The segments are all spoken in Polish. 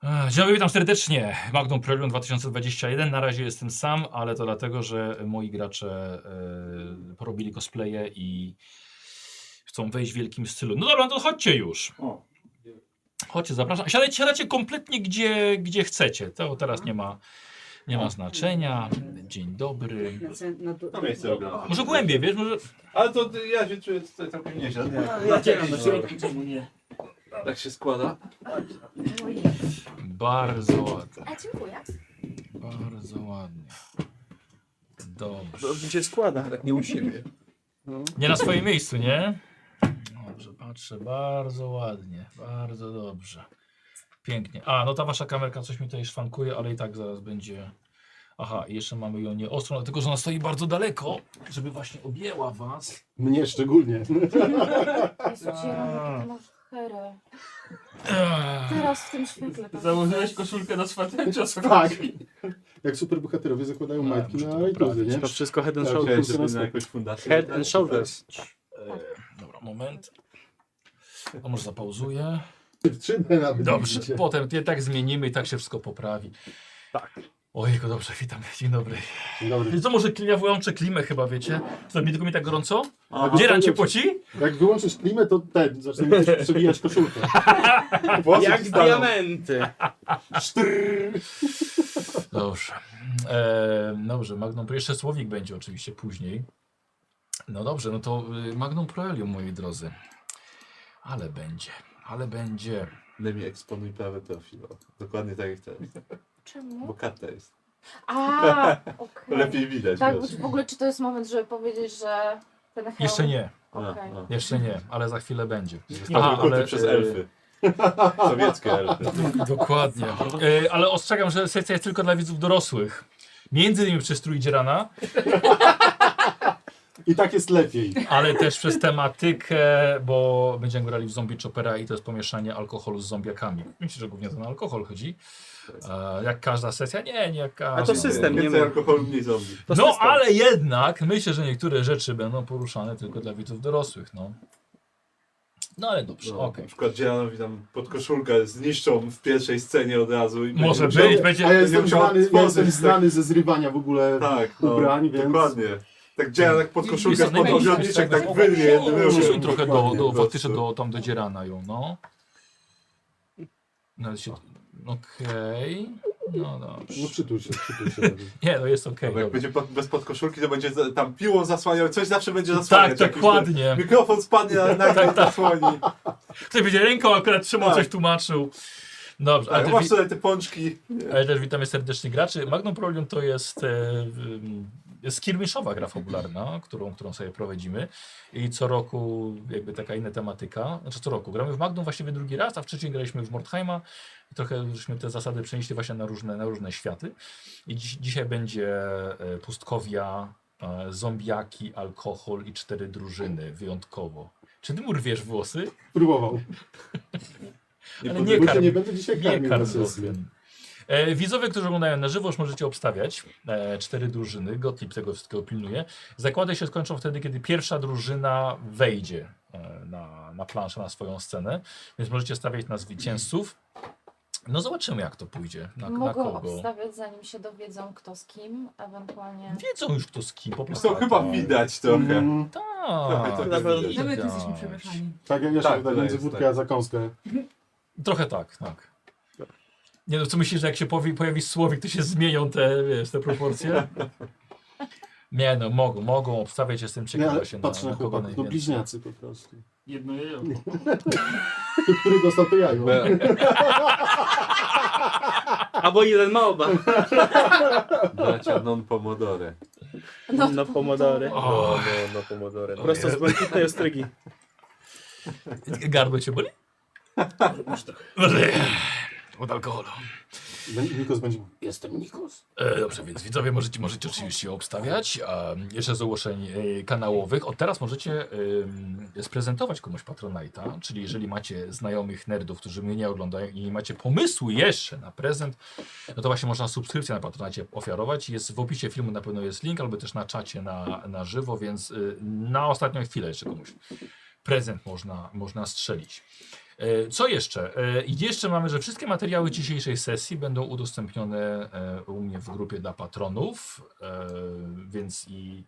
A, Dzień dobry, witam serdecznie. Magnum Prelium 2021. Na razie jestem sam, ale to dlatego, że moi gracze e, porobili cosplaye i chcą wejść w wielkim stylu. No dobra, no to chodźcie już. O. Chodźcie, zapraszam. Siadajcie, siadajcie kompletnie gdzie, gdzie chcecie. To teraz nie ma, nie ma znaczenia. Dzień dobry. Na cen, na du- To miejsce oglądam. Może głębiej, wiesz, może... Ale to ty- ja się czuję tutaj całkiem nieźle. Nie, No, ja cię mam do środku, czemu nie? Tak się składa. Bardzo ładnie. A dziękuję. Bardzo ładnie. Dobrze. Dobrze się składa. Tak nie u siebie. No. Nie na swoim miejscu, nie? Dobrze, patrzę, bardzo ładnie, bardzo dobrze. Pięknie. A, no ta wasza kamerka coś mi tutaj szwankuje, ale i tak zaraz będzie. Aha, i jeszcze mamy ją nie ostrą, dlatego że ona stoi bardzo daleko, żeby właśnie objęła was. Mnie szczególnie. Jezu, Tak. Cię, masz herę. Eee, Teraz w tym świetle. patrz. Założyłeś koszulkę na swatęcza Tak. Jak superbohaterowie zakładają A, majtki Tak, no muszę to na iPodzie, nie? To wszystko head and Tak, shoulders. żeby na jakąś fundację. Head and shoulders. Dobra, moment. A może zapauzuję. 3D nawet. Dobrze, widzicie. potem je tak zmienimy i tak się wszystko poprawi. Tak. Ojejku, dobrze, witam, dzień dobry. Dzień dobry. I co, może ja wyłączę klimę chyba, wiecie? Co, mi tylko mi tak gorąco? No, A, Dzieran cię wiesz, poci? Jak wyłączysz klimę, to ten, zacznie mi też przebijać koszulkę. Włosy Jak ci staną. diamenty. Dobrze. E, dobrze, Magnum Pro. Jeszcze słowik będzie oczywiście później. No dobrze, no to y, Magnum Proelium, moi drodzy. Ale będzie, ale będzie. Lemie eksponuj prawy profil. o. Dokładnie tak jak ten. Bo Czemu? karta jest. A, To okej. lepiej widać. Tak, wiesz. w ogóle czy to jest moment, żeby powiedzieć, że ten hełm... Jeszcze nie, A, Okej. a. jeszcze nie, ale za chwilę będzie. Zostały ukryte przez e, elfy. Sowieckie elfy. Dokładnie. E, ale ostrzegam, że sesja jest tylko dla widzów dorosłych. Między innymi przez Trójdzierana, I tak jest lepiej. ale też przez tematykę, bo będziemy grali w Zombie Choppera i to jest pomieszanie alkoholu z zombiakami. Myślę, że głównie to na alkohol chodzi. E, jak każda sesja? Nie, nie jak każda. A to system, nie Więcej ma. alkoholu, mniej zombie. To no system. ale jednak myślę, że niektóre rzeczy będą poruszane tylko dla widzów dorosłych, no. No ale dobrze, No, okej. Na przykład Dzielanowi tam pod koszulkę zniszczą w pierwszej scenie od razu. I Może będzie być, musiał- będzie... A ja jestem musiał znany, ja otworzyć, jestem tak. znany ze zrywania w ogóle. Tak, no, ubrań, więc- dokładnie. Tak działa tak pod koszulkę, Jest spod najmniejszy ogrodniczek, aspekt. tak wyrwie jednym No, Usuń ruchem. trochę do, do, po prostu. faktycznie do, tam do dzierana ją, no. No, się... Okej, no No dobrze. przytul się, przytul się. Nie, no jest okej, Bo Jak dobra. będzie pod, bez podkoszulki, to będzie za- tam piłą zasłaniał, coś zawsze będzie Tak, zasłaniać. jakoś, dokładnie. tak. Mikrofon spadnie na, na tak, zasłoni. Ktoś będzie ręką akurat trzymał, Tak. coś tłumaczył. Dobrze, ale Tak, też masz wi- tutaj te pączki. Ale też witamy serdecznie graczy. Magnum Prolium to jest e, y, skirmiszowa gra fabularna, którą, którą sobie prowadzimy. I co roku jakby taka inna tematyka. Znaczy co roku. Gramy w Magnum właściwie drugi raz, a wcześniej graliśmy w Mordheima. I trochę żeśmy te zasady przenieśli właśnie na różne, na różne światy. I dziś, dzisiaj będzie e, pustkowia, e, zombiaki, alkohol i cztery drużyny wyjątkowo. Czy ty mu rwiesz włosy? Próbował. Nie Ale pod- nie Bo cię karmi. nie będę dzisiaj Nie karmił na karmił sesję. E, widzowie, którzy oglądają na żywo, już możecie obstawiać e, cztery drużyny. Gotlib tego wszystkiego pilnuje. Zakłady się skończą wtedy, kiedy pierwsza drużyna wejdzie e, na, na planszę, na swoją scenę. Więc możecie stawiać na zwycięzców. No zobaczymy, jak to pójdzie. Na, na Mogą kogo. obstawiać, zanim się dowiedzą, kto z kim, ewentualnie... Wiedzą już kto z kim. Po prostu. To chyba widać Mhm. trochę. Mm, Tak, To tak, na pewno- widać. No my tu jesteśmy przemieszani. Tak jak ja Tak, się wydaje, to między jest, wódkę tak. a zakąskę. Trochę tak, tak. Nie no, co myślisz, że jak się powie, pojawi słowik, to się zmienią te, wiesz, te proporcje? Nie no, mogą, mogą obstawiać, jestem Nie, ciekaw ale właśnie patrz na, na na kogo chłopaków, no najwięcej. bliźniacy po prostu. Jedno jejo. Który dostał to jajo. Albo jeden ma oba. Bracia non pomodore. No, Na pomodore. O. No, no, na pomodore. Prosto z błękitnej ostrygi. Gardło cię boli? Może trochę. Od alkoholu. Bę- Nikos będzie mówił, jestem Nikos. E, dobrze, więc widzowie możecie, możecie oczywiście obstawiać. A jeszcze z ogłoszeń e, kanałowych. Od teraz możecie em, sprezentować komuś Patronite'a, czyli jeżeli macie znajomych nerdów, którzy mnie nie oglądają i nie macie pomysłu jeszcze na prezent, no to właśnie można subskrypcję na Patronite ofiarować. Jest w opisie filmu na pewno jest link, albo też na czacie na, na żywo, więc y, na ostatnią chwilę jeszcze komuś prezent można, można strzelić. E, Co jeszcze? E, I jeszcze mamy, że wszystkie materiały dzisiejszej sesji będą udostępnione e, u mnie w grupie dla patronów, e, więc i,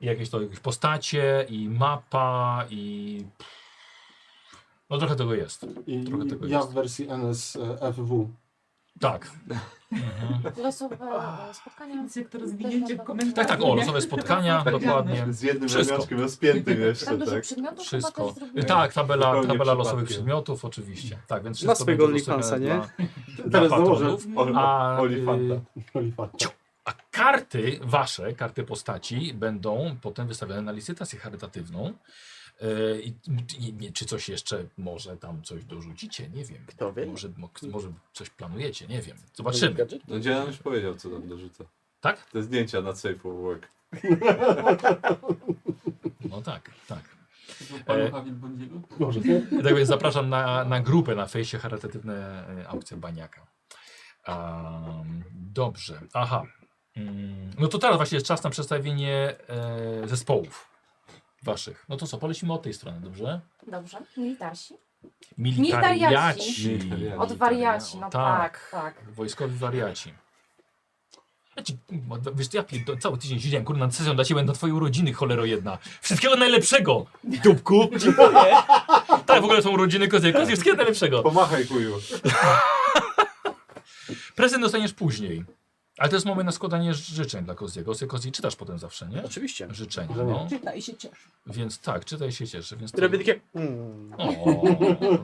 i jakieś to jakieś postacie, i mapa, i no trochę tego jest. I Trochę tego ja jest. w wersji e, NSFW. Tak. Mhm. Losowe e, spotkania. Więc jak to rozwinięcie w komentarzach. Tak, tak, o, losowe spotkania, Tak. dokładnie. Z jednym Wszystko. ramionczkiem rozpiętym jeszcze, Tam dużo tak? przedmiotów chyba Wszystko. też zrobiłem. Tak, tabela, Zupełnie tabela losowych przypadkiem. przedmiotów, oczywiście. Tak, więc Na wszystko swojego będzie OnlyFansa, dostępne nie? dla- Teraz patronów. dołożę A, Olifanta. y, Olifanta. A karty wasze, karty postaci będą potem wystawiane na licytację charytatywną. E, I, i, nie, czy coś jeszcze może tam coś dorzucicie? Nie wiem. Kto wie? Może, mo- może coś planujecie, nie wiem. Zobaczymy. No Dzielan już powiedział, co tam dorzuca. Tak? Te zdjęcia na Safe Work. No tak, tak. Palucha Wielbłądziego. Może nie? Tak więc zapraszam na, na grupę na fejsie charytatywne e, aukcje baniaka. Am, dobrze, aha. Mm, No to teraz właśnie jest czas na przedstawienie e, zespołów waszych. No to co, polecimy od tej strony, dobrze? Dobrze, militasi. Militariaci. Militariaci. Od wariaci, no tak, tak. Wojskowi wariaci. Ja ci, kurwa, da- wiesz, ja pierdo, cały tydzień siedziałem, kurna, nad sesją dla ciebie na twoje urodziny, cholero jedna. Wszystkiego najlepszego, dupku. Dziękuję. Tak, w ogóle są urodziny kozy, kozy, wszystkiego najlepszego. Pomachaj kuju. Prezent dostaniesz później. Ale to jest moment na składanie życzeń dla Koziego. Kozy, Kozi, czytasz potem zawsze, nie? Oczywiście. Życzenia, Że nie. no. Czyta i się cieszy. Więc tak, czytaj się cieszę. Więc I to... robię takie... Mm. O,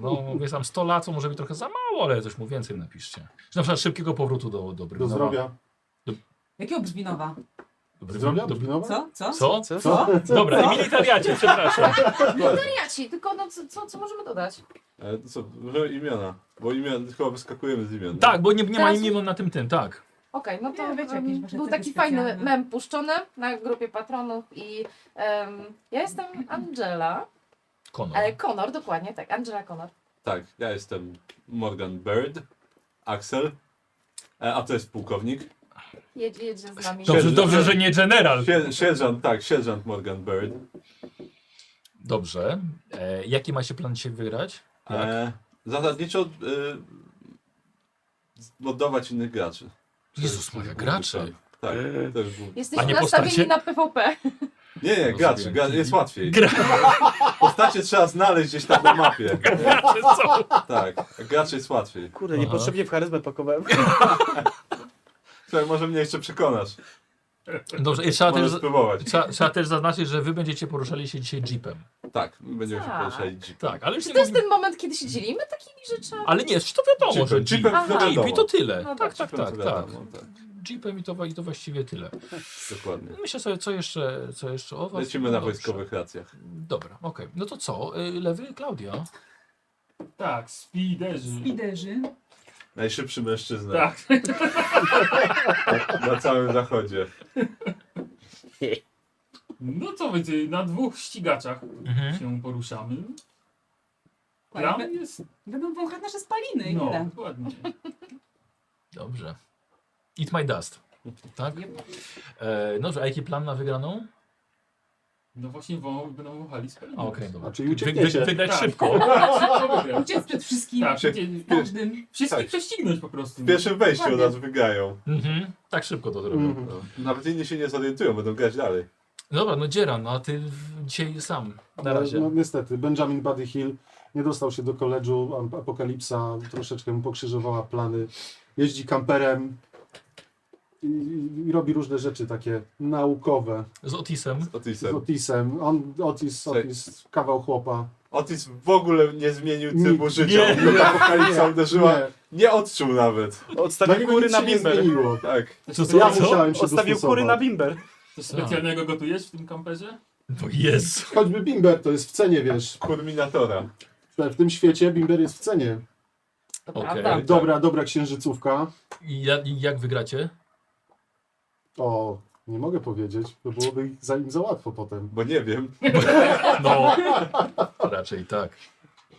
no mówię tam 100 lat, to może być trochę za mało, ale coś mu więcej napiszcie. Czy na przykład szybkiego powrotu do, do Do Brwinowa. zdrowia. Jakiego Brzminowa? Do Brywi- Zdrowia? do- No. Brwinowa? Co? Co? Co? Co? Co? Dobra, i militariacie, przepraszam. Wariaci, tylko no co, co, co możemy dodać? Ale to co, no imiona. Bo imion, chyba wyskakujemy z imion. Tak, bo nie, nie ma Teraz- imion na tym ten, tak. Okej, no to Nie, wiecie, em, jakieś wasze był cechy no. taki fajny specjalne. mem puszczony na grupie patronów i em, ja jestem Angela, Konor. e, Conor, dokładnie tak, Angela Conor. Tak, ja jestem Morgan Bird, Axel, e, a to jest pułkownik. Jedzie, jedzie z nami. Dobrze, Siedzi- dobrze, że nie general. Sie- Sierżant, tak, sierżant Morgan E, Bird. Dobrze. E, jaki macie plan się wygrać? Tak. E, zasadniczo y, oddawać innych graczy. To Jezus jest moja, główny graczy. plan. Tak, to jest główny. A Jesteśmy nie nastawieni postacie? na PvP. Nie, nie, graczy, Rozumiem. gra, jest łatwiej. Gra- Postacie trzeba znaleźć gdzieś tam na mapie. Gracze są. Tak, graczy jest łatwiej. Kurde, Aha. niepotrzebnie w charyzmę pakowałem. Słuchaj, może mnie jeszcze przekonasz. Dobrze, i trzeba też, Możesz spróbować. trzeba, trzeba też zaznaczyć, że wy będziecie poruszali się dzisiaj jeepem. Tak, będziemy się Tak. poruszali jeep. Tak, ale już Czy nie to jest mówimy- ten moment, kiedy się dzielimy Tak? takimi rzeczami? Ale nie, to wiadomo, Jeepem, że jeep. jeepem Aha. to wiadomo. Jeep i to tyle. No tak, dobrze. tak, tak, Jeepem to tak. wiadomo, tak. Jeepem i to, wa- i to właściwie tyle. Dokładnie. Myślę sobie, co jeszcze, co jeszcze o was. Lecimy No, na Dobrze. wojskowych racjach. Dobra, okej. No to co? Y, Lewy, Klaudia. Tak, spiderzy. Spiderzy. Najszybszy mężczyzna Tak, Tak. na całym zachodzie. no co będzie, na dwóch ścigaczach Mhm. się poruszamy. Ale Plan be- jest... Będą wąchać nasze spaliny i No, tyle. dokładnie. Dobrze. Eat my dust. Tak? E, dobrze, a jaki plan na wygraną? No właśnie wą, będą wąchali spaliny. A, Okej, dobra. A, czyli uciekniecie. wygrać Tak. szybko. Co wygra? Uciec przed wszystkim. Tak, Przy- gdzie- Każdym. wszystkich tak. prześcignąć po prostu. W pierwszym wejściu od Dokładnie. nas wygrają. Mhm. Tak szybko to zrobią. Mhm. No. Nawet inni się nie zorientują, będą grać dalej. Dobra, no Dzieran, no a ty w- dzisiaj sam. Na No, razie. No, niestety, Benjamin Buddy Hill nie dostał się do koledżu, Am- apokalipsa troszeczkę mu pokrzyżowała plany, jeździ kamperem i, i- i robi różne rzeczy takie naukowe Z Otisem. z Otisem. Otisem. On, Otis, Słuchaj. Otis, kawał chłopa. Otis w ogóle nie zmienił trybu Nie. życia. Nie. Ta apokalipsa uderzyła. Nie. Nie, odczuł nawet. dla Odstawił niego kury kury na No się nie bimber. zmieniło. Tak. To ja musiałem się Odstawił kury na dostosować. bimber. Coś specjalnego gotujesz w tym kamperze? No jest. Choćby bimber to jest w cenie, wiesz. Kurminatora. W tym świecie bimber jest w cenie. To Okej. prawda. Tak. Dobra, dobra księżycówka. I, ja, I jak wygracie? O, nie mogę powiedzieć, bo byłoby za im za łatwo potem. Bo nie wiem. No. Raczej tak.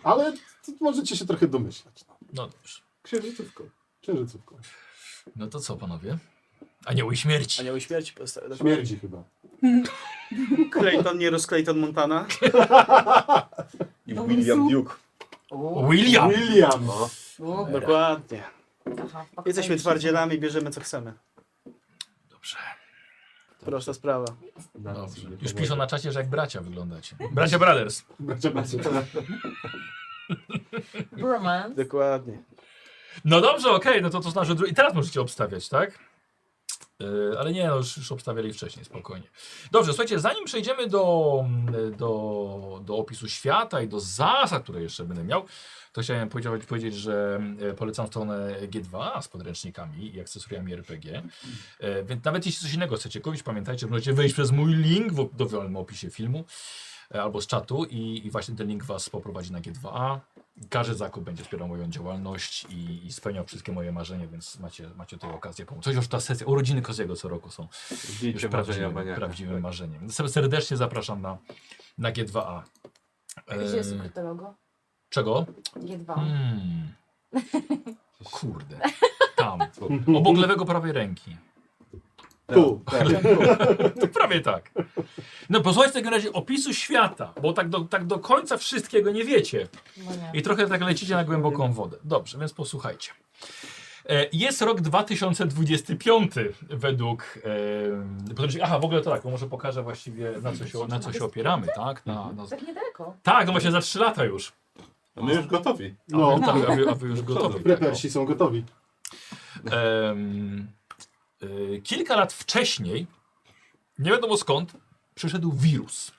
Ale t- możecie się trochę domyślać. No dobrze. Księżycówką. Księżycówką. No to co, panowie? Anioły śmierci. Anioły śmierci postawił. Śmierdzi chyba. Clayton, nie Clayton Montana. I No, Dobry William Duke. William! William! No. O, Dokładnie. Aha, okej. Jesteśmy twardzielami, bierzemy co chcemy. Dobrze. Prosta sprawa. Dobrze. Już piszą na czacie, że jak bracia wyglądacie. Bracia Brothers. Bracia, bracia. Bromance. Dokładnie. No dobrze, okej, no to to znaczy. dru- I teraz możecie obstawiać, tak? Yy, ale nie, no już, już obstawiali wcześniej, spokojnie. Dobrze, słuchajcie, zanim przejdziemy do, mm, do, do opisu świata i do zasad, które jeszcze będę miał, to chciałem powiedzieć, powiedzieć że mm, polecam stronę G2 z podręcznikami i akcesoriami RPG. E, Więc nawet jeśli coś innego chcecie kupić, pamiętajcie, że możecie wejść przez mój link w op- dowolnym opisie filmu e, albo z czatu i, i właśnie ten link was poprowadzi na G2A. Każdy zakup będzie wspierał moją działalność i, i spełniał wszystkie moje marzenia, więc macie, macie tutaj okazję pomóc. Coś już ta sesja, urodziny Koziego co roku są już Zdjęcie marzenia prawdziwym, maniaka. prawdziwym marzeniem. Ser- Serdecznie zapraszam na, na G2A. Gdzie jest Em, ukryte logo? E, czego? G2. Mm, kurde, tam, Tu. obok lewego prawej ręki. Tu. Tak, tak. To prawie tak. No posłuchajcie w takim razie opisu świata, bo tak do, tak do końca wszystkiego nie wiecie. Bo No nie. I trochę tak lecicie na głęboką wodę. Dobrze, więc posłuchajcie. E, Jest rok 2025 według. E, podręcznika- aha, w ogóle to tak, bo może pokażę właściwie na co się, na co się opieramy, tak? Na, na, Tak niedaleko. tak, no właśnie za 3 lata już. A my już gotowi. No, No, tak, a wy, a wy już gotowi. Tak, o. prepersi są gotowi. Em, y, kilka lat wcześniej, nie wiadomo skąd, przyszedł wirus.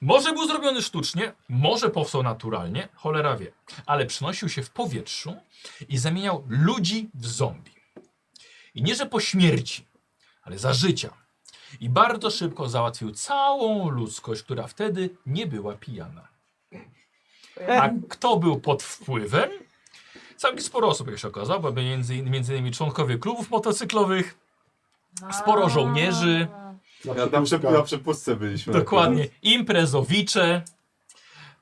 Może był zrobiony sztucznie, może powstał naturalnie, cholera wie, ale przenosił się w powietrzu i zamieniał ludzi w zombie. I nie, że po śmierci, ale za życia. I bardzo szybko załatwił całą ludzkość, która wtedy nie była pijana. A kto był pod wpływem? Całkiem sporo osób, jak się okazało, bo między, między innymi członkowie klubów motocyklowych, sporo żołnierzy. A. Na, na, przy, na przepustce byliśmy. dokładnie, imprezowicze,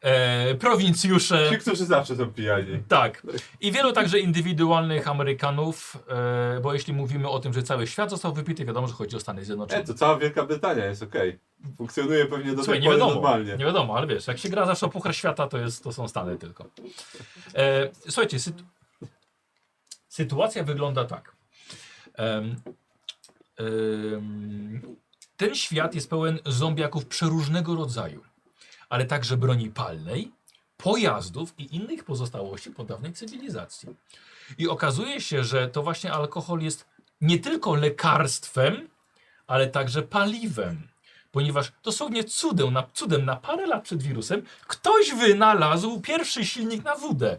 e, prowincjusze. Ci, którzy zawsze są pijani. Tak. I wielu także indywidualnych Amerykanów, e, bo jeśli mówimy o tym, że cały świat został wypity, wiadomo, że chodzi o Stany E, Zjednoczone. to cała Wielka Brytania jest okej. Funkcjonuje pewnie do Słuchaj, tej nie pory wiadomo, normalnie. nie wiadomo, ale wiesz, jak się gra zawsze o Puchar Świata, to, jest, to są Stany tylko. E, słuchajcie, sytu... sytuacja wygląda tak. Em, em, ten świat jest pełen zombiaków przeróżnego rodzaju, ale także broni palnej, pojazdów i innych pozostałości po dawnej cywilizacji. I okazuje się, że to właśnie alkohol jest nie tylko lekarstwem, ale także paliwem ponieważ dosłownie cudem na, cudem na parę lat przed wirusem ktoś wynalazł pierwszy silnik na wódę.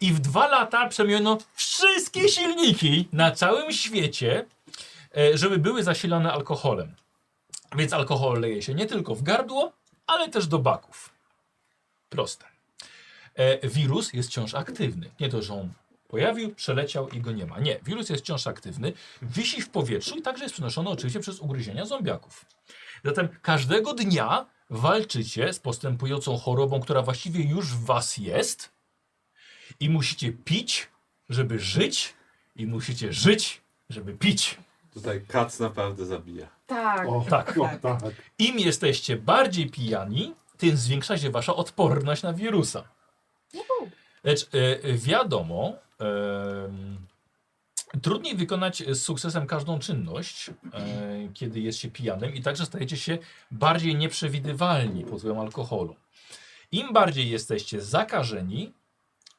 I w dwa lata przemieniono wszystkie silniki na całym świecie, e, żeby były zasilane alkoholem. Więc alkohol leje się nie tylko w gardło, ale też do baków. Proste. E, wirus jest wciąż aktywny. Nie to, że on pojawił, przeleciał i go nie ma. Nie, wirus jest wciąż aktywny, wisi w powietrzu i także jest przenoszony oczywiście przez ugryzienia zombiaków. Zatem każdego dnia walczycie z postępującą chorobą, która właściwie już w was jest i musicie pić, żeby żyć i musicie żyć, żeby pić. Tutaj kac naprawdę zabija. Tak. O, Tak. tak. O, tak. Im jesteście bardziej pijani, tym zwiększa się wasza odporność na wirusa. Lecz e, wiadomo, em, trudniej wykonać z sukcesem każdą czynność, e, kiedy jest się pijanym i także stajecie się bardziej nieprzewidywalni pod wpływem alkoholu. Im bardziej jesteście zakażeni,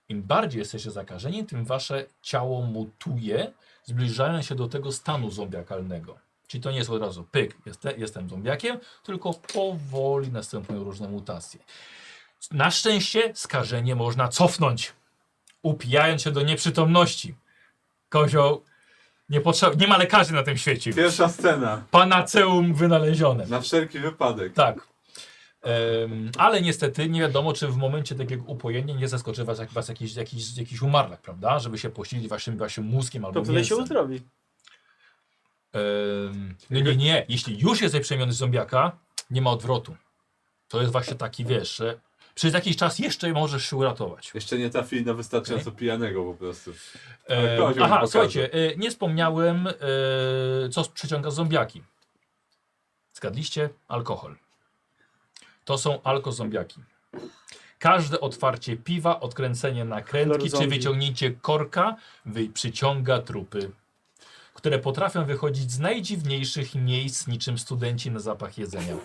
im bardziej jesteście zakażeni, tym wasze ciało mutuje, zbliżając się do tego stanu zombiakalnego. Czyli to nie jest od razu pyk, jestem, jestem zombiakiem, tylko powoli następują różne mutacje. Na szczęście skażenie można cofnąć, upijając się do nieprzytomności. Kozioł, nie, potrzeba, nie ma lekarzy na tym świecie. Pierwsza scena. Panaceum wynalezione. Na wszelki wypadek. Tak. Em, ale niestety nie wiadomo, czy w momencie takiego upojenia nie zaskoczy was, jak- was jakiś, jakiś, jakiś umarlak, prawda? Żeby się posilić waszym, waszym mózgiem albo To wtedy się mięsem. uzdrowi. Em, nie, nie, nie. Jeśli już jesteś przemieniony z zombiaka, nie ma odwrotu. To jest właśnie taki, wiesz, że przez jakiś czas jeszcze możesz się uratować. Jeszcze nie trafili na wystarczająco pijanego po prostu. Ale Em, kozioł aha, pokaże. słuchajcie, e, nie wspomniałem, e, co przyciąga zombiaki. Zgadliście? Alkohol. To są alkozombiaki. Każde otwarcie piwa, odkręcenie nakrętki Chlor czy zombie. wyciągnięcie korka wy, przyciąga trupy, które potrafią wychodzić z najdziwniejszych miejsc, niczym studenci na zapach jedzenia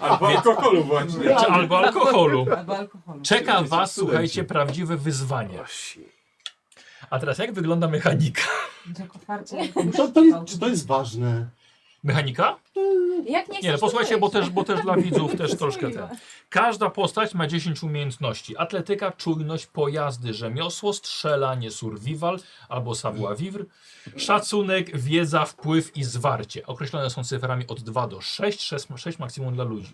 Albo alkoholu właśnie. czy, albo alkoholu. Albo alkoholu. Czeka Tak. Studenci, was, studenci. słuchajcie, prawdziwe wyzwanie. O, shit. A teraz jak wygląda mechanika? Jak otwarcie. To, to jest, czy to jest ważne? Mechanika? Jak nie chcesz, Nie, no to posłuchajcie, bo wyjdź. też, bo też dla widzów też troszkę Miłe. ten. Każda postać ma 10 umiejętności. Atletyka, czujność, pojazdy, rzemiosło, strzelanie, survival albo savoir-vivre, szacunek, wiedza, wpływ i zwarcie. Określone są cyframi od 2 do 6, 6, 6 maksimum dla ludzi.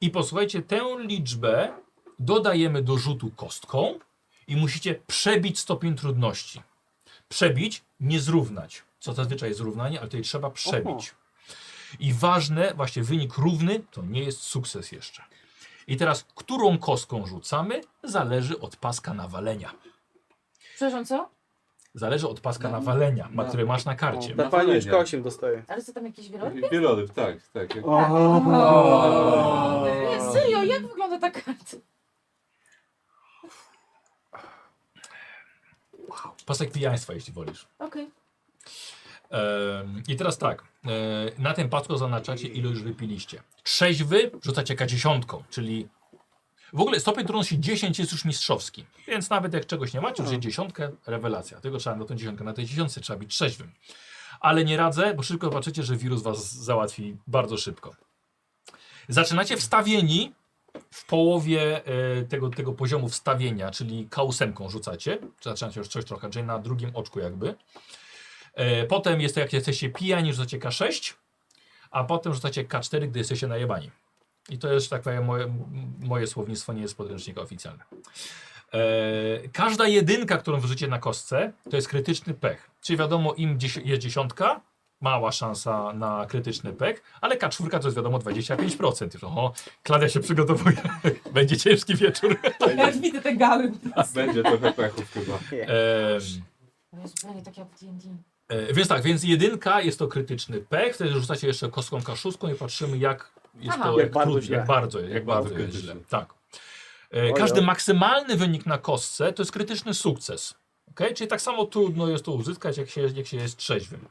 I posłuchajcie, tę liczbę dodajemy do rzutu kostką i musicie przebić stopień trudności. Przebić, nie zrównać. Co zazwyczaj jest zrównanie, ale tutaj trzeba przebić. I ważne, właśnie wynik równy to nie jest sukces jeszcze. I teraz, którą kostką rzucamy, zależy od paska nawalenia. Przepraszam, co? Zależy od paska nawalenia, ma, na- który masz na karcie. Ta pani już 8 dostaje. Ale co tam jakieś wieloryb? Wieloryb, tak, tak. jak- O, Eee. Nie, serio, jak wygląda ta karta? Pasek pijaństwa, jeśli wolisz. Okej. Em, I teraz tak, e, na tym pasku zaznaczacie, ile już wypiliście. Trzeźwy rzucacie K10, czyli w ogóle stopień trudności 10 jest już mistrzowski. Więc nawet jak czegoś nie macie, już jest dziesiątkę, rewelacja. Tego trzeba na tą dziesiątkę, na tej dziesiątce trzeba być trzeźwym. Ale nie radzę, bo szybko zobaczycie, że wirus was załatwi bardzo szybko. Zaczynacie wstawieni w połowie e, tego, tego poziomu wstawienia, czyli K8 rzucacie. Zaczynacie już coś trochę, czyli na drugim oczku jakby. E, Potem jest to, jak jesteście pijani, rzucacie K6, a potem rzucacie K4, gdy jesteście najebani. I to jest, tak powiem, moje, m- moje słownictwo nie jest z podręcznika oficjalne. E, każda jedynka, którą wyrzucie na kostce, to jest krytyczny pech. Czyli wiadomo, im dzies- jest dziesiątka, mała szansa na krytyczny pech, ale K4 to jest wiadomo 25%. Już, oho, Klaudia się przygotowuje. Będzie ciężki wieczór. Jak widzę te gały. Będzie trochę pechów chyba. Em, To jest zupełnie tak jak w D&D. E, więc tak, więc jedynka jest to krytyczny pech, wtedy rzucacie jeszcze kostką kaszuską i patrzymy jak jest Aha. to, Jak jak, bardzo trudno, źle. jak bardzo, jak bardzo bardzo jest źle. krytyczny. Tak. E, każdy maksymalny wynik na kostce to jest krytyczny sukces. Okay? Czyli tak samo trudno jest to uzyskać, jak się, jak się jest trzeźwym.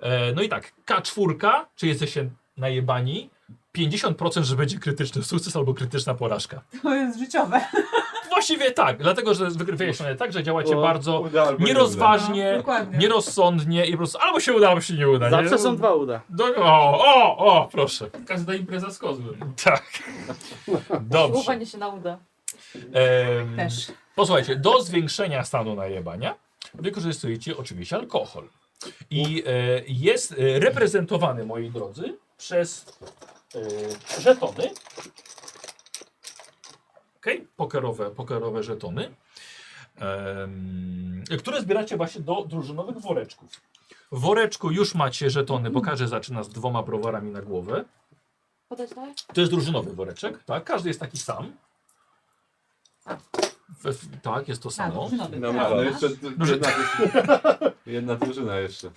E, no i tak, K4, czyli jesteście najebani, 50% że będzie krytyczny sukces albo krytyczna porażka. To jest życiowe. Właściwie tak, dlatego że wyjaśnione tak, że działacie O, bardzo Uda albo nie uda. nierozważnie, No, dokładnie. nierozsądnie i po prostu albo się uda, albo się nie uda. nie? Zawsze są dwa uda. Do, o, o, o, proszę. Każda impreza z kozłem. Tak. Dobrze. Siłowanie się na uda. Em, Też. posłuchajcie, do zwiększenia stanu najebania wykorzystujecie oczywiście alkohol. I e, jest e, reprezentowany, moi drodzy, przez e, żetony. Okay? Pokerowe, pokerowe żetony, em, które zbieracie właśnie do drużynowych woreczków. W woreczku już macie żetony, bo każdy zaczyna z dwoma browarami na głowę. Podać dalej? To jest drużynowy woreczek, tak? Każdy jest taki sam. We, w- tak, jest to A, samo. drużynowy. No, Tak, no masz. jeszcze d- jedna, drużyna. jedna drużyna jeszcze.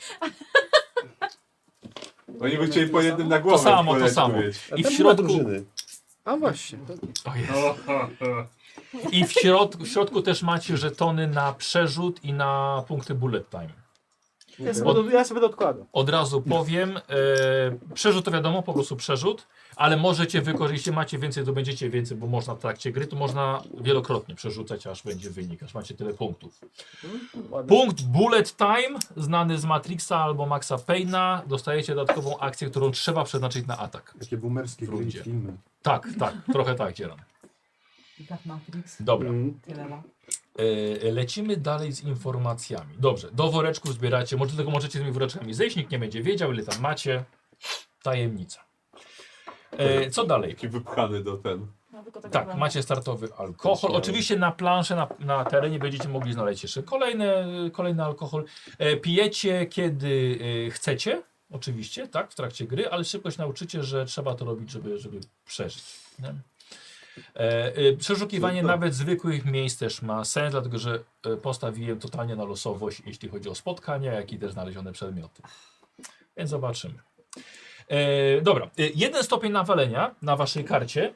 Oni by chcieli po jednym na głowę To samo, to polecieć. samo. I w Tam nie ma środku. drużyny. A właśnie. O Jezu. O, ha, ha. I w środku, w środku też macie żetony na przerzut i na punkty bullet time. Ja sobie, do, ja sobie to odkładam. Od razu powiem, e, przerzut to wiadomo, po prostu przerzut, ale możecie wykorzystać, jeśli macie więcej, to będziecie więcej, bo można w trakcie gry, to można wielokrotnie przerzucać, aż będzie wynik, aż macie tyle punktów. Ładnie. Punkt bullet time, znany z Matrixa albo Maxa Payna, dostajecie dodatkową akcję, którą trzeba przeznaczyć na atak. Jakie boomerskie gry i Wróćcie. filmy. Tak, tak, trochę tak, Dzieran. Jak tak Matrix. Dobra. Mm. Tyle no. lat. E, Lecimy dalej z informacjami. Dobrze, do woreczków zbieracie, może tylko możecie z tymi woreczkami zejść, nikt nie będzie wiedział, ile tam macie. Tajemnica. E, Co dalej? Taki wypchany do ten. No, tylko Tak, macie startowy alkohol. Oczywiście na planszy, na, na terenie będziecie mogli znaleźć jeszcze kolejne, kolejny alkohol. E, pijecie kiedy e, chcecie, oczywiście, tak, w trakcie gry, ale szybko się nauczycie, że trzeba to robić, żeby, żeby przeżyć. Nie? E, e, przeszukiwanie No. nawet zwykłych miejsc też ma sens, dlatego że e, postawiłem totalnie na losowość, jeśli chodzi o spotkania, jak i też znalezione przedmioty. Więc zobaczymy. E, dobra, e, jeden stopień nawalenia na waszej karcie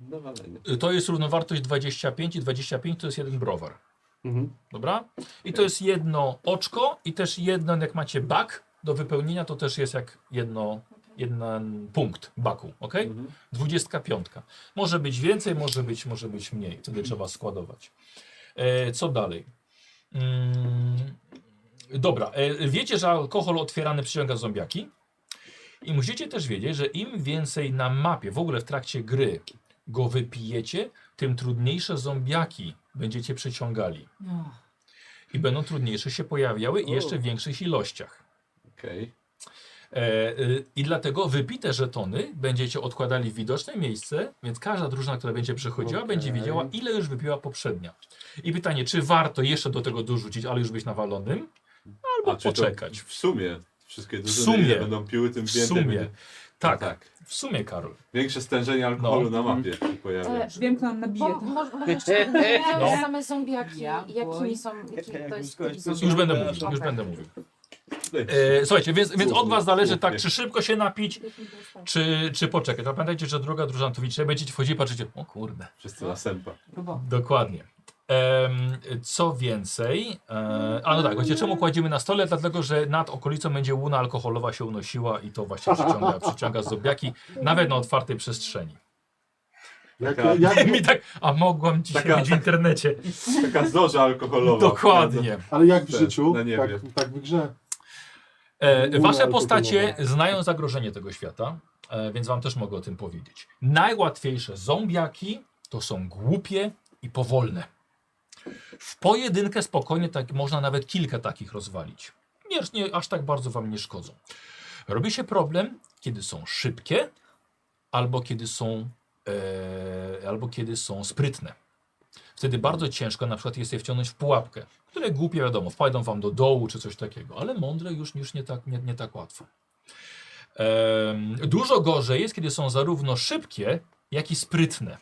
Dawalenie. To jest równowartość 25 i 25 to jest jeden browar. Mhm. Dobra? I to jest jedno oczko i też jedno, jak macie bak do wypełnienia, to też jest jak jedno, jeden punkt baku, ok? Mhm. 25. Może być więcej, może być, może być mniej. Wtedy trzeba składować. E, co dalej? Mm, dobra, e, wiecie, że alkohol otwierany przyciąga zombiaki. I musicie też wiedzieć, że im więcej na mapie, w ogóle w trakcie gry go wypijecie, tym trudniejsze zombiaki będziecie przyciągali. No. I będą trudniejsze się pojawiały i O. jeszcze w większych ilościach. Okej. E, y, I dlatego wypite żetony będziecie odkładali w widoczne miejsce, więc każda drużyna, która będzie przychodziła, Okej. będzie wiedziała, ile już wypiła poprzednia. I pytanie, czy warto jeszcze do tego dorzucić, ale już być nawalonym, albo A, czy to poczekać. W sumie wszystkie W drużyny sumie. ile będą piły, tym W więcej. sumie. będzie- Tak, tak. w sumie, Karol. Większe stężenie alkoholu No. na mapie się pojawia. E, Wiem, kto nam nabije. Bo, mo, mo, jeszcze nie No. same zombiaki, Ja, jakimi boj. są, jaki to jest typ Już zombiaki. będę mówił, już Okej. będę mówił. Ej, E, słuchajcie, więc, więc od was zależy tak, Słusznie. czy szybko się napić, czy, czy poczekać. A pamiętajcie, że druga drużyna to widzicie, będziecie wchodzili, patrzycie, o kurde. Wszyscy na sępa. Próbował. Dokładnie. Em, co więcej, e, a no tak, właśnie czemu kładziemy na stole? Dlatego, że nad okolicą będzie łuna alkoholowa się unosiła i to właśnie przyciąga, przyciąga zombiaki, nawet na otwartej przestrzeni. Jak, Taka- jak, Mi tak, a mogłam dzisiaj Taka- być w internecie. Taka zorza alkoholowa. Dokładnie. ale jak w Te, życiu, na niebie. tak, tak w grze. E, wasze Łuna postacie alkoholowa. znają zagrożenie tego świata, e, więc wam też mogę o tym powiedzieć. Najłatwiejsze zombiaki to są głupie i powolne. W pojedynkę spokojnie tak, można nawet kilka takich rozwalić. Nie, nie, aż tak bardzo wam nie szkodzą. Robi się problem, kiedy są szybkie, albo kiedy są, e, albo kiedy są sprytne. Wtedy bardzo ciężko na przykład jest je wciągnąć w pułapkę, które głupie wiadomo, wpajdą wam do dołu czy coś takiego, ale mądre już, już nie, tak, nie, nie tak łatwo. Em, dużo gorzej jest, kiedy są zarówno szybkie, jak i sprytne.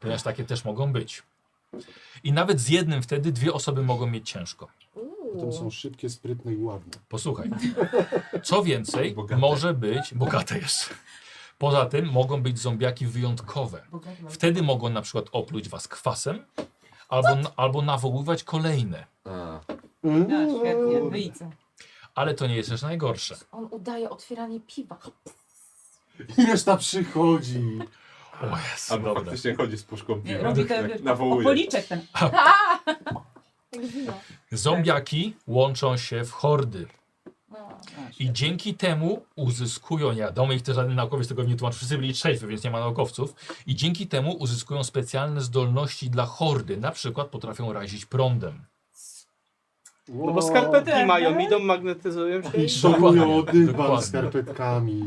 Ponieważ takie też mogą być. I nawet z jednym wtedy dwie osoby mogą mieć ciężko. Potem Uuu. są szybkie, sprytne i ładne. Posłuchaj. Co więcej, Bogate. może być. Bogate jest. Poza tym mogą być zombiaki wyjątkowe. Wtedy mogą na przykład opluć was kwasem albo, albo nawoływać kolejne. A, No, świetnie, wyjdźcie. Ale to nie jest też najgorsze. On udaje otwieranie piwa. I reszta przychodzi. O jest, albo dobra. faktycznie chodzi z puszką Nie, piwa. robi tak ten wiesz, nawołuje. opoliczek ten. Jak wino. Zombiaki łączą się w hordy No. i dzięki temu uzyskują, nie wiadomo, ich też żaden naukowiec tego nie tłumaczy, wszyscy byli trzeźwi, więc nie ma naukowców, i dzięki temu uzyskują specjalne zdolności dla hordy, na przykład potrafią razić prądem. No bo skarpetki Tak. mają, idą, magnetyzują się. I i- szokują Dokładnie, dywan dokładnie. skarpetkami.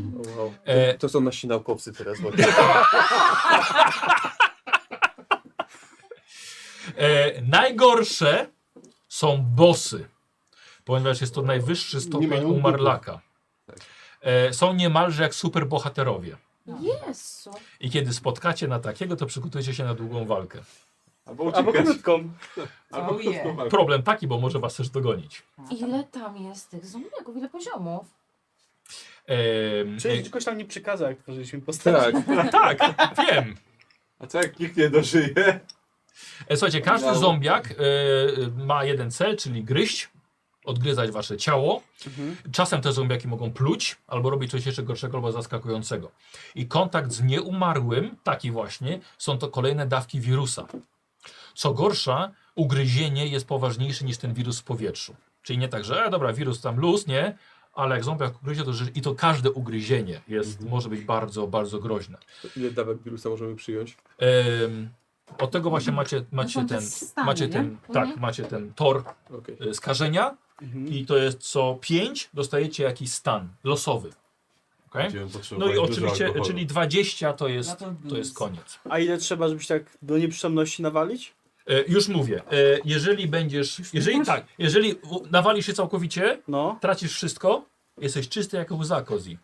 E, To są nasi naukowcy teraz. E, najgorsze są bosy, ponieważ jest to najwyższy Nie stopień mają umarlaka. E, są niemalże jak superbohaterowie. No. Jezu. I kiedy spotkacie na takiego, to przygotujcie się na długą walkę. Albo uciekać. Albo krótką. Albo Oh yeah. krótką walkę. Problem taki, bo może was też dogonić. Ile tam jest tych zombiaków? Ile poziomów? E, Czyli ktoś tam nie przykazał, jak tworzyliśmy postać. Tak. e, tak, wiem. A co jak nikt nie dożyje? E, słuchajcie, każdy Wow. zombiak e, ma jeden cel, czyli gryźć, odgryzać wasze ciało. Mhm. Czasem te zombiaki mogą pluć, albo robić coś jeszcze gorszego, albo zaskakującego. I kontakt z nieumarłym, taki właśnie, są to kolejne dawki wirusa. Co gorsza, ugryzienie jest poważniejsze niż ten wirus w powietrzu. Czyli nie tak, że e, dobra, wirus tam luz, nie, ale jak zombiak ugryzie, to że i to każde ugryzienie jest, może być bardzo, bardzo groźne. Ile dawek wirusa możemy przyjąć? Em, od tego właśnie macie, macie Mhm. są te ten, stany, macie nie? ten, tak, Mhm. macie ten tor Okej. e, skażenia Mhm. i to jest co 5 dostajecie jakiś stan losowy. Okay? Będziemy No potrzebować i dużo oczywiście, alkoholu. czyli 20 to No jest, to to blues. jest koniec. A ile trzeba, żebyś tak do nieprzytomności nawalić? E, już mówię, e, jeżeli będziesz, jeżeli tak, jeżeli u- nawalisz się całkowicie, No. tracisz wszystko, jesteś czysty jak łza kozi.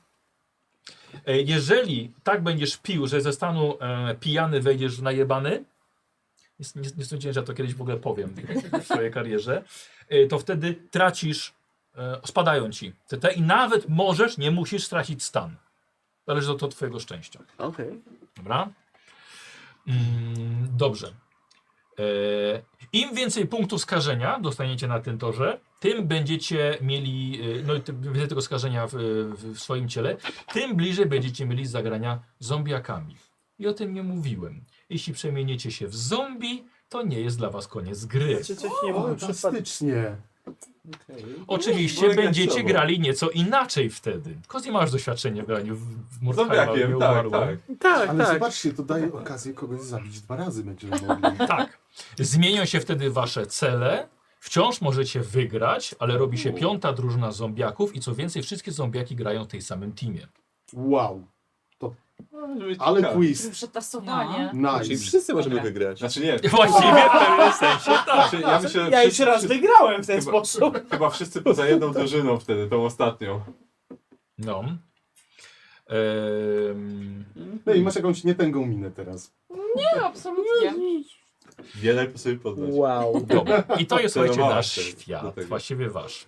E, jeżeli tak będziesz pił, że ze stanu e, pijany wejdziesz w najebany, nie, nie, nie sądziłem, że ja to kiedyś w ogóle powiem w swojej karierze, e, to wtedy tracisz, e, spadają ci te, te i nawet możesz, nie musisz stracić stan. Zależy to od twojego szczęścia. Okej. Dobra. Mm, dobrze. E, Im więcej punktów skażenia dostaniecie na tym torze, tym będziecie mieli, e, no i tym więcej tego skażenia w, w, w swoim ciele, tym bliżej będziecie mieli zagrania zombiakami. I o tym nie mówiłem. Jeśli przemieniecie się w zombie, to nie jest dla was koniec gry. Czy coś nie mówił przypadkiem? Fantastycznie. Oczywiście Bo będziecie jakieś grali nieco inaczej wtedy. Kozi, masz doświadczenie w graniu w, w Mordheima, nie Zombiakiem, tak, umarło. tak. Tak, Ale tak. zobaczcie, to daje okazję kogoś zabić dwa razy będziemy mogli. Tak. Zmienią się wtedy wasze cele. Wciąż możecie wygrać, ale robi się piąta drużyna zombiaków i co więcej, wszystkie zombiaki grają w tej samym teamie. Wow. No, żeby być Ale ciekawe. quiz. Przetasowanie. Czyli Nice. wszyscy możemy Dobra. wygrać. Znaczy nie, Właściwie w pewnym sensie tak. znaczy, ja myślę, że Ja już wszyscy- raz wygrałem w ten Chyba- sposób. Chyba wszyscy poza jedną drużyną wtedy, tą ostatnią. No. Ehm, No i masz jakąś nietęgą minę teraz. Nie, absolutnie. Wiele sobie poznać. Wow. dobra. I to jest słuchajcie Obserwowałem nasz wtedy do świat, tego. właściwie wasz.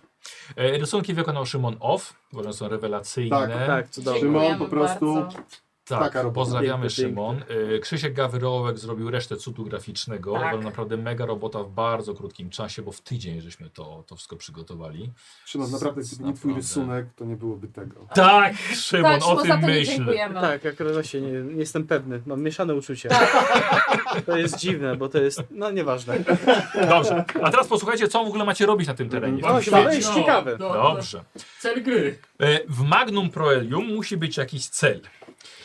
E, rysunki wykonał Szymon Off, bo one są rewelacyjne. Tak, Tak, cudownie. Szymon Dziękujemy po prostu- bardzo. Tak, Taka robota. pozdrawiamy Piękny, Szymon. Y, Krzysiek Gawrołek zrobił resztę cudu graficznego. Tak. Była naprawdę mega robota w bardzo krótkim czasie, bo w tydzień żeśmy to, to wszystko przygotowali. Szymon, naprawdę, gdyby nie twój Naprawdę. rysunek, to nie byłoby tego. Tak, Szymon, Tak, o Szymon, za tym to nie myślę. dziękujemy. Tak, akurat właśnie nie, nie jestem pewny. Mam mieszane uczucia. To jest dziwne, bo to jest. No nieważne. Dobrze, a teraz posłuchajcie, co w ogóle macie robić na tym terenie. w tym No, świecie. dalej jest ciekawe. do- do- Dobrze. Cel gry. E, W Magnum Proelium musi być jakiś cel.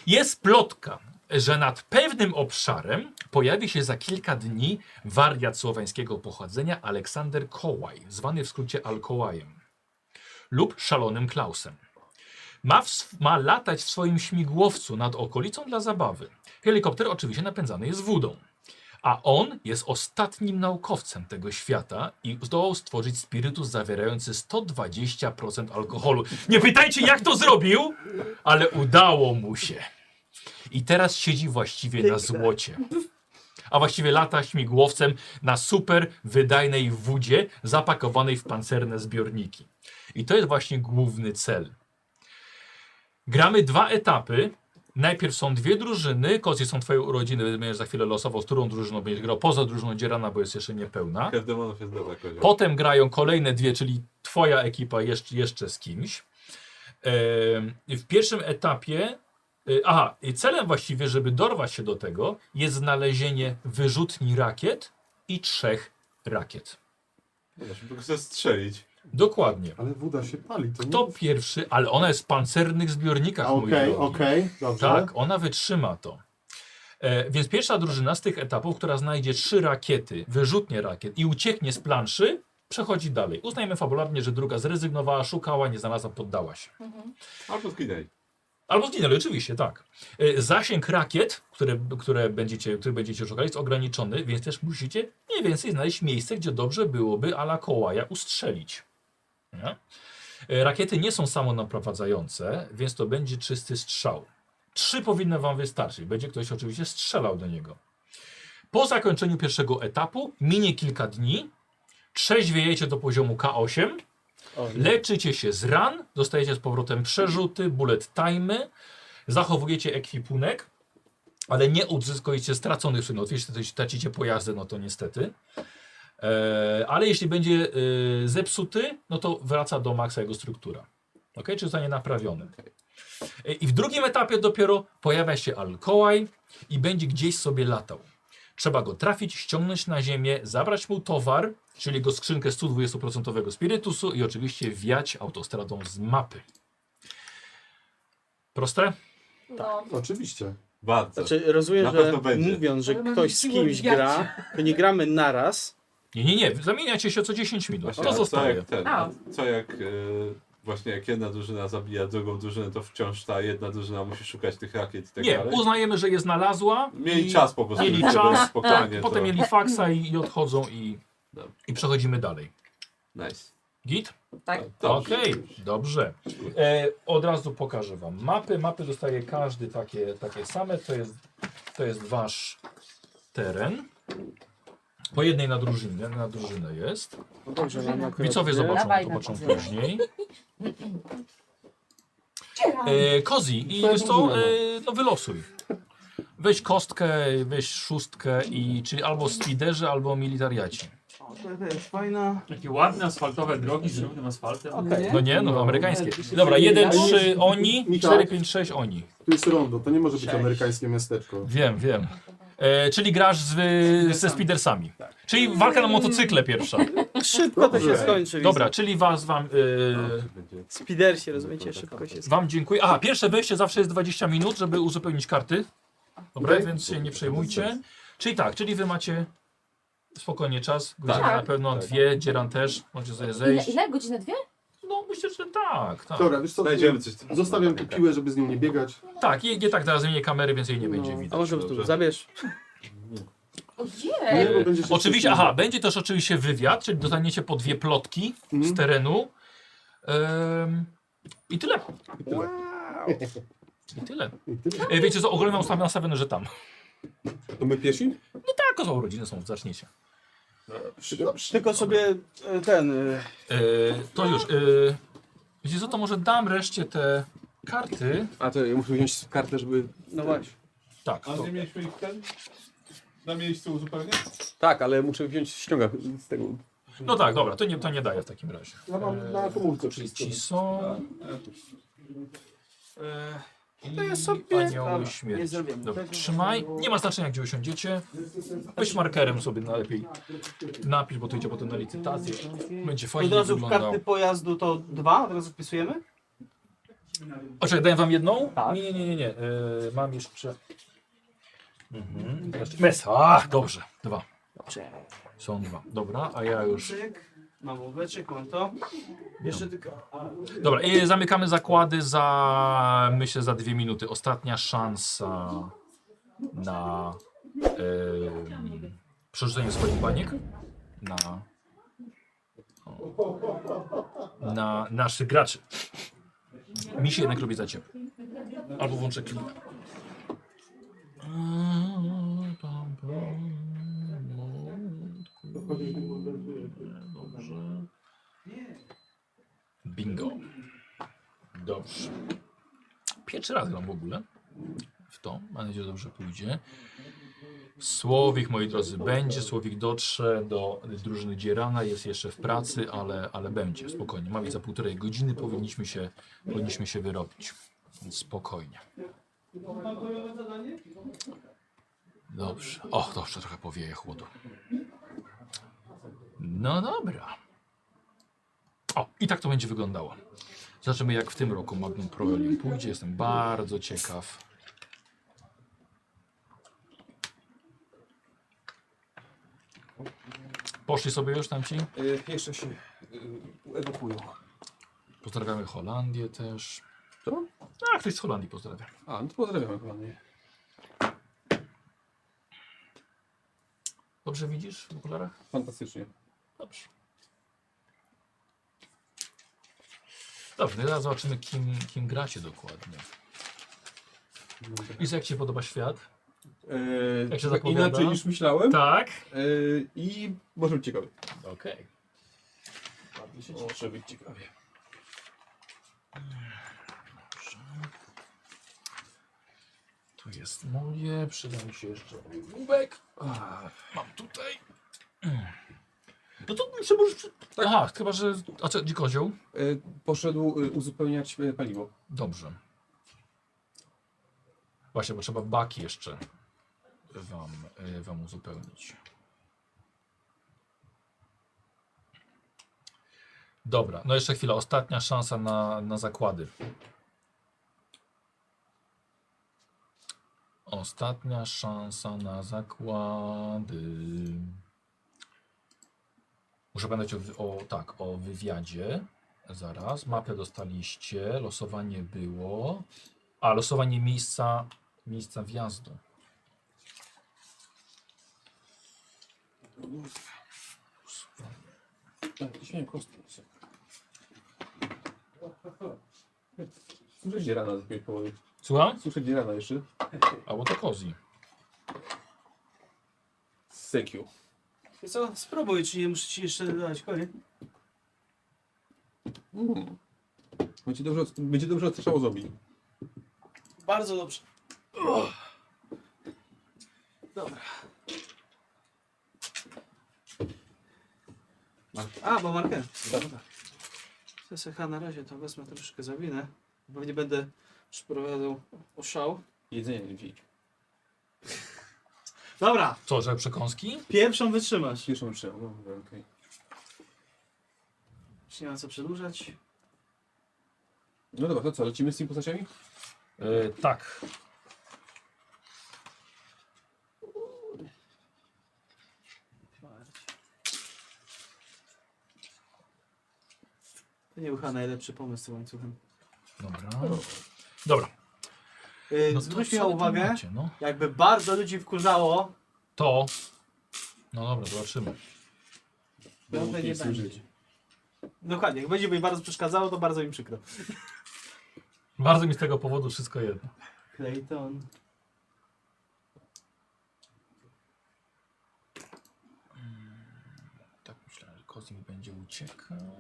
Jest plotka, że nad pewnym obszarem pojawi się za kilka dni wariat słoweńskiego pochodzenia Aleksander Kołaj, zwany w skrócie Alkołajem lub Szalonym Klausem. Ma, w, sw- ma latać w swoim śmigłowcu nad okolicą dla zabawy. Helikopter oczywiście napędzany jest wodą. A on jest ostatnim naukowcem tego świata i zdołał stworzyć spirytus zawierający 120% alkoholu. Nie pytajcie, jak to zrobił, ale udało mu się. I teraz siedzi właściwie na Piękne. złocie. A właściwie lata śmigłowcem na super wydajnej wódzie zapakowanej w pancerne zbiorniki. I to jest właśnie główny cel. Gramy dwa etapy. Najpierw są dwie drużyny. Kozie są twoje urodziny, będziesz za chwilę losował, z którą drużyną będziesz grał. Poza drużyną Dzierana, bo jest jeszcze niepełna. Krew demonów jest dobra, kozioł. Potem grają kolejne dwie, czyli twoja ekipa jeszcze, jeszcze z kimś. Em, i W pierwszym etapie, y, aha, i celem właściwie, żeby dorwać się do tego, jest znalezienie wyrzutni rakiet i trzech rakiet. Żeby go zestrzelić. Dokładnie. Ale woda się pali. To Kto pierwszy, ale ona jest w pancernych nie... zbiornikach, A, mój Okej, drogi. okej, dobrze. Tak, ona wytrzyma to. E, więc pierwsza drużyna z tych etapów, która znajdzie trzy rakiety, wyrzutnie rakiet i ucieknie z planszy, przechodzi dalej. Uznajmy fabularnie, że druga zrezygnowała, szukała, nie znalazła, poddała się. Albo zginęli. Albo zginęli, oczywiście, tak. E, zasięg rakiet, które, które będziecie, który będziecie szukali, jest ograniczony, więc też musicie mniej więcej znaleźć miejsce, gdzie dobrze byłoby ala kołaja ustrzelić. Nie? E, Rakiety nie są samonaprowadzające, więc to będzie czysty strzał. Trzy powinny Wam wystarczyć. Będzie ktoś oczywiście strzelał do niego. Po zakończeniu pierwszego etapu minie kilka dni. Trzeźwiejecie do poziomu K8. O, nie. Leczycie się z ran, dostajecie z powrotem przerzuty, bullet time, zachowujecie ekwipunek, ale nie odzyskujecie straconych przedmiotów. Jeśli coś tracicie pojazdy, no to niestety. E, ale jeśli będzie e, zepsuty, no to wraca do maksa jego struktura. Ok, czy zostanie naprawiony. E, I w drugim etapie dopiero pojawia się alkołaj i będzie gdzieś sobie latał. Trzeba go trafić, ściągnąć na ziemię, zabrać mu towar, czyli jego skrzynkę 120% spirytusu i oczywiście wiać autostradą z mapy. Proste? No. Oczywiście. Bardzo. Znaczy, rozumiem, Na że pewno będzie. mówiąc, że Ale mam ktoś z siłę kimś wiatru. gra, to nie gramy naraz. Nie, nie, nie. Zamieniacie się co 10 minut. Właśnie, to a co zostaje. jak ten, A. a co jak yy, właśnie jak jedna drużyna zabija drugą drużynę, to wciąż ta jedna drużyna musi szukać tych rakiet i tak Nie, dalej. uznajemy, że je znalazła. Mieli i czas po prostu, mieli żeby czas, Tak, spokojnie Potem to... mieli faksa i, i odchodzą i, Dobra. i przechodzimy dalej. Nice. Git? Tak. Dobrze. Okej, dobrze. E, od razu pokażę Wam mapy. Mapy dostaje każdy takie, takie same. To jest, to jest Wasz teren. Po jednej na drużynę, na drużynę jest. No dobrze, mam akurat Widzowie dwie. zobaczą, Dawaj, zobaczą dawaj. później. E, Kozi, i wiesz co, e, no wylosuj. Weź kostkę, weź szóstkę i czy albo speederzy, albo militariaci. O, to jest fajna. Takie ładne asfaltowe drogi z równym asfaltem. Okej. No nie, no amerykańskie. Dobra, 1, 3 oni, Michał. 4, 5, 6 oni. Tu jest rondo, to nie może być Sześć. amerykańskie miasteczko. Wiem, wiem. E, czyli grasz z, ze Speedersami. Czyli walka na motocykle pierwsza. Szybko to się Dobrze. skończy. Dobra, widzę. czyli was, wam, e, Będzie. Spidersi, rozumiecie? Szybko się skończy. wam dziękuję. A, pierwsze wejście zawsze jest 20 minut, żeby uzupełnić karty. Dobra, Okej. więc się nie przejmujcie. Czyli tak, czyli wy macie spokojnie czas. Godzina Tak. na pewno Tak. dwie, Dzieran też, możecie sobie Ile, zejść. ile? Godzinę dwie? No myślę, że tak, tak. Dobra, wiesz co, Znajdziemy coś tam. zostawiam tu piłę, żeby z nią nie biegać. Tak, i nie tak teraz zmienię kamery, więc jej nie będzie No. A widać. może po prostu Dobrze. zabierz. Ojej! Nie, bo będzie się Oczywiście, wstydziła. aha, będzie też oczywiście wywiad, czyli dostaniecie po dwie plotki Mhm. z terenu. Em, I tyle. I tyle. I tyle. I tyle. E, wiecie co, ogólnie mam ustaw- nastawione, no, że tam. To my piesi? Tak, kozą rodziny są, zaczniecie. Tylko sobie e, ten. e, E, to już. E, wiecie co, to może dam reszcie te karty. A to ja muszę wziąć kartę, żeby... No właśnie. Tak, A to, nie mieliśmy ich ten? Na miejscu uzupełnie? Tak, ale muszę wziąć ściąga z tego. no tak, dobra, to nie, to nie daję w takim razie. Ja mam na komórce Czyli wszystko. ci są... E, Tak. I To ja sobie- anioły Dobra, nie śmierci. zrobiłem Dobra, tego. trzymaj. Nie ma znaczenia, gdzie usiądziecie. Weź markerem sobie najlepiej napisz, bo to idzie potem na licytację. Będzie Od fajnie razu w wyglądało. karty pojazdu to dwa, od razu wpisujemy? O, czekaj, daję wam jedną? Tak. Nie, nie, nie, nie. nie. Yy, mam jeszcze... Mhm. Jeszcze- Mesa. Ach, dobrze. Dwa. Dobrze. Są dwa. Dobra, a ja już... Cyk, Mam łóweczek, mam to. Jeszcze tylko. a, Dobra, i zamykamy zakłady za, myślę, za dwie minuty. Ostatnia szansa na em, przerzucenie swoich baniek na, na naszych graczy. Mi się jednak robi za ciepło. Albo włączę klimat. Dobrze. Bingo. Dobrze. Pierwszy raz gram w ogóle w to. Mam nadzieję, że dobrze pójdzie. Słowik, moi drodzy, będzie. Słowik dotrze do drużyny Dzierana. Jest jeszcze w pracy, ale, ale będzie. Spokojnie. Mamy za półtorej godziny. Powinniśmy się, powinniśmy się wyrobić. Więc Spokojnie. Dobrze. O, to jeszcze trochę powieje chłodu. No dobra. O, i tak to będzie wyglądało. Zobaczymy, jak w tym roku Magnum Pro Rally pójdzie. Jestem bardzo ciekaw. Poszli sobie już tamci? Y, jeszcze się y, ewakuują. Pozdrawiamy Holandię też. Co? A, ktoś z Holandii pozdrawia. A, no to pozdrawiam panie. Dobrze widzisz w okularach? Fantastycznie. Dobrze. Dobrze, no i zaraz zobaczymy, kim, kim gracie dokładnie. I jak ci się podoba świat? Y, Jak się trochę zapowiada? Inaczej niż myślałem. Tak. Y, I może być ciekawie. Okej. Może być ciekawie. Tu jest moje, przyda mi się jeszcze ołówek. Ach, Mam tutaj. No to muszę możesz... przy- Aha, chyba, że... A co, gdzie kozioł? Y, tak- poszedł y, uzupełniać y, paliwo. Dobrze. Właśnie, bo trzeba baki jeszcze wam, y, wam uzupełnić. Dobra, no jeszcze chwila. Ostatnia szansa na, na zakłady. Ostatnia szansa na zakłady. Muszę pamiętać o, wy- o, tak, o wywiadzie. Zaraz, mapę dostaliście, losowanie było. A, losowanie miejsca, miejsca wjazdu. Tak, dzisiaj nie kostki. Słyszę dzierana z tej połowy. Słucham? Słyszę dzierana jeszcze. A, bo to kozi. Z Sekiu. Wiesz co, spróbuj, czy nie muszę ci jeszcze dodać koniec. Będzie dobrze, będzie dobrze odstrzało zombie. Bardzo dobrze. A, bo marker. SSH na razie to wezmę troszkę zawinę. Pewnie będę przeprowadzał oszał. Jedzenie nie wzięli. Dobra, Co, że przekąski? pierwszą wytrzymasz. Pierwszą trzeba, no dobra, okej. Już nie ma co przedłużać. No dobra, to co, lecimy z tymi postaciami? E, tak. To nie był chyba najlepszy pomysł z tym łańcuchem. Dobra. Dobra. Yy, No to zwróć co mi wy tu uwagę, macie, no. jakby bardzo ludzi wkurzało, To. No dobra, zobaczymy. Dobrze, Będą nie pies będzie. użyć. dokładnie, jak będzie mi bardzo przeszkadzało, to bardzo mi przykro. Bardzo mi z tego powodu wszystko jedno. Clayton. Tak myślałem, że Kozim będzie uciekał.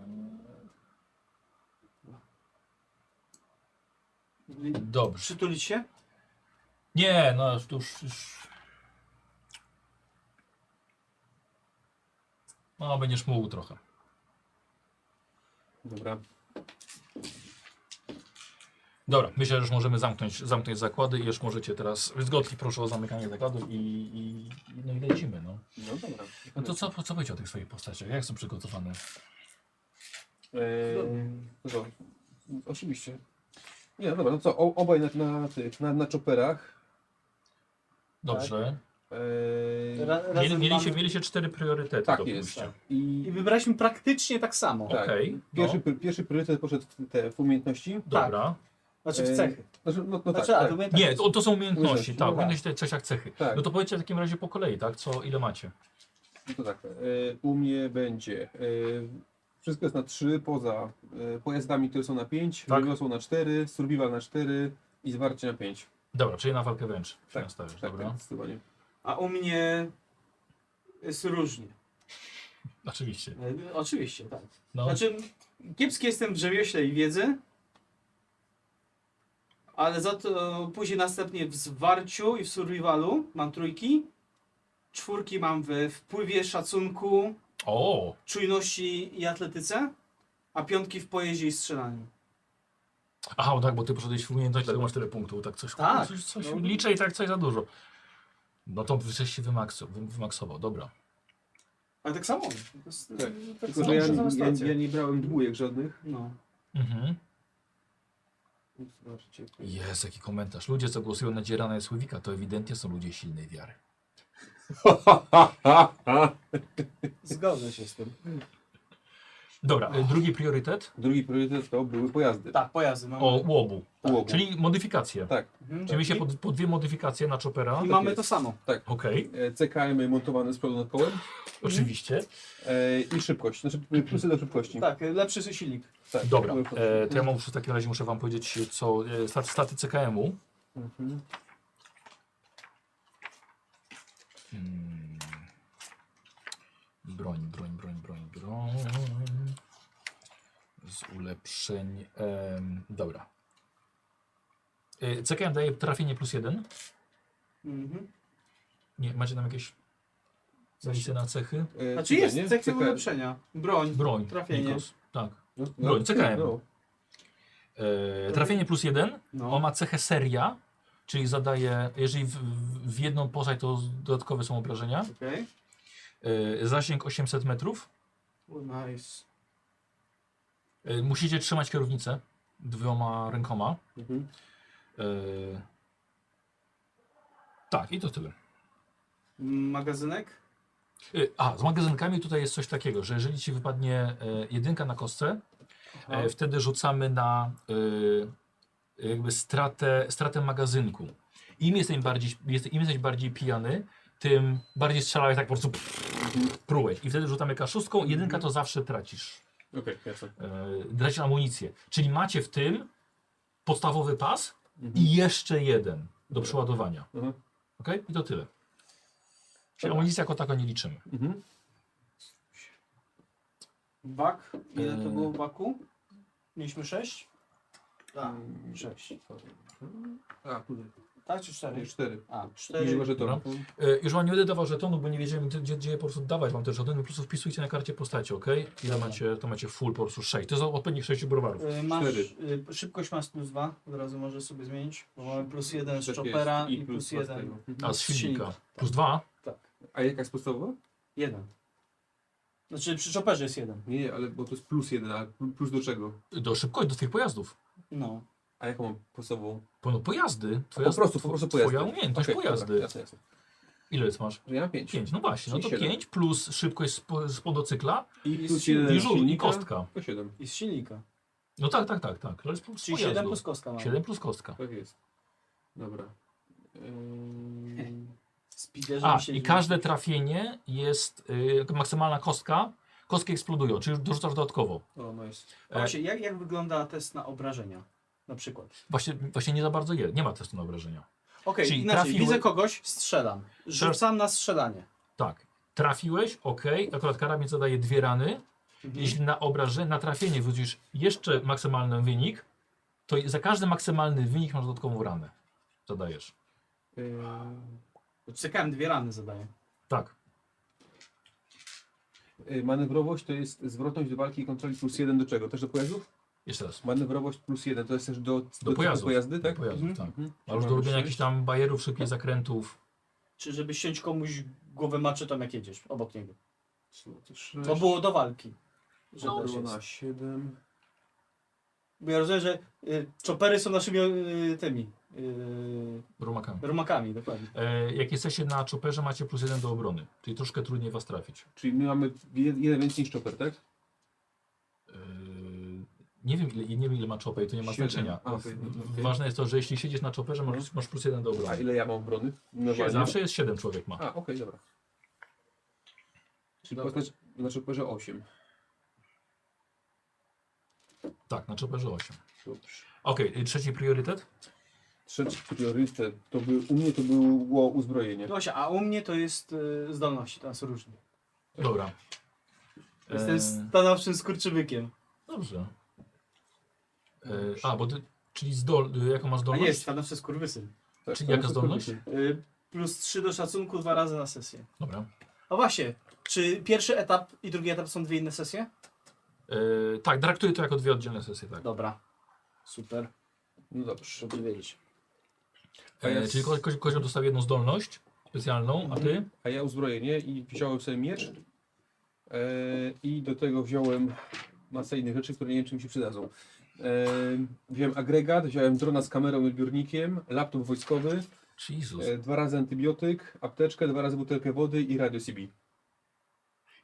Dobrze. Przytulić się? Nie, no już, już, już. No, będziesz mógł trochę. Dobra. Dobra, myślę, że już możemy zamknąć, zamknąć zakłady i już możecie teraz. Więc Gotli, proszę o zamykanie zakładów i, i, no i lecimy. No. No dobra. no to co, co będzie o tych swoich postaciach? Jak są przygotowane? Eee, co? Oczywiście. Nie, no dobra, no co, o, obaj na, na tych, na, na czoperach. Dobrze. Eee, Ra- razem Mieli, mieliście, mamy- mieliście cztery priorytety do tak jest. pójścia. Tak. I I wybraliśmy praktycznie tak samo. Tak. Okej, pierwszy, no, pr- pierwszy priorytet poszedł w te w umiejętności. dobra. Znaczy w Eee, cechy. Znaczy, no, no Znaczy, tak, a, tak. to będzie Nie, to, to są umiejętności, Umiejętności, tak, no tak. umiejętności w cechach cechy. Tak. No to powiedzcie w takim razie po kolei, tak? Co, ile macie? No to tak. e, u mnie będzie. e, wszystko jest na 3, poza e, pojazdami, które są na 5, Tak. tak. są na 4, survival na 4 i zwarcie na 5. Dobra, czyli na walkę wręcz się Tak, nastawiasz, Tak, dobra? tak, zdecydowanie. A u mnie jest różnie. Oczywiście. Eee, Oczywiście, tak. No, Znaczy, kiepski jestem w rzemiośle i wiedzy, ale za to później następnie w zwarciu i w survivalu mam trójki, czwórki mam w wpływie, szacunku, o, czujności i atletyce, a piątki w pojeździe i strzelaniu. aha, no tak, bo ty poszedłeś w umiejętność, dlatego masz tyle punktów, tak coś, Tak, coś, coś no. liczę i tak coś za dużo. No to żeś się wymaksu, wy- wymaksował, dobra. Ale tak samo. To jest, Tak. tak Tylko, samo że ja, przez nie- ja, administrację. ja nie brałem dwójek żadnych. No. Mhm. Zobaczcie. Jest, jaki komentarz. Ludzie, co głosują na Dzierana i Słowika, to ewidentnie są ludzie silnej wiary. Zgodzę się z tym. Dobra, y, drugi priorytet? Drugi priorytet to były pojazdy. Tak, pojazdy mamy. O, łobu, Łobu. czyli modyfikacje. Tak. Mhm. Czyli mieliście po, po dwie modyfikacje na Chopera. I Okej, mamy jest. to samo. E, CKM montowane z przodu nad kołem oczywiście. e, i szybkość, znaczy plusy do szybkości. Tak, lepszy silnik. Tak, Dobra, były plusy. e, to ja mam w takim razie muszę wam powiedzieć, co e, staty, staty CKM-u. Mhm. Hmm. Broń, broń, broń, broń, broń. Z ulepszeń. em, dobra. E, CKM daje trafienie plus jeden. Mhm. Nie, macie tam jakieś zapisy na cechy? E, Znaczy jest, cudanie, sekcja CKM. ulepszenia. Broń. Broń, Trafienie. Nikos. Tak. No, Broń, CKM. No, E, trafienie plus jeden. No. On ma cechę seria, czyli zadaje, jeżeli w, w jedną postać to dodatkowe są obrażenia. Okej. E, zasięg 800 metrów. O, Nice. E, musicie trzymać kierownicę dwoma rękoma. mhm. E, tak, i to tyle. Magazynek? E, a, z magazynkami tutaj jest coś takiego, że jeżeli ci wypadnie e, jedynka na kostce, e, wtedy rzucamy na e, jakby stratę, stratę magazynku. Im jesteś bardziej, jest, im jesteś bardziej pijany, tym bardziej strzelałeś tak po prostu prułeś. I wtedy rzucamy Mhm. kaszustką, jedynka to zawsze tracisz. Okej, jasne. e, tracisz amunicję. Czyli macie w tym podstawowy pas Mhm. i jeszcze jeden do przeładowania. Mhm. Ok? I to tyle. Czyli amunicja jako taka nie liczymy. Mhm. Bak? Ile to Eee. było w baku? Mm, Mieliśmy 6? Tak, 6. A, tutaj. tak? Czy cztery? Cztery. A, I cztery. że to. E, Już wam nie będę dawał żetonu, bo nie wiedziałem gdzie, gdzie, gdzie je po prostu dawać. Mam też żaden, po prostu wpisujcie na karcie postaci, ok? Ile macie, to macie full po prostu 6. To jest odpowiednich 6 browarów. Y, Masz, Cztery. y, szybkość masz plus dwa, od razu możesz sobie zmienić, bo mamy plus jeden z Tak jest. chopera i dwa plus z jeden. tego. Mhm. A z silnika. Plus 2. A jaka jest podstawowa? Jeden. Znaczy przy choperze jest jeden. Nie, nie, ale bo to jest plus jeden, ale pl- plus do czego? Do szybkości, do twoich pojazdów. No. A jaką mam podstawową? Po, no, pojazdy. Twoja, Po prostu, po prostu pojazdy. Twoja umiejętność Okej, pojazdy. Dobra, jasne, jasne. Ile masz? Że ja mam pięć. 5. No właśnie, no to Czyli siedem. 5 plus szybkość z, po, z podocykla I I plus silnik. jeden i z żul, i silnika, kostka. To siedem. I z silnika. No tak, tak, tak, tak. To jest plus Czyli siedem plus pojazdu. kostka No. mamy. 7 plus kostka. Tak jest. Dobra. Ym, Z piderzem A, i siedzimy. każde trafienie jest y, maksymalna kostka. Kostki eksplodują, czyli dorzucasz dodatkowo. O, nice. no A Właśnie, jak, jak wygląda test na obrażenia? Na przykład. Właśnie, właśnie nie za bardzo je. Nie ma testu na obrażenia. Okej, Czyli inaczej, trafiły- widzę kogoś, strzelam. Rzucam na strzelanie. Tak. Trafiłeś, ok. Akurat karabin zadaje dwie rany. Mhm. Jeśli na obrażenie, na trafienie wrzucisz jeszcze maksymalny wynik, to za każdy maksymalny wynik masz dodatkową ranę. Zadajesz. Eee, Ym, Czekałem, dwie rany zadaję. Tak. y, eee, manewrowość to jest zwrotność do walki i kontroli plus jeden do czego? Też do pojazdów? Jeszcze raz. Manewrowość plus jeden to jest też do, do, typu pojazdów. pojazdy, Do tak? Pojazdów, Mhm. tak. Mhm. Ale już do robienia jakichś tam bajerów, szybkich zakrętów. Czy żeby ściąć komuś głowę maczetą jak jedziesz obok niego. Trzy, To było do walki. Że to też było jest. na siedem. Bo ja rozumiem, że y, chopery są naszymi y, tymi y, Rumakami. rumakami, dokładnie. E, jak jesteście na czoperze, macie plus jeden do obrony. Czyli troszkę trudniej was trafić. Czyli my mamy jed- jeden więcej niż chopper, tak? E, nie wiem, ile, nie wiem, ile ma czoper i to nie ma Siedem. znaczenia. A, okej, W- okej. Ważne jest to, że jeśli siedzisz na czoperze, masz, masz plus jeden do A obrony. ile ja mam obrony? Normalnie? Zawsze jest 7 człowiek ma. A, okej, dobra. Czyli postać na chopperze 8. Tak, na czoperze 8. Dobrze. Okej, y, trzeci priorytet? Trzeci priorytet to był, u mnie to było uzbrojenie. No Właśnie, a u mnie to jest y, zdolności, teraz różnie. Dobra. Jestem E, stanowczym skurczybykiem. Dobrze. E, a, bo ty, czyli zdol, y, jaką masz A zdolność? nie, jest stanowczy skurwysyn. Tak, Czyli tak, jaka zdolność? Y, plus 3 do szacunku, dwa razy na sesję. Dobra. A właśnie, czy pierwszy etap i drugi etap są dwie inne sesje? E, tak, traktuję to jako dwie oddzielne sesje, tak. Dobra. Super, No dobrze. żeby wiedzieć. A ja E, z- czyli ko- ko- kozioł dostał jedną zdolność specjalną, a ty? A ja uzbrojenie i wziąłem sobie miecz. E, I do tego wziąłem masę innych rzeczy, które nie wiem, czy mi się przydadzą. E, wziąłem agregat, wziąłem drona z kamerą i odbiornikiem, laptop wojskowy, Jezus. e, dwa razy antybiotyk, apteczkę, dwa razy butelkę wody i radio CB.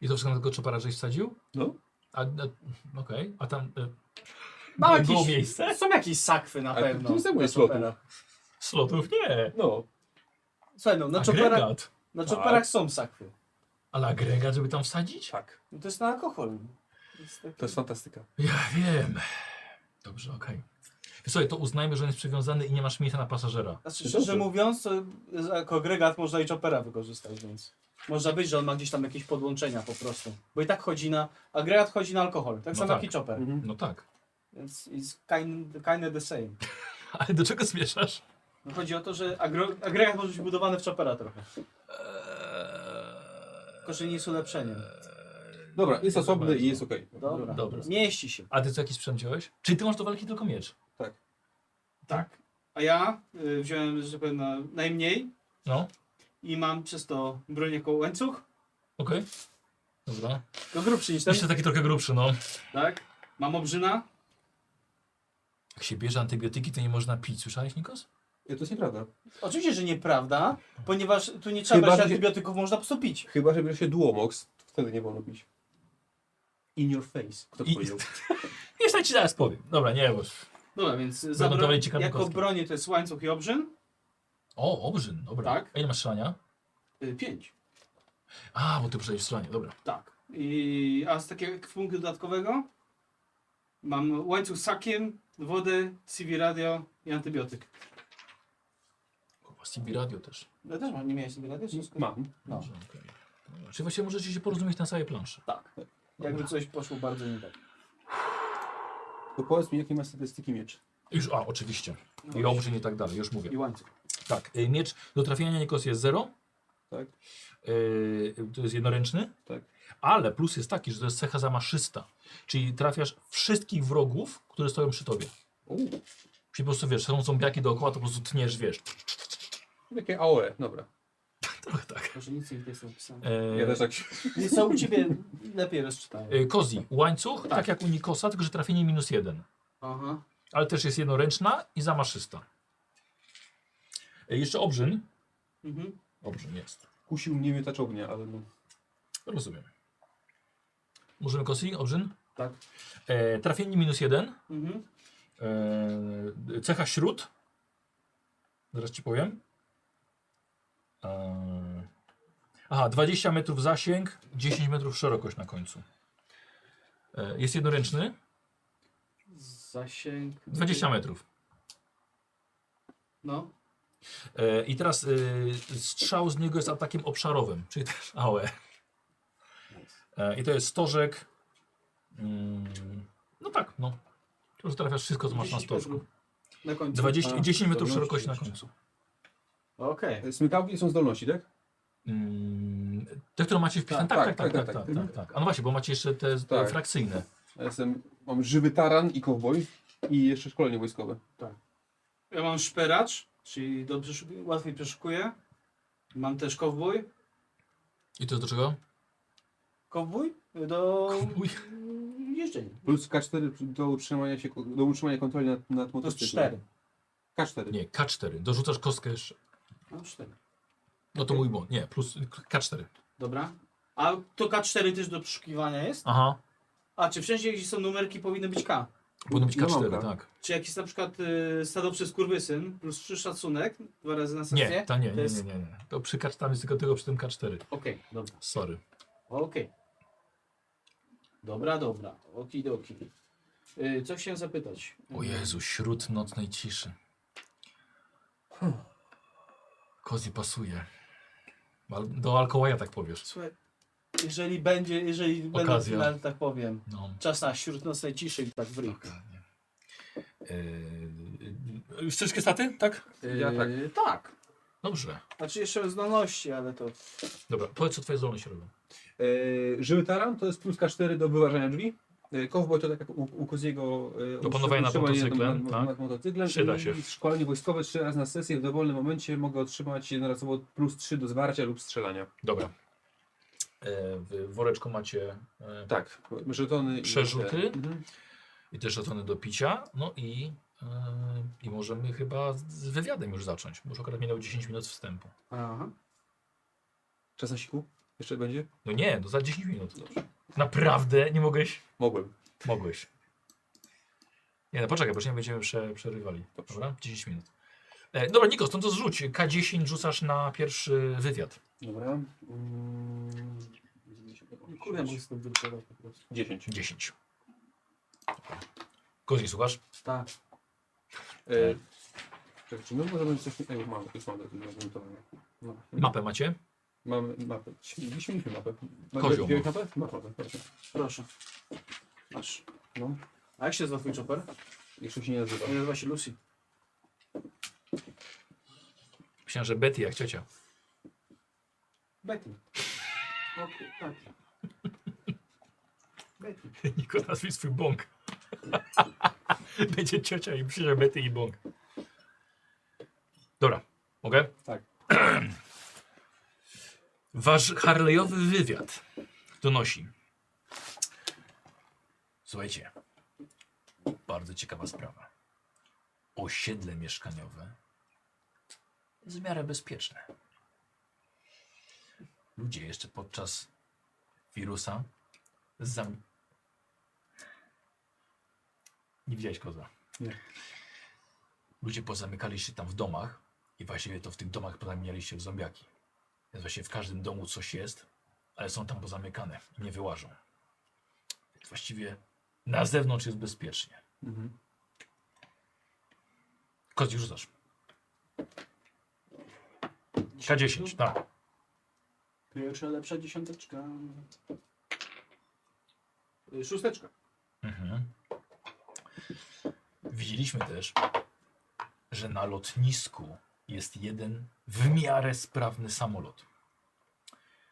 I to wszystko na tego czopara żeś wsadził? No. A, a, Okej, a tam... E, Ma było jakieś- miejsce? Są jakieś sakwy na Ale to pewno. nie zajmuje na slotu. chopera. Slotów nie. No, Słuchaj, no, na czoperach, Agregat. na Tak. czoperach są sakwy. Ale agregat, żeby tam wsadzić? tak. No to jest na alkohol. tak- To jest takie- To jest fantastyka. Ja wiem. Dobrze, okej. Słuchaj, to uznajmy, że on jest przywiązany i nie masz miejsca na pasażera. Znaczy, szczerze mówiąc, to jako agregat można i chopera wykorzystać, więc można być, że on ma gdzieś tam jakieś podłączenia po prostu. Bo i tak chodzi na. Agregat chodzi na alkohol, No tak samo tak. jak i chopper. Mhm. No tak. Więc it's kind, kind the same. Ale do czego zmieszasz? No chodzi o to, że agro, agregat może być budowany w chopera trochę. Tylko, że nie jest ulepszeniem. Dobra, jest osobny bardzo. i jest okej. Dobra. Dobra. Mieści się. A ty co jakiś sprzęt wziąłeś? Czyli ty masz do walki tylko miecz? Tak. A ja y, wziąłem, że tak powiem, na, najmniej No, i mam przez to broń jako łańcuch. okej. Dobra. To tak? grubszy niż ten. Jeszcze taki trochę grubszy, no. Tak. Mam obrzyna. Jak się bierze antybiotyki, to nie można pić. Słyszałeś, Nikos? Nie, To jest nieprawda. Oczywiście, że nieprawda, ponieważ tu nie trzeba Chyba, brać że się- antybiotyków, można po prostu pić. Chyba, że bierze się Duomox, to wtedy nie wolno pić. In your face. Kto I- powiedział? Jeszcze ci zaraz powiem. Dobra, nie, bo... Dobra, więc za Będą bro- dalej ciekawe jako kostki. bronie to jest łańcuch i obrzyn. O, obrzyn, dobra. Tak. A ile masz strzelania? Y, Pięć. A, bo ty przejdziesz strzelanie, dobra. Tak. I, a z takiego punktu dodatkowego mam łańcuch z sakiem, wodę, CV radio i antybiotyk. Kurwa, CB radio też. No też mam, nie miałeś CV radio? Wszystko? Mam. No. Dobrze, okej. Dobra, Czyli właściwie możecie się porozumieć na całej planszy. Tak. Jakby coś poszło bardzo nie tak. To powiedz mi, jakie ma statystyki miecz. No Już, a, oczywiście. I obrzyn i tak dalej, już mówię. I łańcuch. Tak, y, miecz do trafienia niekos jest 0. Tak. Y, to jest jednoręczny. Tak. Ale plus jest taki, że to jest cecha zamaszysta. Czyli trafiasz wszystkich wrogów, które stoją przy tobie. Czyli po prostu wiesz, są zombiaki dookoła, to po prostu tniesz, wiesz. Takie AOE, dobra. Trochę tak. Może nic nie jest napisane. E, Mm. Ja też tak się... Nie są u ciebie lepiej rozczytałem. y, Kozi, łańcuch, tak. jak u Nikosa, tylko że trafienie minus jeden. Aha. Ale też jest jednoręczna i zamaszysta. Y, jeszcze obrzyn. Mhm. Obrzyn jest. Kusił mnie miotacz ognia, ale no... Rozumiem. Możemy Kosi, obrzyn? Tak. E, trafienie minus jeden. Mhm. E, cecha śród. Zaraz ci powiem. E, aha, 20 metrów zasięg, 10 metrów szerokość na końcu. E, jest jednoręczny, Zasięg. 20 metrów. No. E, I teraz e, strzał z niego jest atakiem obszarowym, czyli też AOE. E, I to jest stożek. Mm, no tak, no. Już trafiasz wszystko, co masz na 10 stożku. metrów Na końcu. 20, A, 10 metrów zdolności szerokości na jeszcze. końcu. Okej. Smykałki są zdolności, tak? Mm, Te, które macie wpisane. Tak, tak, tak, tak, tak, tak, tak, A no właśnie, bo macie jeszcze te, te Tak. frakcyjne. Ja jestem... Mam żywy taran i kowboj i jeszcze szkolenie wojskowe. Ja mam szperacz, czyli dobrze, szukuję- łatwiej przeszukuję. Mam też kowbój. I to jest do czego? Kowbój? Do Kowbój. Mm, jeżdżenia. Plus K4 do utrzymania się, do utrzymania kontroli nad, nad No To jest motocyklem. cztery. K4. Nie, K4. Dorzucasz kostkę jeszcze. Mam cztery. No to mój błąd. Nie, plus K4. Dobra. A to K4 też do przeszukiwania jest? Aha. A czy wszędzie, gdzie są numerki, powinno być K? Powinno być No mam K4, K. tak. Czy jak jest na przykład y, stado przez kurwysyn, plus 3 szacunek, dwa razy na sesję? Nie, to nie, nie, nie, jest- nie. nie. To przy K4 tam jest tylko tego przy tym K4. Okej, dobra. Sorry. Okej. Dobra, dobra. Okidoki. Yy, co chciałem zapytać? Y, O Jezu, śród nocnej ciszy. Kozi pasuje. Al- Do Alkołaja tak powiesz. Słuchaj, jeżeli będzie, jeżeli będą Okazja. finale, tak powiem, No. czas na śród nocnej ciszy i tak w ryk. dokładnie. Yy, E, Już wszystkie staty, tak? Ja tak. Yy, tak. Dobrze. Znaczy jeszcze o zdolności, ale to... Dobra, powiedz co twoje zdolności robią. E, żyły taran to jest plus K4 do wyważania drzwi. E, Kowboj to tak jak u, u Koziego e, Do panowania nad utrzymanie motocyklem, nad, tak. nad motocyklem. Przyda I się. Szkolenie wojskowe trzy razy na sesję w dowolnym momencie mogę otrzymać jednorazowo plus 3 do zwarcia lub strzelania. Dobra. E, w woreczku macie e, Tak, żetony i- Przerzuty? Mhm. i też żetony do picia. No i, e, i możemy chyba z- z wywiadem już zacząć, bo już akurat minęło 10 minut wstępu. Aha. Czas na siku? Jeszcze będzie? No nie, no za 10 minut. Naprawdę nie mogłeś? Mogłem. Mogłeś. Nie, no poczekaj, bo już nie będziemy prze, przerywali. Dobrze. Dobra, 10 minut. E, dobra, Nikos, no to zrzuć. K10 rzucasz na pierwszy wywiad. Dobra. Mm. Kurde, mogę sobie wyrykować po prostu. 10. 10. Kozi, słuchasz? Tak. E, czekaj, czy my możemy coś... E, już mam, już mam do tego zamontowane. No. Mapę macie? Mamy mapę. Gdzieś mieliśmy mapę. Kozioł Wziąłeś mapę? Masz mapę, tak, proszę. Proszę. Masz. No. A jak się nazywa twój chopper? Jeszcze się nie nazywa. Nie nazywa się Lucy. Myślałem, że Betty jak ciocia. Betty. O, ku- tak. Betty. Niko nazwij swój bąk. Będzie ciocia i przyjdzie Betty i bąk. Dobra, mogę? Tak. Wasz Harleyowy wywiad donosi. Słuchajcie, bardzo ciekawa sprawa. Osiedle mieszkaniowe jest w miarę bezpieczne. Ludzie jeszcze podczas wirusa zam, nie widziałeś koza. Nie. Ludzie pozamykali się tam w domach i właściwie to w tych domach pozamieniali się w zombiaki. Więc właśnie w każdym domu coś jest, ale są tam pozamykane i nie wyłażą. Więc właściwie na zewnątrz jest bezpiecznie. Mhm. Koz już rzucasz. K10, tak. Pierwsza lepsza dziesiąteczka. Y, Szósteczka. Mhm. Widzieliśmy też, że na lotnisku jest jeden w miarę sprawny samolot.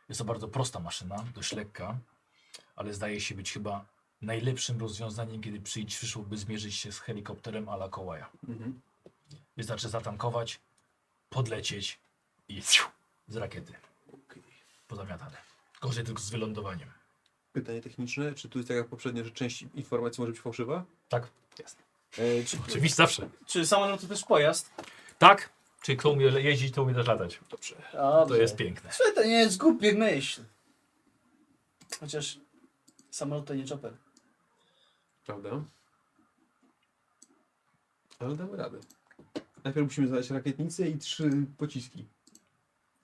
Jest to bardzo prosta maszyna, dość lekka, ale zdaje się być chyba najlepszym rozwiązaniem, kiedy przyjść przyszłoby zmierzyć się z helikopterem ala Kołaja. Mhm. Wystarczy zatankować, podlecieć i z rakiety. Pozamiatane. Gorzej tylko z wylądowaniem. Pytanie techniczne, czy tu jest tak jak poprzednio, że część informacji może być fałszywa? Tak? E, czy, Oczywiście zawsze. czy samolot to też pojazd? Tak? Czyli kto umie le- jeździć, to umie też latać. To Dobrze. jest piękne. Słuchaj, to nie jest głupie myśl. Chociaż samolot to nie chopper. Prawda? Ale damy radę. Najpierw musimy znaleźć rakietnicę i trzy pociski.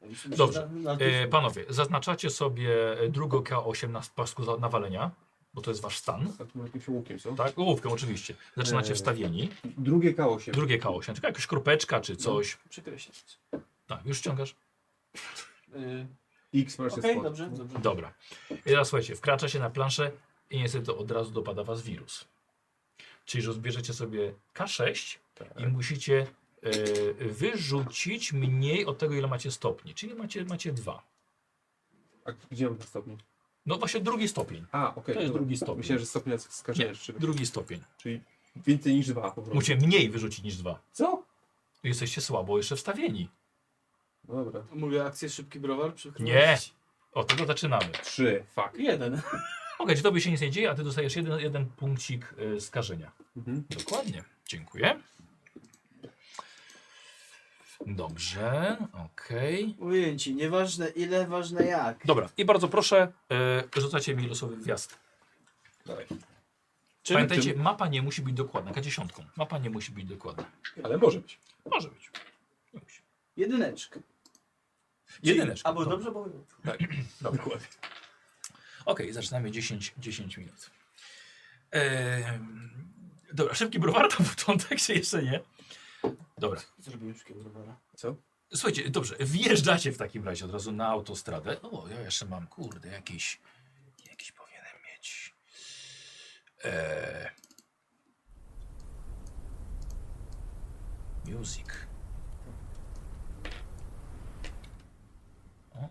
Musimy się Dobrze. na- na- E, panowie, zaznaczacie sobie e, drugo K8 na pasku za- nawalenia, bo to jest wasz stan. A tu jakimś łupkiem są. Tak, ołówkiem oczywiście. Zaczynacie Eee. wstawieni. Drugie K8. Drugie K8, tylko jakaś kropeczka czy coś. Przekreślić. Tak, już ściągasz. Y, X masz Okej, spot. dobrze, dobrze. Dobra. I teraz słuchajcie, wkracza się na planszę i niestety od razu dopada was wirus. Czyli rozbierzecie sobie K6 i musicie e, wyrzucić mniej od tego, ile macie stopni. Czyli macie, macie dwa. A gdzie mam te stopnie? No właśnie drugi stopień. A, okej. To jest dobra. drugi stopień. Myślałem, że stopnia Nie, skażenia rzeczywiście. Drugi stopień. Czyli więcej niż dwa po prostu. Musicie mniej wyrzucić niż dwa. Co? Jesteście słabo jeszcze wstawieni. No Dobra. Mogę akcję szybki browar przykryć? Nie. Od tego zaczynamy. Trzy. Fuck. Jeden. Okej, czy tobie się nic nie dzieje, a ty dostajesz jeden, jeden punkcik y, skażenia. Mhm. Dokładnie. Dziękuję. Dobrze, okej. Ujęci, nieważne ile, ważne jak. Dobra, i bardzo proszę, y, rzucacie mi losowy wjazd. Czym, Pamiętajcie, mapa nie musi być dokładna, K10. Mapa nie musi być dokładna. Ale może być. Może być. Nie musi. Jedyneczka. Jedyneczka. Albo Dobra. dobrze, bo... Dobra. Okej, zaczynamy 10, 10 minut. Ehm, dobra, szybki browar to początek się jeszcze nie. Dobra. Zrobiłem szybkiego browara. Słuchajcie, dobrze, wjeżdżacie w takim razie od razu na autostradę. O, ja jeszcze mam, kurde, jakiś, jakiś powinienem mieć. Eee... Music. O, o, o,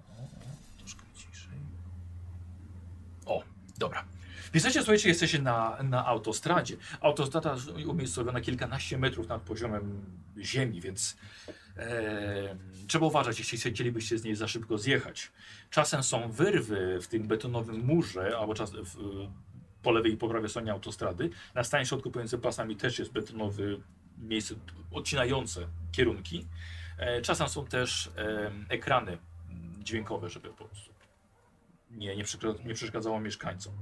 troszkę ciszej. O, dobra. Piszecie, słuchajcie, jesteście na, na autostradzie. Autostrada umiejscowiona kilkanaście metrów nad poziomem ziemi, więc E, trzeba uważać, jeśli chcie- chcielibyście z niej za szybko zjechać. Czasem są wyrwy w tym betonowym murze, albo czas, w, po lewej i po prawej stronie autostrady. Na stanie środku pomiędzy pasami też jest betonowy miejsce odcinające kierunki. E, czasem są też em, ekrany mm, dźwiękowe, żeby po prostu nie, nie, przeszkadza, nie przeszkadzało mieszkańcom.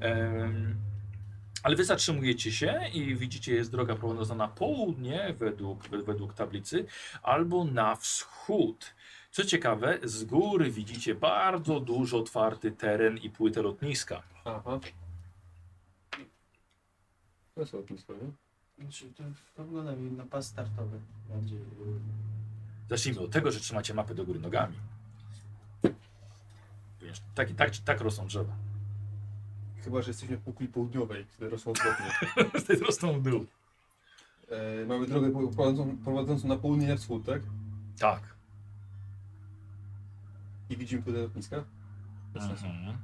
Em, ale wy zatrzymujecie się i widzicie, jest droga prowadzona na południe według, według tablicy albo na wschód. Co ciekawe, z góry widzicie bardzo dużo otwarty teren i płytę lotniska. Aha. To jest lotnisko, nie? Znaczy, to, to wygląda mi na pas startowy. Będzie... e, Zacznijmy od tego, że trzymacie mapę do góry nogami. Wiesz, tak, tak, tak rosną drzewa. Chyba, że jesteśmy w kukli południowej, które rosną odwrotnie. Wtedy rosną w dół. E, mamy drogę po- prowadzącą, prowadzącą na południe i na wschód, tak? Tak. I widzimy tutaj lotniska. Mhm.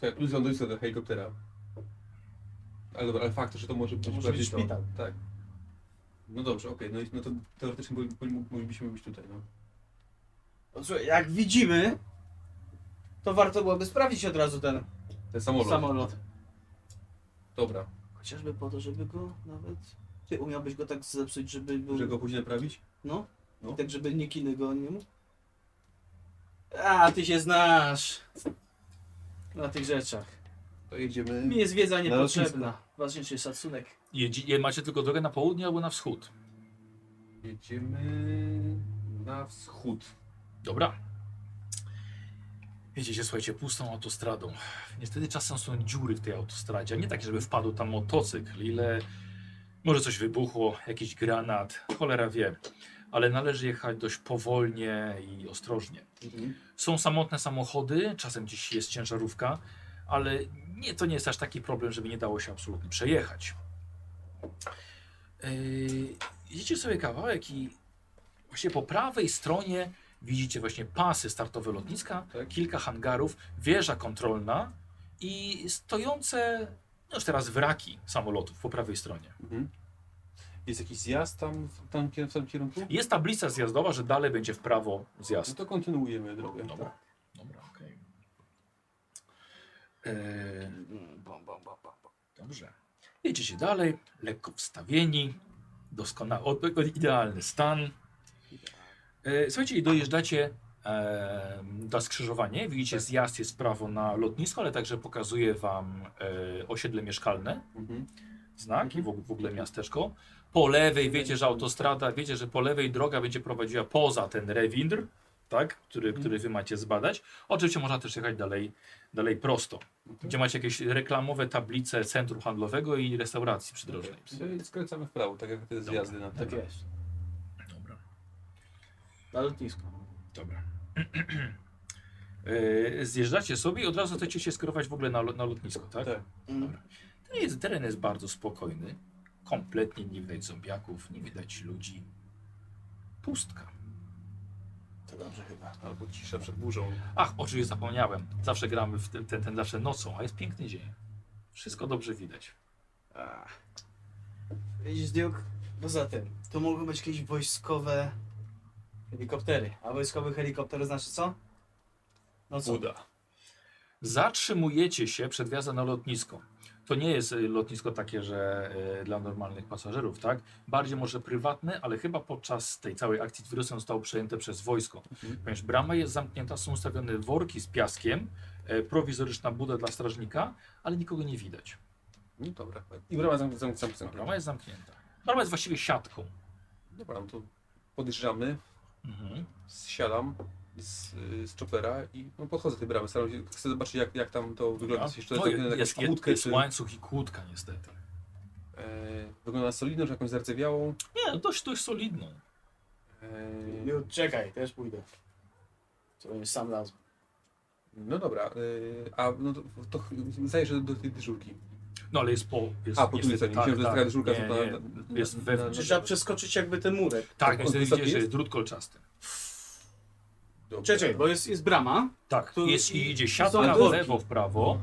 To jak plus Tak, ląduje sobie do helikoptera. Ale dobra, ale fakt, że to może być może bardziej być szpital. Tak. No dobrze, okej, no, i- no to teoretycznie byli- byli- moglibyśmy być tutaj, no. O, Słuchaj, jak widzimy, to warto byłoby sprawdzić od razu ten Ten samolot. samolot. Dobra. Chociażby po to, żeby go nawet... Ty umiałbyś go tak zepsuć, żeby był... Że go później naprawić? No. No. Tak, żeby nikt inny go nie mógł. A, ty się znasz. Na tych rzeczach. To jedziemy... Mi jest wiedza niepotrzebna. lotnisko. Ważniejszy jest szacunek. Jedzi, je, macie tylko drogę na południe albo na wschód. Jedziemy... na wschód. Dobra. Jedziecie, słuchajcie, pustą autostradą. Niestety czasem są dziury w tej autostradzie, a nie takie, żeby wpadł tam motocykl, ile może coś wybuchło, jakiś granat, cholera wie. Ale należy jechać dość powolnie i ostrożnie. Są samotne samochody, czasem gdzieś jest ciężarówka, ale nie, to nie jest aż taki problem, żeby nie dało się absolutnie przejechać. Yy, Idziecie sobie kawałek i właśnie po prawej stronie widzicie właśnie pasy startowe lotniska, Tak. kilka hangarów, wieża kontrolna i stojące no już teraz wraki samolotów po prawej stronie. Jest jakiś zjazd tam, w- tam kier- w tym kierunku? Jest tablica zjazdowa, że dalej będzie w prawo No zjazd. to kontynuujemy drogę. Dobra. Tak. Dobra, okej. Yy, Dobrze. Jedziecie dalej, lekko wstawieni, doskonały, o- o- idealny stan. E, Słuchajcie, i dojeżdżacie e, do skrzyżowania. Widzicie, zjazd jest w prawo na lotnisko, ale także pokazuje wam e, osiedle mieszkalne, Mhm. znak i w, og- w ogóle miasteczko. Po lewej wiecie, że autostrada, wiecie, że po lewej droga będzie prowadziła poza ten rewindr, tak, który, który wy macie zbadać. Oczywiście można też jechać dalej, dalej prosto gdzie macie jakieś reklamowe tablice centrum handlowego i restauracji przydrożnej. No i skręcamy w prawo, tak jak te zjazdy na Tak tym. jest. Dobra, Na lotnisku. dobra. E, Zjeżdżacie sobie i od razu chcecie się skierować w ogóle na, lo- na lotnisko, tak? Tak. Mm. Teren jest, teren jest bardzo spokojny. Kompletnie nie widać zombiaków, nie widać ludzi. Pustka. To dobrze chyba. Albo cisza przed burzą. Ach, oczywiście zapomniałem. Zawsze gramy w ten, ten, ten zawsze nocą, a jest piękny dzień. Wszystko dobrze widać. Ach. Widzisz, Duke? Poza tym, to mogą być jakieś wojskowe helikoptery. A wojskowy helikopter znaczy co? No co? Uda. Zatrzymujecie się przed wjazdem na lotnisko. To nie jest y, lotnisko takie, że y, dla normalnych pasażerów, tak? Bardziej może prywatne, ale chyba podczas tej całej akcji z wirusem zostało przejęte przez wojsko. Mhm. Ponieważ brama jest zamknięta, są ustawione worki z piaskiem, e, prowizoryczna buda dla strażnika, ale nikogo nie widać. No dobra. I brama zamk- zamk- Brama zamk- zamknięta. jest zamknięta. Brama jest właściwie siatką. Dobra, no to podjeżdżamy, Mhm. zsiadam z, y, z chopera i no, podchodzę do tej bramy. Staram się, chcę zobaczyć jak, jak tam to wygląda. Czy jeszcze No, zamknę jest, jakąś jest, kłódkę, jest czy, łańcuch i kłódka niestety. e, wygląda solidną, czy jakąś zardzewiałą. Nie, no dość, dość solidną. E, Duke, czekaj, też pójdę. To jest sam raz. No dobra, y, a no to, to ch- zajrzę do tej dyżurki. No ale jest po... Jest, A, po drugiej niestety- tak, stronie, myślałem, że taka dyżurka nie, jest na- na- nie, jest na- wewnątrz. na- Czy trzeba przeskoczyć jakby ten murek? Tak, On niestety wysoki widzicie, że jest? jest drut kolczasty. Dobra. Czekaj, bo jest, jest brama. Tak, Tu- jest, i idzie są siatka w worki. lewo, w prawo.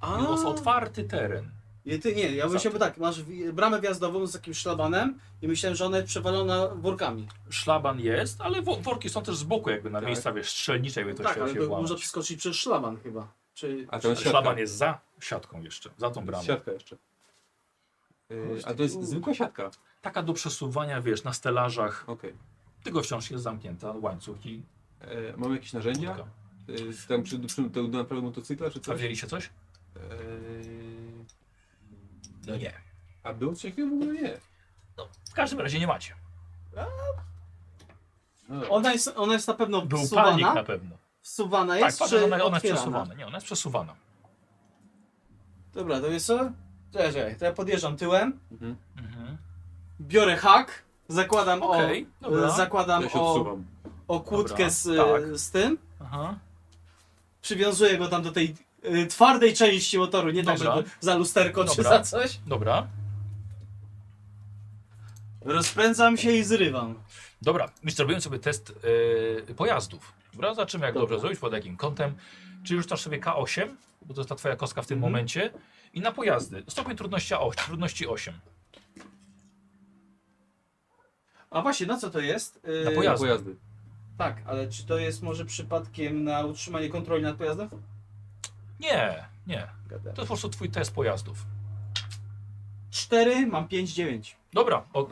A, I jest otwarty teren. nie, ty, nie, ja Za- myślałem tak, masz wi- bramę wjazdową z takim szlabanem i myślałem, że ona jest przewalona workami. Szlaban jest, ale wo- worki są też z boku, jakby na Tak. miejsca wiesz, strzelnicze, jakby to tak, chciało ale się to włamać. można przeskoczyć przez szlaban chyba. Czy, A to czy, jest siatka, Szlaban jest za siatką jeszcze, za tą bramą. siatka jeszcze. Y, a to jest zwykła siatka. Taka do przesuwania, wiesz, na stelażach, Okej. tylko wciąż jest zamknięta łańcuch i E, Mamy jakieś narzędzia? kłódka. Y, Tam przy, przy do naprawy motocykla czy A coś? wzięliście coś? E, Yy, No nie. a był coś takiego w ogóle nie. W każdym razie nie macie. No dobra. ona, jest, ona jest na pewno Był palnik na wsuwana, pewno. wsuwana Tak, jest, patrz, czy ona, ona jest otwierana? przesuwana. Nie, ona jest przesuwana. Dobra, to jest co? Czekaj, czekaj, to ja podjeżdżam tyłem, Mhm. Mhm. biorę hak, zakładam Okej, o... e, dobra. Zakładam Ja się o, odsuwam. o Dobra, kłódkę z, e, tak. z tym, Aha. przywiązuję go tam do tej y, twardej części motoru, nie Dobra. tak, żeby za lusterko czy Dobra. za coś. Dobra. Rozpędzam się i zrywam. Dobra, my zrobimy sobie test e, pojazdów. Dobra, zobaczymy jak dobrze zrobić, pod jakim kątem. Czyli już sobie K8, bo to jest ta twoja kostka w tym momencie. I na pojazdy. Stopień trudności 8. Trudności 8. A właśnie, na co to jest? Y, Na pojazd. Pojazdy. Pojazdy. Tak, ale czy to jest może przypadkiem na utrzymanie kontroli nad pojazdem? Nie, nie. To jest po prostu twój test pojazdów. 4, mam 5, 9. Dobra, o,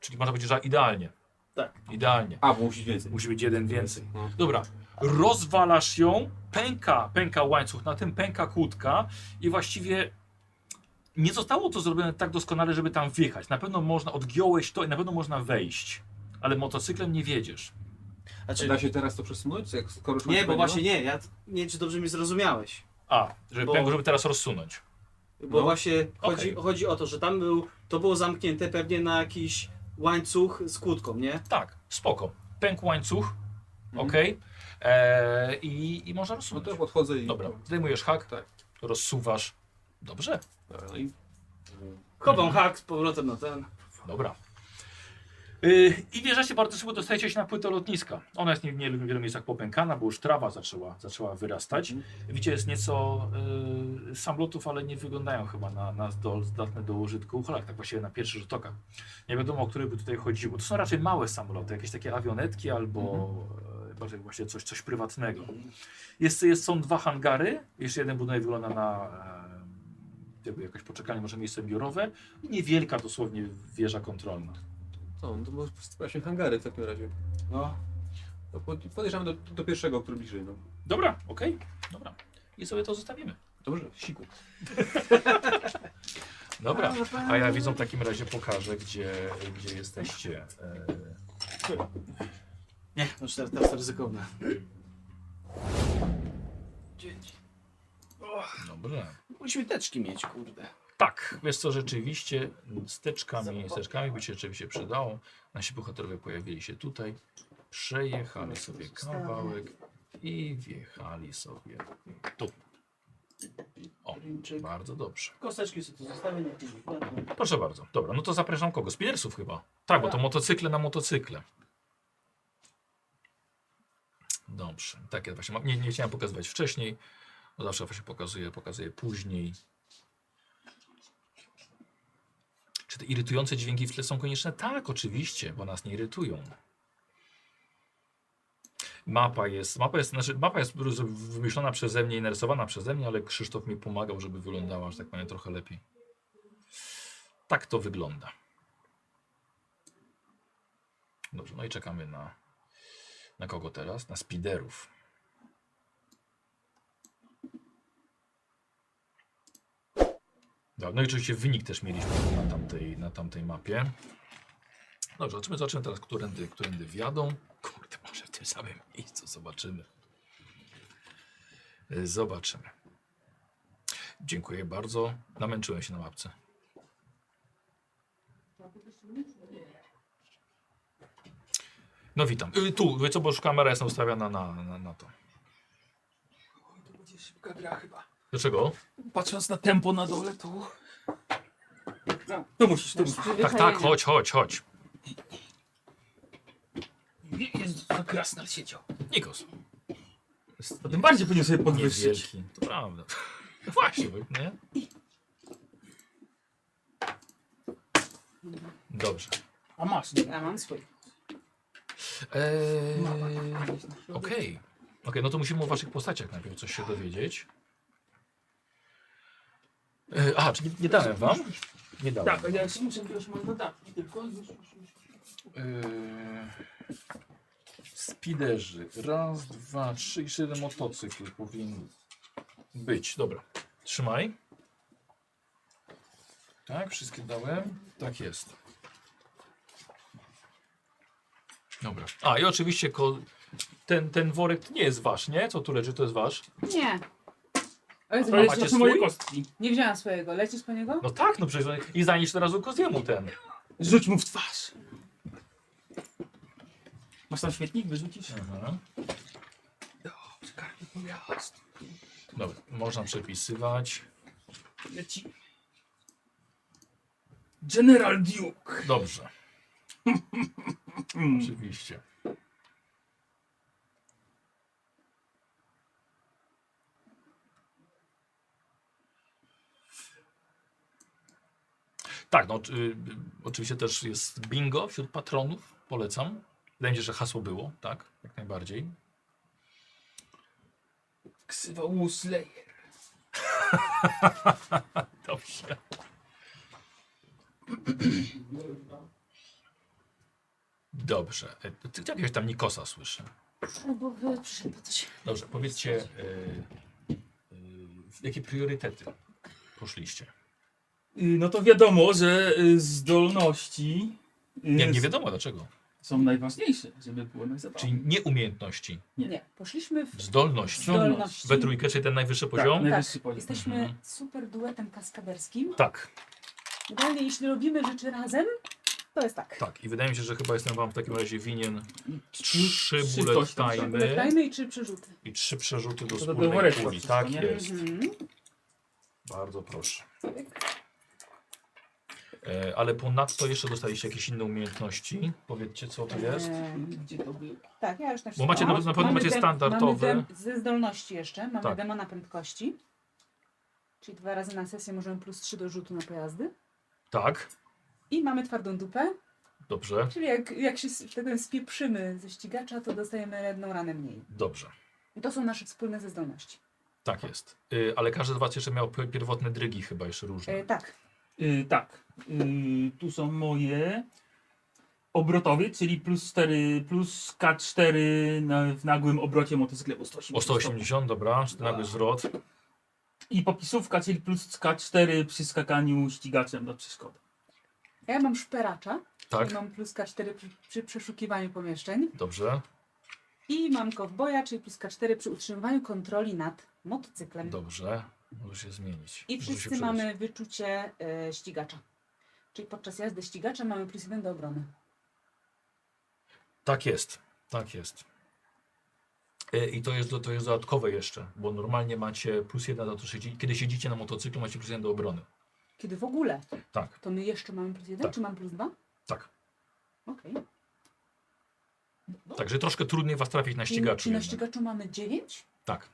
czyli można powiedzieć, że idealnie. Tak. Idealnie. A, bo musi więcej. Musi być jeden więcej. No. Dobra, rozwalasz ją, pęka, pęka łańcuch, na tym pęka kłódka i właściwie nie zostało to zrobione tak doskonale, żeby tam wjechać. Na pewno można, odgiąłeś to i na pewno można wejść, ale motocyklem nie wiedziesz. Znaczy, Da się teraz to przesunąć? Jak skoro już nie, bo będzie- właśnie nie, ja t- nie wiem, czy dobrze mnie zrozumiałeś. A, żeby Bo- pęku, żeby teraz rozsunąć. Bo No. właśnie chodzi, Okej. chodzi o to, że tam był, to było zamknięte pewnie na jakiś łańcuch z kłódką, nie? Tak, spoko. Pęk łańcuch, Mhm. ok. Eee, i, I można No rozsunąć. to podchodzę i... Dobra, zdejmujesz hak, Tak. rozsuwasz. Dobrze. Dobra, no i... Chowam hak z powrotem na ten. Dobra. Y, I wjeżdżacie bardzo szybko, dostajecie się na płytę lotniska. Ona jest nie- nie- w wielu miejscach popękana, bo już trawa zaczęła, zaczęła wyrastać. Widzicie, jest nieco y, samolotów, ale nie wyglądają chyba na, na do, zdatne do użytku. Cholak, tak właściwie na pierwszy rzut oka. Nie wiadomo, o które by tutaj chodziło. To są raczej małe samoloty, jakieś takie awionetki albo e, bardziej właśnie coś, coś prywatnego. Jest, jest, są dwa hangary, jeszcze jeden budynek wygląda na e, jakby jakoś poczekalnie, może miejsce biurowe i niewielka dosłownie wieża kontrolna. No, to może sprawdźmy hangary w takim razie. No. To pod- podejrzewam do, do pierwszego, który bliżej. No. Dobra, okej, dobra. I sobie to zostawimy. Dobrze, siku. Dobra, a ja widzą w takim razie pokażę, gdzie, gdzie jesteście. E, Nie, no cztery, to jest ryzykowne. Dobrze. Musimy teczki mieć, kurde. Tak, wiesz co, rzeczywiście z teczkami, z teczkami by się rzeczywiście przydało. Nasi bohaterowie pojawili się tutaj, przejechali sobie kawałek i wjechali sobie tu. O, bardzo dobrze. Kosteczki sobie tu zostawię, nie później. Proszę bardzo. Dobra, no to zapraszam kogo? Spinersów chyba. Tak, bo to motocykle na motocykle. Dobrze, tak ja właśnie mam. Nie, nie chciałem pokazywać wcześniej. No zawsze właśnie pokazuję, pokazuję później. Czy te irytujące dźwięki w tle są konieczne? Tak, oczywiście, bo nas nie irytują. Mapa jest, mapa jest, znaczy mapa jest wymyślona przeze mnie i narysowana przeze mnie, ale Krzysztof mi pomagał, żeby wyglądała, że tak powiem, trochę lepiej. Tak to wygląda. Dobrze, no i czekamy na. Na kogo teraz? Na spiderów. No, no i oczywiście wynik też mieliśmy na tamtej, na tamtej mapie. Dobrze, zobaczymy, zobaczymy teraz, którędy, którędy wjadą. Kurde, może w tym samym miejscu zobaczymy. Y, Zobaczymy. Dziękuję bardzo. Namęczyłem się na mapce. No witam. Y, Tu, wiecie co, bo już kamera jest ustawiona na, na, na to. To będzie szybka gra chyba. Dlaczego? Patrząc na tempo na dole, to... To musisz, to musisz. Tak, tak, chodź, chodź, chodź. Jest to krasnal siedział. Nikos. Jest To tym bardziej powinien sobie podwyższyć. niewielki. To prawda. No Właśnie, bo- nie? Dobrze. A masz, No, Ja mam swój. Eee, tak. Okej. Okej, no to musimy o waszych postaciach najpierw coś się dowiedzieć. Eee, a, czy nie, nie dałem wam? Nie dałem. Tak, ja się muszę już mam dodatki tylko. Już, już, już. Eee, Spiderzy. Raz, dwa, trzy i siedem motocykl powinien być. Dobra. Trzymaj. Tak, wszystkie dałem. Tak jest. Dobra. A i oczywiście ko- ten, ten worek nie jest wasz, nie? Co tu leży, to jest wasz. Nie. O Jezu, A To jest, macie to są moje swój? kostki. Nie wzięłam swojego. Lecisz po niego? No tak, no przecież. I zanieś teraz Koziemu ten. Rzuć mu w twarz. Masz tam świetnik, wyrzucisz? Aha. Karny pojazd. Dobra, można przepisywać. Leci. General Duke. Dobrze. Oczywiście. Tak, no, czy- y, oczywiście też jest bingo wśród patronów, polecam. Wydaje mi się, że hasło było, tak, jak najbardziej. Ksywa Woosley. Dobrze. Dobrze. E, Ty ty jakiegoś tam Nikosa słyszę. No bo wy przyszedł, to się... Dobrze, powiedzcie, y, y, w jakie priorytety poszliście? Y, No to wiadomo, że y, zdolności y, Nie, nie wiadomo dlaczego. są najważniejsze, żeby było najzabawniej. Tak, Czyli nie umiejętności, Nie. Nie. Poszliśmy w zdolności. Zdolności. We trójkę, czyli ten najwyższy Tak, poziom? najwyższy poziom. Jesteśmy Mhm. super duetem kaskaderskim. Tak, Generalnie jeśli robimy rzeczy razem, to jest tak. tak. I wydaje mi się, że chyba jestem wam w takim razie winien trzy bullet kości. time Dajmy i czy przerzuty. i trzy przerzuty do do wspólnej Tak woreczka puli. wszystko, Tak nie? jest. Mhm. Bardzo proszę. E, ale ponadto jeszcze dostaliście jakieś inne umiejętności. Powiedzcie, co to E. jest. Gdzie to było? Tak, ja już tak Bo macie na, na pewno Mamy macie dem- standardowe. Mamy dem, ze zdolności jeszcze, mamy Tak. demona prędkości. Czyli dwa razy na sesję możemy plus trzy do rzutu na pojazdy. Tak, I mamy twardą dupę, dobrze, czyli jak, jak się z tego spieprzymy ze ścigacza, to dostajemy jedną ranę mniej. dobrze. I to są nasze wspólne ze zdolności. Tak jest. Y, ale każdy z was jeszcze miał p- pierwotne drygi chyba jeszcze różne. E, tak, Y, tak. Y, tu są moje obrotowy, czyli plus 4, plus K4 na, w nagłym obrocie motocykletu 180. O 180, dobra, czy to nagły zwrot. I popisówka, czyli plus K4 przy skakaniu ścigaczem na przeszkodę. A Ja mam szperacza, Tak, i mam plus K4 przy, przy przeszukiwaniu pomieszczeń dobrze, i mam kowboja, czyli plus K4 przy utrzymywaniu kontroli nad motocyklem. dobrze. Może się zmienić. I Może się wszyscy przydać. mamy wyczucie e, ścigacza. Czyli podczas jazdy ścigacza mamy plus jeden do obrony. Tak jest, tak jest. Y, I to jest, do- to jest dodatkowe jeszcze, bo normalnie macie plus jeden do to, że siedzi- kiedy siedzicie na motocyklu, macie plus jeden do obrony. Kiedy w ogóle, Tak, to my jeszcze mamy plus jeden, Tak. czy mam plus dwa? tak. Okej. Także troszkę trudniej was trafić na Czyli, ścigaczu. czyli na jednak. ścigaczu mamy dziewięć? Tak,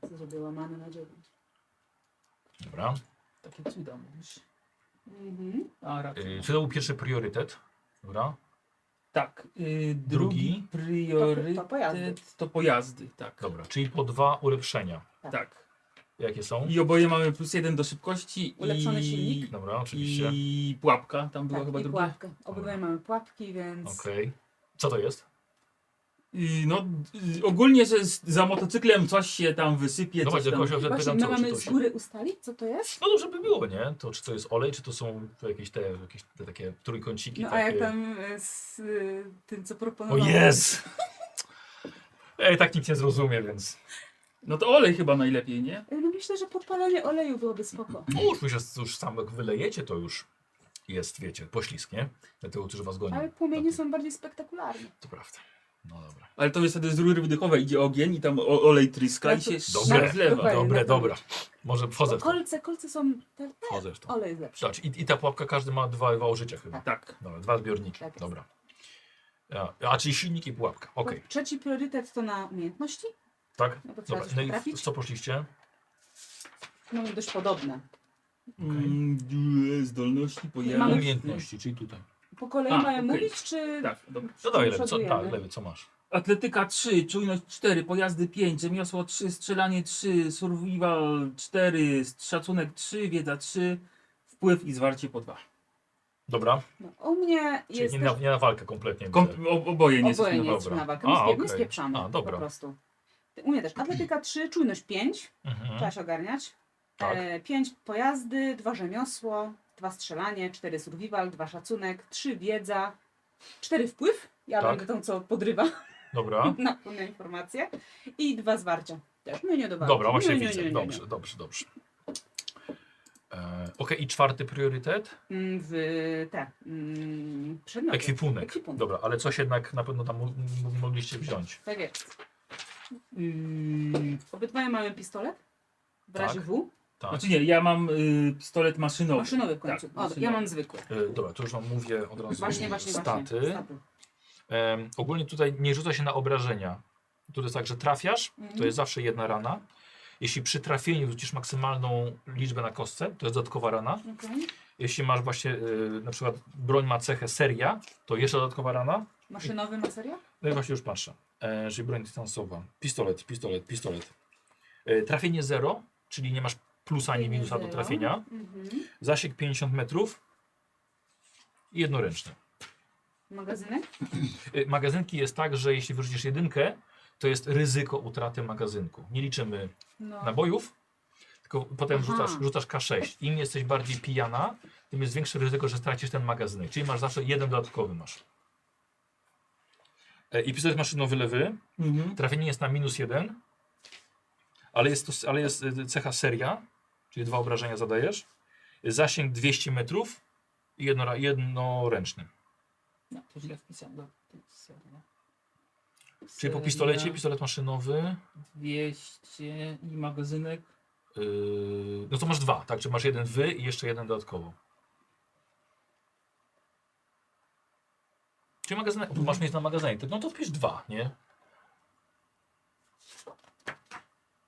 Co Zrobię łamane na dziewięć. dobra. Takie cuda mówisz. Mhm. A, raczej. Y, Czy to był pierwszy priorytet? Dobra. tak. y, drugi, drugi? priorytet To- to to, pojazdy. pojazdy. Tak. Dobra, czyli po dwa ulepszenia. tak. Jakie są? I oboje mamy plus jeden do szybkości. Ulepszony i, silnik. Dobra, No, oczywiście. I pułapka. Tam była Tak, chyba i druga. pułapkę. Obydwaj mamy pułapki, więc Okej. Co to jest? Y, No, y, ogólnie, że z, za motocyklem coś się tam wysypie, No coś właśnie, tam... tylko się wtedy Właśnie, pytam, my co, czy mamy to z się... góry ustalić, co to jest? No dobrze by było, nie? To czy to jest olej, czy to są jakieś te, jakieś te takie trójkąciki No a takie... jak tam e, z y, tym, co O proponowałem? jest! Ej, tak nikt nie zrozumie, więc... No to olej chyba najlepiej, nie? E, No myślę, że podpalenie oleju byłoby spoko. No już, już, jest- już sam jak wylejecie, to już jest, wiecie, poślizg, nie? Dlatego, którzy was gonią. Ale płomienie są bardziej spektakularne. To prawda. No dobra. Ale to jest wtedy z rury wydechowej idzie ogień i tam o- olej tryska i się Dobre. zlewa. Dokładnie, Dobre, na dobra. Może wchodzę w to. Kolce, kolce są... Te, te, Wchodzę w to. olej jest lepszy. Zobacz, i, i ta pułapka, każdy ma dwa, dwa użycia chyba. Tak. Dobra, dwa zbiorniki. Tak jest. Dobra. A, a czyli silnik i pułapka. Okej. Trzeci priorytet to na umiejętności, Tak? no bo trzeba Dobra. coś No i w trafić. co poszliście? Mamy dość podobne. Mm, d- Zdolności pojazdu. Mamy- Umiejętności, czyli tutaj. Po kolei A, mają okej. mówić, czy... Tak, dobra. No dawaj, lewy, co, Przodujemy. tak, lewy, co masz? Atletyka 3, czujność 4, pojazdy 5, rzemiosło 3, strzelanie 3, survival 4, szacunek 3, wiedza 3, wpływ i zwarcie po 2. Dobra, No, u mnie czyli jest nie też... na, nie na walkę kompletnie. Kom- widzę. o- oboje nie Oboje nie jesteśmy jest jest dobra. na walkę. A, My, spie- okej. my spieprzamy A, dobra. po prostu. U mnie też atletyka 3, czujność 5, trzeba Mhm. się ogarniać. Tak. E, 5 pojazdy, 2 rzemiosło, 2 strzelanie, 4 survival, 2 szacunek, 3 wiedza, 4 wpływ. Ja Tak. będę tą, co podrywa Dobra, na pełne informacje. I 2 zwarcia. Też mnie nie do walki. dobra, właśnie Nie, nie, nie, widzę. nie, nie. Dobrze, dobrze, dobrze. E, Okej, i czwarty priorytet? Mm, W te mm, przedmioty. Ekwipunek. Ekwipunek. Dobra, ale coś jednak na pewno tam mo- m- mogliście wziąć. Tak jest. Yy, Obydwaj mamy pistolet. W Tak. No. razie W. Tak. znaczy nie, ja mam y, pistolet maszynowy. Maszynowy w końcu. Tak, o, ja maszynowy. mam zwykły. E, dobra, to już wam mówię od razu Właśnie, właśnie, staty. właśnie. Staty. Em, ogólnie tutaj nie rzuca się na obrażenia. Tu jest tak, że trafiasz, to Mhm. jest zawsze jedna rana. Jeśli przy trafieniu rzucisz maksymalną liczbę na kostce, to jest dodatkowa rana. Okej. Jeśli masz właśnie, y, na przykład broń ma cechę seria, to jeszcze dodatkowa rana. Maszynowy ma serio? No i właśnie już patrzę. E, czyli broń dystansowa. Pistolet, pistolet, pistolet. E, trafienie 0, czyli nie masz plusa ani Trafienie minusa do zero. trafienia. Mhm. Zasięg 50 metrów. I jednoręczny. Magazynek? Y, Magazynki jest tak, że jeśli wyrzucisz jedynkę, to jest ryzyko utraty magazynku. Nie liczymy No. nabojów, tylko potem Aha. rzucasz, rzucasz K6. Im jesteś bardziej pijana, tym jest większe ryzyko, że stracisz ten magazynek. Czyli masz zawsze jeden dodatkowy masz. E, I pistolet maszynowy lewy. Mhm. Trafienie jest na minus jeden, ale jest, to, ale jest y, cecha seria, czyli dwa obrażenia zadajesz. Zasięg 200 metrów i jedno, jednoręczny. No, to źle wpisałem. Dobra, to jest seria. Czyli po Seria, pistolecie, pistolet maszynowy. 200 i magazynek. Yy, no to masz dwa, tak? Czy masz jeden wy i jeszcze jeden dodatkowo. Czy magazyn... tu masz mieć na magazynie? No to wpisz dwa, nie?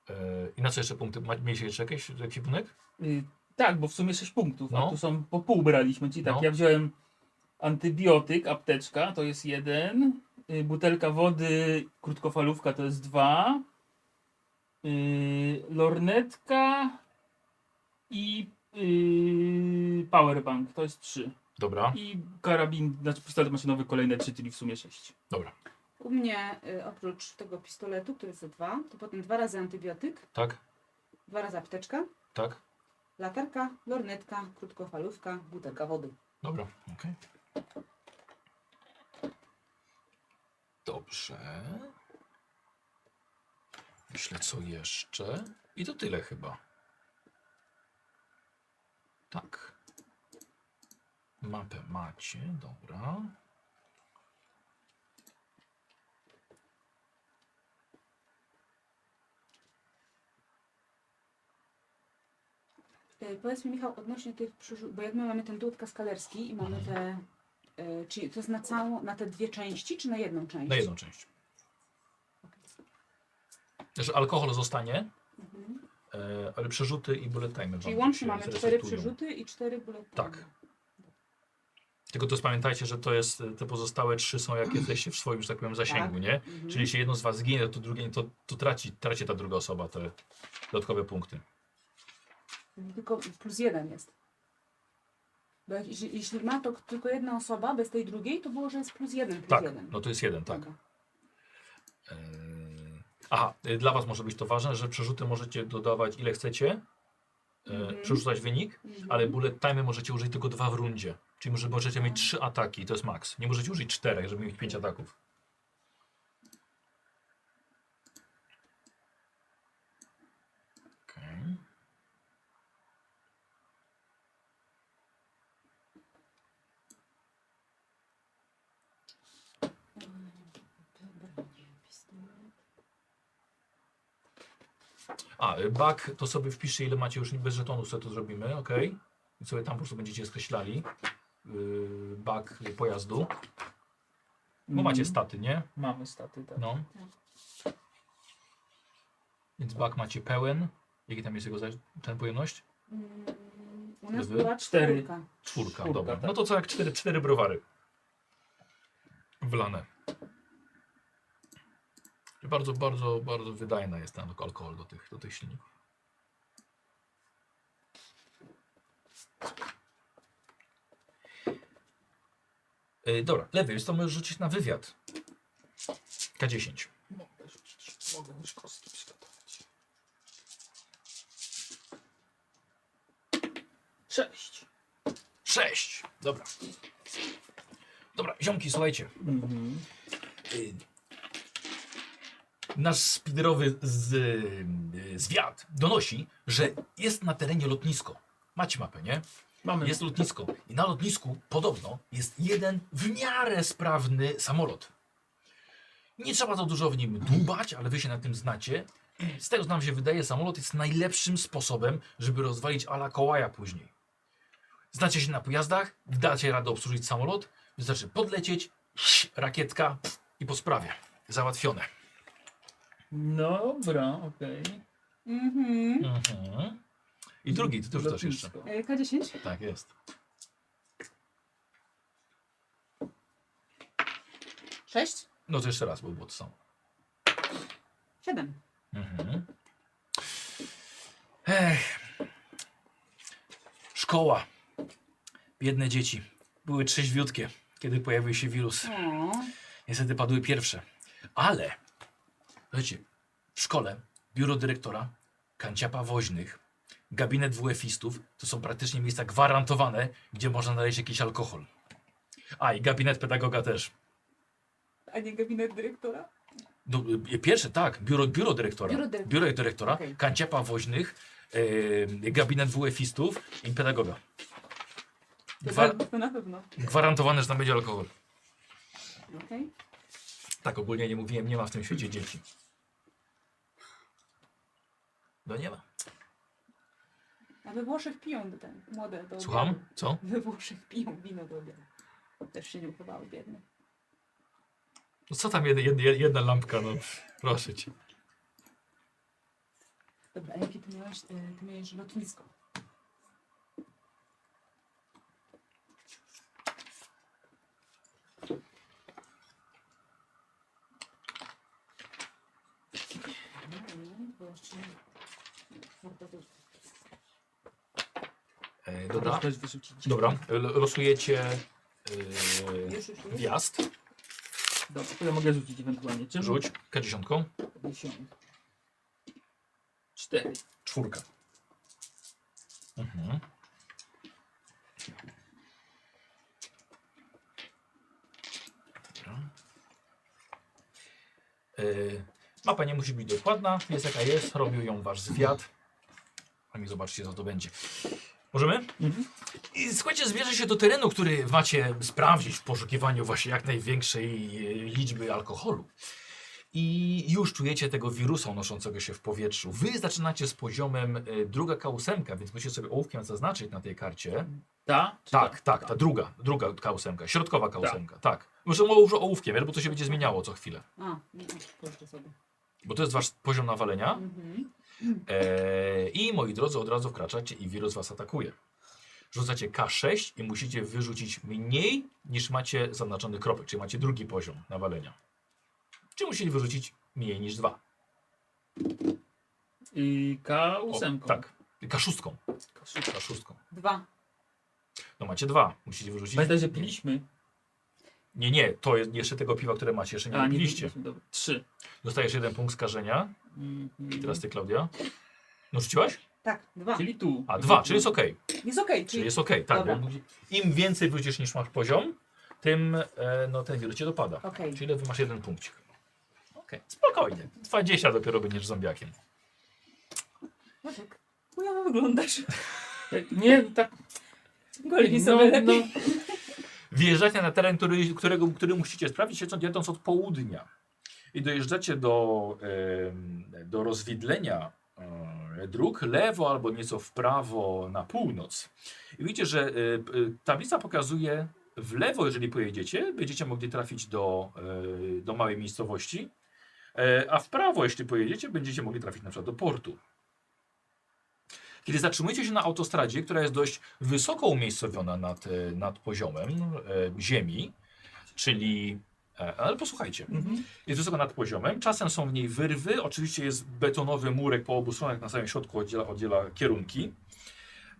Yy, I na co jeszcze punkty? Ma- Mieliście jeszcze jakieś ekwipunek? Y, tak, bo w sumie 6 punktów, No. a tu są po pół braliśmy, czyli tak, No. ja wziąłem antybiotyk, apteczka, to jest jeden, y, butelka wody, krótkofalówka to jest dwa, y, lornetka i y, powerbank to jest trzy. Dobra, I karabin, znaczy pistolet maszynowy kolejne trzy, czyli w sumie sześć. dobra, U mnie y, oprócz tego pistoletu, który jest za dwa, to potem dwa razy antybiotyk, tak, dwa razy apteczka, tak, latarka, lornetka, krótkofalówka, butelka wody. dobra, okej. Dobrze. Myślę, co jeszcze. I to tyle chyba. Tak. Mapę macie, dobra. Y, Powiedz mi Michał, odnośnie tych przyszłych, bo jak my mamy ten dół kaskalerski i mamy te, y, czyli to jest na całą, na te dwie części, czy na jedną część? Na jedną część. Że alkohol zostanie, Mhm. e, ale przerzuty i bullet timer. Czyli wam łącznie się mamy cztery zresetują. przerzuty i cztery bullet Tak. time. Tylko to jest, pamiętajcie, że to jest, te pozostałe trzy są jak jesteście w swoim, że tak powiem, zasięgu, Tak. nie? Mhm. Czyli jeśli jedno z was zginie, to drugie, to, to traci, traci ta druga osoba te dodatkowe punkty. Tylko plus jeden jest. Bo jak, jeśli, jeśli ma to tylko jedna osoba bez tej drugiej, to było, że jest plus jeden, plus Tak, jeden. no to jest jeden, tak. Dobra. Eee, Mhm. Aha, y, dla was może być to ważne, że przerzuty możecie dodawać ile chcecie, e, Mhm. przerzucać wynik, Mhm. ale bullet time możecie użyć tylko dwa w rundzie. Czyli może, możecie mieć trzy ataki, to jest maks. Nie możecie użyć czterech, żeby mieć pięć ataków. Okej. A, y, bak, to sobie wpiszcie ile macie już bez żetonu, sobie to zrobimy, ok? I sobie tam po prostu będziecie skreślali yy, bak pojazdu. Bo Mhm. macie staty, nie? Mamy staty, tak. No. Więc bak macie pełen. Jaki tam jest jego za, ten pojemność? Mm, U nas Wy? była Cztery. czwórka. Czwórka, Czwórka, dobra. tak. No to co jak cztery, cztery browary. Wlane. Bardzo, bardzo, bardzo wydajna jest ten alkohol do tych, do tych silników. Yy, dobra, lewy, jest to możesz rzucić na wywiad. K10. Mogę już kostki przygotować. Sześć. Sześć. Dobra. Dobra, ziomki, słuchajcie. Mhm. Y, Nasz spiderowy z, y, zwiat donosi, że jest na terenie lotnisko. Macie mapę, nie? Mamy. Jest lotnisko. I na lotnisku podobno jest jeden w miarę sprawny samolot. Nie trzeba to dużo w nim dłubać, ale wy się na tym znacie. Z tego, co nam się wydaje, samolot jest najlepszym sposobem, żeby rozwalić ala kołaja później. Znacie się na pojazdach, dacie radę obsłużyć samolot, wystarczy podlecieć, rakietka pff, i po sprawie. Załatwione. Dobra, okej. Mhm. Mhm. I drugi, ty też jeszcze. Lotnisko. Y, K10? Tak jest. Sześć? No to jeszcze raz, bo było to samo. Siedem. Mhm. Ech. Szkoła. Biedne dzieci. Były trzeźwiutkie, kiedy pojawił się wirus. O, Niestety padły pierwsze. Ale, słuchajcie, w szkole biuro dyrektora, kanciapa woźnych, gabinet WF-istów to są praktycznie miejsca gwarantowane, gdzie można znaleźć jakiś alkohol. A i gabinet pedagoga też. a nie gabinet dyrektora? No, y, pierwsze tak, biuro, biuro dyrektora. Biuro dyrektora. Biuro dyrektora, Okej. kanciapa woźnych, yy, gabinet WF-istów i pedagoga. To, Gwar tak, to na pewno. gwarantowane, że tam będzie alkohol. Okej. Tak ogólnie nie mówiłem, nie ma w tym świecie dzieci. No nie ma. A we Włoszech piją ten, młode do Słucham? obiadu. Co? We Włoszech piją wino do obiadu. Też się nie uchowały biedne. No co tam jedna, jedna, jedna lampka, no proszę cię. Dobra, a jakie ty miałeś, ty, ty miałeś lotnisko? E, Dobra. dobra, ktoś wyrzuci dzień. dobra. L- losujecie e, Już, już, już. wjazd. Dobra, to ja mogę rzucić ewentualnie. Czym? Rzuć K10. 4. Czwórka. Mhm. Dobra. Yy, mapa nie musi być dokładna, jest jaka jest, robił ją wasz zwiat. Sami zobaczcie co to będzie. Możemy? I słuchajcie, zbierze się do terenu, który macie sprawdzić w poszukiwaniu właśnie jak największej e, liczby alkoholu. I już czujecie tego wirusa unoszącego się w powietrzu. Wy zaczynacie z poziomem e, druga K8, więc musicie sobie ołówkiem zaznaczyć na tej karcie. Ta? Czy Tak, ta? tak, ta druga, druga K8, środkowa K8, tak. Może może ołówkiem, wiesz, bo to się będzie zmieniało co chwilę. A, nie, proszę sobie. Bo to jest wasz poziom nawalenia. Mhm. E, I moi drodzy, od razu wkraczacie i wirus was atakuje. Rzucacie K6 i musicie wyrzucić mniej niż macie zaznaczony kropek, czyli macie drugi poziom nawalenia. Czy musieli wyrzucić mniej niż dwa? I O, K8. tak. K6. K6. Dwa. No macie dwa. Musicie wyrzucić. Pamiętaj, że piliśmy. Nie, nie, to jest jeszcze tego piwa, które macie, jeszcze nie piliście. piliśmy, Dobra. 3. Dostajesz jeden punkt skażenia. I teraz ty, Klaudia. No rzuciłaś? Tak, dwa. Czyli tu. A dwa, czyli jest ok. Jest okej, Czyli czyli jest ok, tak. Dobra. bo Im więcej wyrzucisz niż masz poziom, tym e, no, ten wirus cię dopada. okej. Czyli lewy masz jeden punkcik. Okej, spokojnie. 20 dopiero będziesz zombiakiem. No tak. Chujowo wyglądasz. Nie, tak. No, no, Golni sobie lepiej. Wjeżdżacie na teren, który, którego, który musicie sprawdzić, siedząc- jadąc od południa. I dojeżdżacie do, em, do rozwidlenia e, dróg lewo albo nieco w prawo na północ. I widzicie, że e, p- e, tablica pokazuje w lewo, jeżeli pojedziecie, będziecie mogli trafić do, e, do małej miejscowości, e, a w prawo, jeśli pojedziecie, będziecie mogli trafić na przykład do portu. Kiedy zatrzymujecie się na autostradzie, która jest dość wysoko umiejscowiona nad, e, nad poziomem e, ziemi, czyli. e, Ale posłuchajcie, Mhm. jest wysoko nad poziomem, czasem są w niej wyrwy, oczywiście jest betonowy murek po obu stronach, na samym środku oddziela, oddziela kierunki.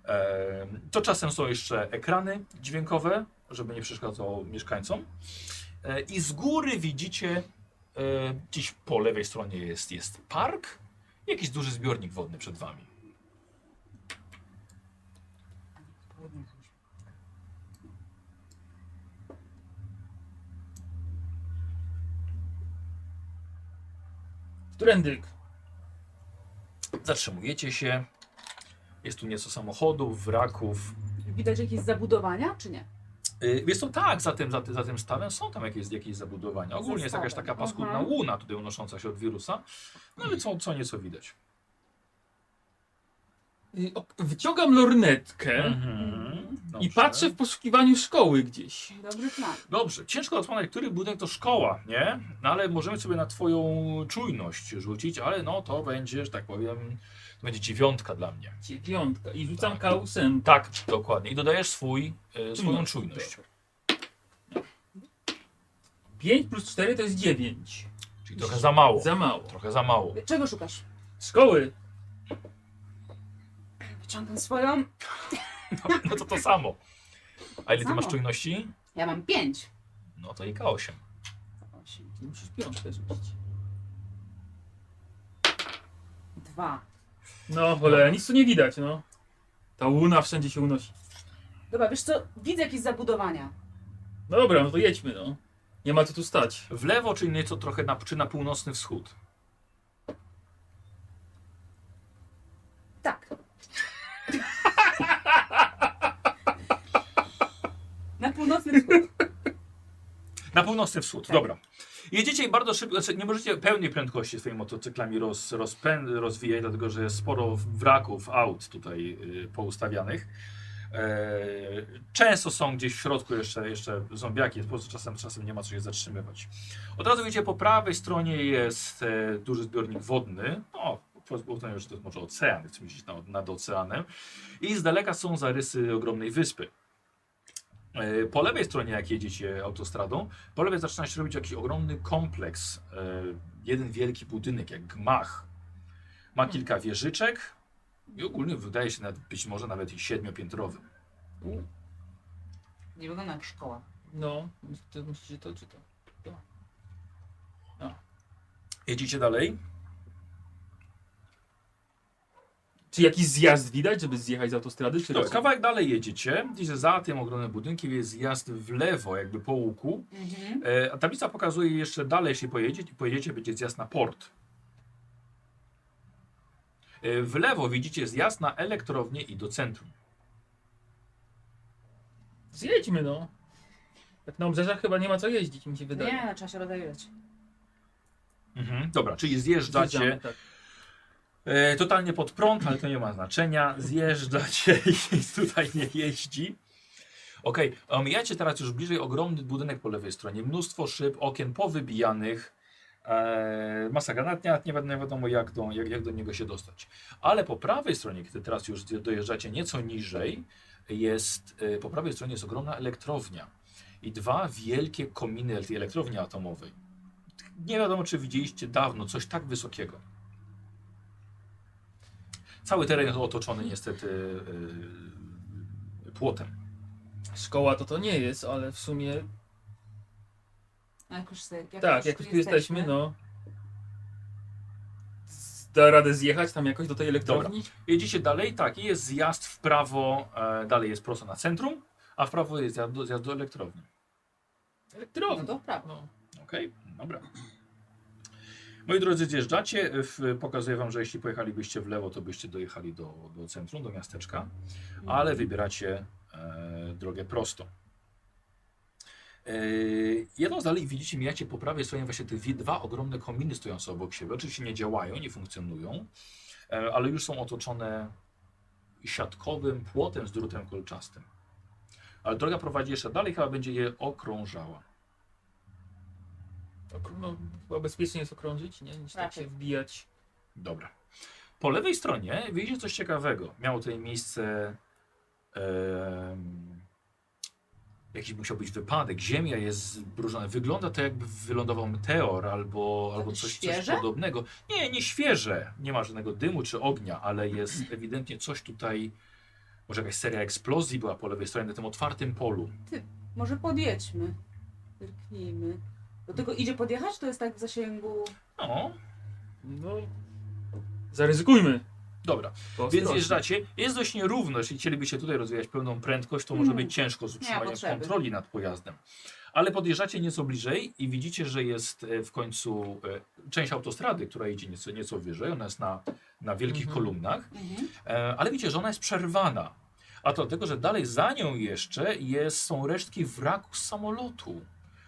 E, To czasem są jeszcze ekrany dźwiękowe, żeby nie przeszkadzało mieszkańcom. E, I z góry widzicie, e, gdzieś po lewej stronie jest, jest park, jakiś duży zbiornik wodny przed wami. Trendyk. Zatrzymujecie się. Jest tu nieco samochodów, wraków. Widać jakieś zabudowania, czy nie? Yy, Jest to tak, za tym, za, tym, za tym stawem są tam jakieś, jakieś zabudowania. Ogólnie jest jakaś stawem, taka paskudna aha. łuna tutaj unosząca się od wirusa. No ale co, co nieco widać. I ok- Y, Wyciągam lornetkę i Mhm. Dobrze. patrzę w poszukiwaniu szkoły gdzieś. Dobry plan. Dobrze, ciężko rozpoznać, który budynek to szkoła, nie? No ale możemy sobie na twoją czujność rzucić, ale no to będzie, że tak powiem, to będzie dziewiątka dla mnie. Dziewiątka. I rzucam Tak. K8. Tak, dokładnie. I dodajesz swój, yy, swoją Czujność. czujność. 5 plus 4 to jest 9. Czyli trochę za mało. Za mało. Trochę za mało. Czego szukasz? Szkoły. Wyciągam swoją. No to to samo. A ile ty masz Samo. czujności? Ja mam pięć. No to i K8. Osiem. Musisz piątkę rzucić. Dwa. No cholera, nic tu nie widać, no. Ta łuna wszędzie się unosi. Dobra, wiesz co? Widzę jakieś zabudowania. No dobra, no to jedźmy, no. Nie ma co tu stać. W lewo, czyli nieco trochę na, czy na północny wschód. Tak. Na północny wschód. Na północny wschód, Tak. dobra. Jedziecie i bardzo szybko, znaczy nie możecie pełnej prędkości swoimi motocyklami roz, rozpę, rozwijać, dlatego że jest sporo wraków, aut tutaj y, poustawianych. E, często są gdzieś w środku jeszcze, jeszcze zombiaki, po prostu czasem, czasem nie ma co się zatrzymywać. Od razu widzicie, po prawej stronie jest e, duży zbiornik wodny. No, po- po uznaniu, że to jest może ocean, chcemy gdzieś nad, nad oceanem. I z daleka są zarysy ogromnej wyspy. E, Po lewej stronie, jak jedziecie autostradą, po lewej zaczyna się robić jakiś ogromny kompleks. e, Jeden wielki budynek, jak gmach. Ma kilka wieżyczek i ogólnie wydaje się nawet, być może nawet i siedmiopiętrowy. Nie wygląda jak szkoła. No, to musicie to czytać. Jedziecie dalej. Czy jakiś zjazd widać, żeby zjechać z autostrady? Czy Dobra, kawałek dalej jedziecie. Widzicie, za tym ogromnym budynkiem jest zjazd w lewo, jakby po łuku. Mhm. E, a tablica pokazuje jeszcze dalej, jeśli pojedziecie, pojedziecie będzie zjazd na port. E, w lewo widzicie zjazd na elektrownię i do centrum. Zjedźmy no. Tak na obrzeżach chyba nie ma co jeździć, mi się wydaje. no, Nie, trzeba się rozejrzeć. Dobra, czyli zjeżdżacie Zjeżdżamy, tak. e, totalnie pod prąd, ale to nie ma znaczenia. Zjeżdżacie i nic tutaj nie jeździ. Okej, omijacie teraz już bliżej ogromny budynek po lewej stronie. Mnóstwo szyb, okien powybijanych. E, masa granatnia, nie wiadomo, nie wiadomo jak, do, jak, jak do niego się dostać. Ale po prawej stronie, kiedy teraz już zje- dojeżdżacie nieco niżej, jest, e, po prawej stronie jest ogromna elektrownia i dwa wielkie kominy tej elektrowni atomowej. Nie wiadomo, czy widzieliście dawno coś tak wysokiego. Cały teren jest otoczony niestety e, płotem. Szkoła to to nie jest, ale w sumie No, jak już, se- jak tak, jak już tu jesteśmy, no. z- Da radę zjechać tam jakoś do tej elektrowni? Jedziecie dalej, tak, i jest zjazd w prawo, e, dalej jest prosto na centrum, a w prawo jest zjazd do, zjazd do elektrowni. No Elektrowni. to prawo. No. Okej, dobra. Moi drodzy, zjeżdżacie. W, pokazuję wam, że jeśli pojechalibyście w lewo, to byście dojechali do, do centrum, do miasteczka, ale wybieracie e, drogę prosto. E, jedną z dalej widzicie, mijacie po prawej stronie właśnie te dwie- dwa ogromne kominy stojące obok siebie. Oczywiście nie działają, nie funkcjonują, e, ale już są otoczone siatkowym płotem z drutem kolczastym. Ale droga prowadzi jeszcze dalej, chyba będzie je okrążała. Ok- no. Chyba bezpiecznie jest okrążyć, nie? Niż tak Raczej. się wbijać. Dobra. Po lewej stronie widzicie coś ciekawego. Miało tutaj miejsce em, jakiś musiał być wypadek. Ziemia jest zbrużona. Wygląda to jakby wylądował meteor albo, albo coś, coś świeże? podobnego. Nie, nie świeże. Nie ma żadnego dymu czy ognia, ale jest ewidentnie coś tutaj. Może jakaś seria eksplozji była po lewej stronie na tym otwartym polu. Może podjedźmy. Zerknijmy. Do tego idzie podjechać? To jest tak w zasięgu... No, No. Zaryzykujmy. dobra. bo Więc ostrożnie. jeżdżacie. Jest dość nierówno. Jeśli chcielibyście tutaj rozwijać pełną prędkość, to może być ciężko z utrzymaniem potrzeby. kontroli nad pojazdem. Ale podjeżdżacie nieco bliżej i widzicie, że jest e, w końcu e, część autostrady, która idzie nieco, nieco wyżej. Ona jest na, na wielkich Mhm. kolumnach. Mhm. E, ale widzicie, że ona jest przerwana. A to dlatego, że dalej za nią jeszcze jest, są resztki wraku z samolotu,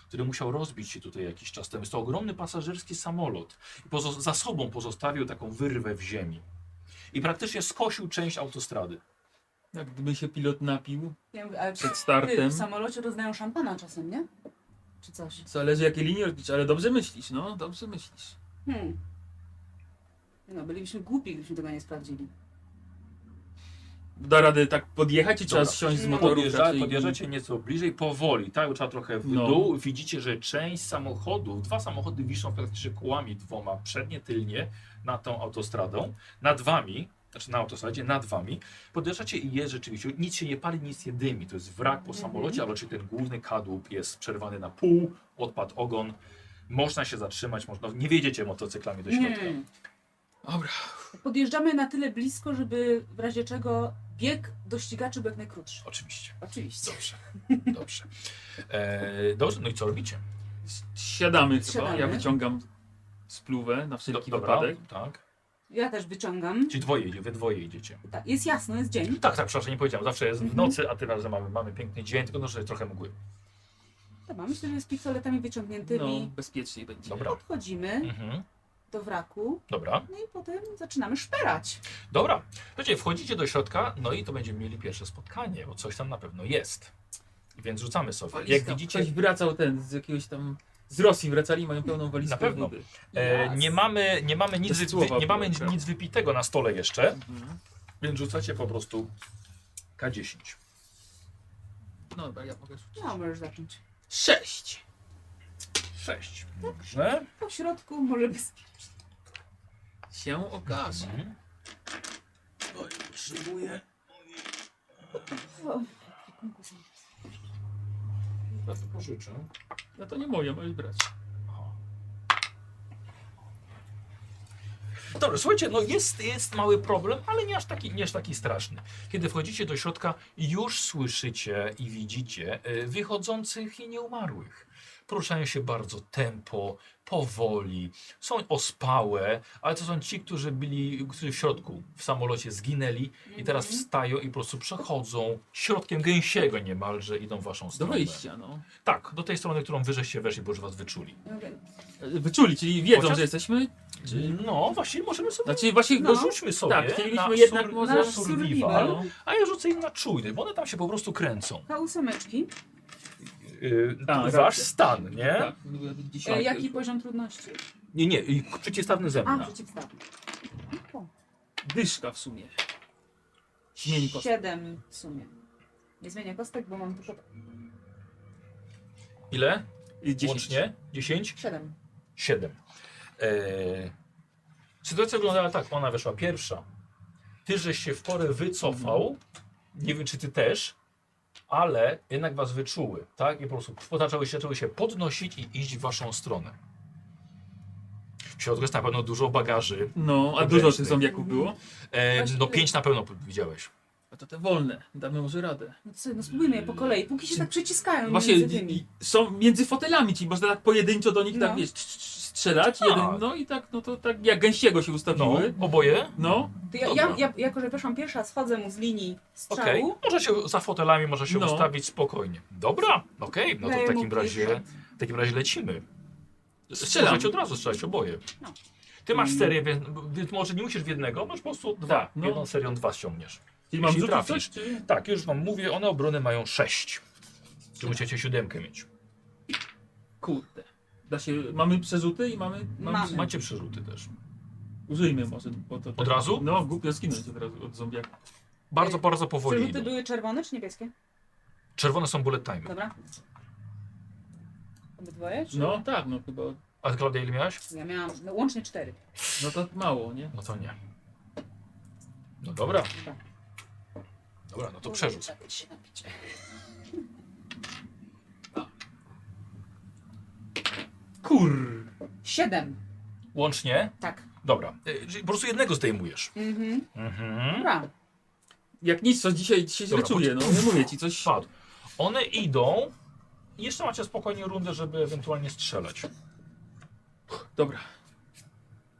który musiał rozbić się tutaj jakiś czas temu. Jest to ogromny pasażerski samolot. I pozo- za sobą pozostawił taką wyrwę w ziemi. I praktycznie skosił część autostrady. Jak gdyby się pilot napił Ja mówię, ale przed ty, startem. w samolocie rozdają szampana czasem, nie? Czy coś? Zależy jakie linie robić, ale dobrze myślisz, no, dobrze myślisz. Hmm. No, bylibyśmy głupi, gdybyśmy tego nie sprawdzili. Da radę tak podjechać, czy trzeba Dobra. zsiąść z No, motoru? Podjeżdża, raczej? podjeżdżacie nieco bliżej, powoli, tak? Trzeba trochę w No. dół. Widzicie, że część samochodów, dwa samochody wiszą praktycznie kołami dwoma, przednie, tylnie, nad tą autostradą, nad wami, znaczy na autostradzie, nad wami. Podjeżdżacie i jest rzeczywiście, nic się nie pali, nic nie dymi. To jest wrak po samolocie, ale czy ten główny kadłub jest przerwany na pół, odpadł ogon. Można się zatrzymać, można, nie wiedziecie motocyklami do środka. Hmm. Dobra. Podjeżdżamy na tyle blisko, żeby w razie czego bieg do ścigaczy był jak najkrótszy. Oczywiście. Oczywiście. Dobrze, dobrze. E, dobrze, no i co robicie? Siadamy chyba, Siadamy. ja wyciągam spluwę na Do, wszelki wypadek. tak. Ja też wyciągam. Ci dwoje idzie, wy dwoje idziecie. Tak, jest jasno, jest dzień. Tak, tak, przepraszam, nie powiedziałem. Zawsze jest w Mhm. nocy, a tym razem mamy, mamy piękny dzień, tylko no, że trochę mgły. Dobra, myślę, że z pistoletami No, wyciągniętymi No, bezpieczniej będzie. Dobra. odchodzimy. Mhm. do wraku. Dobra. No i potem zaczynamy szperać. Dobra, słuchajcie, wchodzicie do środka, no i to będziemy mieli pierwsze spotkanie, bo coś tam na pewno jest. Więc rzucamy sobie. Jak widzicie, Ktoś wracał ten z jakiegoś tam... Z Rosji wracali, mają pełną walizkę Na pewno. wody. e, nie mamy, nie mamy, nic, Bez wy, słowa nie mamy było, tak. nic wypitego na stole jeszcze, Mhm. więc rzucacie po prostu K10. No dobra, ja mogę rzucić. No, możesz zacząć. Sześć! Sześć. Dobrze. Po środku może bez... Się okaże. Oj, potrzebuję. O, Ja to pożyczę. No to nie moje, możesz brać. Dobrze, słuchajcie, no jest, jest mały problem, ale nie aż, taki, nie aż taki straszny. Kiedy wchodzicie do środka, już słyszycie i widzicie e, wychodzących i nieumarłych. Poruszają się bardzo tempo, powoli, są ospałe, ale to są ci, którzy byli którzy w środku, w samolocie zginęli i teraz wstają i po prostu przechodzą środkiem gęsiego niemalże, idą w waszą Do stronę. wyjścia, no. Tak, do tej strony, którą wy żeście weszli, bo już was wyczuli. E, Wyczuli, czyli wiedzą, Chociaż- że jesteśmy. Czy... No, właśnie możemy sobie... Znaczy właśnie No, no, rzućmy sobie Tak, chcielibyśmy na jednak sur- może na sur- survival, no. a ja rzucę im na czujny, bo one tam się po prostu kręcą. Y, K8. A, wasz racja. stan, nie? Tak, E, dzisiaj. jaki poziom trudności? Nie, nie, i przeciwstawny ze A, mną. przeciwstawny. Dyszka w sumie. Zmień kostkę. 7 w sumie. Nie zmienię kostek, bo mam tylko Ile? Y, dziesięć. Łącznie? 10? 7. 7. Eee, sytuacja wyglądała tak, ona weszła pierwsza. Ty, żeś się w porę wycofał, nie wiem czy ty też, ale jednak was wyczuły, tak? I po prostu zaczęły się, zaczęły się podnosić i iść w waszą stronę. W środku jest na pewno dużo bagaży. No, a dużo tych zombiaków było? E, Właśnie no tyle. pięć na pewno widziałeś. A to te wolne, damy może radę. No co, no spróbujmy je po kolei, póki się Czy- tak przyciskają Właśnie między tymi. i- i są między fotelami ci, można tak pojedynczo do nich No. tak wiesz, trz- trz- strzelać, Tak. jeden, no i tak, no to tak jak gęsiego się No, ustawiły. oboje? No, To ja, ja, dobra. ja, jako, że weszłam pierwsza, schodzę mu z linii Okej. strzału. Może się za fotelami, może się No. ustawić spokojnie. Dobra, okej, no to Daję w mu takim razie, pięćdziesiąt. w takim razie lecimy. Strzelam. Strzelać od razu, strzelać oboje. No. Ty masz serię, więc, więc może nie musisz w jednego, masz po prostu dwa. Tak, no. Jedną serią dwa ściągniesz. czyli mam Jeśli rzucić trafisz. coś, czy... Tak, już wam mówię, one obrony mają sześć. Czy musicie siódemkę mieć. Kurde. Da się, mamy przerzuty i mamy... Mamy. Macie przerzuty też. Użyjmy może, bo to... Od razu? No, głupio skinąć od razu od zombiaka. Bardzo, bardzo powoli Przerzuty idą. były czerwone czy niebieskie? Czerwone są bullet time. Dobra. Obydwoje? Czy... No tak, no chyba, A Klaudia ile miałaś? Ja miałam no, łącznie cztery. no to mało, nie? No to nie. No dobra. Tak. Dobra, no to przerzuć. Trzeba się napić. Kur... Siedem. Łącznie? Tak. Dobra. Y, Czyli po prostu jednego zdejmujesz. Mhm. Mhm. Dobra. Jak nic, to dzisiaj, dzisiaj źle Dobra, czuję, no nie mówię ci coś. Padł. One idą. Jeszcze macie spokojnie rundę, żeby ewentualnie strzelać. Dobra.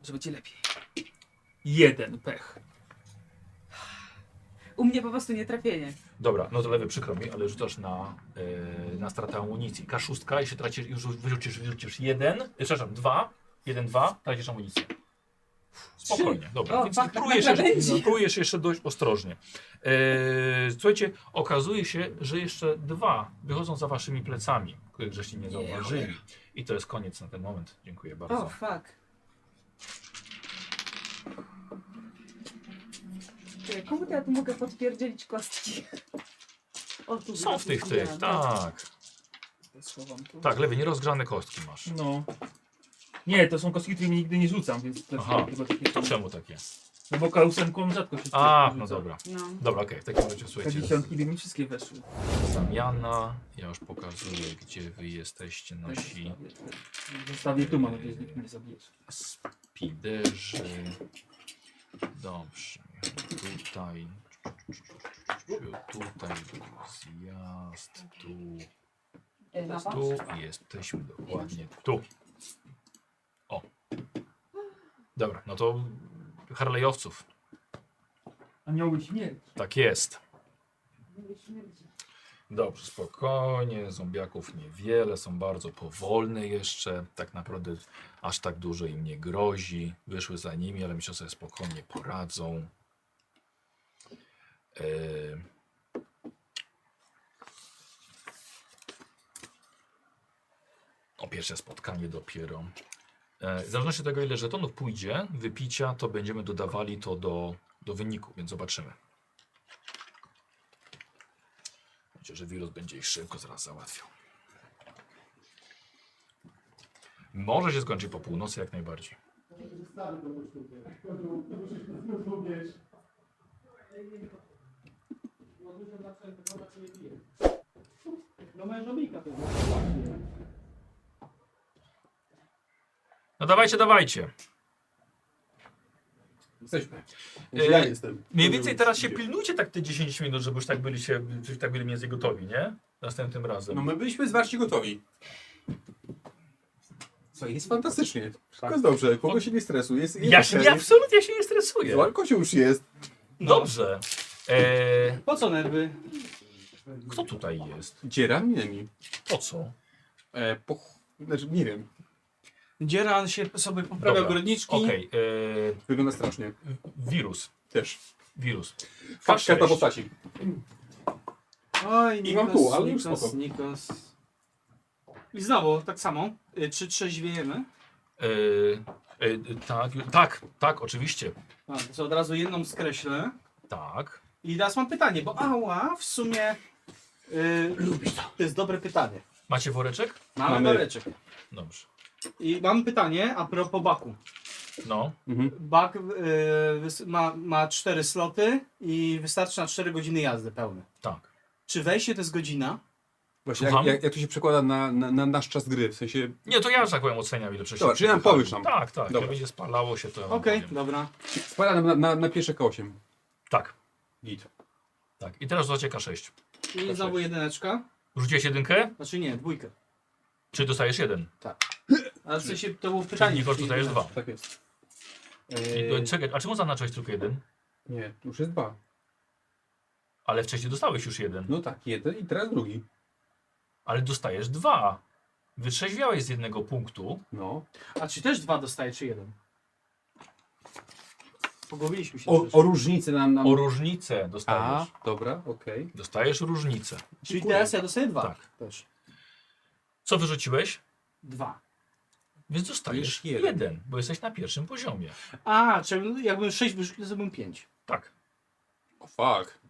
Może będzie lepiej. Jeden pech. U mnie po prostu nie trafienie. Dobra, no to lewy przykro mi, ale rzucasz na, yy, na stratę amunicji. K6, jeśli tracisz, już wyrzucisz, wyrzucisz jeden, y, przepraszam, dwa, jeden, dwa, tracisz amunicję. Spokojnie, dobra. O, Więc tak, tak, próbujesz, tak, jeszcze, będzie. próbujesz jeszcze dość ostrożnie. Yy, słuchajcie, okazuje się, że jeszcze dwa wychodzą za waszymi plecami, których żeście nie zauważyli. I to jest koniec na ten moment. Dziękuję O, bardzo. oh, fuck. Czekaj, Komu to ja tu mogę podpierdzielić kostki? O, tu Są w tych, tych, tak. tak. Schowam tu. Tak, lewy, nierozgrzane kostki masz. No. Nie, to są kostki, którymi nigdy nie rzucam, więc to Aha. chyba takie To czemu takie? No bo kausenką rzadko się A, rzuca. no dobra. No. Dobra, okej, w takim razie Te słuchajcie. dziesiątki by mi wszystkie weszły. Zamiana. Ja już pokazuję, gdzie wy jesteście Tak, nasi zostawię. Zostawię tu, mam nadzieję, że nikt mnie nie zabijesz. spiderzy. Dobrze. Tutaj. Tutaj zjazd. Tu. E, na was? Tu jesteśmy dokładnie. Tu. O. Dobra, no to Harleyowców. Anioły śmierć. Tak jest. Dobrze, spokojnie. Zombiaków niewiele, są bardzo powolne jeszcze. Tak naprawdę aż tak dużo im nie grozi. Wyszły za nimi, ale myślę, że sobie spokojnie poradzą. E, O pierwsze spotkanie dopiero. E, W zależności od tego, ile żetonów pójdzie wypicia, to będziemy dodawali to do, do wyniku, więc zobaczymy. Myślę, że wirus będzie ich szybko zaraz załatwiał. Może się skończy po północy jak najbardziej. No mężownika to jest. No dawajcie, dawajcie. Jesteśmy. E, Ja jestem. Mniej więcej teraz się pilnujcie tak te 10 minut, żeby już tak byli się, już tak byli mniej więcej gotowi, nie? Następnym razem. No my byliśmy zwarci gotowi. Co jest fantastycznie. Wszystko jest dobrze, kogo się nie stresuje. Jest, Tak. Ja się, ja absolutnie się nie stresuję. No. Złe się już jest. Dobrze. E, Po co nerwy? Kto tutaj jest? Dziera Miremi. Po co? E, po... Znaczy, nie wiem. Dzieran się sobie poprawia Dobra, ogrodniczki. Okej. e, Wygląda strasznie. Wirus. Też. Wirus. Paczka na postaci. Oj, I mam Nikos, pół, ale już Nikos, spoko. Nikos. I znowu tak samo. Y, Czy trzeźwiejemy? E, e, tak, ju- tak, tak, oczywiście. A, to od razu jedną skreślę. Tak. I teraz mam pytanie, bo ała, w sumie... y, To jest dobre pytanie. Macie woreczek? Mamy, Mamy. woreczek. Dobrze. I mam pytanie a propos baku. No. Bak y, wys- ma, ma 4 sloty i wystarczy na 4 godziny jazdy pełne. Tak. Czy wejście to jest godzina? Właśnie, jak, jak, jak to się przekłada na, na, na nasz czas gry, w sensie... Nie, to ja, że tak powiem, oceniam ile przejść. Dobra, czyli nam powiesz nam. Tak, tak. Jak Dobra. będzie spalało się, to. ja wam Okej, No, powiem. dobra. Spada nam na, na, na pierwsze K8. Tak. Git. Tak. I teraz dodacie K6. I znowu jedyneczka. Rzuciłeś jedynkę? Znaczy nie, dwójkę. Czy dostajesz jeden? Ale w sensie to było pytanie. Czyli Nikos czy dostajesz dwa. jedyneczka. Tak jest. I, czekaj, a czemu zaznaczyłeś tylko jeden? Nie, już jest dwa. Ale wcześniej dostałeś już jeden. No tak, jeden i teraz drugi. Ale dostajesz dwa. Wytrzeźwiałeś z jednego punktu. No. A czy też dwa dostaje, czy jeden? Pogubiliśmy się. O, troszeczkę. o różnicę nam... nam... O różnicę dostajesz. A, dobra, okej. Dostajesz różnicę. Czyli teraz ja dostaję dwa. Tak. Też. Co wyrzuciłeś? Dwa. Więc dostajesz Jest jeden. jeden. bo jesteś na pierwszym poziomie. A, czyli jakbym sześć wyrzucił, to zrobiłbym pięć. Tak. O, fuck.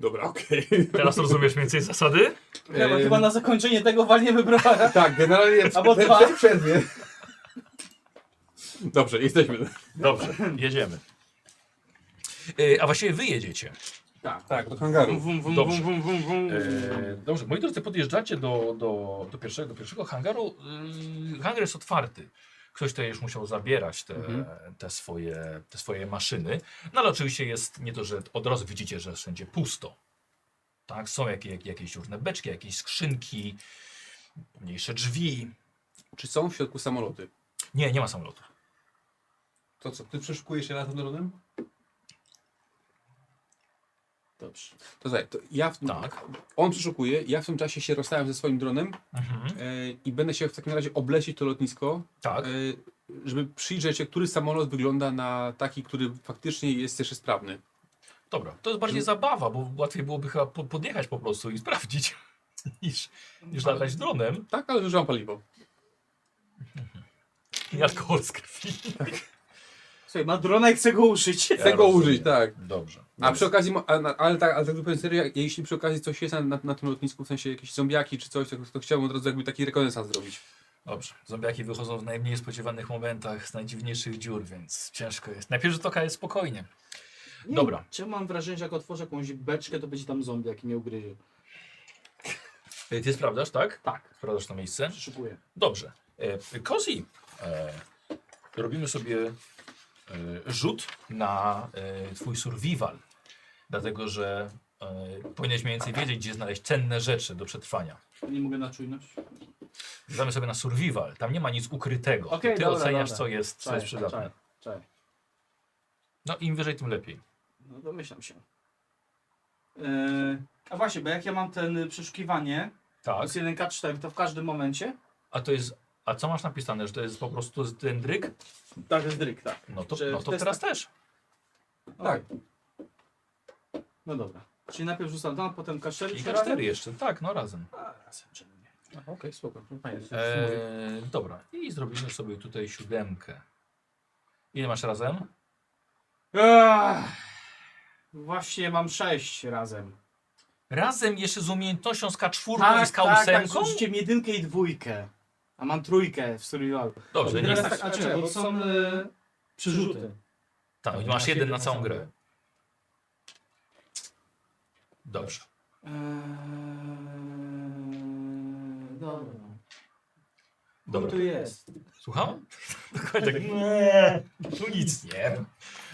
Dobra, okej. Teraz rozumiesz mniej więcej zasady? Dobra, Em. chyba na zakończenie tego walniemy browara. Tak, generalnie... Albo dwa. Przerwie. Dobrze, jesteśmy. Dobrze, jedziemy. E, a właściwie wy jedziecie. Tak. Tak, do hangaru. Wum, wum, Dobrze. wum, wum, wum, wum. E, dobrze, moi drodzy, podjeżdżacie do, do, do, pierwszego, do pierwszego hangaru. Yy, hangar jest otwarty. Ktoś tutaj już musiał zabierać te, Mhm. te, swoje, te swoje maszyny. No ale oczywiście jest nie to, że od razu widzicie, że wszędzie pusto. Tak, są jakie, jakieś różne beczki, jakieś skrzynki, mniejsze drzwi. Czy są w środku samoloty? Nie, nie ma samolotu. To co, ty przeszukujesz się latem dronem? Dobrze. To zaj, to ja w, No. Tak. on przeszukuje, ja w tym czasie się rozstałem ze swoim dronem Mhm. e, i będę się w takim razie oblecieć to lotnisko, Tak. e, żeby przyjrzeć się, który samolot wygląda na taki, który faktycznie jest jeszcze sprawny. Dobra, to jest Y- bardziej zabawa, bo łatwiej byłoby chyba po- podjechać po prostu i sprawdzić, niż, niż latać dronem Tak, ale zużywam paliwo. i alkohol z krwi. Słuchaj, ma drona i chce go uszyć. Chcę go rozumiem. użyć, tak. Dobrze. A przy okazji, mo- a, na- ale tak, ale tak zupełnie serio, jak- jeśli przy okazji coś jest na, na, na tym lotnisku, w sensie jakieś zombiaki czy coś, to, to chciałbym od razu jakby taki rekonesans zrobić. Dobrze. Zombiaki wychodzą w najmniej spodziewanych momentach z najdziwniejszych dziur, więc ciężko jest. Na pierwszy rzut oka jest spokojnie. Nie, Dobra. Czemu mam wrażenie, że jak otworzę jakąś beczkę, to będzie tam zombie, jaki mnie ugryzie. E, Ty sprawdzasz, tak? Tak, Sprawdzasz to miejsce? przeszukuję. Dobrze. E, Kozi, e, robimy sobie e, rzut na e, twój survival, dlatego że e, powinieneś mniej więcej wiedzieć, gdzie znaleźć cenne rzeczy do przetrwania. Nie mogę na czujność. Rzucamy sobie na survival, tam nie ma nic ukrytego. Okej, Ty dobra, oceniasz, dobra. co jest, co jest przydatne. czaj, czaj. No im wyżej, tym lepiej. No domyślam się. E, a właśnie, bo jak ja mam ten y, przeszukiwanie, tak. jest 1K4, to w każdym momencie? A to jest. A co masz napisane, że to jest po prostu z- ten dryg? Tak, jest dryg, tak. No to, Że no w to testach- teraz też. Tak. No dobra. Czyli najpierw rzucam tam, potem K4. I czy K4 razem? jeszcze, tak, no razem. A, razem, czemu nie? Okej, spoko. No fajnie, to się sumuje. Eee, dobra, i zrobimy sobie tutaj siódemkę. Ile masz razem? Ach, właśnie mam 6 razem. Razem jeszcze z umiejętnością z K4 i z Tak, tak, tak, K8? zużyciem jedynkę i dwójkę. A mam trójkę w survivalu. Dobrze, I nie teraz jest tak, a czemu? Bo są e, przerzuty. Tak, masz jeden na całą grę. Dobrze. Eee, dobra. Dobra. Tu No jest. Słucham? Dokładnie tak. Nie, tu nic nie.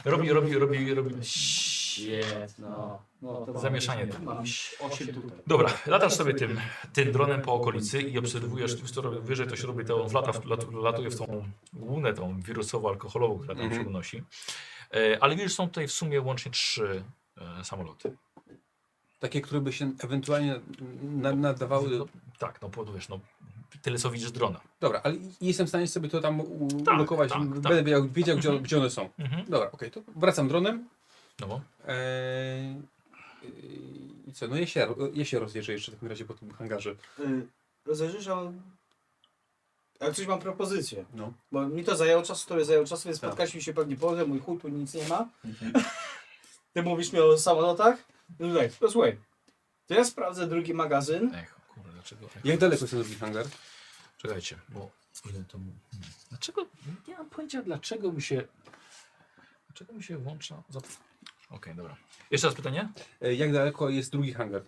Robi, robi, robi, robi. Shit, no. no to Zamieszanie mam- tam. Mam 8 tutaj. Dobra, latasz sobie tym, tym dronem po okolicy i obserwujesz, wiesz co, robi- wyżej to się robi, to on lata, w- lat, latuje w tą łunę tą wirusowo-alkoholową, która Mhm. tam się unosi. E, ale widzisz, są tutaj w sumie łącznie trzy e, samoloty. Takie, które by się ewentualnie na, nadawały. No, tak, no po- wiesz, no tyle co widzisz drona. Dobra, ale i- jestem w stanie sobie to tam u- Tak, ulokować. tak, Będę tak. wiedział, wiedział gdzie, gdzie one są. Mhm. Dobra, okej, to wracam dronem. No. Eee, I co, no ja się, ja się rozjeżdżę jeszcze w takim razie po tym hangarze. Y, Rozejrzysz, ale... Ale coś mam propozycję. No. Bo mi to zajęło czas, który zajęło czas, więc spotkaliśmy się pewnie po mój chuj tu nic nie ma. Ty mówisz mi o samolotach? No tak, to słuchaj. To ja sprawdzę drugi magazyn. Echo, kurde, dlaczego? Echo. Jak daleko jest ten drugi hangar? Czekajcie, bo ile to. mu- hmm. Dlaczego? Nie mam pojęcia, dlaczego mi się. Dlaczego mi się włącza. Zap- Okej, dobra. Jeszcze raz pytanie? E, Jak daleko jest drugi hangar?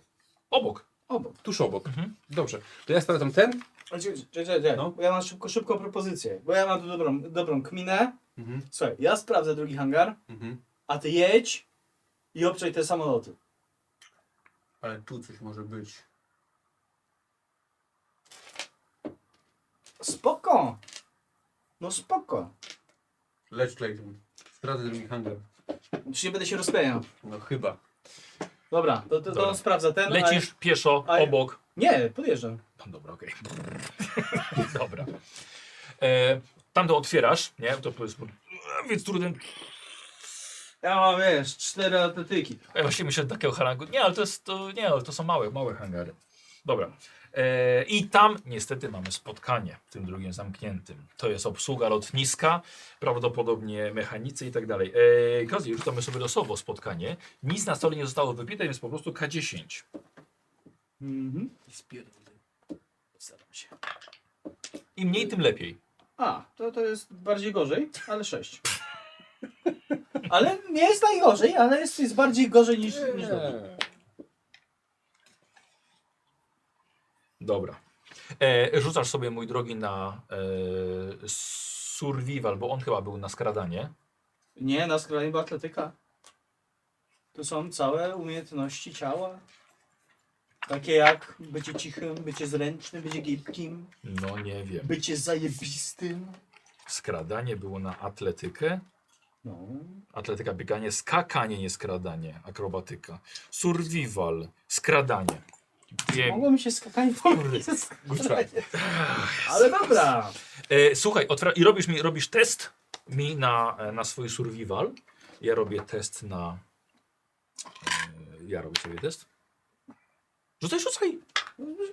Obok. Obok. Tuż obok. Mhm. Dobrze. To ja sprawdzam ten. Ale czekaj, czekaj, czekaj, No. Bo ja mam szybko, szybką propozycję. Bo ja mam tu dobrą, dobrą kminę. Mhm. Słuchaj, ja sprawdzę drugi hangar, Mhm. a ty jedź i obczaj te samoloty. Ale tu coś może być. Spoko! No spoko. Leć Clayton. Sprawdzę drugi hangar. Czy nie będę się rozpajał? No chyba. Dobra, to, to, to Dobra. on sprawdza ten. a- Lecisz pieszo, a- obok. Nie, podjeżdżam. No dobra, okej. dobra. E, tamto otwierasz, nie? To powiedz. no Więc trudny. Ja mam, wiesz, cztery atletyki. Ja właśnie myślę takiego harangu. Nie, ale to jest. To, nie, ale to są małe, małe hangary. Dobra. E, I tam niestety mamy spotkanie, tym drugim zamkniętym. To jest obsługa lotniska, prawdopodobnie mechanicy i tak dalej. E, Kozi, rzucamy sobie losowo spotkanie. Nic na stole nie zostało wypite, więc po prostu K10. Mhm. Staram się. Im mniej, tym lepiej. A, to, to jest bardziej gorzej, ale sześć. Ale nie jest najgorzej, ale jest, jest bardziej gorzej niż, niż dobrze. Dobra. E, rzucasz sobie, mój drogi, na e, survival, bo on chyba był na skradanie. Nie, na skrajnie była atletyka. To są całe umiejętności ciała. Takie jak bycie cichym, bycie zręcznym, bycie gibkim, No nie wiem. bycie zajebistym. Skradanie było na atletykę. No. Atletyka, bieganie, skakanie, nie skradanie. Akrobatyka. Survival, skradanie. Bieg... Mogło mi się skakanie pomylić. Ale dobra. E, słuchaj, otwiera... i robisz mi robisz test mi na, e, na swój survival. Ja robię test na. E, ja robię sobie test. Rzucaj, rzucaj.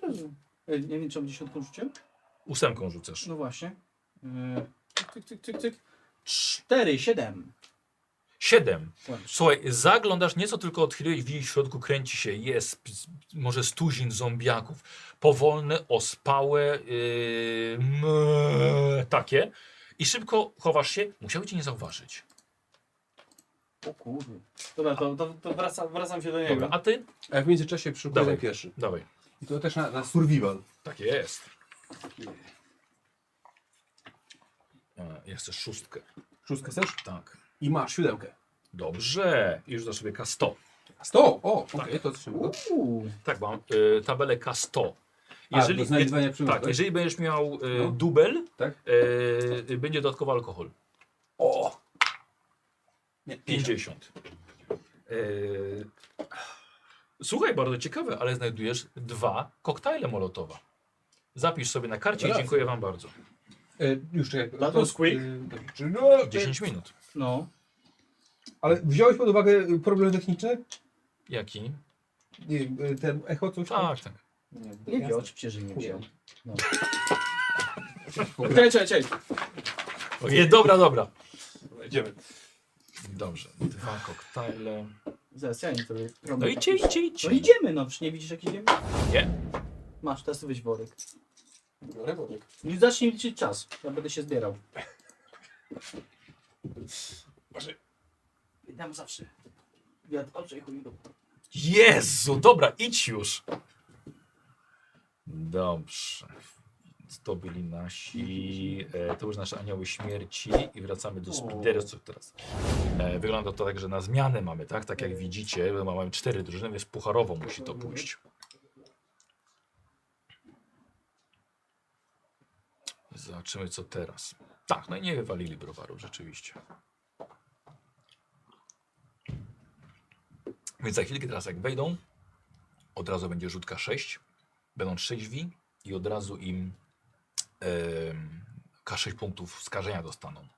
Ej, E, Nie wiem, czy mam dziesiątką rzuciłem? Ósemką rzucasz. No właśnie. Yy, Cyk, cyk, cyk, cyk. Cztery, siedem. Siedem. Ładnie. Słuchaj, zaglądasz nieco tylko odchyliłeś, widzisz w środku kręci się, jest p- z- może stuzin zombiaków. Powolne, ospałe, yy, mrrr, takie. I szybko chowasz się, musiały cię nie zauważyć. O kurde. Dobra, to, to, to wracam, wracam się do niego. Dobra, a ty? A ja w międzyczasie przyszukuję Dawaj. ten pierwszy. Dawaj. I to też na, na survival. Tak jest. E, Jeszcze szóstkę. Szóstkę chcesz? Tak. I masz siódemkę. Dobrze. I rzucasz sobie K100. Sto! O, okej, to coś szybko. Uuu. Tak, mam y, tabelę K100. A, do znajdywania przy tak, użytkach. jeżeli będziesz miał y, No. dubel, Tak? y, będzie dodatkowo alkohol. O! Nie, 50. Y, Słuchaj, bardzo ciekawe, ale znajdujesz dwa koktajle Molotowa. Zapisz sobie na karcie i Raz. dziękuję wam bardzo. E, już czekaj. That to- was quick. e, dobrze. No, 10 minut. No. Ale wziąłeś pod uwagę y, problem techniczny? Jaki? Nie wiem, y, ten echo coś? Tak, tak. Nie wiem, oczywiście, że nie No. wziął. Cześć, cześć, cześć. Ojej, dobra, dobra. Idziemy. Dobrze, dwa koktajle. Zaraz, ja nie tobie No idźcie, idźcie, idźcie. No idziemy, no przecież nie widzisz jak idziemy? Nie. Masz, teraz ty weź worek. Biorę worek. No i zacznij liczyć czas, ja będę się zbierał. Może. Dam zawsze. Wiatr oczy i chuj do. Jezu, dobra, idź już. Dobrze. To byli nasi, e, to już nasze anioły śmierci i wracamy do Spiderców teraz. E, wygląda to tak, że na zmianę mamy, tak? Tak jak widzicie, bo mamy cztery drużyny, więc pucharowo musi to pójść. Zobaczymy co teraz. Tak, no i nie wywalili browaru rzeczywiście. Więc za chwilkę teraz jak wejdą, od razu będzie rzutka 6, będą trzeźwi i od razu im em, K6 punktów skażenia dostaną.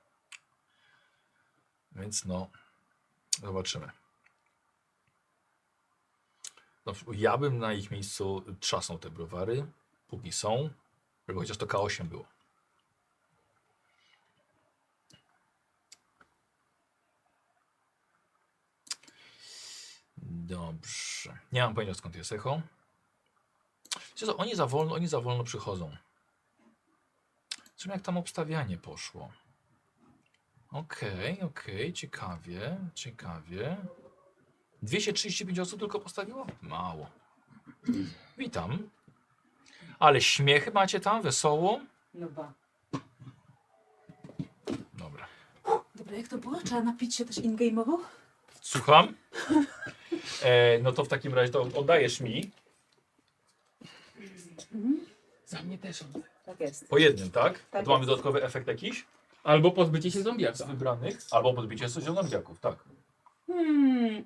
Więc no, zobaczymy. No, ja bym na ich miejscu trzasnął te browary, póki są, żeby chociaż to K8 było. Dobrze. Nie mam pojęcia skąd jest echo. Wiecie co, oni za wolno, oni za wolno przychodzą. Zobaczymy jak tam obstawianie poszło. Okej, okej, ciekawie, ciekawie. 235 osób tylko postawiło? Mało. Witam. Ale śmiechy macie tam, wesoło. No ba. Dobra. Dobra, jak to było? Trzeba napić się też ingame'owo? Słucham. E, no to w takim razie to oddajesz mi. Za mnie też on. Tak jest. Po jednym, tak? Tak tu mamy dodatkowy efekt jakiś? Albo pozbycie się zombiaka. Wybranych. Albo podbicie się zombiaków, tak. Hmm.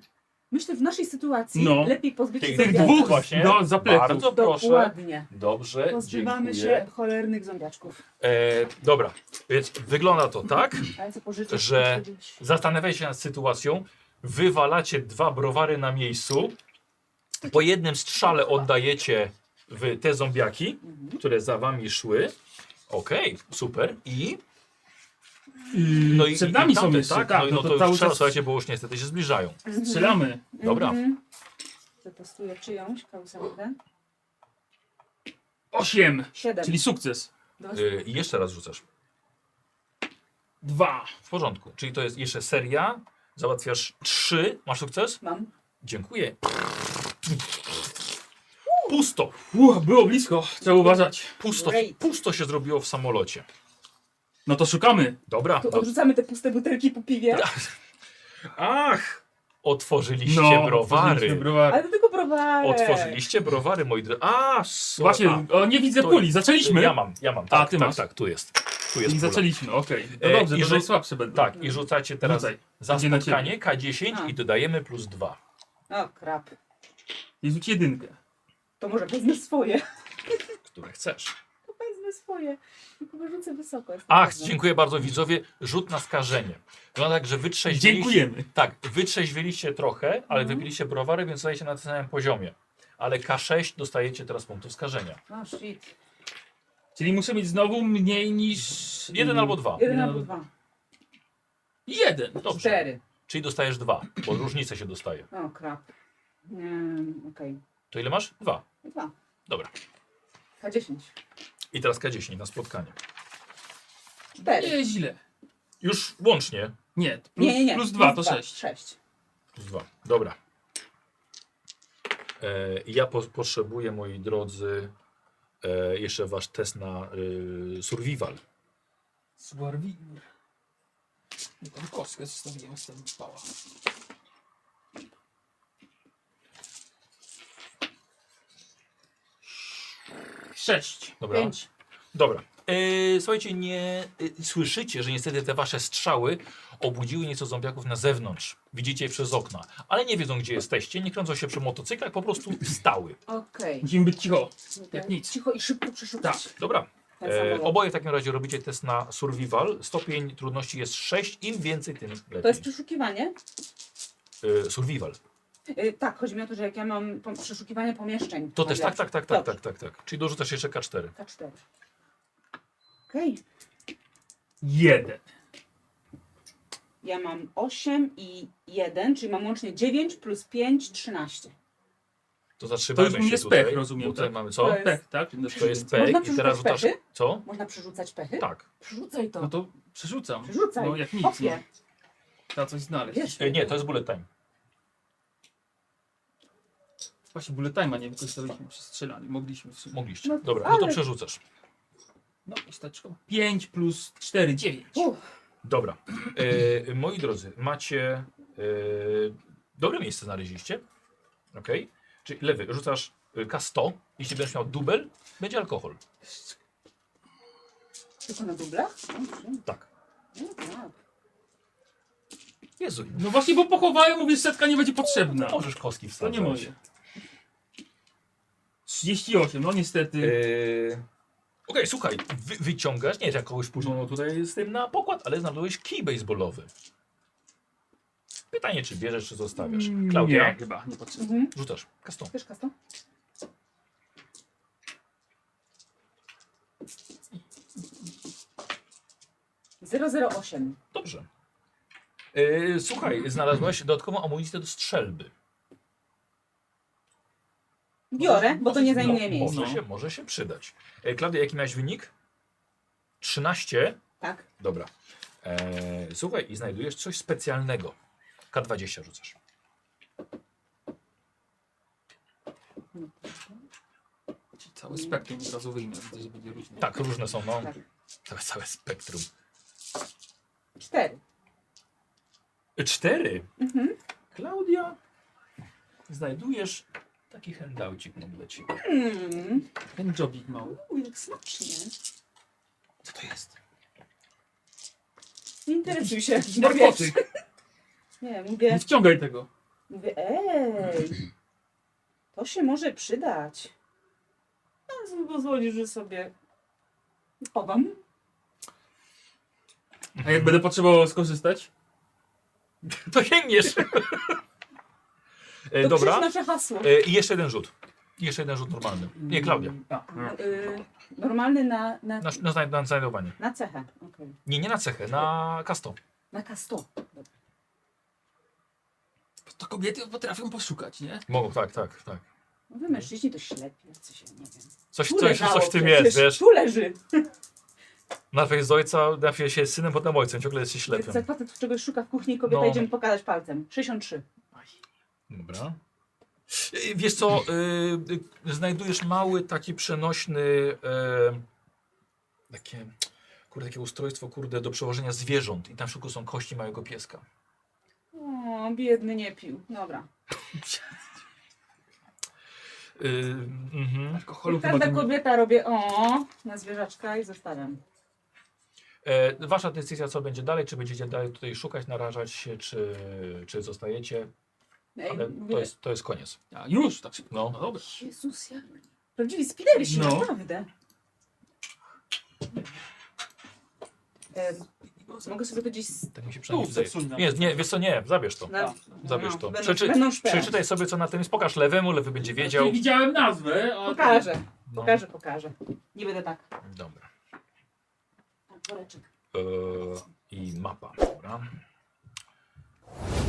Myślę, w naszej sytuacji No. lepiej pozbyć się Tych zombiaków. dwóch właśnie. No, za pleców. Bardzo proszę. Dokładnie. Dobrze, Pozbywamy dziękuję. się cholernych zombiaczków. E, dobra, więc wygląda to tak, Ale co pożyczyć? że to wtedy- zastanawiacie się nad sytuacją, wywalacie dwa browary na miejscu, po jednym strzale oddajecie w te zombiaki, Mhm. które za wami szły. Okej, super. I... No i, Przed nami i tamte, są jeszcze, tak, no, i no to, to już trzeba, słuchajcie, bo już niestety się zbliżają. Strzelamy. Dobra. Mhm. Zatestuję czyjąś kausankę. 8. Siedem. Czyli sukces. Dos- Y, I jeszcze raz rzucasz. Dwa. W porządku. Czyli to jest jeszcze seria. Załatwiasz trzy. Masz sukces? Mam. Dziękuję. Pusto. było blisko. Trzeba uważać. Pusto, pusto się zrobiło w samolocie. No to szukamy. Dobra. Tu do- odrzucamy te puste butelki po piwie. Tak. Ach! Otworzyliście No, browary. otworzyliśmy browary. Ale to tylko browary. Otworzyliście browary, moi drodzy. A, so, Właśnie, o, nie widzę puli, zaczęliśmy. Ja mam, ja mam. A, Tak, ty tak, masz. tak, tu jest. Tu jest I pula. zaczęliśmy, okej. E, No dobrze, i to rzu- najsłabsze będą. No Tak, i rzucacie teraz Rzucaj. za Będzie na ciebie. spotkanie K10 i dodajemy plus dwa. O, No, krap. Jest rzuć jedynkę. To może wezmę swoje. które chcesz. To wezmę swoje. Tylko wyrzucę wysoko. jestem Ach, pewna. dziękuję bardzo widzowie. Rzut na skażenie. No tak, że wytrzeźwiliście. Dziękujemy. Tak, wytrzeźwiliście trochę, ale wypiliście browary, więc stajecie na tym samym poziomie. Ale K6 dostajecie teraz punktów skażenia. No shit. Czyli muszę mieć znowu mniej niż... Jeden albo dwa. Jeden albo dwa. Jeden. No, Dobrze. Cztery. Czyli dostajesz dwa, bo różnica się dostaje. O, krap. Mm, Okej. To ile masz? Dwa. Dwa. Dobra. K10. I teraz K10 na spotkanie. Cztery. Nie, źle. Już łącznie Nie, plus, nie, nie, nie. plus dwa to sześć. Sześć. Plus Dwa. Dobra. E, ja po, potrzebuję, moi drodzy, e, jeszcze wasz test na y, survival. Survivor. No Tam kostkę zostawiłem z tym pała. Sześć. Dobra. Pięć. Dobra. E, słuchajcie, nie e, słyszycie, że niestety te wasze strzały obudziły nieco zombiaków na zewnątrz. Widzicie je przez okna, ale nie wiedzą, gdzie jesteście, nie kręcą się przy motocyklach, po prostu stały. Okej. Musimy być cicho. Jak nic. Cicho i szybko Tak, przeszukać. dobra. Ten E, samolot. oboje w takim razie robicie test na survival. Stopień trudności jest 6, im więcej, tym To lepiej. jest przeszukiwanie? E, survival. Y, tak, chodzi mi o to, że jak ja mam pom- przeszukiwanie pomieszczeń. To też tak, Dobra. tak, tak, tak, tak, tak, tak. Czyli dorzucasz jeszcze K4. K4. Okej. Jeden. Ja mam 8 i 1, czyli mam łącznie 9 plus 5, 13. To zatrzymajmy To już się jest tutaj. pech, rozumiem, Tutaj tak? mamy co? To jest- Pech, tak? To jest pech Można i teraz przerzucać rzucasz... pechy? Co? Można przerzucać pechy? Tak. Przerzucaj to. No to przerzucam. Przerzucaj. No jak nic. Opie. Trzeba coś znaleźć. Wiesz. E, nie, to jest bullet time. Właśnie bullet time'a nie wykorzystaliśmy przy strzelaniu. Mogliśmy w sumie. Mogliście. Dobra, no to przerzucasz. No i steczko. 5 plus 4, 9. Dobra. E, moi drodzy, macie. E, dobre miejsce znaleźliście. Ok. Czyli lewy, rzucasz e, K100. Jeśli będziesz miał dubel, będzie alkohol. Tylko na dublach? No, Tak. No, tak. Jezu. No właśnie, bo pochowają, mówię, setka nie będzie potrzebna. Możesz kostki No To wsadzać. nie moje. 38, no niestety. E, Okej, słuchaj, wy, wyciągasz, nie, że kogoś No, wpuszczono tutaj z tym na pokład, ale znalazłeś kij baseballowy. Pytanie, czy bierzesz, czy zostawiasz. Mm, Klaudia? nie, chyba, nie potrzebne. Mhm. Rzucasz, kastą. Wiesz, Kasto? Zero, zero, osiem. Dobrze. E, słuchaj, znalazłeś dodatkową amunicję do strzelby. Biorę, bo to nie zajmuje no, miejsca. Może, się, może się przydać. E, Klaudia, jaki miałeś wynik? 13? Tak. Dobra. E, słuchaj, i znajdujesz coś specjalnego. K20 rzucasz. Cały spektrum od razu wyjmę, widzę, że będzie różnie. Tak, różne są, no. Tak. Całe, całe spektrum. Cztery. E, Cztery? Mhm. Klaudia, znajdujesz taki handoucik mam dla ciebie. Mm. Ten jobik mały. Uj, jak smacznie. Co to jest? Nie interesuj się. Jakiś bo No wiesz. narkotyk. Nie, Nie mówię, wciągaj tego. mówię, ej, to się może przydać. No, z- pozwolisz, że sobie chowam. A jak będę potrzebował skorzystać? To sięgniesz. E, To dobra. krzyż nasze hasło. E, I jeszcze jeden rzut. I jeszcze jeden rzut normalny. Nie, Klaudia. Y, normalny na, na, Na, na, znaj- na znajdowanie. na cechę. Okej. Nie, nie na cechę, na kasto. Na kasto. To kobiety potrafią poszukać, nie? Mogą, tak, tak, tak. No Wy mężczyźni to ślepi, coś ja nie wiem. Coś, Tu coś, leżało coś w tym przecież, jest, wiesz. Tu leży. Najpierw z ojca, najpierw się jest synem, potem ojcem, ciągle jesteś ślepym. Za facet czegoś szuka w kuchni, kobieta No. idziemy pokazać palcem. 63. Dobra. Y, Wiesz co, y, y, znajdujesz mały taki przenośny, y, takie, kurde, takie ustrojstwo, kurde, do przełożenia zwierząt i tam w środku są kości małego pieska. O, biedny nie pił. Dobra. Y, mhm. Alkoholu Yy, chyba Każda tam... kobieta robię o na zwierzaczka i zostawiam. E, wasza decyzja, co będzie dalej, czy będziecie dalej tutaj szukać, narażać się, czy, czy zostajecie, Ej, ale mówię, to jest, to jest koniec. A, już, tak szybko. No. No dobra. Jezus, ja... Prawdziwi spidersi, No. naprawdę. Em, mogę sobie to gdzieś... s- Tak mi się przynajmniej Tu, wydaje. zepsuj nam. Nie, nie, wiesz co, nie, zabierz to. Na, Zabierz to. No, będą- Przeczy, będą szpele. przeczytaj sobie, co na tym jest. Pokaż lewemu, lewy będzie wiedział. Nie widziałem nazwę, a... Pokażę, No, pokażę, pokażę. Nie będę tak. Dobra. Woreczek. E, I mapa, dobra.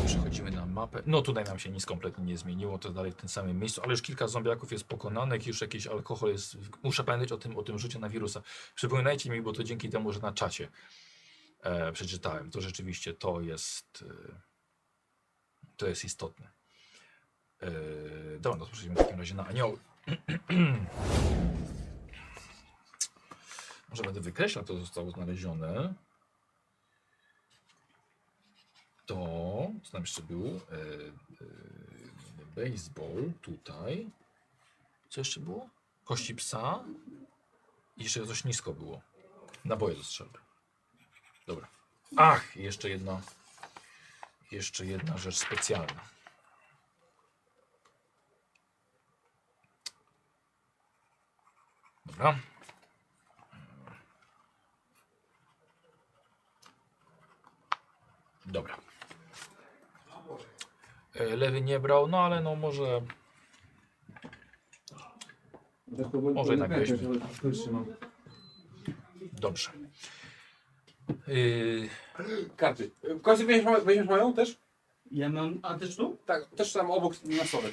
Przechodzimy na mapę. No tutaj nam się nic kompletnie nie zmieniło, to dalej w tym samym miejscu, ale już kilka zombiaków jest pokonanych, już jakiś alkohol jest. Muszę pamiętać o tym, o tym rzucie na wirusa. Przypominajcie mi, bo to dzięki temu, że na czacie e, przeczytałem. To rzeczywiście to jest. E, to jest istotne. E, dobra, no to przejdźmy w takim razie na anioły. Może będę wykreślał, to zostało znalezione. To, co tam jeszcze było? E, e, baseball tutaj. Co jeszcze było? Kości psa. I jeszcze coś nisko było. Naboje do strzelby. Dobra. Ach, i jeszcze jedna. Jeszcze jedna rzecz specjalna. Dobra. Dobra. E, Lewy nie brał, no ale no może. Może jednak weźmie. Dobrze. Yy, Karty. Y, Kości weźmiesz, ma- weźmiesz moją też? Ja mam antyczną? Tak, też tam obok na stole.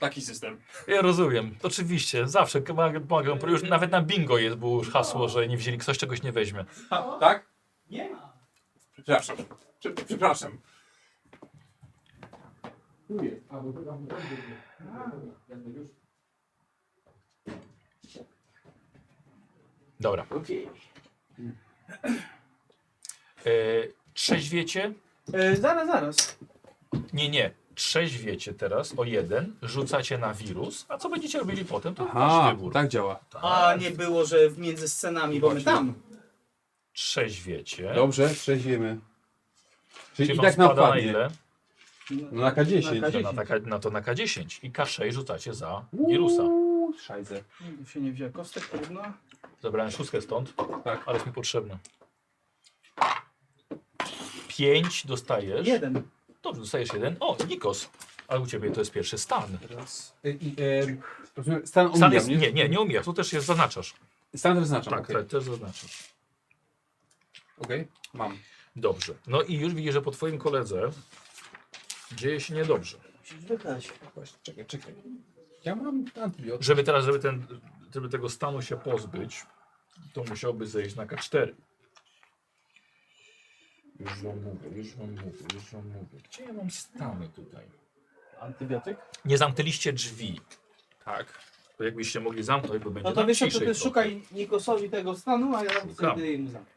Taki system. Ja rozumiem, oczywiście, zawsze pomagam, już nawet na bingo jest było już hasło, że nie wzięli, ktoś czegoś nie weźmie. A, tak? Nie ma. Przepraszam. Prze- Przepraszam. Dobra. Yy, trzeźwiecie? E, zaraz, zaraz. Nie, nie, trzeźwiecie teraz o jeden, rzucacie na wirus, a co będziecie robili potem, to wasz Aha, wybór. tak działa. A nie było, że w między scenami, bo my tam. Trzeźwiecie. Dobrze, przeźwiemy. Czyli Czyli i wam tak nam spada na padnie. ile? No tak. na K10. To na, taka- na to na K10 i K6 rzucacie za wirusa. Szajzę. Nigdy się nie wzięła kostek, trudno. Zabrałem szóstkę stąd, tak. ale jest mi potrzebna. Pięć dostajesz. Jeden. Dobrze, dostajesz jeden. O, Nikos. Ale u ciebie to jest pierwszy stan. Y, y, y, rozumiem, Stan Stan omijam, jest, nie? nie, nie, nie umijasz, to też jest, zaznaczasz. Stan zaznaczam, Tak, okej. tak, też zaznaczasz. Okej, mam. Dobrze. No i już widzisz, że po twoim koledze dzieje się niedobrze. Musisz wychać. Czekaj, czekaj. Ja mam antybiotyk. Żeby teraz, żeby, ten, żeby tego stanu się pozbyć, to musiałby zejść na K4. Już wam mówię, już wam mówię, już wam mówię. Gdzie ja mam stany tutaj? Antybiotyk? Nie zamknęliście drzwi. Tak. To jakbyście mogli zamknąć, bo będzie No to nam wiesz, co, to ciszej ty trochę. szukaj Nikosowi tego stanu, a ja Szukam. sobie im zamknę.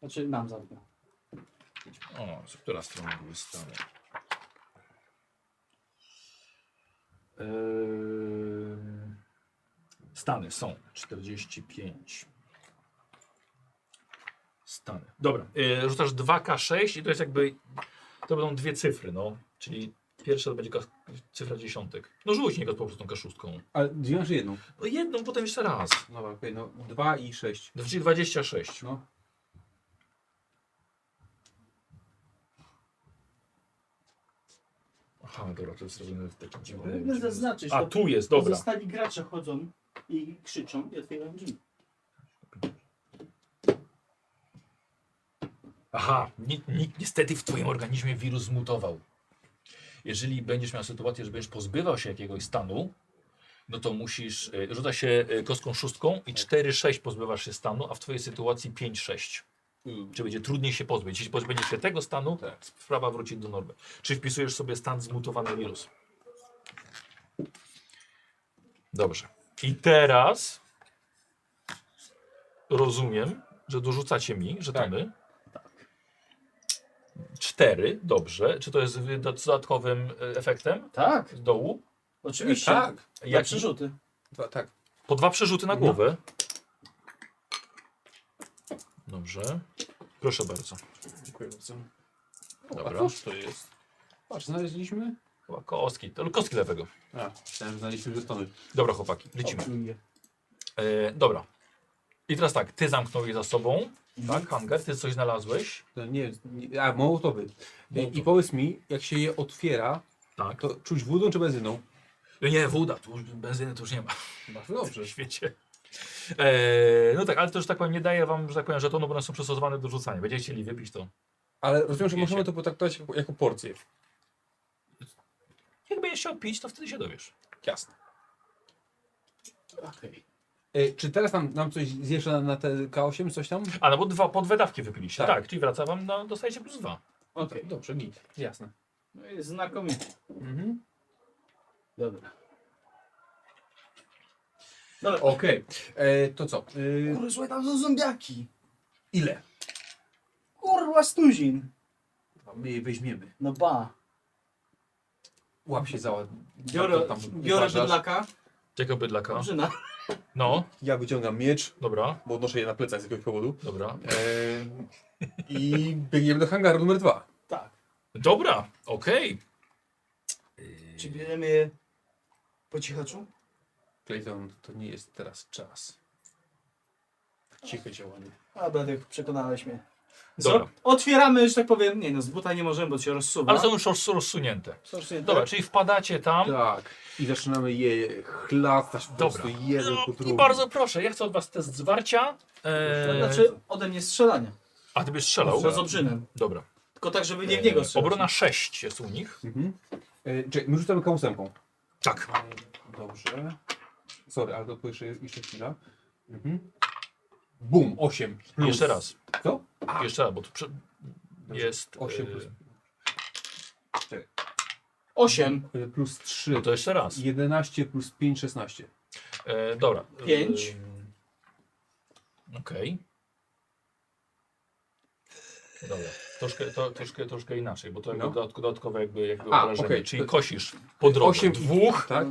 Znaczy nam zamknę. O, z która strona były stany? Ehm, Stany są 45. Stany. Dobra, e, rzucasz 2K6 i to jest jakby. To będą dwie cyfry, no. Czyli pierwsza to będzie ka- cyfra dziesiątek. No rzuć niego po prostu tą K6. Ale dwie czy jedną? No jedną, potem jeszcze raz. Dobra, okej, no dwa i sześć. No, Czyli 26. No. Aha, dobra, to jest zrobione w takim Powinno dziwnym. zaznaczyć. A to tu jest, dobra. Pozostali gracze chodzą i krzyczą i otwierają drzwi. Aha, ni, ni, niestety w twoim organizmie wirus zmutował. Jeżeli będziesz miał sytuację, że będziesz pozbywał się jakiegoś stanu, no to musisz, y, rzuca się y, kostką szóstką i 4-6 pozbywasz się stanu, a w twojej sytuacji 5-6. Czy będzie trudniej się pozbyć. Jeśli pozbędziesz się tego stanu, sprawa wróci do normy. Czy wpisujesz sobie stan zmutowany wirus? Dobrze. I teraz rozumiem, że dorzucacie mi żetony. Cztery, dobrze. Czy to jest y, doda- dodatkowym y, efektem? Tak. Z dołu? Oczywiście. E, tak. Jak Jaki? przerzuty. Dwa, tak. Po dwa przerzuty na głowę. Dobrze. Proszę bardzo. Dziękuję bardzo. Dobra. A cóż to jest? Patrz, znaleźliśmy? Chyba kostki, to kostki lewego. A, myślałem, że znaleźliśmy żetony. Dobra chłopaki, lecimy. E, dobra. I teraz tak, ty zamknął je za sobą. Tak, hangar, ty coś znalazłeś. No, nie, nie, a, mołotowy. I, I powiedz mi, jak się je otwiera, tak. to czuć wódą czy benzyną? Nie, woda, tu już benzyny tu już nie ma. Bardzo dobrze. W świecie. E, no tak, ale to już tak powiem, nie daje wam, że tak powiem, żetonu, bo one są przystosowane do rzucania. Będziecie chcieli wypić to. Ale rozumiem, że możemy to potraktować jako, jako porcję. Jak będziesz chciał pić, to wtedy się dowiesz. Jasne. E, czy teraz nam, nam coś zjesz na, na te K8, coś tam? A no bo dwa podwydawki wypiliście. Tak. Tak, czyli wraca wam, na, dostajecie plus dwa. Okej, dobrze, git. Jasne. No jest znakomity. Mhm. Dobra. Dobra. Okej, e, to co? E, Kurwa, słuchaj, tam są zombiaki. ile? Kurwa, stuzin. My je weźmiemy. No ba. Łap się za ład. Biorę, tam biorę uważasz. bydlaka, Tego bydlaka. Dobrzyna. No. Ja wyciągam miecz. Dobra. Bo noszę je na plecach z jakiegoś powodu. E, Dobra. I biegniemy do hangaru numer dwa. Tak. Dobra, okej. Czy bierzemy je po cichaczu? Clayton, to nie jest teraz czas. Ciche działanie. A Bladek, przekonałeś mnie. Dobra. Zro- Otwieramy, że tak powiem, nie no, z buta nie możemy, bo się No. rozsuwa. Ale są już roz- rozsunięte. Są rozsunięte. Dobra, czyli wpadacie tam. Tak. I zaczynamy je chlastać po Dobra. No, prostu jeden po drugim. I bardzo proszę, ja chcę od was test zwarcia. Eee, Znaczy ode mnie strzelanie. A ty byś strzelał? Strzelam z obrzynem. Dobra. E, Tylko tak, żeby nie w niego strzelać. Obrona 6 jest u nich. Mhm. E, czekaj, my rzucamy K8. Tak. Dobrze. Sorry, ale to jeszcze, jeszcze chwila. Mhm. Bum, 8. Jeszcze raz. Co? Jeszcze raz, bo tu prze... jest... e, 8 plus. Czekaj. 8. E, Plus 3. No to jeszcze raz. 11 plus 5, 16. E, dobra. Pięć. Ehm, Okej. Dobra. Troszkę, to, troszkę, troszkę inaczej, bo to jakby No. dodatko- dodatkowe jakby, jakby A, obrażenie. okej. Czyli To- kosisz po drodze Osiem- dwóch. tak?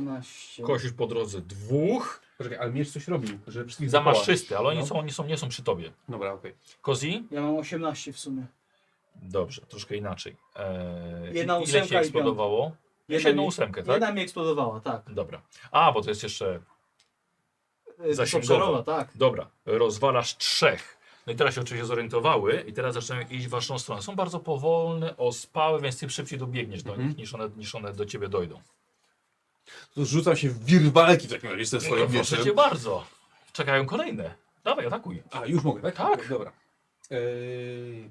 Kosisz po drodze dwóch. Poczekaj, ale miecz coś robił, że wszystkich Zamaszysty, ale zawołać. oni, No. są, oni są, nie są przy tobie. Dobra, okej. Kozi? Ja mam 18 w sumie. Dobrze, troszkę inaczej. Eee, Jedna i- ile ósemka i ci piątka. eksplodowało? Jeszcze jedną ósemkę, tak? Jedna mi eksplodowała, tak. Dobra. A, bo to jest jeszcze Yy, zasięgowa. obszarowa, tak. Dobra, rozwalasz trzech. No i teraz się oczywiście zorientowały i teraz zaczynają iść w waszą stronę. Są bardzo powolne, ospałe, więc ty szybciej dobiegniesz Mhm. do nich, niż one, niż one do ciebie dojdą. To rzucam się w wir walki w takim razie ze swoim No, Proszę mieczem. cię bardzo. Czekają kolejne. Dawaj, atakuj. A, już mogę, tak? Tak. Dobra. Eee,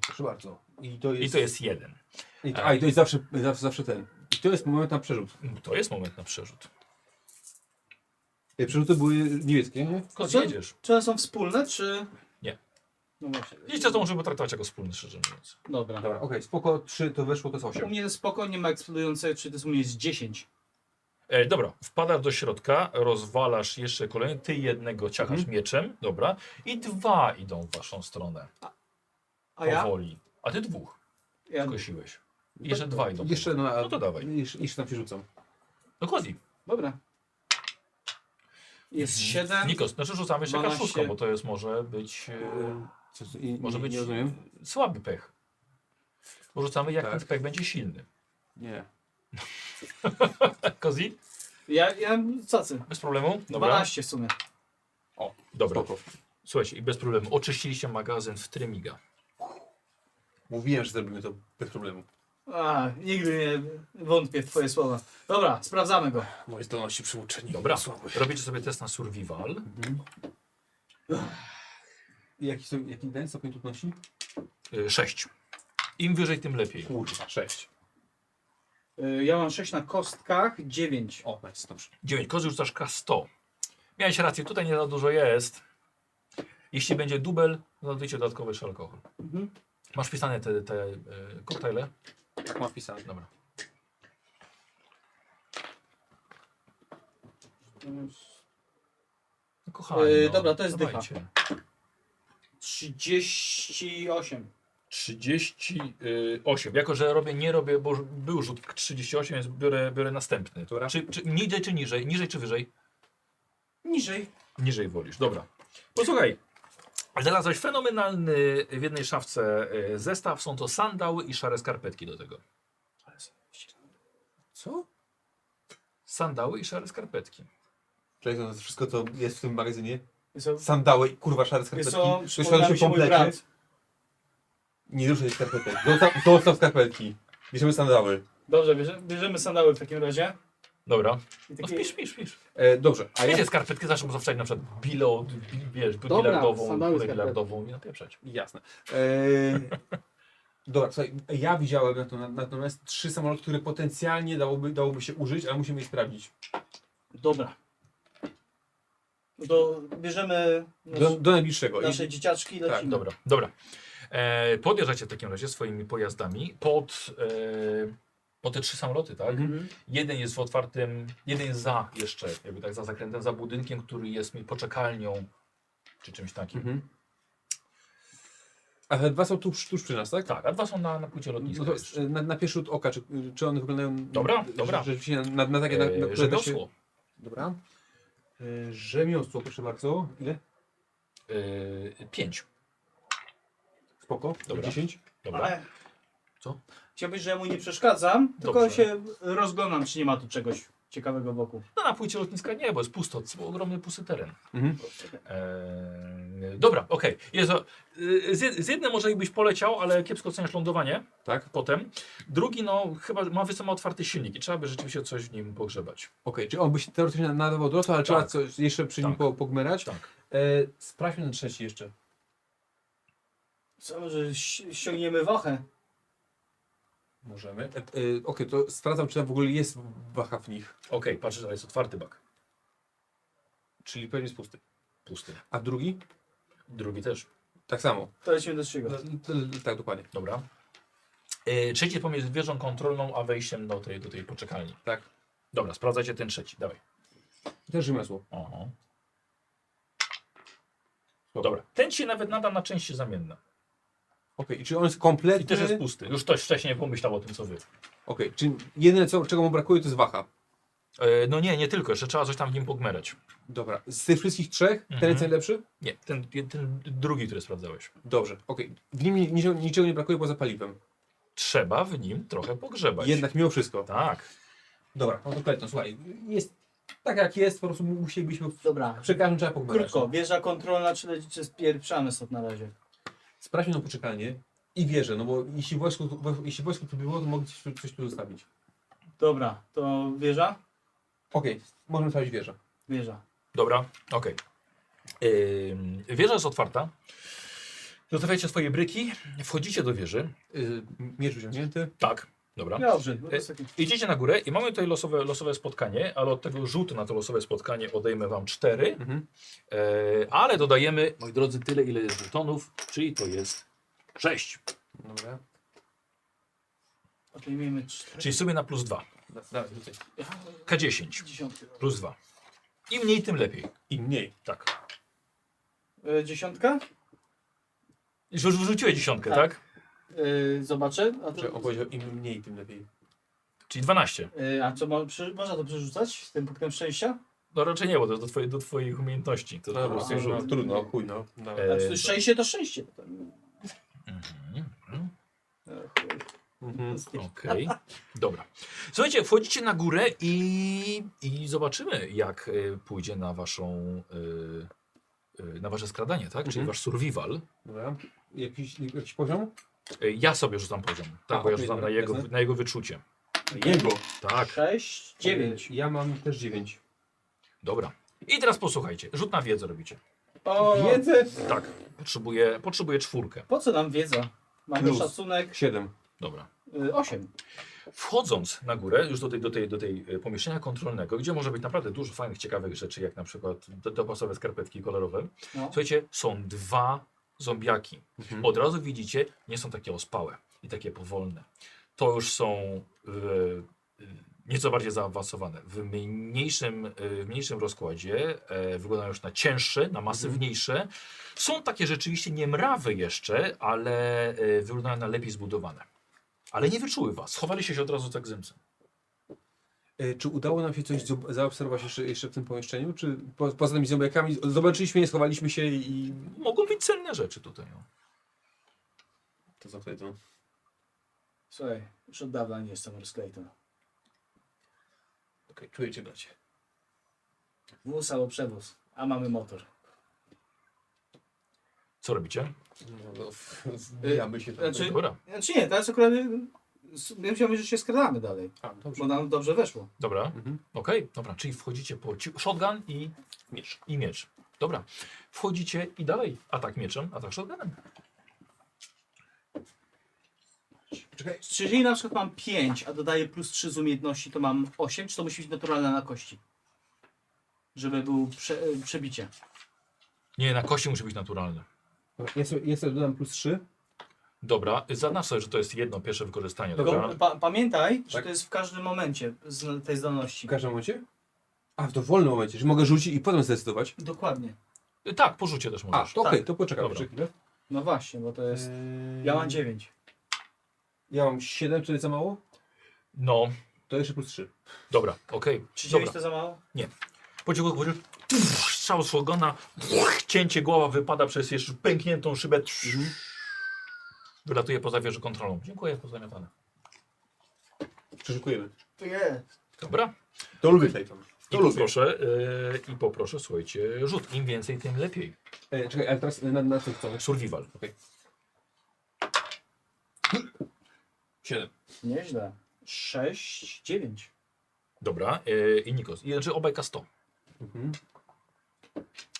proszę bardzo. I to jest, I to jest jeden. I Tak. to, a, i to jest zawsze, zawsze, zawsze ten. I to jest moment na przerzut. To jest moment na przerzut. Te E, przerzuty były niebieskie, nie? Kot, Czy- jedziesz. Czy one są wspólne, czy... Nie. No właśnie. Widzicie, to możemy potraktować jako wspólny, szczerze mówiąc. Dobra. Dobra, okej, spoko, 3 to weszło, to jest 8. U mnie spoko, nie ma eksplodującej, czy to jest u mnie jest 10. E, dobra, wpadasz do środka, rozwalasz jeszcze kolejny, ty jednego ciachasz Mhm. mieczem, dobra, i dwa idą w waszą stronę. A ja? Powoli. A ty dwóch. Ja Skosiłeś. I Jeszcze dwa idą. Jeszcze na... No to dawaj. Jeszcze, jeszcze tam się rzucam. Dokładnie. Dobra. Jest 7. Nikos, znaczy rzucamy jeszcze 12. kaszuską, bo to jest może być. e, Co, co, i, może nie- być nie rozumiem. słaby pech. Bo rzucamy jak Tak. ten pech będzie silny. Tak, Nie. Kozi? Ja, ja cacy. Bez problemu? Dobra. 12 w sumie. O, dobra. Słuchajcie, i bez problemu. Oczyściliście magazyn w Trymiga. Mówiłem, że zrobimy to bez problemu. A, nigdy nie wątpię w twoje słowa. Dobra, sprawdzamy go. Moje zdolności przyuczeni. Dobra, robicie sobie test na survival. Jaki, są- jaki ten stopień trudności? Y, Sześć. Im wyżej, tym lepiej. Kurwa, 6. Y, Ja mam 6 na kostkach, 9. O, nice, dobrze. 9. Kozy rzucasz K100. Miałeś rację, tutaj nie za dużo jest. Jeśli będzie dubel, dodajcie dodatkowy jeszcze alkohol. Mhm. Masz wpisane te, te e, koktajle? Tak, mam wpisane. Dobra. No kochani, Yy, no, dobra, to jest dycha. dawajcie. 38. 38. Jako, że robię, nie robię, bo już był rzut 38, więc biorę, biorę następny. Dobra. Czy, czy niżej, czy niżej? Niżej, czy wyżej? Niżej. Niżej wolisz, dobra. Posłuchaj, znalazłeś fenomenalny w jednej szafce e, zestaw. Są to sandały i szare skarpetki do tego. Co? Sandały i szare skarpetki. Czyli to wszystko, co jest w tym magazynie? Wiesz co? Sandały i kurwa szare Tak, skarpetki. Wiesz co, przypomniał Ktoś się mi się mój komplecie. brat. Nie ruszaj tych skarpetek. Zostaw, zostaw skarpetki. Bierzemy sandały. Dobrze, bierze, bierzemy sandały w takim razie. Dobra. I No takie- wpisz, wpisz, wpisz. E, dobrze, a ja... Wiecie, skarpetki zawsze można wstać na przykład bilo, bi, wiesz, Dobra, bilardową, sandały kulę skarpetki. bilardową i napieprzać. Jasne. E, dobra, słuchaj, ja widziałem na to, na, natomiast trzy samoloty, które potencjalnie dałoby, dałoby się użyć, ale musimy je sprawdzić. Dobra. No to bierzemy nasz, Do, do najbliższego. nasze dzieciaczki i lecimy. Tak, Dobra, dobra. E, podjeżdżacie w takim razie swoimi pojazdami pod, e, pod te trzy samoloty, tak? Mhm. Jeden jest w otwartym, jeden jest za jeszcze, jakby tak za zakrętem, za budynkiem, który jest mi- poczekalnią czy czymś takim. Mhm. A te dwa są tuż, tuż przy nas, tak? Tak, a dwa są na, na płycie No lotniska. to, e, na, na pierwszy rzut oka, czy, czy one wyglądają e, Dobra, że- dobra. Rzeczywiście na, na, na takie, na, na E, które że by się- doszło. Dobra. E, Rzemiosło, proszę bardzo. Ile? e, pięć. Spoko. Dobra. Dziesięć. Ale Co? Chciałbyś, że mu nie przeszkadzam, tylko Dobrze. się rozglądam, czy nie ma tu czegoś ciekawego wokół. No na płycie lotniska nie, bo jest pusto, to był ogromny pusty teren. Mhm. Eee, dobra, okej. Jezu, y, Z, jed- z jednym może i byś poleciał, ale kiepsko oceniasz lądowanie. Tak. Potem. Drugi, no chyba ma wysoko otwarty silnik i trzeba by rzeczywiście coś w nim pogrzebać. Okej, czyli on by się teoretycznie nadawał do lotu, ale trzeba coś jeszcze przy nim Tak. po, pogmerać. Tak. E, sprawdźmy ten trzeci jeszcze. Co, że ś- ściągniemy wachę? Możemy. E, e, Okej, to sprawdzam, czy tam w ogóle jest wacha w nich. Okej, patrzysz, ale jest otwarty bak. Czyli pewnie jest pusty. Pusty. A drugi? Drugi też. Tak samo. To lecimy do trzeciego. Tak, dokładnie. Dobra. Eee, trzeci pomiędzy wieżą kontrolną, a wejściem do tej, do tej poczekalni. Tak. Dobra, sprawdzajcie ten trzeci, dawaj. Też rzemiosło. Oho. Dobra, ten się nawet nada na części zamienne. Okej, i czy on jest kompletny? I też jest pusty. Już ktoś wcześniej pomyślał o tym, co wy. Okej, czyli jedyne, co, czego mu brakuje, to jest wacha. E, no nie, nie tylko, jeszcze trzeba coś tam w nim pogmerać. Dobra, z tych wszystkich trzech, ten Mhm. jest najlepszy? Nie, ten, ten drugi, który sprawdzałeś. Dobrze, okej. W nim ni- niczego, niczego nie brakuje poza paliwem. Trzeba w nim trochę pogrzebać. Jednak mimo wszystko. Tak. Dobra, no to Kleton, słuchaj, jest tak jak jest, po prostu mu- musielibyśmy w- Dobra. przy każdym trzeba pogmerać. Krótko, wieża kontrolna, czy, leci- czy spieprzamy stąd na razie? Sprawdźmy na poczekalnię i wierzę, no bo jeśli wojsko, wo- jeśli wojsko tu było, to mogli coś tu- coś tu zostawić. Dobra, to wieża? Okej, możemy sprawdzić wieżę. Wieża. Dobra, okej. Ym, wieża jest otwarta. Zostawiacie swoje bryki, wchodzicie do wieży. Y, Yy, miecz wyciągnięty. Tak, dobra. Dobrze, E, Idziecie na górę i mamy tutaj losowe, losowe spotkanie, ale od tego rzutu na to losowe spotkanie odejmę wam cztery, e, ale dodajemy, moi drodzy, tyle ile jest żetonów, czyli to jest sześć. Dobra. odejmijmy cztery. Czyli w sumie na plus dwa. Da- Dawaj, rzucaj. K10 Dziesiątki. plus dwa. Im mniej, tym lepiej. I mniej. Tak. E, dziesiątka? Już już wrzuciłeś dziesiątkę, tak? Tak. E, zobaczę. A, Że on to, powiedział im mniej, tym lepiej. Czyli 12. e, a co, mo, przy, można to przerzucać tym punktem szczęścia? No raczej nie, bo to jest do, twoje, do twoich umiejętności. To No, po prostu no, rzut. no, trudno, chuj no. no. A, czy E, to szczęście to szczęście. potem. E, chuj. Mhm. Okej, dobra. Słuchajcie, wchodzicie na górę i, i zobaczymy, jak y, pójdzie na waszą, y, y, na wasze skradanie, tak? Czyli Mhm. wasz survival. Dobra. Jakiś, jakiś poziom? Y, Ja sobie rzucam poziom, tak? A, bo ja okej, rzucam dobra, na, jego, jasne. na jego wyczucie. Jego. E, Tak, Sześć, dziewięć. Ja mam też dziewięć. dobra. I teraz posłuchajcie, rzut na wiedzę robicie. O, Wiedzę? Tak, potrzebuję, potrzebuję czwórkę. po co nam wiedza? Mamy Plus. szacunek Siedem. Dobra. e, osiem. Wchodząc na górę, już do tej, do tej, do tej e, pomieszczenia kontrolnego, gdzie może być naprawdę dużo fajnych, ciekawych rzeczy, jak na przykład do- dopasowe skarpetki kolorowe, No. Słuchajcie, są dwa zombiaki. Mhm. Od razu widzicie, nie są takie ospałe i takie powolne. To już są e, e, nieco bardziej zaawansowane. W mniejszym, e, w mniejszym rozkładzie e, wyglądają już na cięższe, na masywniejsze. Są takie rzeczywiście nie mrawy jeszcze, ale e, wyglądają na lepiej zbudowane. Ale nie wyczuły was. Schowaliście się od razu tak zymcem. E, Czy udało nam się coś zob- zaobserwować jeszcze, jeszcze w tym pomieszczeniu? Czy po, poza tymi zombiakami zobaczyliśmy je, schowaliśmy się i... Mogą być cenne rzeczy tutaj. No. To za to. Słuchaj, już od dawna nie jestem Rosklejton. Okej, czuję cię bracie. Wóz albo przewóz, a mamy motor. Co robicie? No, no, f- zbijamy się tam. Znaczy- Dobra. Znaczy nie, teraz akurat y, s- ja myślałem, że się skradamy dalej, A, Tak, dobrze. bo nam dobrze weszło. Dobra. Mhm. Okej, dobra, czyli wchodzicie po ci- shotgun i Miecz. i miecz. Dobra. Wchodzicie i dalej. Atak mieczem, atak shotgunem. Czekaj. Czy jeżeli na przykład mam 5, a dodaję plus 3 z umiejętności, to mam 8, czy to musi być naturalne na kości? Żeby był prze, y, przebicie. Nie, na kości musi być naturalne. Dobra, Ja sobie, ja sobie dodam plus trzy. Dobra, zaznacz sobie, że to jest jedno pierwsze wykorzystanie. Dobra. Dobra. Tylko pa, pamiętaj, że Tak. to jest w każdym momencie z tej W zdolności. każdym momencie? A, w dowolnym momencie, że mogę rzucić i potem zdecydować? Dokładnie. Y, Tak, porzucie też A, możesz. to okej, tak. to poczekam Dobra. jeszcze chwilę. No właśnie, bo to jest... Eee, Ja mam 9. Ja mam siedem, czyli za mało? No, To jeszcze plus trzy. dobra, okej. Czy 9 Dobra. to za mało? Pociągnął pociąg, puf, strzał z ogona, puf, cięcie głowa wypada przez jeszcze pękniętą szybę. Mhm. Wylatuje poza wieżę kontrolą. Dziękuję, pozamiatane. Przeszukujemy. To nie. Dobra. To lubię Clayton. I poproszę, yy, I poproszę, słuchajcie, rzut. Im więcej, tym lepiej. E, czekaj, ale teraz na, na co chcemy? Survival. Okay. 7. Nieźle. 6, 9. Dobra, yy, i Nikos. I znaczy obajka 100. Mhm.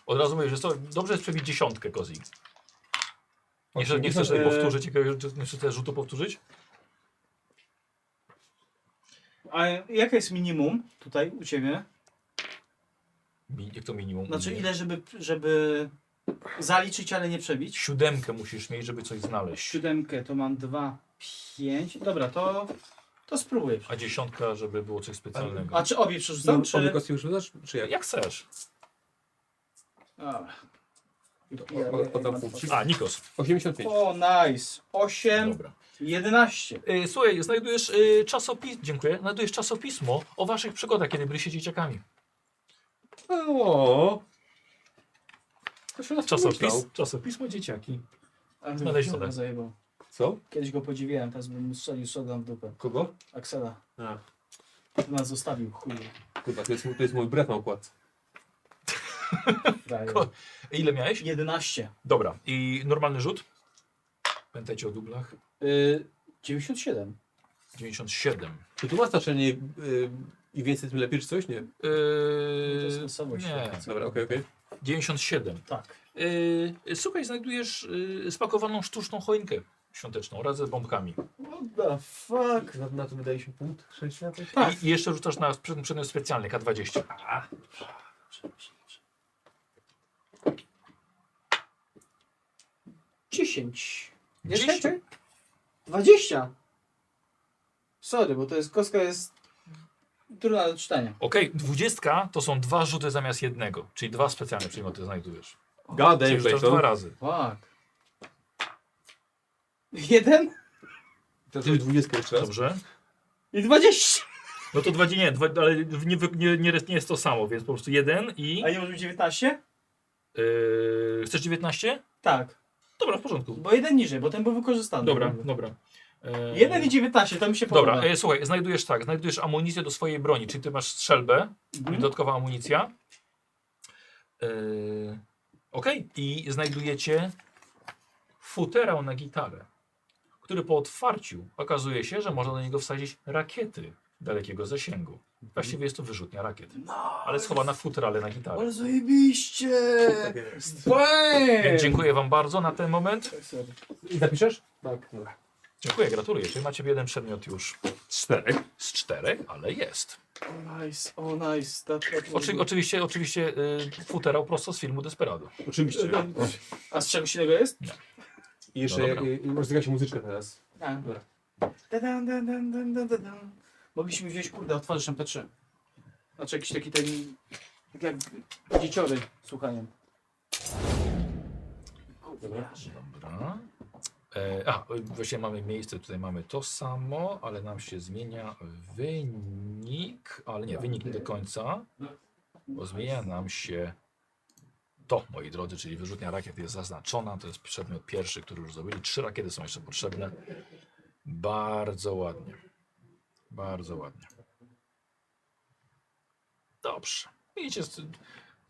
Od razu mówię, że 100. Dobrze jest przebić dziesiątkę kozi. Nie, chcesz- nie chcesz Eee. sobie powtórzyć jakiegoś nie chcesz tego rzutu powtórzyć? A jaka jest minimum tutaj u ciebie? Mi- Jak to minimum? Znaczy ile, żeby, żeby zaliczyć, ale nie przebić? Siódemkę musisz mieć, żeby coś znaleźć. Siódemkę to mam 2, 5. Dobra, to, to spróbuję. A dziesiątka, żeby było coś specjalnego. A czy obie przerzucam? No, czy... obie kostki przerzucasz? Czy jak? Jak chcesz. Dobra. A, Nikos. 85. O, nice. 8, 11. Yy, słuchaj, znajdujesz yy, czasopismo, dziękuję, znajdujesz czasopismo o waszych przygodach, kiedy byliście dzieciakami. O. To się nas Czasopis, pomyślał. czasopismo dzieciaki. Ale Znaleźć Aksela wodę. zajebał. Co? Kiedyś go podziwiałem, teraz bym mu strzelił sodam w dupę. Kogo? Aksela. A. To nas zostawił, chuj. Chyba to jest, to jest mój brat na układ. Ko- E, Ile miałeś? 11. Dobra, i normalny rzut? Pamiętajcie o dublach. Y, 97. 97. Czy tu ma znaczenie y, i więcej tym lepiej, czy coś? Nie. E, Yy, nie. Dobra, okej, okej. 97. Tak. Yy, słuchaj, znajdujesz yy, spakowaną sztuczną choinkę świąteczną razem z bombkami. What the fuck? Na, na to wydaliśmy punkt? 6 na to? I, I jeszcze rzucasz na przed- przedmiot specjalny K20. Dziesięć. Nie Dziesięć? skończy? 20. Sorry, bo to jest kostka jest trudna do czytania. Okej, dwudziestka to są dwa rzuty zamiast jednego, czyli dwa specjalne przedmioty znajdujesz. Gadaj, Czyli rzucasz Clayton. dwa razy. Fuck. Jeden To jest 20 jeszcze raz. Dobrze. i 20. No to dwa, nie, dwa, ale nie, wy- nie, nie, jest- nie jest to samo, więc po prostu jeden i... A nie może być 19? Yy, chcesz 19? Tak. Dobra, w porządku. Bo jeden niżej, bo ten był wykorzystany. Dobra, dobra. Yy, Jeden i 19, to mi się podoba. Dobra, e, słuchaj, znajdujesz tak, znajdujesz amunicję do swojej broni, czyli ty masz strzelbę, Mhm. dodatkowa amunicja. Yy, Okej, i znajdujecie futerał na gitarę, który po otwarciu okazuje się, że można do niego wsadzić rakiety dalekiego zasięgu. Właściwie jest to wyrzutnia rakiet, ale schowana w futerale na gitarę. Ale zajebiście! Tak jest. Bang! Więc dziękuję wam bardzo na ten moment. I zapiszesz? Tak. Dobra. Dziękuję, gratuluję. Czyli macie jeden przedmiot już. Czterech. Z czterech, ale jest. Nice, o oh, nice. That, that Oczy, oczywiście, oczywiście y, futerał prosto z filmu Desperado. Oczywiście. A z czegoś innego jest? I jeszcze No no, dobra. rozgrywa się muzyczka teraz. Tak. Dobra. Da, da, da, da, da, da, da, da. Mogliśmy wziąć, kurde, otworzysz MP3. Znaczy jakiś taki ten... Tak jak dzieciory z słuchaniem. Dobra. Dobra. E, a, y, właśnie mamy miejsce, tutaj mamy to samo, ale nam się zmienia wynik, ale nie, wynik nie do końca, bo zmienia nam się to, moi drodzy, czyli wyrzutnia rakiet jest zaznaczona, to jest przedmiot pierwszy, który już zrobili, trzy rakiety są jeszcze potrzebne. Bardzo ładnie, bardzo ładnie. Dobrze, widzicie, z,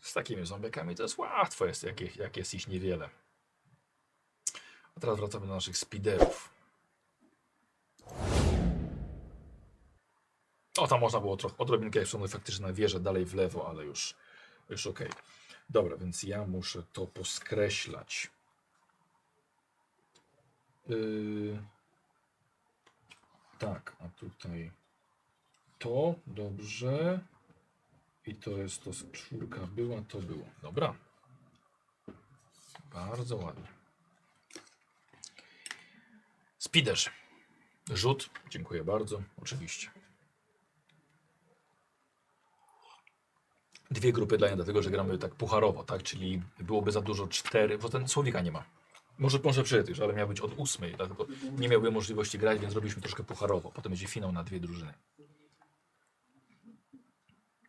z takimi ząbekami to jest łatwo, jest, jak, ich- jak jest ich niewiele. A teraz wracamy do naszych spiderów. O, tam można było trochę odrobinkę jeszcze no faktycznie na wieżę dalej w lewo, ale już, już okej. Dobra, więc ja muszę to poskreślać. Yy, tak, a tutaj to, dobrze. I to jest to, z- czwórka była, to było. Dobra. Bardzo ładnie. Spiderz. Rzut. Dziękuję bardzo. Oczywiście. Dwie grupy dla mnie, dlatego że gramy tak pucharowo, tak? Czyli byłoby za dużo cztery, bo ten słowika nie ma. Może, może przyjedziesz, ale miał być od ósmej, dlatego nie miałby możliwości grać, więc zrobiliśmy troszkę pucharowo. Potem będzie finał na dwie drużyny.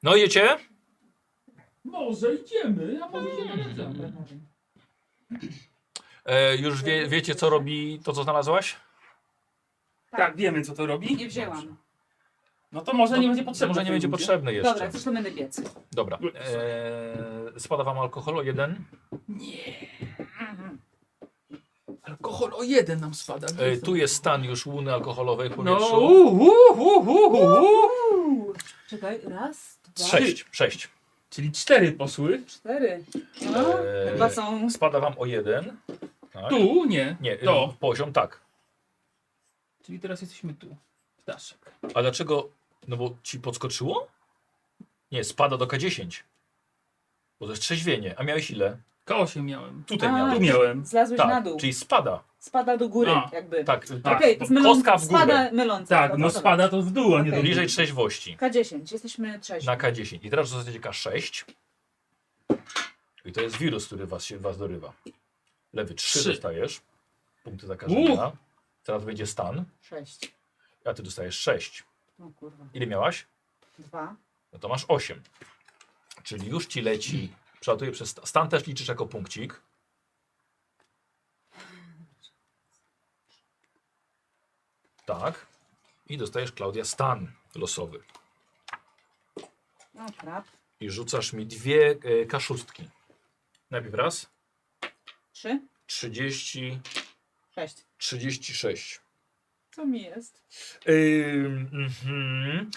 No jecie? Może idziemy, a może się nalecamy. E, już wie, wiecie, co robi to, co znalazłaś? Tak, wiemy co to robi. Nie wzięłam. No to może nie będzie potrzebne. Może nie tej będzie ludzie. potrzebne jeszcze. Dobra, coś to będę biec. Dobra. E, spada wam alkohol o jeden. Alkohol o jeden nam spada. E, tu jest stan już łuny alkoholowej w No, powietrzu. uuu, uuu, uuu. Czekaj, raz, dwa, Sześć, sześć. Czyli cztery poszły. cztery. No, E, chyba są... Spada wam o jeden. Tak. Tu? Nie. Nie, To. to. poziom tak. Czyli teraz jesteśmy tu. Ptaszek. A dlaczego? No bo ci podskoczyło? Nie, spada do K10. Bo to jest trzeźwienie. A miałeś ile? K8 miałem. Tutaj A, miałeś. tu miałem. zlazłeś tak, na dół. Czyli spada. Spada do góry, A, jakby. Tak, tak. Okej, to jest myląc... Kostka w górę. Spada myląca. Tak, Dobra, no dobra. spada to w dół, a nie do góry. Bliżej trzeźwości. K10, jesteśmy trzeźwi. Na K10. I teraz zostajecie K6. I to jest wirus, który was, się, was dorywa. Lewy 3, Trzy. dostajesz. Punkty zakażenia. Teraz będzie stan. Sześć. A ty dostajesz 6. O kurwa. Ile miałaś? Dwa. No to masz 8. Czyli już ci leci. Przelatuje przez sta- stan też liczysz jako punkcik. Tak. I dostajesz Klaudia stan losowy. No krap. I rzucasz mi dwie e, kaszustki. Najpierw raz. Trzy. 30, Sześć. 36. Co mi jest? Ym, mhm.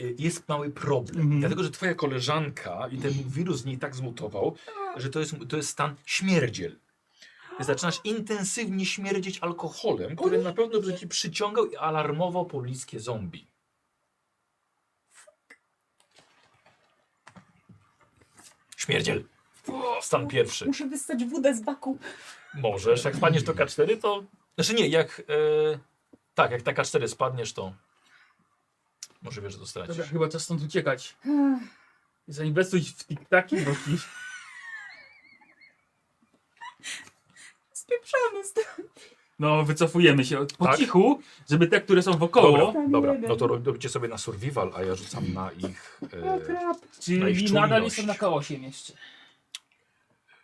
Y, Jest mały problem, dlatego że twoja koleżanka i ten wirus z niej tak zmutował, że to jest, to jest stan śmierdziel. Zaczynasz intensywnie śmierdzieć alkoholem, który na pewno będzie ci przyciągał i alarmował pobliskie zombie. Śmierdziel. Stan pierwszy. Muszę wyssać wódę z baku. Możesz, jak spadniesz do K4, to. Znaczy nie, jak. E, tak, jak ta K4 spadniesz, to. Może wiesz, że to stracisz. Dobra, chyba czas stąd uciekać. Zainwestuj w tiktaki, bo ci... Spieprzamy z tego. No, wycofujemy się od- po cichu, żeby te, które są wokoło... Tak. Dobra, dobra, no to rob- robicie sobie na survival, a ja rzucam na ich. E, na ich Czyli nadal czujność. jestem na K8 jeszcze.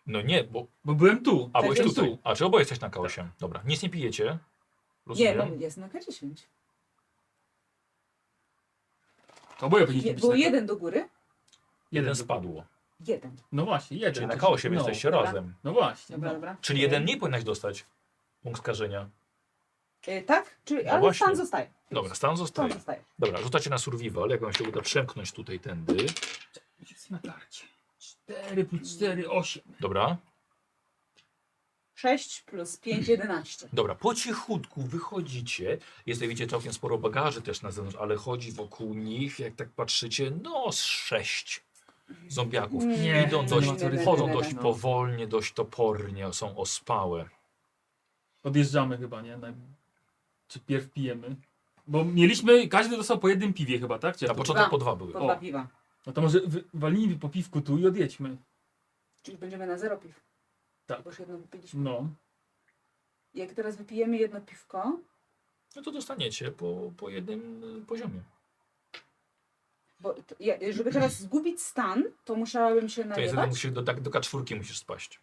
No nie, bo. Bo byłem tu. A byłeś Jestem tutaj. tu. A czy oboje jesteś na K8? Dobra, nic nie pijecie. Nie, Rozumiem. bo jest na K10. To oboje Je, powinniśmy być było na... jeden do góry? Jeden spadło. Jeden. No właśnie, jeden. Czyli na To- K8 no. jesteście Dobra. razem. No właśnie. Dobra, No. dobra. Czyli jeden nie powinnaś dostać punkt skażenia. E, tak? Czy, No ale właśnie. stan zostaje. Dobra, stan Stan zostaje. zostaje. Dobra, rzucacie na survival, jak wam się uda przemknąć tutaj tędy. Jest na karcie. 4 plus 4, 8. Dobra. 6 plus 5, 11. Dobra, po cichutku wychodzicie. Jest, tutaj, widzicie, całkiem sporo bagaży też na zewnątrz, ale chodzi wokół nich, jak tak patrzycie, no z sześć zombiaków. Mm. Nie, Idą nie dość, ma co ryzykować, chodzą dość no. powolnie, dość topornie, są ospałe. Odjeżdżamy chyba, nie? Naj... Czy pierw pijemy? Bo mieliśmy, każdy dostał po jednym piwie chyba, tak? Czy Na to- początku Dwa. po dwa były. Po dwa piwa. No to może wy- walnijmy po piwku tu i odjedźmy. Czyli będziemy na zero piw. Tak. Bo już jedno wypiliśmy. No. Jak teraz wypijemy jedno piwko, No to dostaniecie po, po jednym y, poziomie. bo to, ja, żeby teraz zgubić stan, to musiałabym się To niestety najebać. musisz do, tak, do K4 musisz spaść.